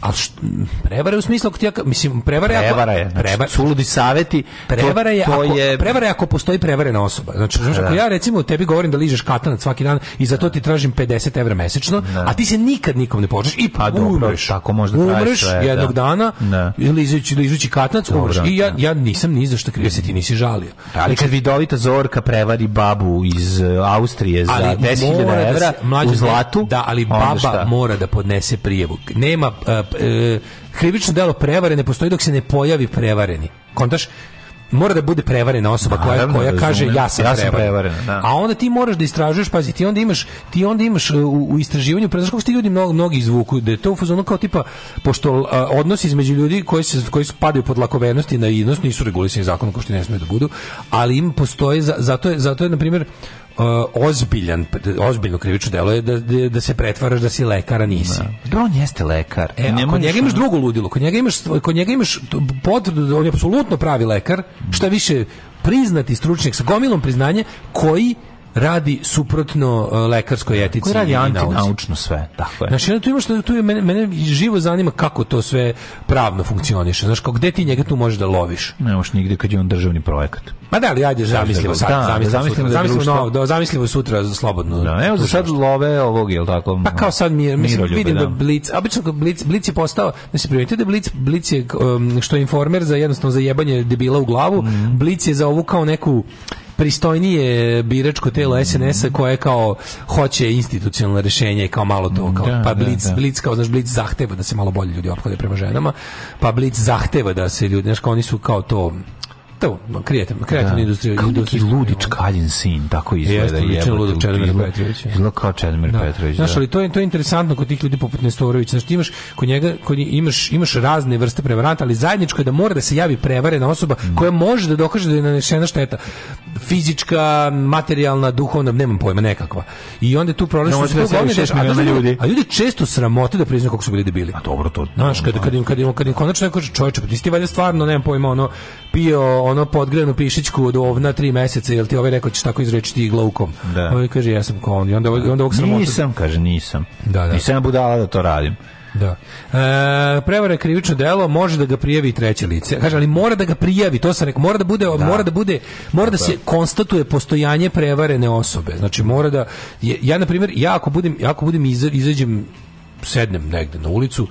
Speaker 6: A što, prevara je u smislu ako ti ja, ka- mislim, prevara, je ako-
Speaker 5: Prevara je, znači,
Speaker 6: prevara-
Speaker 5: suludi saveti, to-
Speaker 6: prevara je,
Speaker 5: to
Speaker 6: ako,
Speaker 5: je-
Speaker 6: prevara je ako postoji prevarena osoba. Znači, znaš, ako
Speaker 5: Da.
Speaker 6: ja recimo tebi govorim da ližeš katanac svaki dan i za to ti tražim 50 evra mesečno, a ti se nikad nikom ne počneš i
Speaker 5: Pa dobro,
Speaker 6: umreš.
Speaker 5: tako možda traje
Speaker 6: umreš
Speaker 5: sve,
Speaker 6: jednog
Speaker 5: da.
Speaker 6: dana,
Speaker 5: Da.
Speaker 6: ližući, ližući katanac,
Speaker 5: Dobro,
Speaker 6: umreš. I ja, ja nisam ni za što kriv, jer se ti nisi žalio.
Speaker 5: Ali kad vidovita Zorka prevari babu iz e, Austrije za
Speaker 6: Ali
Speaker 5: 10.000
Speaker 6: mora da
Speaker 5: evra
Speaker 6: se- mlađe,
Speaker 5: u zlatu,
Speaker 6: Da, ali
Speaker 5: onda šta?
Speaker 6: baba mora da podnese prijevu. Nema e, p- e, krivično delo prevare ne postoji dok se ne pojavi prevareni. Kontaš mora da bude prevarena osoba koja
Speaker 5: Naravno,
Speaker 6: koja kaže
Speaker 5: razumem.
Speaker 6: ja sam,
Speaker 5: Ja sam
Speaker 6: prevarena.
Speaker 5: prevarena, da.
Speaker 6: A onda ti moraš da istražuješ, pazi, ti onda imaš ti onda imaš e, u, u istraživanju pre kako ti ljudi mnogo mnogi izvuku da je to u fazonu kao tipa pošto e, odnos između ljudi koji se koji su padaju pod lakovernost i naivnost nisu regulisani zakonom kao što ne smeju da budu, ali im postoje za- zato je zato je na primjer e, ozbiljan ozbiljno krivično delo je da, da, da se pretvaraš da si lekara nisi.
Speaker 5: Dobro, on jeste lekar.
Speaker 6: E, a kod njega imaš drugo ludilo, kod njega imaš, kod njega imaš t- potvrdu da on je apsolutno pravi lekar, šta više priznati stručnjak sa gomilom priznanje koji radi suprotno e, lekarskoj etici.
Speaker 5: koji radi
Speaker 6: i nauci.
Speaker 5: antinaučno sve. Tako je.
Speaker 6: Znači, onda tu imaš, tu je, mene, mene živo zanima kako to sve pravno funkcioniše. Znaš, kao gde ti njega tu možeš da loviš?
Speaker 5: Ne možeš nigde kad je on državni projekat.
Speaker 6: Ma da li, ajde, zamislimo sad.
Speaker 5: Da, da
Speaker 6: zamislimo, sutra,
Speaker 5: zamislimo da
Speaker 6: zamislimo,
Speaker 5: društvo-
Speaker 6: novo, da, zamislimo sutra slobodno.
Speaker 5: Da, evo za sad love ovog, jel tako?
Speaker 6: Pa kao sad mi je, mislim,
Speaker 5: Miroljube,
Speaker 6: vidim
Speaker 5: da.
Speaker 6: da Blic, a obično Blic, Blic je postao, da se primetite da Blic, Blic je, um, što je informer za jednostavno za jebanje debila u glavu,
Speaker 5: Mhm.
Speaker 6: Blic je za ovu kao neku pristojnije biračko
Speaker 5: Mhm.
Speaker 6: telo SNS-a koje kao hoće institucionalno rešenje i kao malo to kao,
Speaker 5: Da,
Speaker 6: pa
Speaker 5: da,
Speaker 6: Blic,
Speaker 5: da.
Speaker 6: Blic kao znaš Blic zahteva da se malo bolje ljudi ophode prema ženama pa Blic zahteva da se ljudi znaš kao oni su kao to to kreativna kreativna
Speaker 5: Da.
Speaker 6: industrija
Speaker 5: Kao neki
Speaker 6: industrija-
Speaker 5: ludi čkaljin sin, tako izgleda.
Speaker 6: ono. Jeste, ličan
Speaker 5: jebote,
Speaker 6: ludak Čedomir
Speaker 5: izgleda-
Speaker 6: Petrović.
Speaker 5: Izgleda kao Čedomir
Speaker 6: Da.
Speaker 5: Petrović.
Speaker 6: Znaš,
Speaker 5: da.
Speaker 6: ali to je to je interesantno kod tih ljudi poput Nestorovića. Znači ti imaš kod njega kod njih imaš imaš razne vrste prevaranta, ali zajedničko je da mora da se javi prevarena osoba
Speaker 5: Mm.
Speaker 6: koja može da dokaže da je nanesena šteta fizička, materijalna, duhovna, nemam pojma nekakva. I onda je tu problem
Speaker 5: Ne
Speaker 6: što
Speaker 5: može
Speaker 6: su
Speaker 5: da
Speaker 6: to
Speaker 5: se
Speaker 6: glavni
Speaker 5: javi šest
Speaker 6: deš- a znaš,
Speaker 5: miliona ljudi.
Speaker 6: A ljudi često sramote da priznaju kako su bili debili. A
Speaker 5: Pa dobro to.
Speaker 6: Znaš, kad kad im kad im kad im konačno neko kaže čoveče, pa ti si ti valjda stvarno nemam pojma ono pio ono podgrenu pišićku od ovna tri meseca, jel ti ovaj rekao ćeš tako izreći ti glaukom.
Speaker 5: Da.
Speaker 6: Ovaj kaže ja sam kao on i onda ovaj- i onda ovog sramota.
Speaker 5: Nisam, kaže, nisam.
Speaker 6: Da, da.
Speaker 5: Nisam ja budala da to radim.
Speaker 6: Da. E, prevara je krivično delo, može da ga prijavi i treće lice. Kaže, ali mora da ga prijavi, to sam rekao, mora da bude, mora da bude, mora da se konstatuje postojanje prevarene osobe. Znači mora da ja, ja, na primjer, ja ako budem, ja ako budem iza- izađem sednem negde na ulicu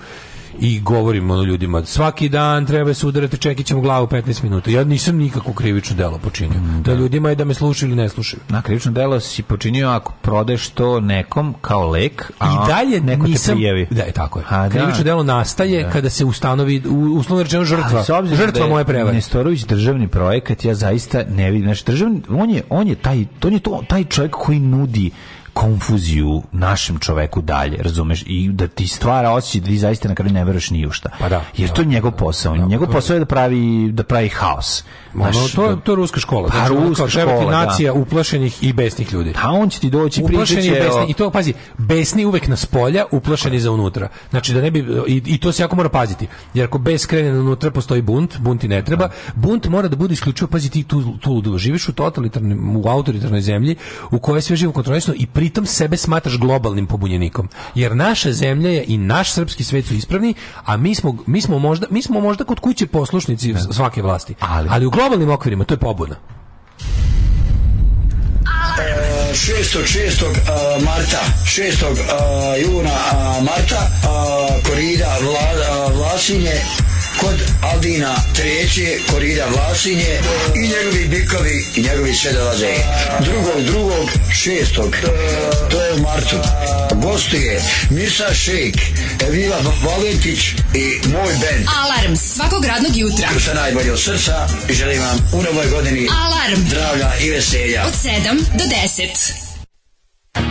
Speaker 6: i govorim ono ljudima svaki dan treba se udarati čekićem u glavu 15 minuta. Ja nisam nikakvo krivično delo počinio. Mm, Da. ljudima je da me slušaju ili ne slušaju.
Speaker 5: Na krivično delo si počinio ako prodeš to nekom kao lek, a
Speaker 6: I dalje
Speaker 5: neko
Speaker 6: nisam,
Speaker 5: Pa te prijavi.
Speaker 6: Da, je, tako je.
Speaker 5: A, da.
Speaker 6: Krivično delo nastaje kada se ustanovi, u- uslovno rečeno, žrtva.
Speaker 5: Ali s obzirom da
Speaker 6: Žrtva
Speaker 5: je
Speaker 6: moje prevare.
Speaker 5: Nestorović državni projekat, ja zaista ne vidim. Znači, državni, on je, on je, taj, on je to, taj čovjek koji nudi konfuziju našem čoveku dalje, razumeš? I da ti stvara osjećaj da ti zaista na kraju ne veruješ ni u šta.
Speaker 6: Pa da.
Speaker 5: Jer to je njegov posao. njegov posao je da pravi, da pravi haos.
Speaker 6: Ono,
Speaker 5: Znaš,
Speaker 6: to,
Speaker 5: da-
Speaker 6: to je ruska škola.
Speaker 5: Pa,
Speaker 6: Znači, ono, kao
Speaker 5: ruska
Speaker 6: treba ti
Speaker 5: škola, da.
Speaker 6: nacija uplašenih i besnih ljudi.
Speaker 5: A on će ti doći pričat
Speaker 6: Uplašeni i
Speaker 5: će
Speaker 6: besni.
Speaker 5: o-
Speaker 6: I to, pazi, besni uvek nas polja, uplašeni za unutra. Znači, da ne bi, i, i to se jako mora paziti. Jer ako bes krene na unutra, postoji bunt, bunt i ne treba. Bunt mora da bude isključivo, pazi, ti tu, tu ludo. Živiš u totalitarnim, u autoritarnoj zemlji u kojoj je sve živo kontrolisano i pritom sebe smatraš globalnim pobunjenikom. Jer naša zemlja je i naš srpski svet su ispravni, a mi smo, mi smo, možda, mi smo možda kod kuće poslušnici svake vlasti. Ali, u globalnim okvirima to je pobuna.
Speaker 14: 6. 6.
Speaker 7: uh,
Speaker 14: a, marta, 6. a, juna a, marta, a, korida Vla, a, Vlasinje, kod Aldina treće, korida Vlasinje i njegovi bikovi i njegovi sve dolaze. Drugog, drugog, šestog, to je u martu. Gostuje Mirsa Šejk, Evila Valentić i moj band.
Speaker 2: Alarm svakog radnog jutra.
Speaker 14: Sa najbolje od srca i želim vam u novoj godini
Speaker 2: Alarm.
Speaker 14: zdravlja i veselja.
Speaker 2: Od 7 do 10.
Speaker 9: Thank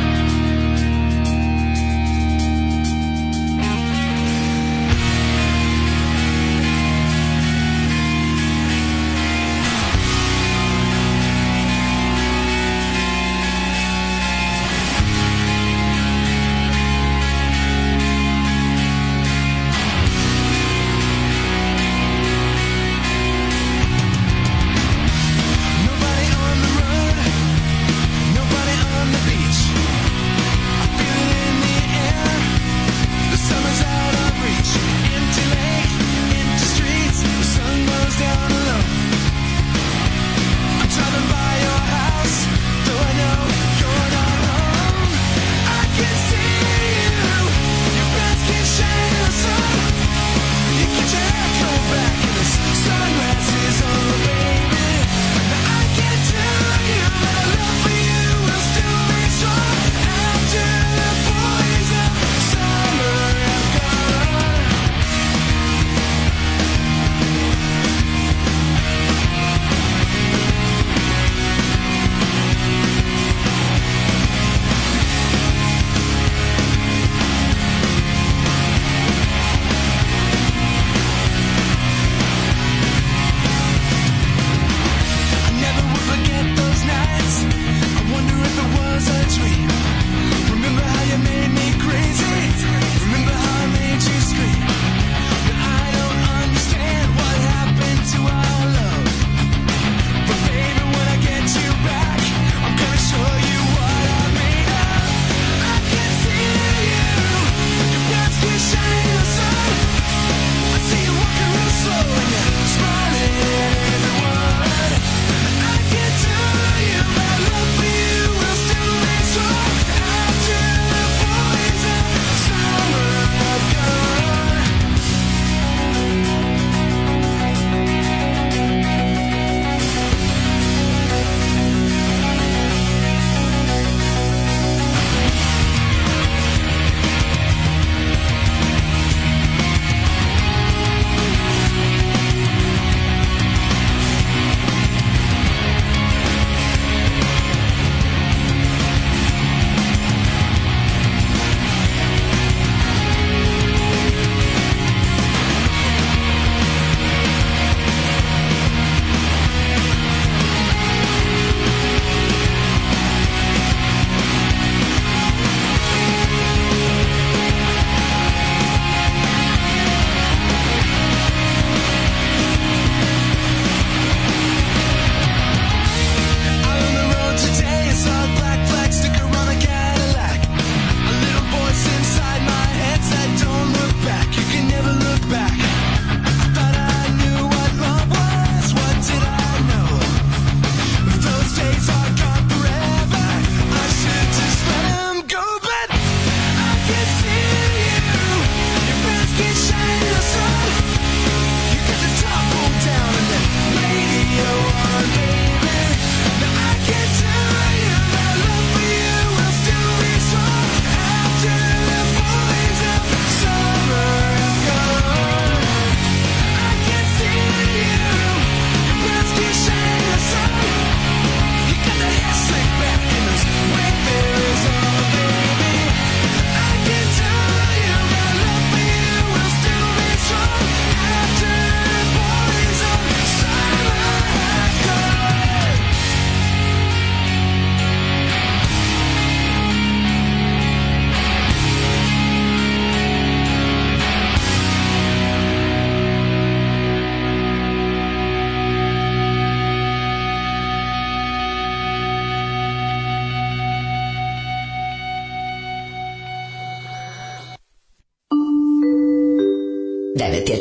Speaker 2: 9 je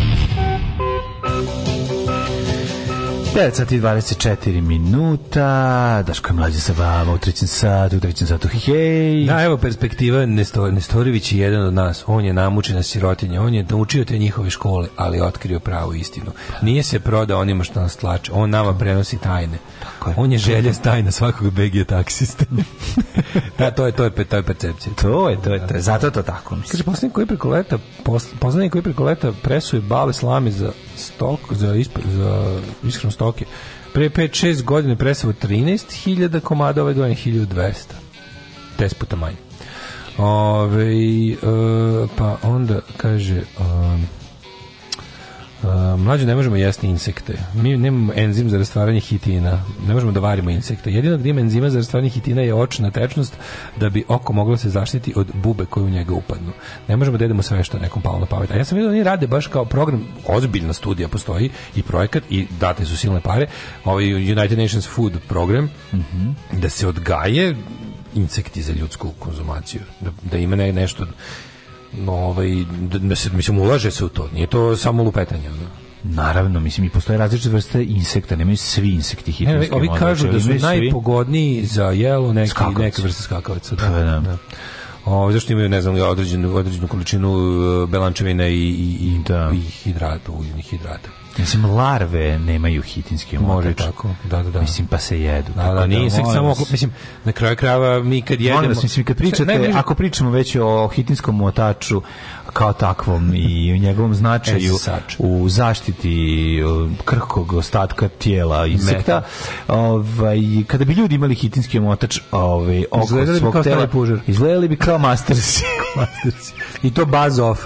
Speaker 5: 9 sati i 24 minuta, Daško je mlađe sa vama u trećem satu, u trećem satu, hej!
Speaker 6: Da, evo perspektiva, Nesto, Nestorović je jedan od nas, on je namučena sirotinja, on je naučio te njihove škole, ali je otkrio pravu istinu. Nije se prodao onima što nas tlače, on nama prenosi tajne. On je želja tajna svakog BG taksiste. da, to je, to je, to je percepcija.
Speaker 5: To je, to je, to je, zato je to tako, mislim.
Speaker 6: Kaže, poznanik koji preko leta, pos- poznanik koji preko leta presuje bale slame za stok, za, isp, za ishranu stoke. Pre 5-6 godine presavo 13.000 komada, ove godine 1200. 10 puta manje. Ove, e, pa onda kaže... um, Uh, mlađe ne možemo jesti insekte. Mi nemamo enzim za rastvaranje hitina. Ne možemo da varimo insekte. Jedino gdje ima enzima za rastvaranje hitina je očna tečnost da bi oko moglo se zaštiti od bube koje u njega upadnu. Ne možemo da jedemo sve što je nekom palo na pamet. A ja sam vidio da oni rade baš kao program, ozbiljna studija postoji i projekat i date su silne pare. Ovaj United Nations Food program da se odgaje insekti za ljudsku konzumaciju. Da, da ima ne- nešto no, ovaj, da- da se, mislim, ulaže se u to. Nije to samo lupetanje. ono.
Speaker 5: Naravno, mislim, i postoje različite vrste insekta, nemaju svi insekti
Speaker 6: Ne,
Speaker 5: hitinske.
Speaker 6: ovi kažu da su najpogodniji za jelo neki,
Speaker 5: Skakavac.
Speaker 6: neke vrste skakavaca. Da,
Speaker 5: Pa, da.
Speaker 6: da. O, zašto imaju, ne znam, određenu, određenu količinu e, belančevina i, i, i, i hidrata, ugljenih hidrata.
Speaker 5: Mislim, larve nemaju hitinski omotač.
Speaker 6: Može i tako, da, da, da.
Speaker 5: Mislim, pa se jedu.
Speaker 6: Da, da, nije insekt samo, mislim, na kraju krajeva mi kad jedemo...
Speaker 5: Jedemo. Vas, mislim, kad pričate,
Speaker 6: Najbliže-
Speaker 5: ako pričamo već o hitinskom motaču kao takvom i o njegovom značaju
Speaker 6: E, sač.
Speaker 5: u zaštiti e, krhkog ostatka tijela insekta, ovaj, kada bi ljudi imali hitinski omotač ovaj, oko
Speaker 6: Izgledali bi
Speaker 5: svog
Speaker 6: kao
Speaker 5: tela,
Speaker 6: stari pužar.
Speaker 5: izgledali bi kao mastersi.
Speaker 6: I to buzz off.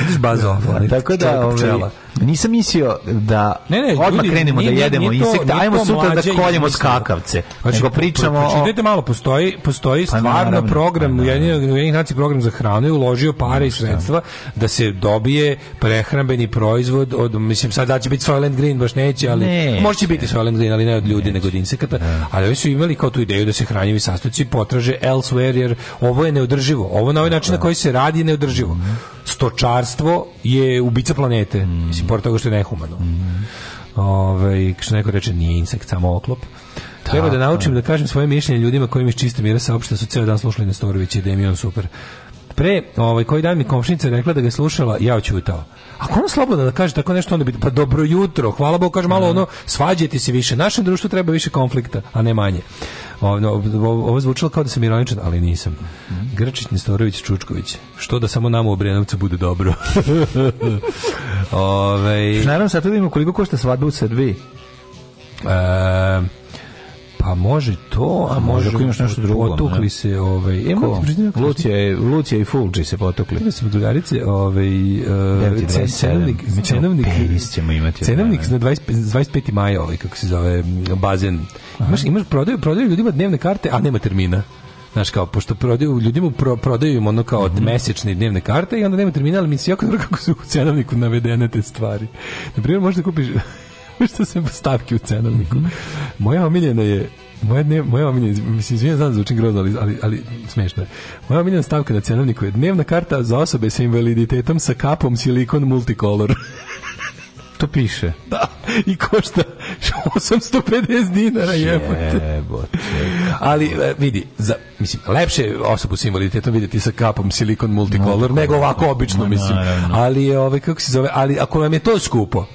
Speaker 6: Vidiš buzz off, onaj
Speaker 5: Tako da,
Speaker 6: čovjek
Speaker 5: ovaj,
Speaker 6: pčela.
Speaker 5: nisam mislio da
Speaker 6: Ne, ne,
Speaker 5: odmah
Speaker 6: ljudi,
Speaker 5: krenemo
Speaker 6: nije-
Speaker 5: da
Speaker 6: nije-
Speaker 5: jedemo
Speaker 6: nije to-
Speaker 5: insekte,
Speaker 6: nije
Speaker 5: ajmo
Speaker 6: to
Speaker 5: sutra da
Speaker 6: mlađe Znači,
Speaker 5: koljemo
Speaker 6: izmislio.
Speaker 5: skakavce. Nego pričamo
Speaker 6: pro-
Speaker 5: o...
Speaker 6: pročitajte malo, postoji, postoji
Speaker 5: Pa
Speaker 6: stvarno
Speaker 5: naravno,
Speaker 6: program, Ujedinjenih Ujedinjenih nacija program za hranu je uložio pare i sredstva da se dobije prehrambeni proizvod od, mislim sad da će biti Soylent Green, baš neće, ali
Speaker 5: Neće.
Speaker 6: može će biti Soylent Green, ali ne od ljudi, nego od insekata, ali oni su imali kao tu ideju da se hranjivi sastojci potraže elsewhere, jer ovo je neodrživo, ovo na ovaj način na koji se radi je neodrživo.
Speaker 5: Mhm.
Speaker 6: Stočarstvo je ubica planete, mislim, pored toga što je nehumano.
Speaker 5: Mhm.
Speaker 6: Ove, što neko reče, nije insekt, samo oklop. Treba da naučim da kažem svoje mišljenje ljudima koji mi iz čiste mira saopšte su ceo dan slušali Nestorovića i da im je on super. Pre, ovaj, koji dan mi komšnica rekla da ga je slušala, ja oćutao. Ako ona slobodno da kaže tako nešto, onda bi, pa dobro jutro, hvala Bogu, kaže malo ono, svađajte se više. Našem društvu treba više konflikta, a ne manje. Ovaj, Ovo, ovo, ovo zvučilo kao da sam ironičan, ali nisam. Grčić, Nestorović, Čučković. Što da samo nama u Obrenovcu bude dobro. Ovaj,
Speaker 5: Naravno, sad vidimo koliko košta svadba u Srbiji.
Speaker 6: E, pa može to, a može
Speaker 5: ako imaš nešto drugo,
Speaker 6: Potukli
Speaker 5: ne?
Speaker 6: se ovaj. E,
Speaker 5: Ko?
Speaker 6: moram ti priznati, kako
Speaker 5: Lucija, je- Lucija i Fulđi se potukli.
Speaker 6: Vidio sam drugarice, ovaj, e, cen-
Speaker 5: 9.27.
Speaker 6: cenovnik,
Speaker 5: Mi ćemo
Speaker 6: cenovnik,
Speaker 5: penis ćemo imati.
Speaker 6: cenovnik na 25, 25. maja, ovaj, kako se zove, m, bazen. Imaš, imaš prodaju, prodaju ljudima dnevne karte, a nema termina. Znaš kao, pošto prodaju, ljudima pro, prodaju im ono kao mesečne i dnevne karte i onda nema termina, ali mi se jako dobro kako su u cenovniku navedene te stvari. Naprimjer, možda kupiš što se stavke u cenovniku. Moja omiljena je moja ne, moja omiljena, mislim, izvijem, znam da zvučim grozno, ali, ali, ali smešno je. Moja omiljena stavka na cenovniku je dnevna karta za osobe sa invaliditetom sa kapom silikon multicolor.
Speaker 5: To piše.
Speaker 6: da, i košta 850 dinara, jebote.
Speaker 5: Jebote.
Speaker 6: Ali e, vidi, za, mislim, lepše je osobu s invaliditetom vidjeti sa kapom silikon multicolor nego ovako obično, mislim. Ali je ovaj kako se zove, ali ako vam je to skupo,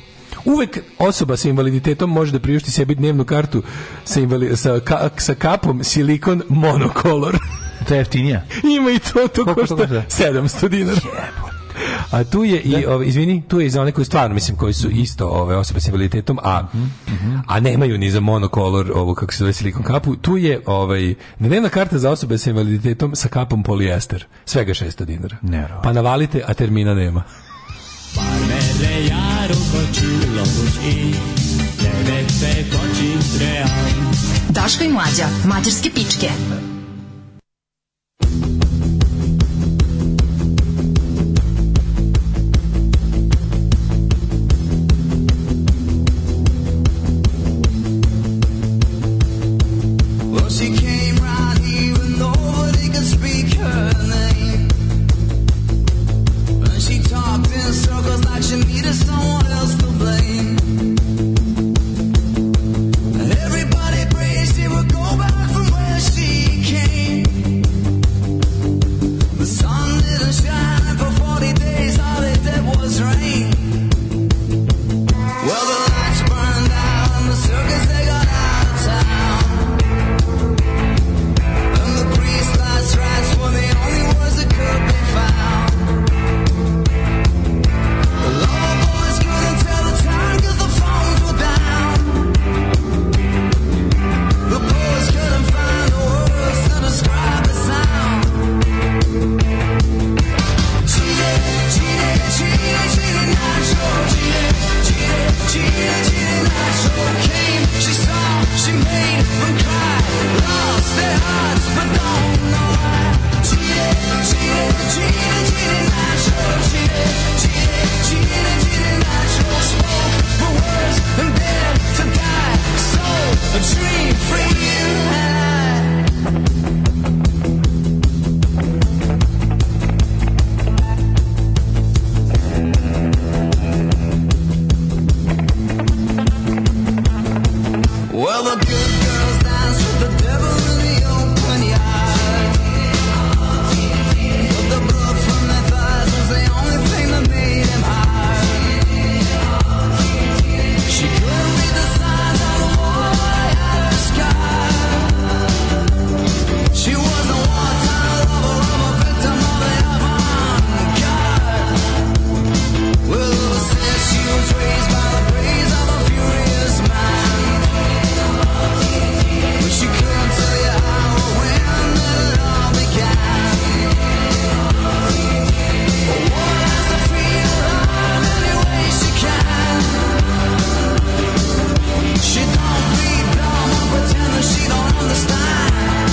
Speaker 6: Uvek osoba sa invaliditetom može da priušti sebi dnevnu kartu sa, invali, sa, ka- sa kapom silikon monokolor.
Speaker 5: To je jeftinija.
Speaker 6: Ima i to, to
Speaker 5: Koliko to
Speaker 6: košta
Speaker 5: košta?
Speaker 6: 700 dinara. A tu je i ovaj izvini, tu je i za one koji stvarno mislim koji su isto ove osobe s invaliditetom, a a nemaju ni za monokolor ovo kako se zove silikon kapu, tu je ovaj dnevna karta za osobe sa invaliditetom sa kapom polijester, svega 600 dinara.
Speaker 5: Neverovatno.
Speaker 6: Pa navalite, a termina nema.
Speaker 2: Daško i Mlađa. Mađarske pičke.
Speaker 7: Well, she came right even though they could speak her All the good girls dance with the devil in the open yard. But the blood from their thighs was the only thing that made him hard. She couldn't read the signs on the wall at the sky. She was the one-time lover of a victim of the avant-garde. Well, ever since she was raised by the praise of a furious mind. But she couldn't tell you how or when that it all began. A woman has to free her love any way she can. She don't bleed dumb or pretend that she don't understand.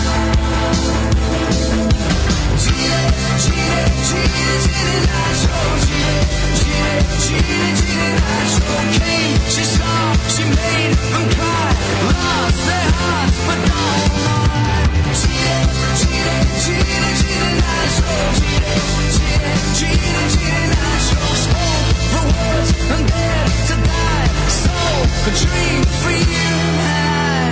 Speaker 7: Cheated, cheated, cheated, cheated, I chose. Cheated, cheated, cheated, cheated, I chose. Came, she saw, she made them cry. Lost their hearts, but don't lie. Cheated, cheated, cheated, cheated, I chose. Cheated, cheated, cheated, cheated, I chose. Spoke the words and dared to die. So a dream for you had.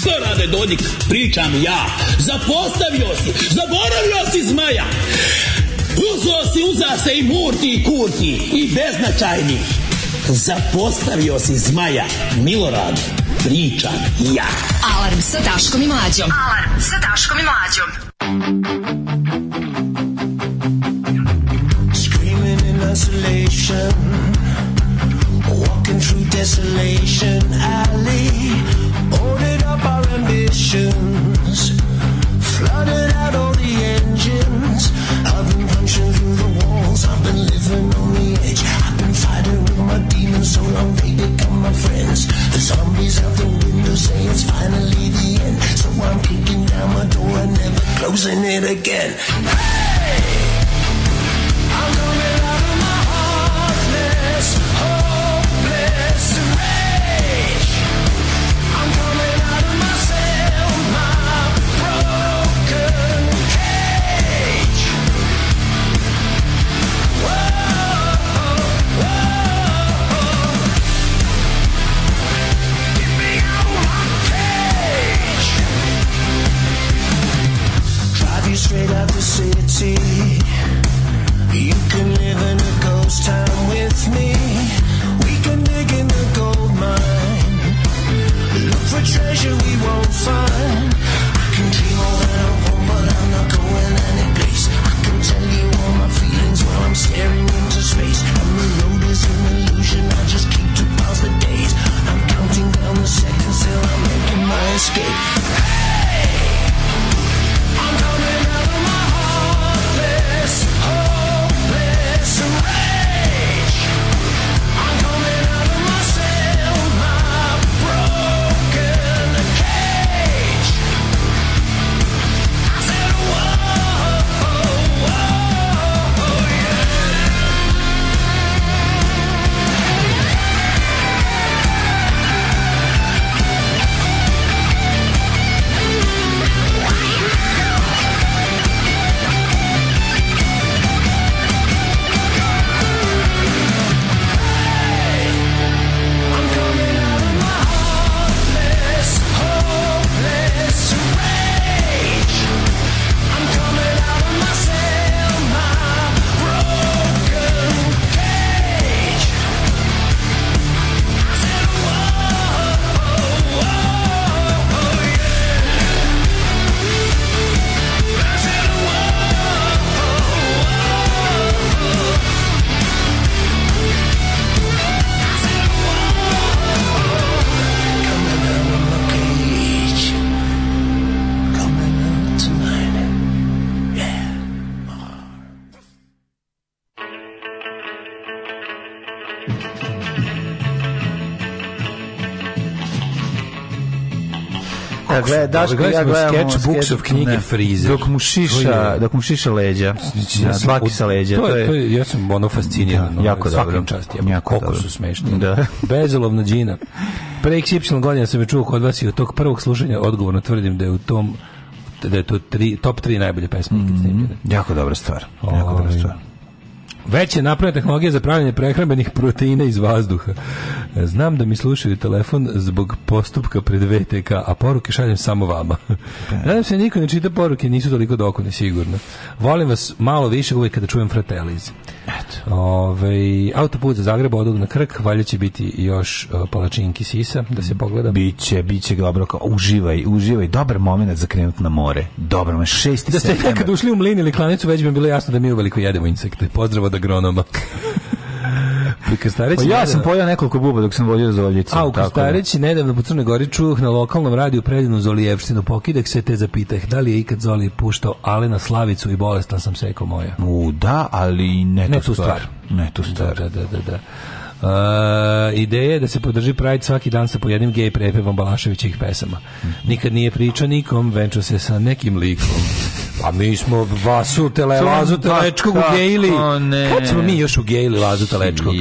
Speaker 17: Što rade Dodik? Pričam ja. Zapostavio si, zaboravio si zmaja. Uzo si, uza se i murti i kurti i beznačajni. Zapostavio si zmaja. Milorad, pričam ja.
Speaker 2: Alarm sa Daškom i Mlađom. Alarm sa Daškom i Mlađom.
Speaker 7: Screaming in isolation, walking through desolation alley. Holding up our ambitions, flooded out all the engines. I've been punching through the walls, I've been living on the edge. I've been fighting with my demons so long they become my friends. The zombies out the window say it's finally the end. So I'm kicking down my door and never closing it again. Drive you straight out the city. You can live in a ghost town with me. We can dig in the gold mine. Look for treasure we won't find. I can dream all that I want, but I'm not going any place. I can tell you all my feelings while I'm staring into space. And the road is an illusion. I just keep to pass the days. I'm counting down the seconds till I'm making my escape. Hey! I'm coming out of my heartless
Speaker 5: ja gleda, Daško i ja gledamo
Speaker 6: sketchbooks of knjige
Speaker 5: ne.
Speaker 6: Freezer.
Speaker 5: Dok mu šiša, dok mu šiša leđa.
Speaker 6: Ja sam-
Speaker 5: Znači, Svaki sa leđa.
Speaker 6: To je, to je, ja sam ono fasciniran.
Speaker 5: Da, jako
Speaker 6: Svakim
Speaker 5: dobro.
Speaker 6: čast. jebote,
Speaker 5: Jako
Speaker 6: koliko
Speaker 5: dobro.
Speaker 6: su smešni.
Speaker 5: Da.
Speaker 6: Bezolovna džina. Pre XY godina sam je čuo kod vas i od tog prvog slušanja odgovorno tvrdim da je u tom da je to tri, top 3 najbolje pesme ikad snimljene.
Speaker 5: Jako dobra stvar. Jako dobra
Speaker 6: Ovaj.
Speaker 5: stvar.
Speaker 6: Već je napravljena tehnologija za pravljanje prehrambenih proteina iz vazduha. E, Znam da mi slušaju telefon zbog postupka pred VTK, a poruke šaljem samo vama. Nadam se da niko ne čita poruke, nisu toliko dokone, sigurno. Volim vas malo više uvijek kada čujem frateliz. Ove, autoput za Zagreb odog na Krk, valja će biti još e, palačinki sisa, da se pogleda.
Speaker 5: Biće, biće dobro. kao, Uživaj, uživaj. Dobar moment za krenut na more. Dobar moment. 6.
Speaker 6: Da ste nekad ušli u mlin ili klanicu, već bi mi bilo jasno da mi uveliko jedemo insekte. Pozdrav od agronoma. Pri Krstareći
Speaker 5: Pa Ja
Speaker 6: nedavno-
Speaker 5: sam pojao nekoliko buba dok sam vozio za oljicu.
Speaker 6: A u
Speaker 5: tako da.
Speaker 6: Kostarici nedavno po Crnoj Gori čuh na lokalnom radiju predivnu Zolijevštinu pokidak se te zapitah da li je ikad Zoli puštao Alena Slavicu i bolestan sam seko moja.
Speaker 5: U, da, ali ne,
Speaker 6: Ne
Speaker 5: tu stvar. Ne tu stvar.
Speaker 6: Da, da, da, da. E, ideja je da se podrži Pride svaki dan sa po jednim gej prepevom Balaševićih pesama.
Speaker 5: Mhm.
Speaker 6: Nikad nije pričao nikom, venčao se sa nekim likom. Pa mi smo Vasu Tele,
Speaker 5: Čujem,
Speaker 6: Lazu
Speaker 5: da,
Speaker 6: Telečkog
Speaker 5: da,
Speaker 6: ugejili.
Speaker 5: o ne.
Speaker 6: Kad smo mi još ugejili Lazu Telečkog?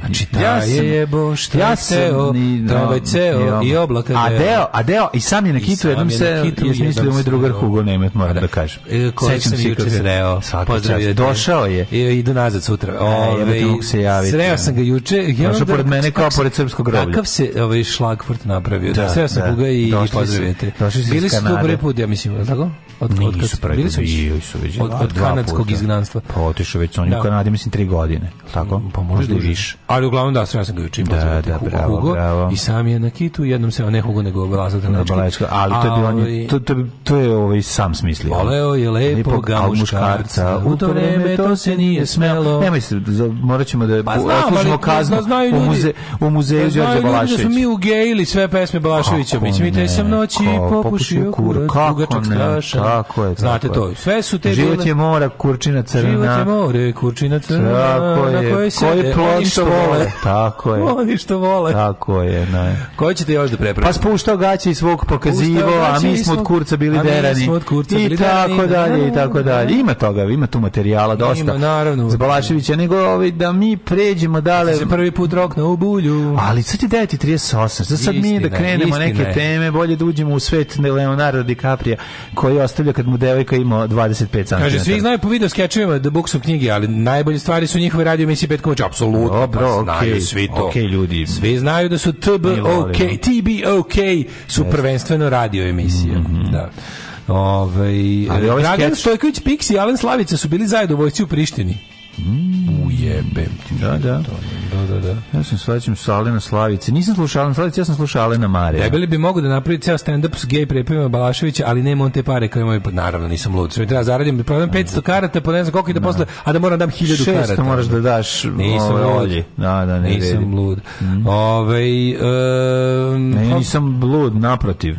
Speaker 6: Znači, taj
Speaker 5: Ja sam-
Speaker 6: je jebo, šta
Speaker 5: ja
Speaker 6: je ceo,
Speaker 5: sam ni- ono.
Speaker 6: tramvaj ceo i oblaka
Speaker 5: A
Speaker 6: deo.
Speaker 5: deo, a deo, i sam je na
Speaker 6: I
Speaker 5: kitu
Speaker 6: sam
Speaker 5: jednom
Speaker 6: je na
Speaker 5: se,
Speaker 6: kitu
Speaker 5: je smislio
Speaker 6: jednom
Speaker 5: moj
Speaker 6: se-
Speaker 5: drugar Hugo Nemet, moram da kažem.
Speaker 6: E, Koji
Speaker 5: Sećam
Speaker 6: sam
Speaker 5: se
Speaker 6: juče
Speaker 5: kako-
Speaker 6: sreo.
Speaker 5: Svaka
Speaker 6: Pozdravio
Speaker 5: čast.
Speaker 6: te.
Speaker 5: Došao je. E,
Speaker 6: I, idu nazad sutra.
Speaker 5: jebote,
Speaker 6: Ove,
Speaker 5: mogu se javiti,
Speaker 6: Sreo
Speaker 5: ja.
Speaker 6: sam ga juče. I
Speaker 5: Došao
Speaker 6: onda-
Speaker 5: pored mene kao
Speaker 6: kako se-
Speaker 5: pored srpskog groblja.
Speaker 6: Kakav se ovaj, šlagfort napravio.
Speaker 5: Da,
Speaker 6: Da, sreo sam
Speaker 5: da.
Speaker 6: Guga i, i
Speaker 5: Došli su-
Speaker 6: pozdravite.
Speaker 5: došli su iz
Speaker 6: Bili su tu
Speaker 5: Kanade.
Speaker 6: prvi put, ja mislim, je li tako? Od, od kad-
Speaker 5: Nisu pravi,
Speaker 6: bili su već-
Speaker 5: bili su već
Speaker 6: od,
Speaker 5: dva-
Speaker 6: od
Speaker 5: dva
Speaker 6: kanadskog
Speaker 5: puta.
Speaker 6: izgnanstva.
Speaker 5: Pa otišao već, on je
Speaker 6: Da.
Speaker 5: u Kanadi, mislim, tri godine. jel Tako? Pa možda i
Speaker 6: duže.
Speaker 5: više.
Speaker 6: Ali uglavnom da, sreo sam ga juče i pozdravite
Speaker 5: da,
Speaker 6: Hugo-
Speaker 5: bravo,
Speaker 6: Hugo.
Speaker 5: bravo.
Speaker 6: I sam je na kitu, jednom se, ne Hugo, nego Laza
Speaker 5: Na
Speaker 6: Telečki.
Speaker 5: Znači, Balajička, ali to je
Speaker 6: A,
Speaker 5: bilo on
Speaker 6: ovaj,
Speaker 5: je, to, to, to je ovaj sam smislio.
Speaker 6: Voleo je lepo
Speaker 5: Lepog,
Speaker 6: ga
Speaker 5: al
Speaker 6: muškarca, u to vreme to se nije smelo.
Speaker 5: Nemoj se, za- morat ćemo da
Speaker 6: Pa znam,
Speaker 5: odslužimo
Speaker 6: ali
Speaker 5: kaznu
Speaker 6: zna- znaju
Speaker 5: u,
Speaker 6: ljudi- Pa
Speaker 5: muze, u muzeju
Speaker 6: Znaju
Speaker 5: Đorđa
Speaker 6: ljudi da
Speaker 5: Balaševića.
Speaker 6: smo mi ugejili sve pesme Balaševića.
Speaker 5: Kako
Speaker 6: Mi ćemo i te
Speaker 5: ne,
Speaker 6: sam noći
Speaker 5: kao
Speaker 6: popušio kurac,
Speaker 5: kako
Speaker 6: dugačak
Speaker 5: ne,
Speaker 6: strašan.
Speaker 5: Tako je,
Speaker 6: Znate
Speaker 5: tako je.
Speaker 6: to, sve su te
Speaker 5: Život
Speaker 6: bile-
Speaker 5: je mora, kurčina crna.
Speaker 6: Život je more, kurčina crna,
Speaker 5: Tako
Speaker 6: na
Speaker 5: je,
Speaker 6: kojoj se
Speaker 5: koji plod što vole. Tako je.
Speaker 6: Oni što vole.
Speaker 5: Tako je, ne.
Speaker 6: Koji ćete još da
Speaker 5: Pa
Speaker 6: prepravite?
Speaker 5: spuštao gaće i svog pokazivo,
Speaker 6: Spuštao
Speaker 5: a
Speaker 6: gaće
Speaker 5: mi
Speaker 6: i
Speaker 5: smo od
Speaker 6: svog-
Speaker 5: kurca bili
Speaker 6: a mi
Speaker 5: derani.
Speaker 6: smo od kurca
Speaker 5: I
Speaker 6: bili
Speaker 5: tako
Speaker 6: derani,
Speaker 5: dalje, i
Speaker 6: da, da,
Speaker 5: tako dalje. Ima toga, ima tu materijala dosta.
Speaker 6: Ima, naravno.
Speaker 5: Za Balaševića, nego ovaj, da mi pređemo dale...
Speaker 6: Se prvi put rok na ubulju.
Speaker 5: Ali sad je 9.38, sad, sad mi da
Speaker 6: Istina je,
Speaker 5: krenemo
Speaker 6: istina
Speaker 5: neke
Speaker 6: je.
Speaker 5: teme, bolje da uđemo u svet Leonardo DiCaprio, koji ostavlja kad mu devojka ima 25 cm.
Speaker 6: Kaže, svi znaju po video skečevima da buk su knjige, ali najbolje stvari su njihove radio emisije Petko Moć. Apsolutno,
Speaker 5: Dobro,
Speaker 6: pa znaju
Speaker 5: okej,
Speaker 6: svi to.
Speaker 5: okej, ljudi.
Speaker 6: Svi znaju da su
Speaker 5: Mi volimo.
Speaker 6: TBOK, TBOK su prvenstveno radio emisije. Da. Ove,
Speaker 5: Mhm. Ali ovaj
Speaker 6: Dragan
Speaker 5: skeč-
Speaker 6: Stojković, Piksi i Alen Slavica su bili zajedno u vojci u Prištini.
Speaker 5: Mm.
Speaker 6: Ujebem ti.
Speaker 5: Da, da.
Speaker 6: Da, da, da.
Speaker 5: Ja sam svaćam sa Alena Slavice. Nisam slušao Alena Slavice, ja sam slušao Alena Mare.
Speaker 6: Debeli bi mogu da napravi ceo stand-up s gej prepevima Balaševića, ali nema on te pare koje imaju. Pa Naravno, nisam lud. Sve mi treba zaradim, prodam 500 karata, pa ne znam koliko ide posle, a da moram dam 1000 karata.
Speaker 5: Šesto moraš da daš
Speaker 6: Nisam
Speaker 5: ovaj,
Speaker 6: lud.
Speaker 5: ono. olji. Da, da, ne Mhm.
Speaker 6: Nisam
Speaker 5: vredi.
Speaker 6: lud. Ovaj em,
Speaker 5: Ne, ja
Speaker 6: hop,
Speaker 5: nisam lud, naprotiv.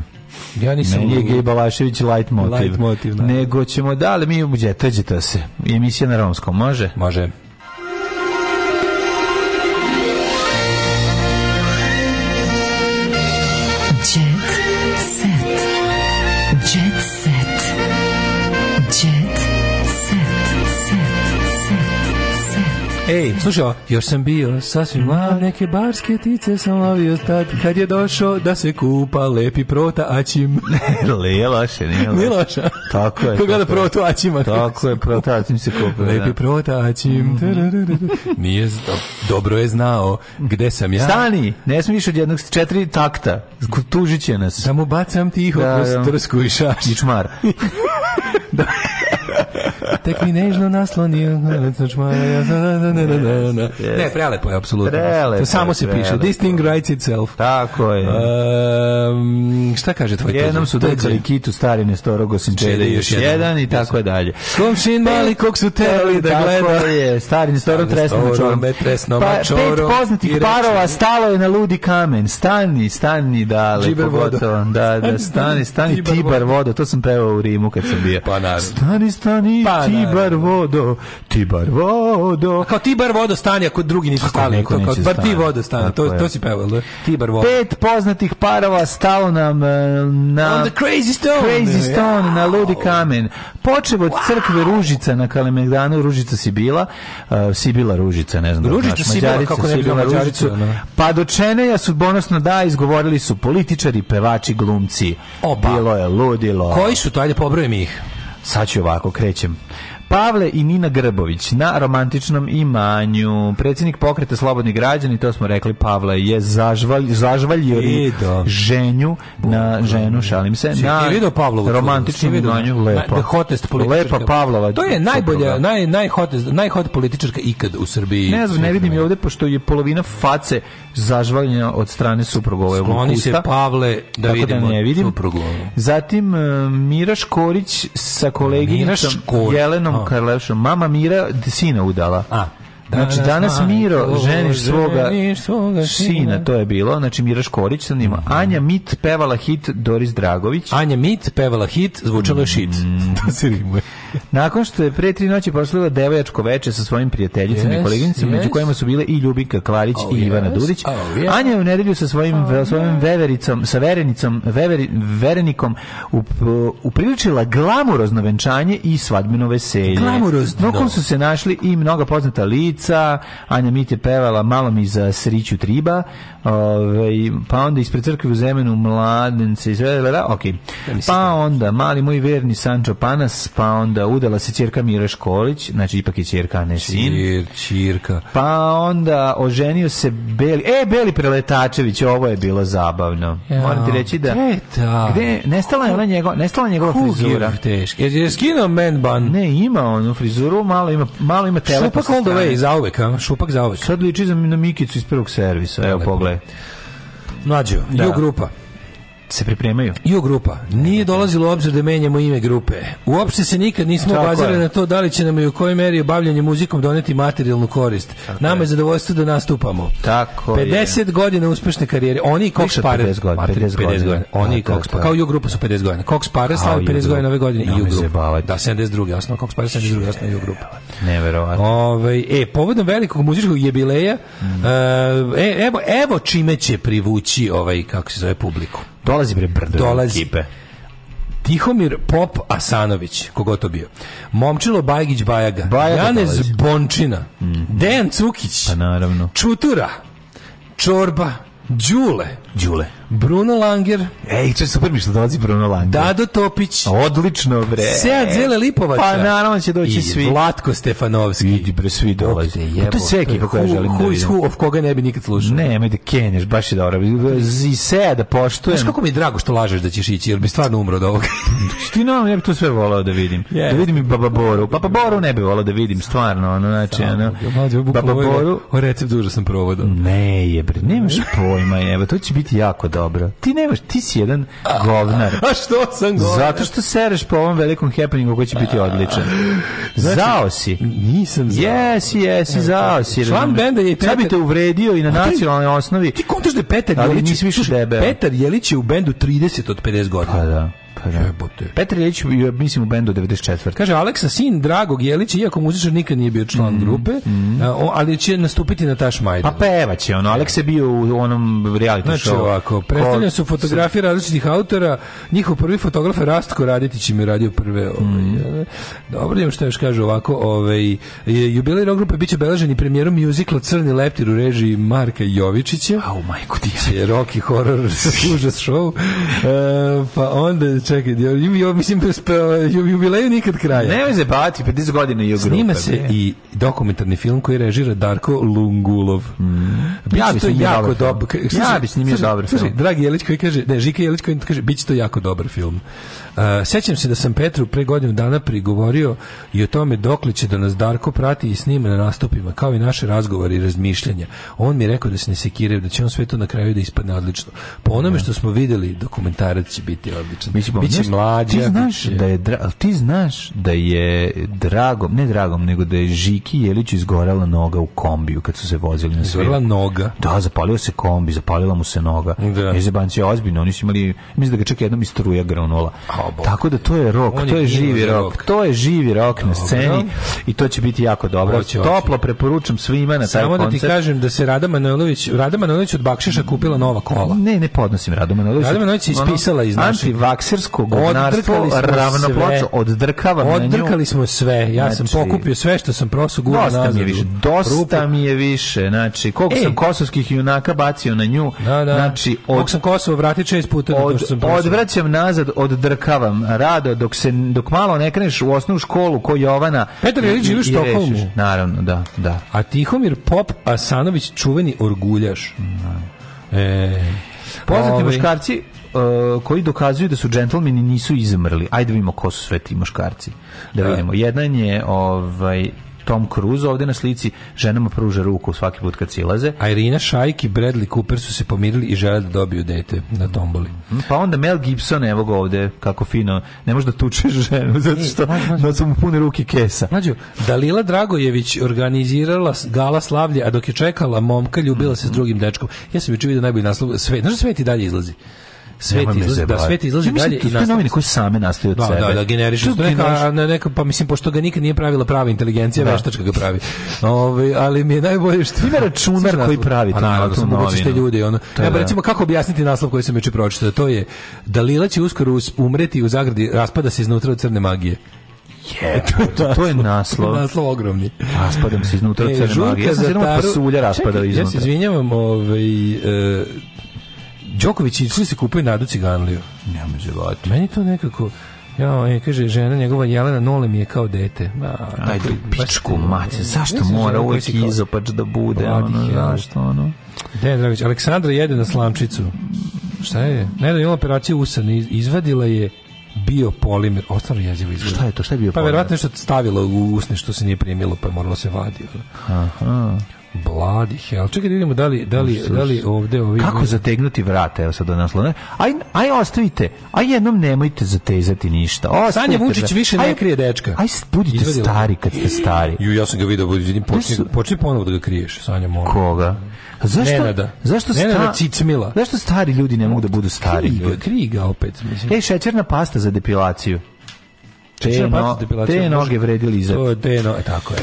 Speaker 6: ja nisam
Speaker 5: Meni je
Speaker 6: lud.
Speaker 5: Gej Balašević light motiv.
Speaker 6: Light motiv, da.
Speaker 5: Nego ćemo, da li mi u džeta džeta se? Emisija na romskom, može?
Speaker 6: Može.
Speaker 2: Jet set. Jet set. Jet set. Set. Set. Set.
Speaker 6: Ej, slušaj, ovo, još sam bio sasvim mal, neke barske tice sam lovio tad, kad je došao da se kupa lepi prota aćim.
Speaker 5: Nije loše, nije loše.
Speaker 6: Nije loša.
Speaker 5: Tako je.
Speaker 6: Koga da
Speaker 5: tako je.
Speaker 6: protu aćima.
Speaker 5: Tako je, Mhm. protatim se kupio.
Speaker 6: Lepi protačim. Nije z- do- dobro je znao gde sam ja.
Speaker 5: Stani, ne smiješ više od jednog četiri takta. Tužit će nas.
Speaker 6: Da mu bacam tiho
Speaker 5: Da,
Speaker 6: kroz
Speaker 5: da.
Speaker 6: trsku i šaš.
Speaker 5: Ničmar.
Speaker 6: Tek mi nežno naslonio. halac na čmara, ja sam- na, na, na, na, na. Ne, prelepo je, apsolutno.
Speaker 5: Prelepo je,
Speaker 6: Samo se piše.
Speaker 5: prelepo.
Speaker 6: This thing writes itself.
Speaker 5: Tako je.
Speaker 6: Um, šta kaže tvoj
Speaker 5: Jednom su drkali kitu stari Nestorogo Sinčede još jedan i tako dalje.
Speaker 6: Komšin mali kog su terali da gleda.
Speaker 5: Tako je, stari Nestorom
Speaker 6: Stari
Speaker 5: tresno
Speaker 6: Nestorom
Speaker 5: mačorom.
Speaker 6: me tresno
Speaker 5: Pa,
Speaker 6: mačorom
Speaker 5: pet
Speaker 6: i
Speaker 5: poznatih
Speaker 6: reče-
Speaker 5: parova stalo je na ludi kamen. Stani, stani, dale.
Speaker 6: Džiber vodo.
Speaker 5: pogotovo. Da, da, stani, stani, Tibar vodo. To sam pevao u Rimu kad sam bio.
Speaker 6: Pa naravno.
Speaker 5: Stani, stani,
Speaker 6: Pa da,
Speaker 5: Tibar vodo, Tibar vodo.
Speaker 6: A kao Tibar vodo stani ako drugi nisu stali.
Speaker 5: neko
Speaker 6: To, kao,
Speaker 5: neće
Speaker 6: bar ti
Speaker 5: stane.
Speaker 6: vodo stani. To,
Speaker 5: Tako je.
Speaker 6: to si peval, da? Tibar vodo.
Speaker 5: Pet poznatih parova stalo nam e, na
Speaker 6: On the Crazy Stone.
Speaker 5: Crazy
Speaker 6: Ja.
Speaker 5: Stone, na Ludi kamen. Počeo od crkve Ružica na Kalemegdanu, Ružica Sibila, e, Sibila Ružica, ne znam da li
Speaker 6: Ružica
Speaker 5: znaš,
Speaker 6: Sibila,
Speaker 5: Mađarica,
Speaker 6: kako ne bi
Speaker 5: Sibila
Speaker 6: znao
Speaker 5: Ružicu.
Speaker 6: Mađaricu, ono.
Speaker 5: Pa do Čeneja sudbonosno da, izgovorili su političari, pevači, glumci.
Speaker 6: Opa.
Speaker 5: Bilo je ludilo.
Speaker 6: Koji su to? Ajde, pobrojem ih.
Speaker 5: Sad ću ovako, krećem. Pavle i Nina Grbović na romantičnom imanju. Predsjednik pokreta Slobodni građani, to smo rekli, Pavle je zažvalj, zažvaljio
Speaker 6: I da.
Speaker 5: ženju na ženu, šalim se,
Speaker 6: Si
Speaker 5: na
Speaker 6: ti video Pavlovu?
Speaker 5: romantičnom
Speaker 6: Si video?
Speaker 5: imanju. Lepo.
Speaker 6: The hottest političarka.
Speaker 5: Lepa Pavlova.
Speaker 6: To je najbolja,
Speaker 5: supruga.
Speaker 6: naj, najhotest, najhot političarka ikad u Srbiji.
Speaker 5: Ne znam, ne vidim je ovdje, pošto je polovina face zažvaljena od strane suprugove
Speaker 6: Oni se
Speaker 5: Vukusta.
Speaker 6: Pavle da
Speaker 5: Tako
Speaker 6: vidimo.
Speaker 5: ne vidim.
Speaker 6: suprugu. ono.
Speaker 5: Zatim e, Mira Škorić sa
Speaker 6: Mira
Speaker 5: koleginicom
Speaker 6: Škorić,
Speaker 5: Jelenom
Speaker 6: a.
Speaker 5: Karlešom. Mama Mira d- sina udala.
Speaker 6: A.
Speaker 5: Znači, danas
Speaker 6: majko,
Speaker 5: Miro, ženiš svoga,
Speaker 6: ženiš svoga Mhm.
Speaker 5: sina, to je bilo. Znači, Mira Škorić sa njima. Anja Mit pevala hit Doris Dragović.
Speaker 6: Anja Mit pevala hit, zvučalo je shit.
Speaker 5: Mm.
Speaker 6: To se rimuje.
Speaker 5: Nakon što je pre tri noći proslavila devojačko veče sa svojim prijateljicama
Speaker 6: Yes,
Speaker 5: i koleginicama, među
Speaker 6: yes.
Speaker 5: kojima su bile i Ljubika Klarić
Speaker 6: Oh,
Speaker 5: i Ivana
Speaker 6: yes.
Speaker 5: Dudić.
Speaker 6: Oh, yes.
Speaker 5: Anja je u nedelju sa svojim, ve- svojim vevericom, sa verenicom, veveri, verenikom up- upriličila glamurozno venčanje i svadbeno veselje.
Speaker 6: Glamurozno.
Speaker 5: Na kom su se našli i mnoga poznata lica, Anja Mit je pevala malo mi za sriću triba, ovaj, pa onda ispred crkve u zemenu mladence i sve, da, da, ok. Pa onda mali moj verni Sancho Panas, pa onda udala se ćerka Mira Školić, znači ipak je ćerka, a ne sin.
Speaker 6: Čir, čirka.
Speaker 5: Pa onda oženio se Beli, e, Beli Preletačević, ovo je bilo zabavno.
Speaker 6: Ja,
Speaker 5: Moram ti reći da...
Speaker 6: gde je ta?
Speaker 5: Gde, nestala je ona njegova, nestala je njegova frizura.
Speaker 6: Fuzura. Teški. Je, je skinuo man bun.
Speaker 5: Ne, ima onu frizuru, malo ima, malo ima teleta
Speaker 6: Šupak
Speaker 5: sa
Speaker 6: all the
Speaker 5: strane.
Speaker 6: way, zauvek, a? Šupak zauvek.
Speaker 5: Sad liči za na Mikicu iz prvog servisa. Evo,
Speaker 6: Lepo.
Speaker 5: pogledaj.
Speaker 6: Mlađo,
Speaker 5: Da.
Speaker 6: da. grupa.
Speaker 5: Se pripremaju.
Speaker 6: Ju grupa. Nije dolazilo u obzir da menjamo ime grupe. Uopšte se nikad nismo
Speaker 5: Tako
Speaker 6: obazirali
Speaker 5: je.
Speaker 6: na to da li će nam i u kojoj meri bavljanje muzikom doneti materijalnu korist. Nama je zadovoljstvo da nastupamo.
Speaker 5: Tako
Speaker 6: 50 godina uspešne karijere. Oni i Cox
Speaker 5: Više od
Speaker 6: Pare.
Speaker 5: 50 godina,
Speaker 6: Materi,
Speaker 5: 50 godina.
Speaker 6: Oni i
Speaker 5: Da, da,
Speaker 6: Cox Pare.
Speaker 5: da.
Speaker 6: Kao Ju grupa su 50 godina. Cox Pare
Speaker 5: Kao
Speaker 6: slavi
Speaker 5: Ju
Speaker 6: 50 godina
Speaker 5: grupa.
Speaker 6: ove godine.
Speaker 5: Nemoj
Speaker 6: Ju
Speaker 5: se
Speaker 6: grupa.
Speaker 5: bavati.
Speaker 6: Da, 72. osnova Cox Pare, 72. osnova Ju grupa.
Speaker 5: je. Neverovatno.
Speaker 6: Ovaj e, povodom velikog muzičkog jubileja, e, evo, evo čime će privući ovaj, kako se zove, publiku.
Speaker 5: Dolazi bre brdo.
Speaker 6: Dolazi.
Speaker 5: Ekipe.
Speaker 6: Tihomir Pop Asanović, kogo to bio. Momčilo Bajgić Bajaga,
Speaker 5: Bajaga
Speaker 6: Janez
Speaker 5: dolazi. Mhm.
Speaker 6: Bončina, Dejan Cukić,
Speaker 5: Pa naravno.
Speaker 6: Čutura, Čorba, Đule,
Speaker 5: Đule. E.
Speaker 6: Bruno Langer,
Speaker 5: Ej, to je super mi što dolazi Bruno Lange.
Speaker 6: Dado Topić,
Speaker 5: Odlično, bre.
Speaker 6: Sead Zele Lipovača.
Speaker 5: e. Pa naravno će doći
Speaker 6: i
Speaker 5: svi.
Speaker 6: Vlatko Stefanovski.
Speaker 5: Idi bre, svi dolaze.
Speaker 6: Bog te jebo,
Speaker 5: Pa to je sve ekipa koja
Speaker 6: who-
Speaker 5: želim da
Speaker 6: who is
Speaker 5: vidim.
Speaker 6: who, of koga ne bi nikad slušao.
Speaker 5: Ne, me da kenješ, baš je dobro. I se da poštujem.
Speaker 6: Znaš kako mi je drago što lažeš da ćeš ići, jer bi stvarno umro od ovoga.
Speaker 5: Ti no, ja bi to sve volao da vidim.
Speaker 6: Yes.
Speaker 5: Da vidim i Baba Boru. Baba Boru ne bi volao da vidim, stvarno. Ono, znači, ono, Baba Boru...
Speaker 6: O recept užasan provodao.
Speaker 5: Ne je bre, nemaš pojma jebe, to će biti jako dobro. Ti nemaš, ti si jedan govnar.
Speaker 6: A što sam govorio?
Speaker 5: Zato što sereš po ovom velikom happeningu koji će biti odličan.
Speaker 6: Znači,
Speaker 5: Zao si.
Speaker 6: Nisam znao.
Speaker 5: Jesi, jesi, zao si.
Speaker 6: Član
Speaker 5: razumeš.
Speaker 6: benda je i
Speaker 5: Sad bi
Speaker 6: Petar-
Speaker 5: te uvredio i na
Speaker 6: A ti-
Speaker 5: nacionalnoj osnovi.
Speaker 6: Ti kontaš da je Petar
Speaker 5: Ali
Speaker 6: Jelić...
Speaker 5: nisi više
Speaker 6: slušaj,
Speaker 5: debel.
Speaker 6: Petar Jelić je u bendu 30 od 50 godina.
Speaker 5: Pa da, pa da.
Speaker 6: Jebote.
Speaker 5: Petar Jelić, je, mislim, u bendu 94.
Speaker 6: Kaže Aleksa, sin Dragog Jelića, iako muzičar nikad nije bio
Speaker 5: Mm,
Speaker 6: član grupe, a, o- ali će nastupiti na Taš Majdan.
Speaker 5: Pa pevaće, ono, Aleks je bio u onom reality show.
Speaker 6: Znači ovako, predstavljene su fotografije različitih autora, njihov prvi fotograf je Rastko Raditić im je radio prve. Ovaj,
Speaker 5: Mm.
Speaker 6: eh, Dobro, idemo što još kaže ovako, ovaj, je- jubilej rock grupe biće beležen i premijerom mjuzikla Crni leptir u režiji Marka Jovičića.
Speaker 5: Au, majko ti je.
Speaker 6: je rock i horror užas show. E, pa onda, čekaj, ja, ja, mislim, bez- pa, ju- jubileju nikad kraja.
Speaker 5: Nemoj se bati, 50 godina i u grupe.
Speaker 6: Snima se
Speaker 5: bre.
Speaker 6: i dokumentarni film koji režira Darko Lungulov. Biće
Speaker 5: Mm. Ja bi
Speaker 6: to
Speaker 5: snimio
Speaker 6: jako
Speaker 5: dobar film.
Speaker 6: dobar. K-
Speaker 5: Ja
Speaker 6: slušaj,
Speaker 5: bi snimio
Speaker 6: slušaj,
Speaker 5: dobar
Speaker 6: slušaj,
Speaker 5: film.
Speaker 6: Dragi Jelić koji kaže, ne, Žika Jelić koji kaže, bit će to jako dobar film. Uh, sećam se da sam Petru pre godinu dana prigovorio i o tome dokle će da nas Darko prati i snima na nastupima, kao i naše razgovore i razmišljanja. On mi je rekao da se ne sekiraju, da će on sve to na kraju da ispadne odlično. Po onome što smo videli, dokumentarac će biti odličan.
Speaker 5: Mi ćemo
Speaker 6: Biće
Speaker 5: znaš,
Speaker 6: mlađa,
Speaker 5: Ti znaš
Speaker 6: biće-
Speaker 5: da je dra, ali ti znaš da je dragom, ne dragom, nego da je Žiki Jelić izgorela noga u kombiju kad su se vozili na svijetu.
Speaker 6: Izgorela noga?
Speaker 5: Da, zapalio se kombi, zapalila mu se noga.
Speaker 6: Da.
Speaker 5: Da. Jezebanci je ozbiljno, oni su imali, mislim da ga čak jednom i struja granula. Tako da to je rok,
Speaker 6: On
Speaker 5: to
Speaker 6: je
Speaker 5: je
Speaker 6: ginut
Speaker 5: živi
Speaker 6: za
Speaker 5: rok.
Speaker 6: rok.
Speaker 5: To je živi rok na
Speaker 6: Dobro.
Speaker 5: sceni i to će biti jako dobro.
Speaker 6: Hoće, hoće.
Speaker 5: Toplo preporučam svima na taj
Speaker 6: Samo da
Speaker 5: koncert.
Speaker 6: ti kažem da se Rada Manojlović, Rada Manojlović od Bakšiša kupila nova kola.
Speaker 5: Ne, ne podnosim Radu Manojlović.
Speaker 6: Rada Manojlović je
Speaker 5: Ono,
Speaker 6: ispisala iz našeg...
Speaker 5: Antivaksersko
Speaker 6: Odrkali
Speaker 5: govnarstvo
Speaker 6: smo
Speaker 5: ravno
Speaker 6: sve.
Speaker 5: ploču oddrakavamo na nju.
Speaker 6: Odrkali smo sve. Ja sam
Speaker 5: Znači,
Speaker 6: pokupio sve što sam prosto gura
Speaker 5: Dosta mi je
Speaker 6: nazad.
Speaker 5: više,
Speaker 6: u rupu.
Speaker 5: dosta mi je više, znači, koliko
Speaker 6: Ej.
Speaker 5: sam kosovskih junaka bacio na nju,
Speaker 6: Da, da.
Speaker 5: znači,
Speaker 6: Dok
Speaker 5: od,
Speaker 6: sam Kosovo vratio čest puta na to
Speaker 5: od,
Speaker 6: što sam prošao.
Speaker 5: odvraćam nazad, oddrkavam, rado, dok, se, dok malo ne kreneš u osnovu školu ko Jovana,
Speaker 6: Petar Jelić
Speaker 5: i-
Speaker 6: živi u
Speaker 5: i
Speaker 6: Štokholmu.
Speaker 5: rešiš. Naravno, da, da.
Speaker 6: A Tihomir Pop Asanović čuveni orguljaš. E,
Speaker 5: Poznati
Speaker 6: ovaj,
Speaker 5: muškarci uh, koji dokazuju da su džentlmeni nisu izmrli. Ajde vidimo ko su sve ti muškarci. Da vidimo. Jedan je ovaj Tom Cruise ovde na slici ženama pruža ruku svaki put kad silaze.
Speaker 6: A Irina Šajk i Bradley Cooper su se pomirili i žele da dobiju dete na tomboli.
Speaker 5: Pa onda Mel Gibson, evo ga ovde, kako fino, ne može da tuče ženu, zato što
Speaker 6: može, može.
Speaker 5: da su mu pune ruke kesa.
Speaker 6: Mlađo, Dalila Dragojević organizirala s- gala slavlje, a dok je čekala momka, ljubila se s drugim dečkom. Ja sam juče vidio najbolji naslov. Sve, znaš da svet i dalje izlazi? Svet
Speaker 5: Nemoj me
Speaker 6: izlazi, da,
Speaker 5: zajebavati.
Speaker 6: svet izlazi
Speaker 5: Ja mislim
Speaker 6: dalje
Speaker 5: da
Speaker 6: i
Speaker 5: su to
Speaker 6: nastavlja
Speaker 5: novine koje same nastaju od
Speaker 6: da,
Speaker 5: sebe.
Speaker 6: Da, da, generiš.
Speaker 5: To
Speaker 6: To je
Speaker 5: generiš-
Speaker 6: neka, ne, neka, pa mislim, pošto ga nikad nije pravila prava inteligencija,
Speaker 5: Da.
Speaker 6: veštačka ga pravi. Ove, ali mi je najbolje što...
Speaker 5: Ima računar
Speaker 6: Znaš
Speaker 5: koji
Speaker 6: naslov?
Speaker 5: pravi
Speaker 6: A
Speaker 5: tu
Speaker 6: naravno,
Speaker 5: novu
Speaker 6: to moguće te
Speaker 5: novinu.
Speaker 6: ljudi. Ono.
Speaker 5: To je
Speaker 6: ja, pa
Speaker 5: da.
Speaker 6: recimo, kako objasniti naslov koji sam juče pročitao? To je Dalila će uskoro us- umreti u zagradi, raspada se iznutra od crne magije.
Speaker 5: Jebote, to je naslov.
Speaker 6: Naslov ogromni.
Speaker 5: Raspadam se iznutra od
Speaker 6: E,
Speaker 5: crne
Speaker 6: žurka
Speaker 5: magije. Ja
Speaker 6: za
Speaker 5: sam se jednom
Speaker 6: taru-
Speaker 5: od pasulja raspadao
Speaker 6: Čekaj, Ja se
Speaker 5: iznutra.
Speaker 6: izvinjavam, ovaj, e, Đoković i Cili se kupuje Nadu Ciganliju.
Speaker 5: Nemoj zajebavati.
Speaker 6: Meni to nekako... Ja, e, kaže, žena njegova Jelena Nole mi je kao dete. Ma,
Speaker 5: Ajde,
Speaker 6: tako
Speaker 5: u
Speaker 6: i- baš-
Speaker 5: pičku, mate, zašto
Speaker 6: Mislim, žena
Speaker 5: mora
Speaker 6: koja
Speaker 5: uvek
Speaker 6: si kao-
Speaker 5: izopač da bude,
Speaker 6: Mladih
Speaker 5: ono,
Speaker 6: je.
Speaker 5: zašto, ono?
Speaker 6: Dejan Dragović, Aleksandra jede na slamčicu. Šta je? Nedavno je imala operaciju usana, iz- izvadila je biopolimer. Ostalo jezivo izgleda.
Speaker 5: Šta je to, šta je bio
Speaker 6: Pa
Speaker 5: problem?
Speaker 6: verovatno nešto stavila u usne što se nije primilo, pa je moralo se vadi. ono.
Speaker 5: Aha.
Speaker 6: Bladi hell. Čekaj da vidimo da li, da li, da li ovde ovi...
Speaker 5: Kako zategnuti vrata, evo sad do naslova. Aj, aj ostavite, aj jednom nemojte zatezati ništa. Ostavite,
Speaker 6: Sanja Vučić
Speaker 5: da-
Speaker 6: više ne
Speaker 5: aj-
Speaker 6: krije dečka.
Speaker 5: Aj, budite
Speaker 6: Izvadila.
Speaker 5: stari kad ste stari.
Speaker 6: Ju, ja sam ga video, vidim, počni,
Speaker 5: su-
Speaker 6: počni ponovo da ga kriješ, Sanja, molim.
Speaker 5: Koga? A Zašto,
Speaker 6: Nenada.
Speaker 5: zašto,
Speaker 6: Nenada
Speaker 5: sta,
Speaker 6: Cicmila.
Speaker 5: zašto stari ljudi ne mogu da budu stari
Speaker 6: Krij ga,
Speaker 5: ljudi? E,
Speaker 6: krij ga opet, mislim.
Speaker 5: Ej, šećerna pasta za depilaciju. Te,
Speaker 6: Šećerna pasta
Speaker 5: no,
Speaker 6: za depilaciju, može.
Speaker 5: te noge vredili za
Speaker 6: To je deno, e, tako je.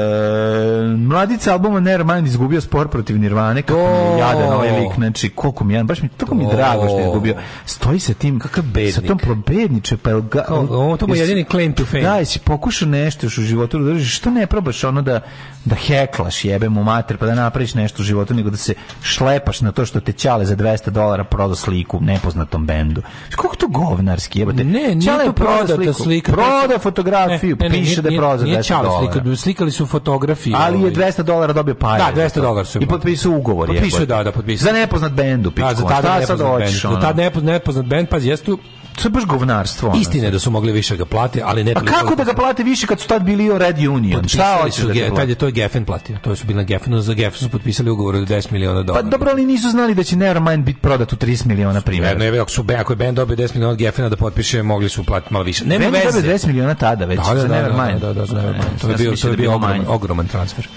Speaker 5: E, mladica albuma Nevermind izgubio spor protiv Nirvane, kako
Speaker 6: To.
Speaker 5: mi je jadan ovaj lik, znači koliko mi je jadan, baš mi, tako mi je
Speaker 6: To.
Speaker 5: drago što je izgubio. Stoji sa tim,
Speaker 6: Kakav bednik.
Speaker 5: sa tom probedniče, pa jel ga...
Speaker 6: Kao, ovo, to mu je
Speaker 5: jesi-
Speaker 6: jedini claim to fame.
Speaker 5: Da, jesi pokušao nešto još u životu da držiš, što ne probaš ono da, da heklaš jebem u mater, pa da napraviš nešto u životu, nego da se šlepaš na to što te ćale za 200 dolara prodao sliku nepoznatom bendu. Kako to govnarski jebate?
Speaker 6: Ne,
Speaker 5: Ćale
Speaker 6: nije
Speaker 5: je
Speaker 6: to
Speaker 5: prodao
Speaker 6: prodata
Speaker 5: sliku.
Speaker 6: slika.
Speaker 5: Prodao fotografiju, piše da je prodao za 200
Speaker 6: E, Nije
Speaker 5: dolara.
Speaker 6: čala slika, slikali su fotografije.
Speaker 5: Ali je
Speaker 6: ovaj.
Speaker 5: 200 dolara dobio pare.
Speaker 6: Da, 200
Speaker 5: za to.
Speaker 6: dolara su
Speaker 5: I
Speaker 6: imali.
Speaker 5: potpisao ugovor.
Speaker 6: Potpisao je,
Speaker 5: jebote.
Speaker 6: da, da, potpisao.
Speaker 5: Za nepoznat bendu, pičku.
Speaker 6: Da, za
Speaker 5: a
Speaker 6: tada
Speaker 5: šta sad
Speaker 6: nepoznat band.
Speaker 5: hoćeš,
Speaker 6: Za
Speaker 5: ono?
Speaker 6: tada nepo- nepoznat band, pazi, jesu tu
Speaker 5: To je baš govnarstvo, ono.
Speaker 6: istine da su mogli više ga plate, ali ne
Speaker 5: A kako da ga plate više kad su tad bili o Red Union? Šta hoćeš da ga
Speaker 6: Tad je
Speaker 5: plate?
Speaker 6: to Geffen platio. To su bili na Geffenu, za Geffen su potpisali ugovor od 10 miliona
Speaker 5: Pa
Speaker 6: dolara.
Speaker 5: dobro, ali nisu znali da će Nevermind biti prodat u 30 miliona
Speaker 6: Jedno
Speaker 5: primjera.
Speaker 6: je, ako, su, ako je band dobio 10 miliona od Geffena da potpiše, mogli su platiti malo više. Nema
Speaker 5: Band je dobio
Speaker 6: veze.
Speaker 5: 20 miliona tada već,
Speaker 6: Da, da,
Speaker 5: za
Speaker 6: da,
Speaker 5: Nevermind.
Speaker 6: Da, da, da, za Nevermind. To
Speaker 5: Ja
Speaker 6: je
Speaker 5: sam
Speaker 6: bio, to
Speaker 5: mislio
Speaker 6: je
Speaker 5: da
Speaker 6: bio ogroman,
Speaker 5: manje.
Speaker 6: ogroman transfer.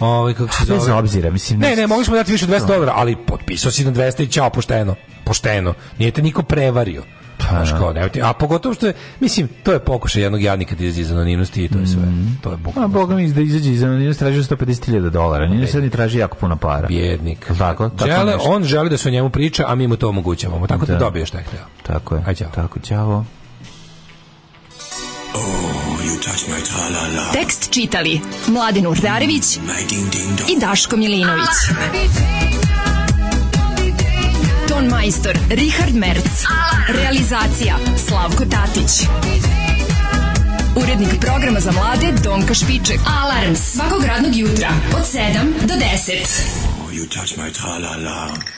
Speaker 6: Ovaj kako se
Speaker 5: Bez
Speaker 6: zove?
Speaker 5: obzira, mislim,
Speaker 6: Ne,
Speaker 5: ne-
Speaker 6: ne, mogli smo dati više od 200 dolara, ali potpisao si na 200 i ćao, pošteno. Pošteno. Nije te niko prevario. Znaš kao, ne, a pogotovo što je, mislim, to je pokušaj jednog jadnika da izlazi iz anonimnosti i to je sve. To je
Speaker 5: Ma,
Speaker 6: bukvalno.
Speaker 5: boga mi da izađe iz anonimnosti tražio 150.000 dolara. Nije sad ni traži jako puno para.
Speaker 6: Bjednik.
Speaker 5: Tako, tako
Speaker 6: žele,
Speaker 5: nešto.
Speaker 6: on želi da se o njemu priča, a mi mu to omogućavamo. Tako da,
Speaker 5: Da.
Speaker 6: dobiješ šta je hteo.
Speaker 5: Tako je.
Speaker 6: Aj, ćao.
Speaker 5: Tako, ćao.
Speaker 2: Tekst čitali Mladin Urdarević i Daško Milinović. Ton majstor Richard Merc. Realizacija Slavko Tatić. Urednik programa za mlade Donka Špiček. Alarms svakog radnog jutra od 7 do 10.
Speaker 9: You touch my tra-la-la.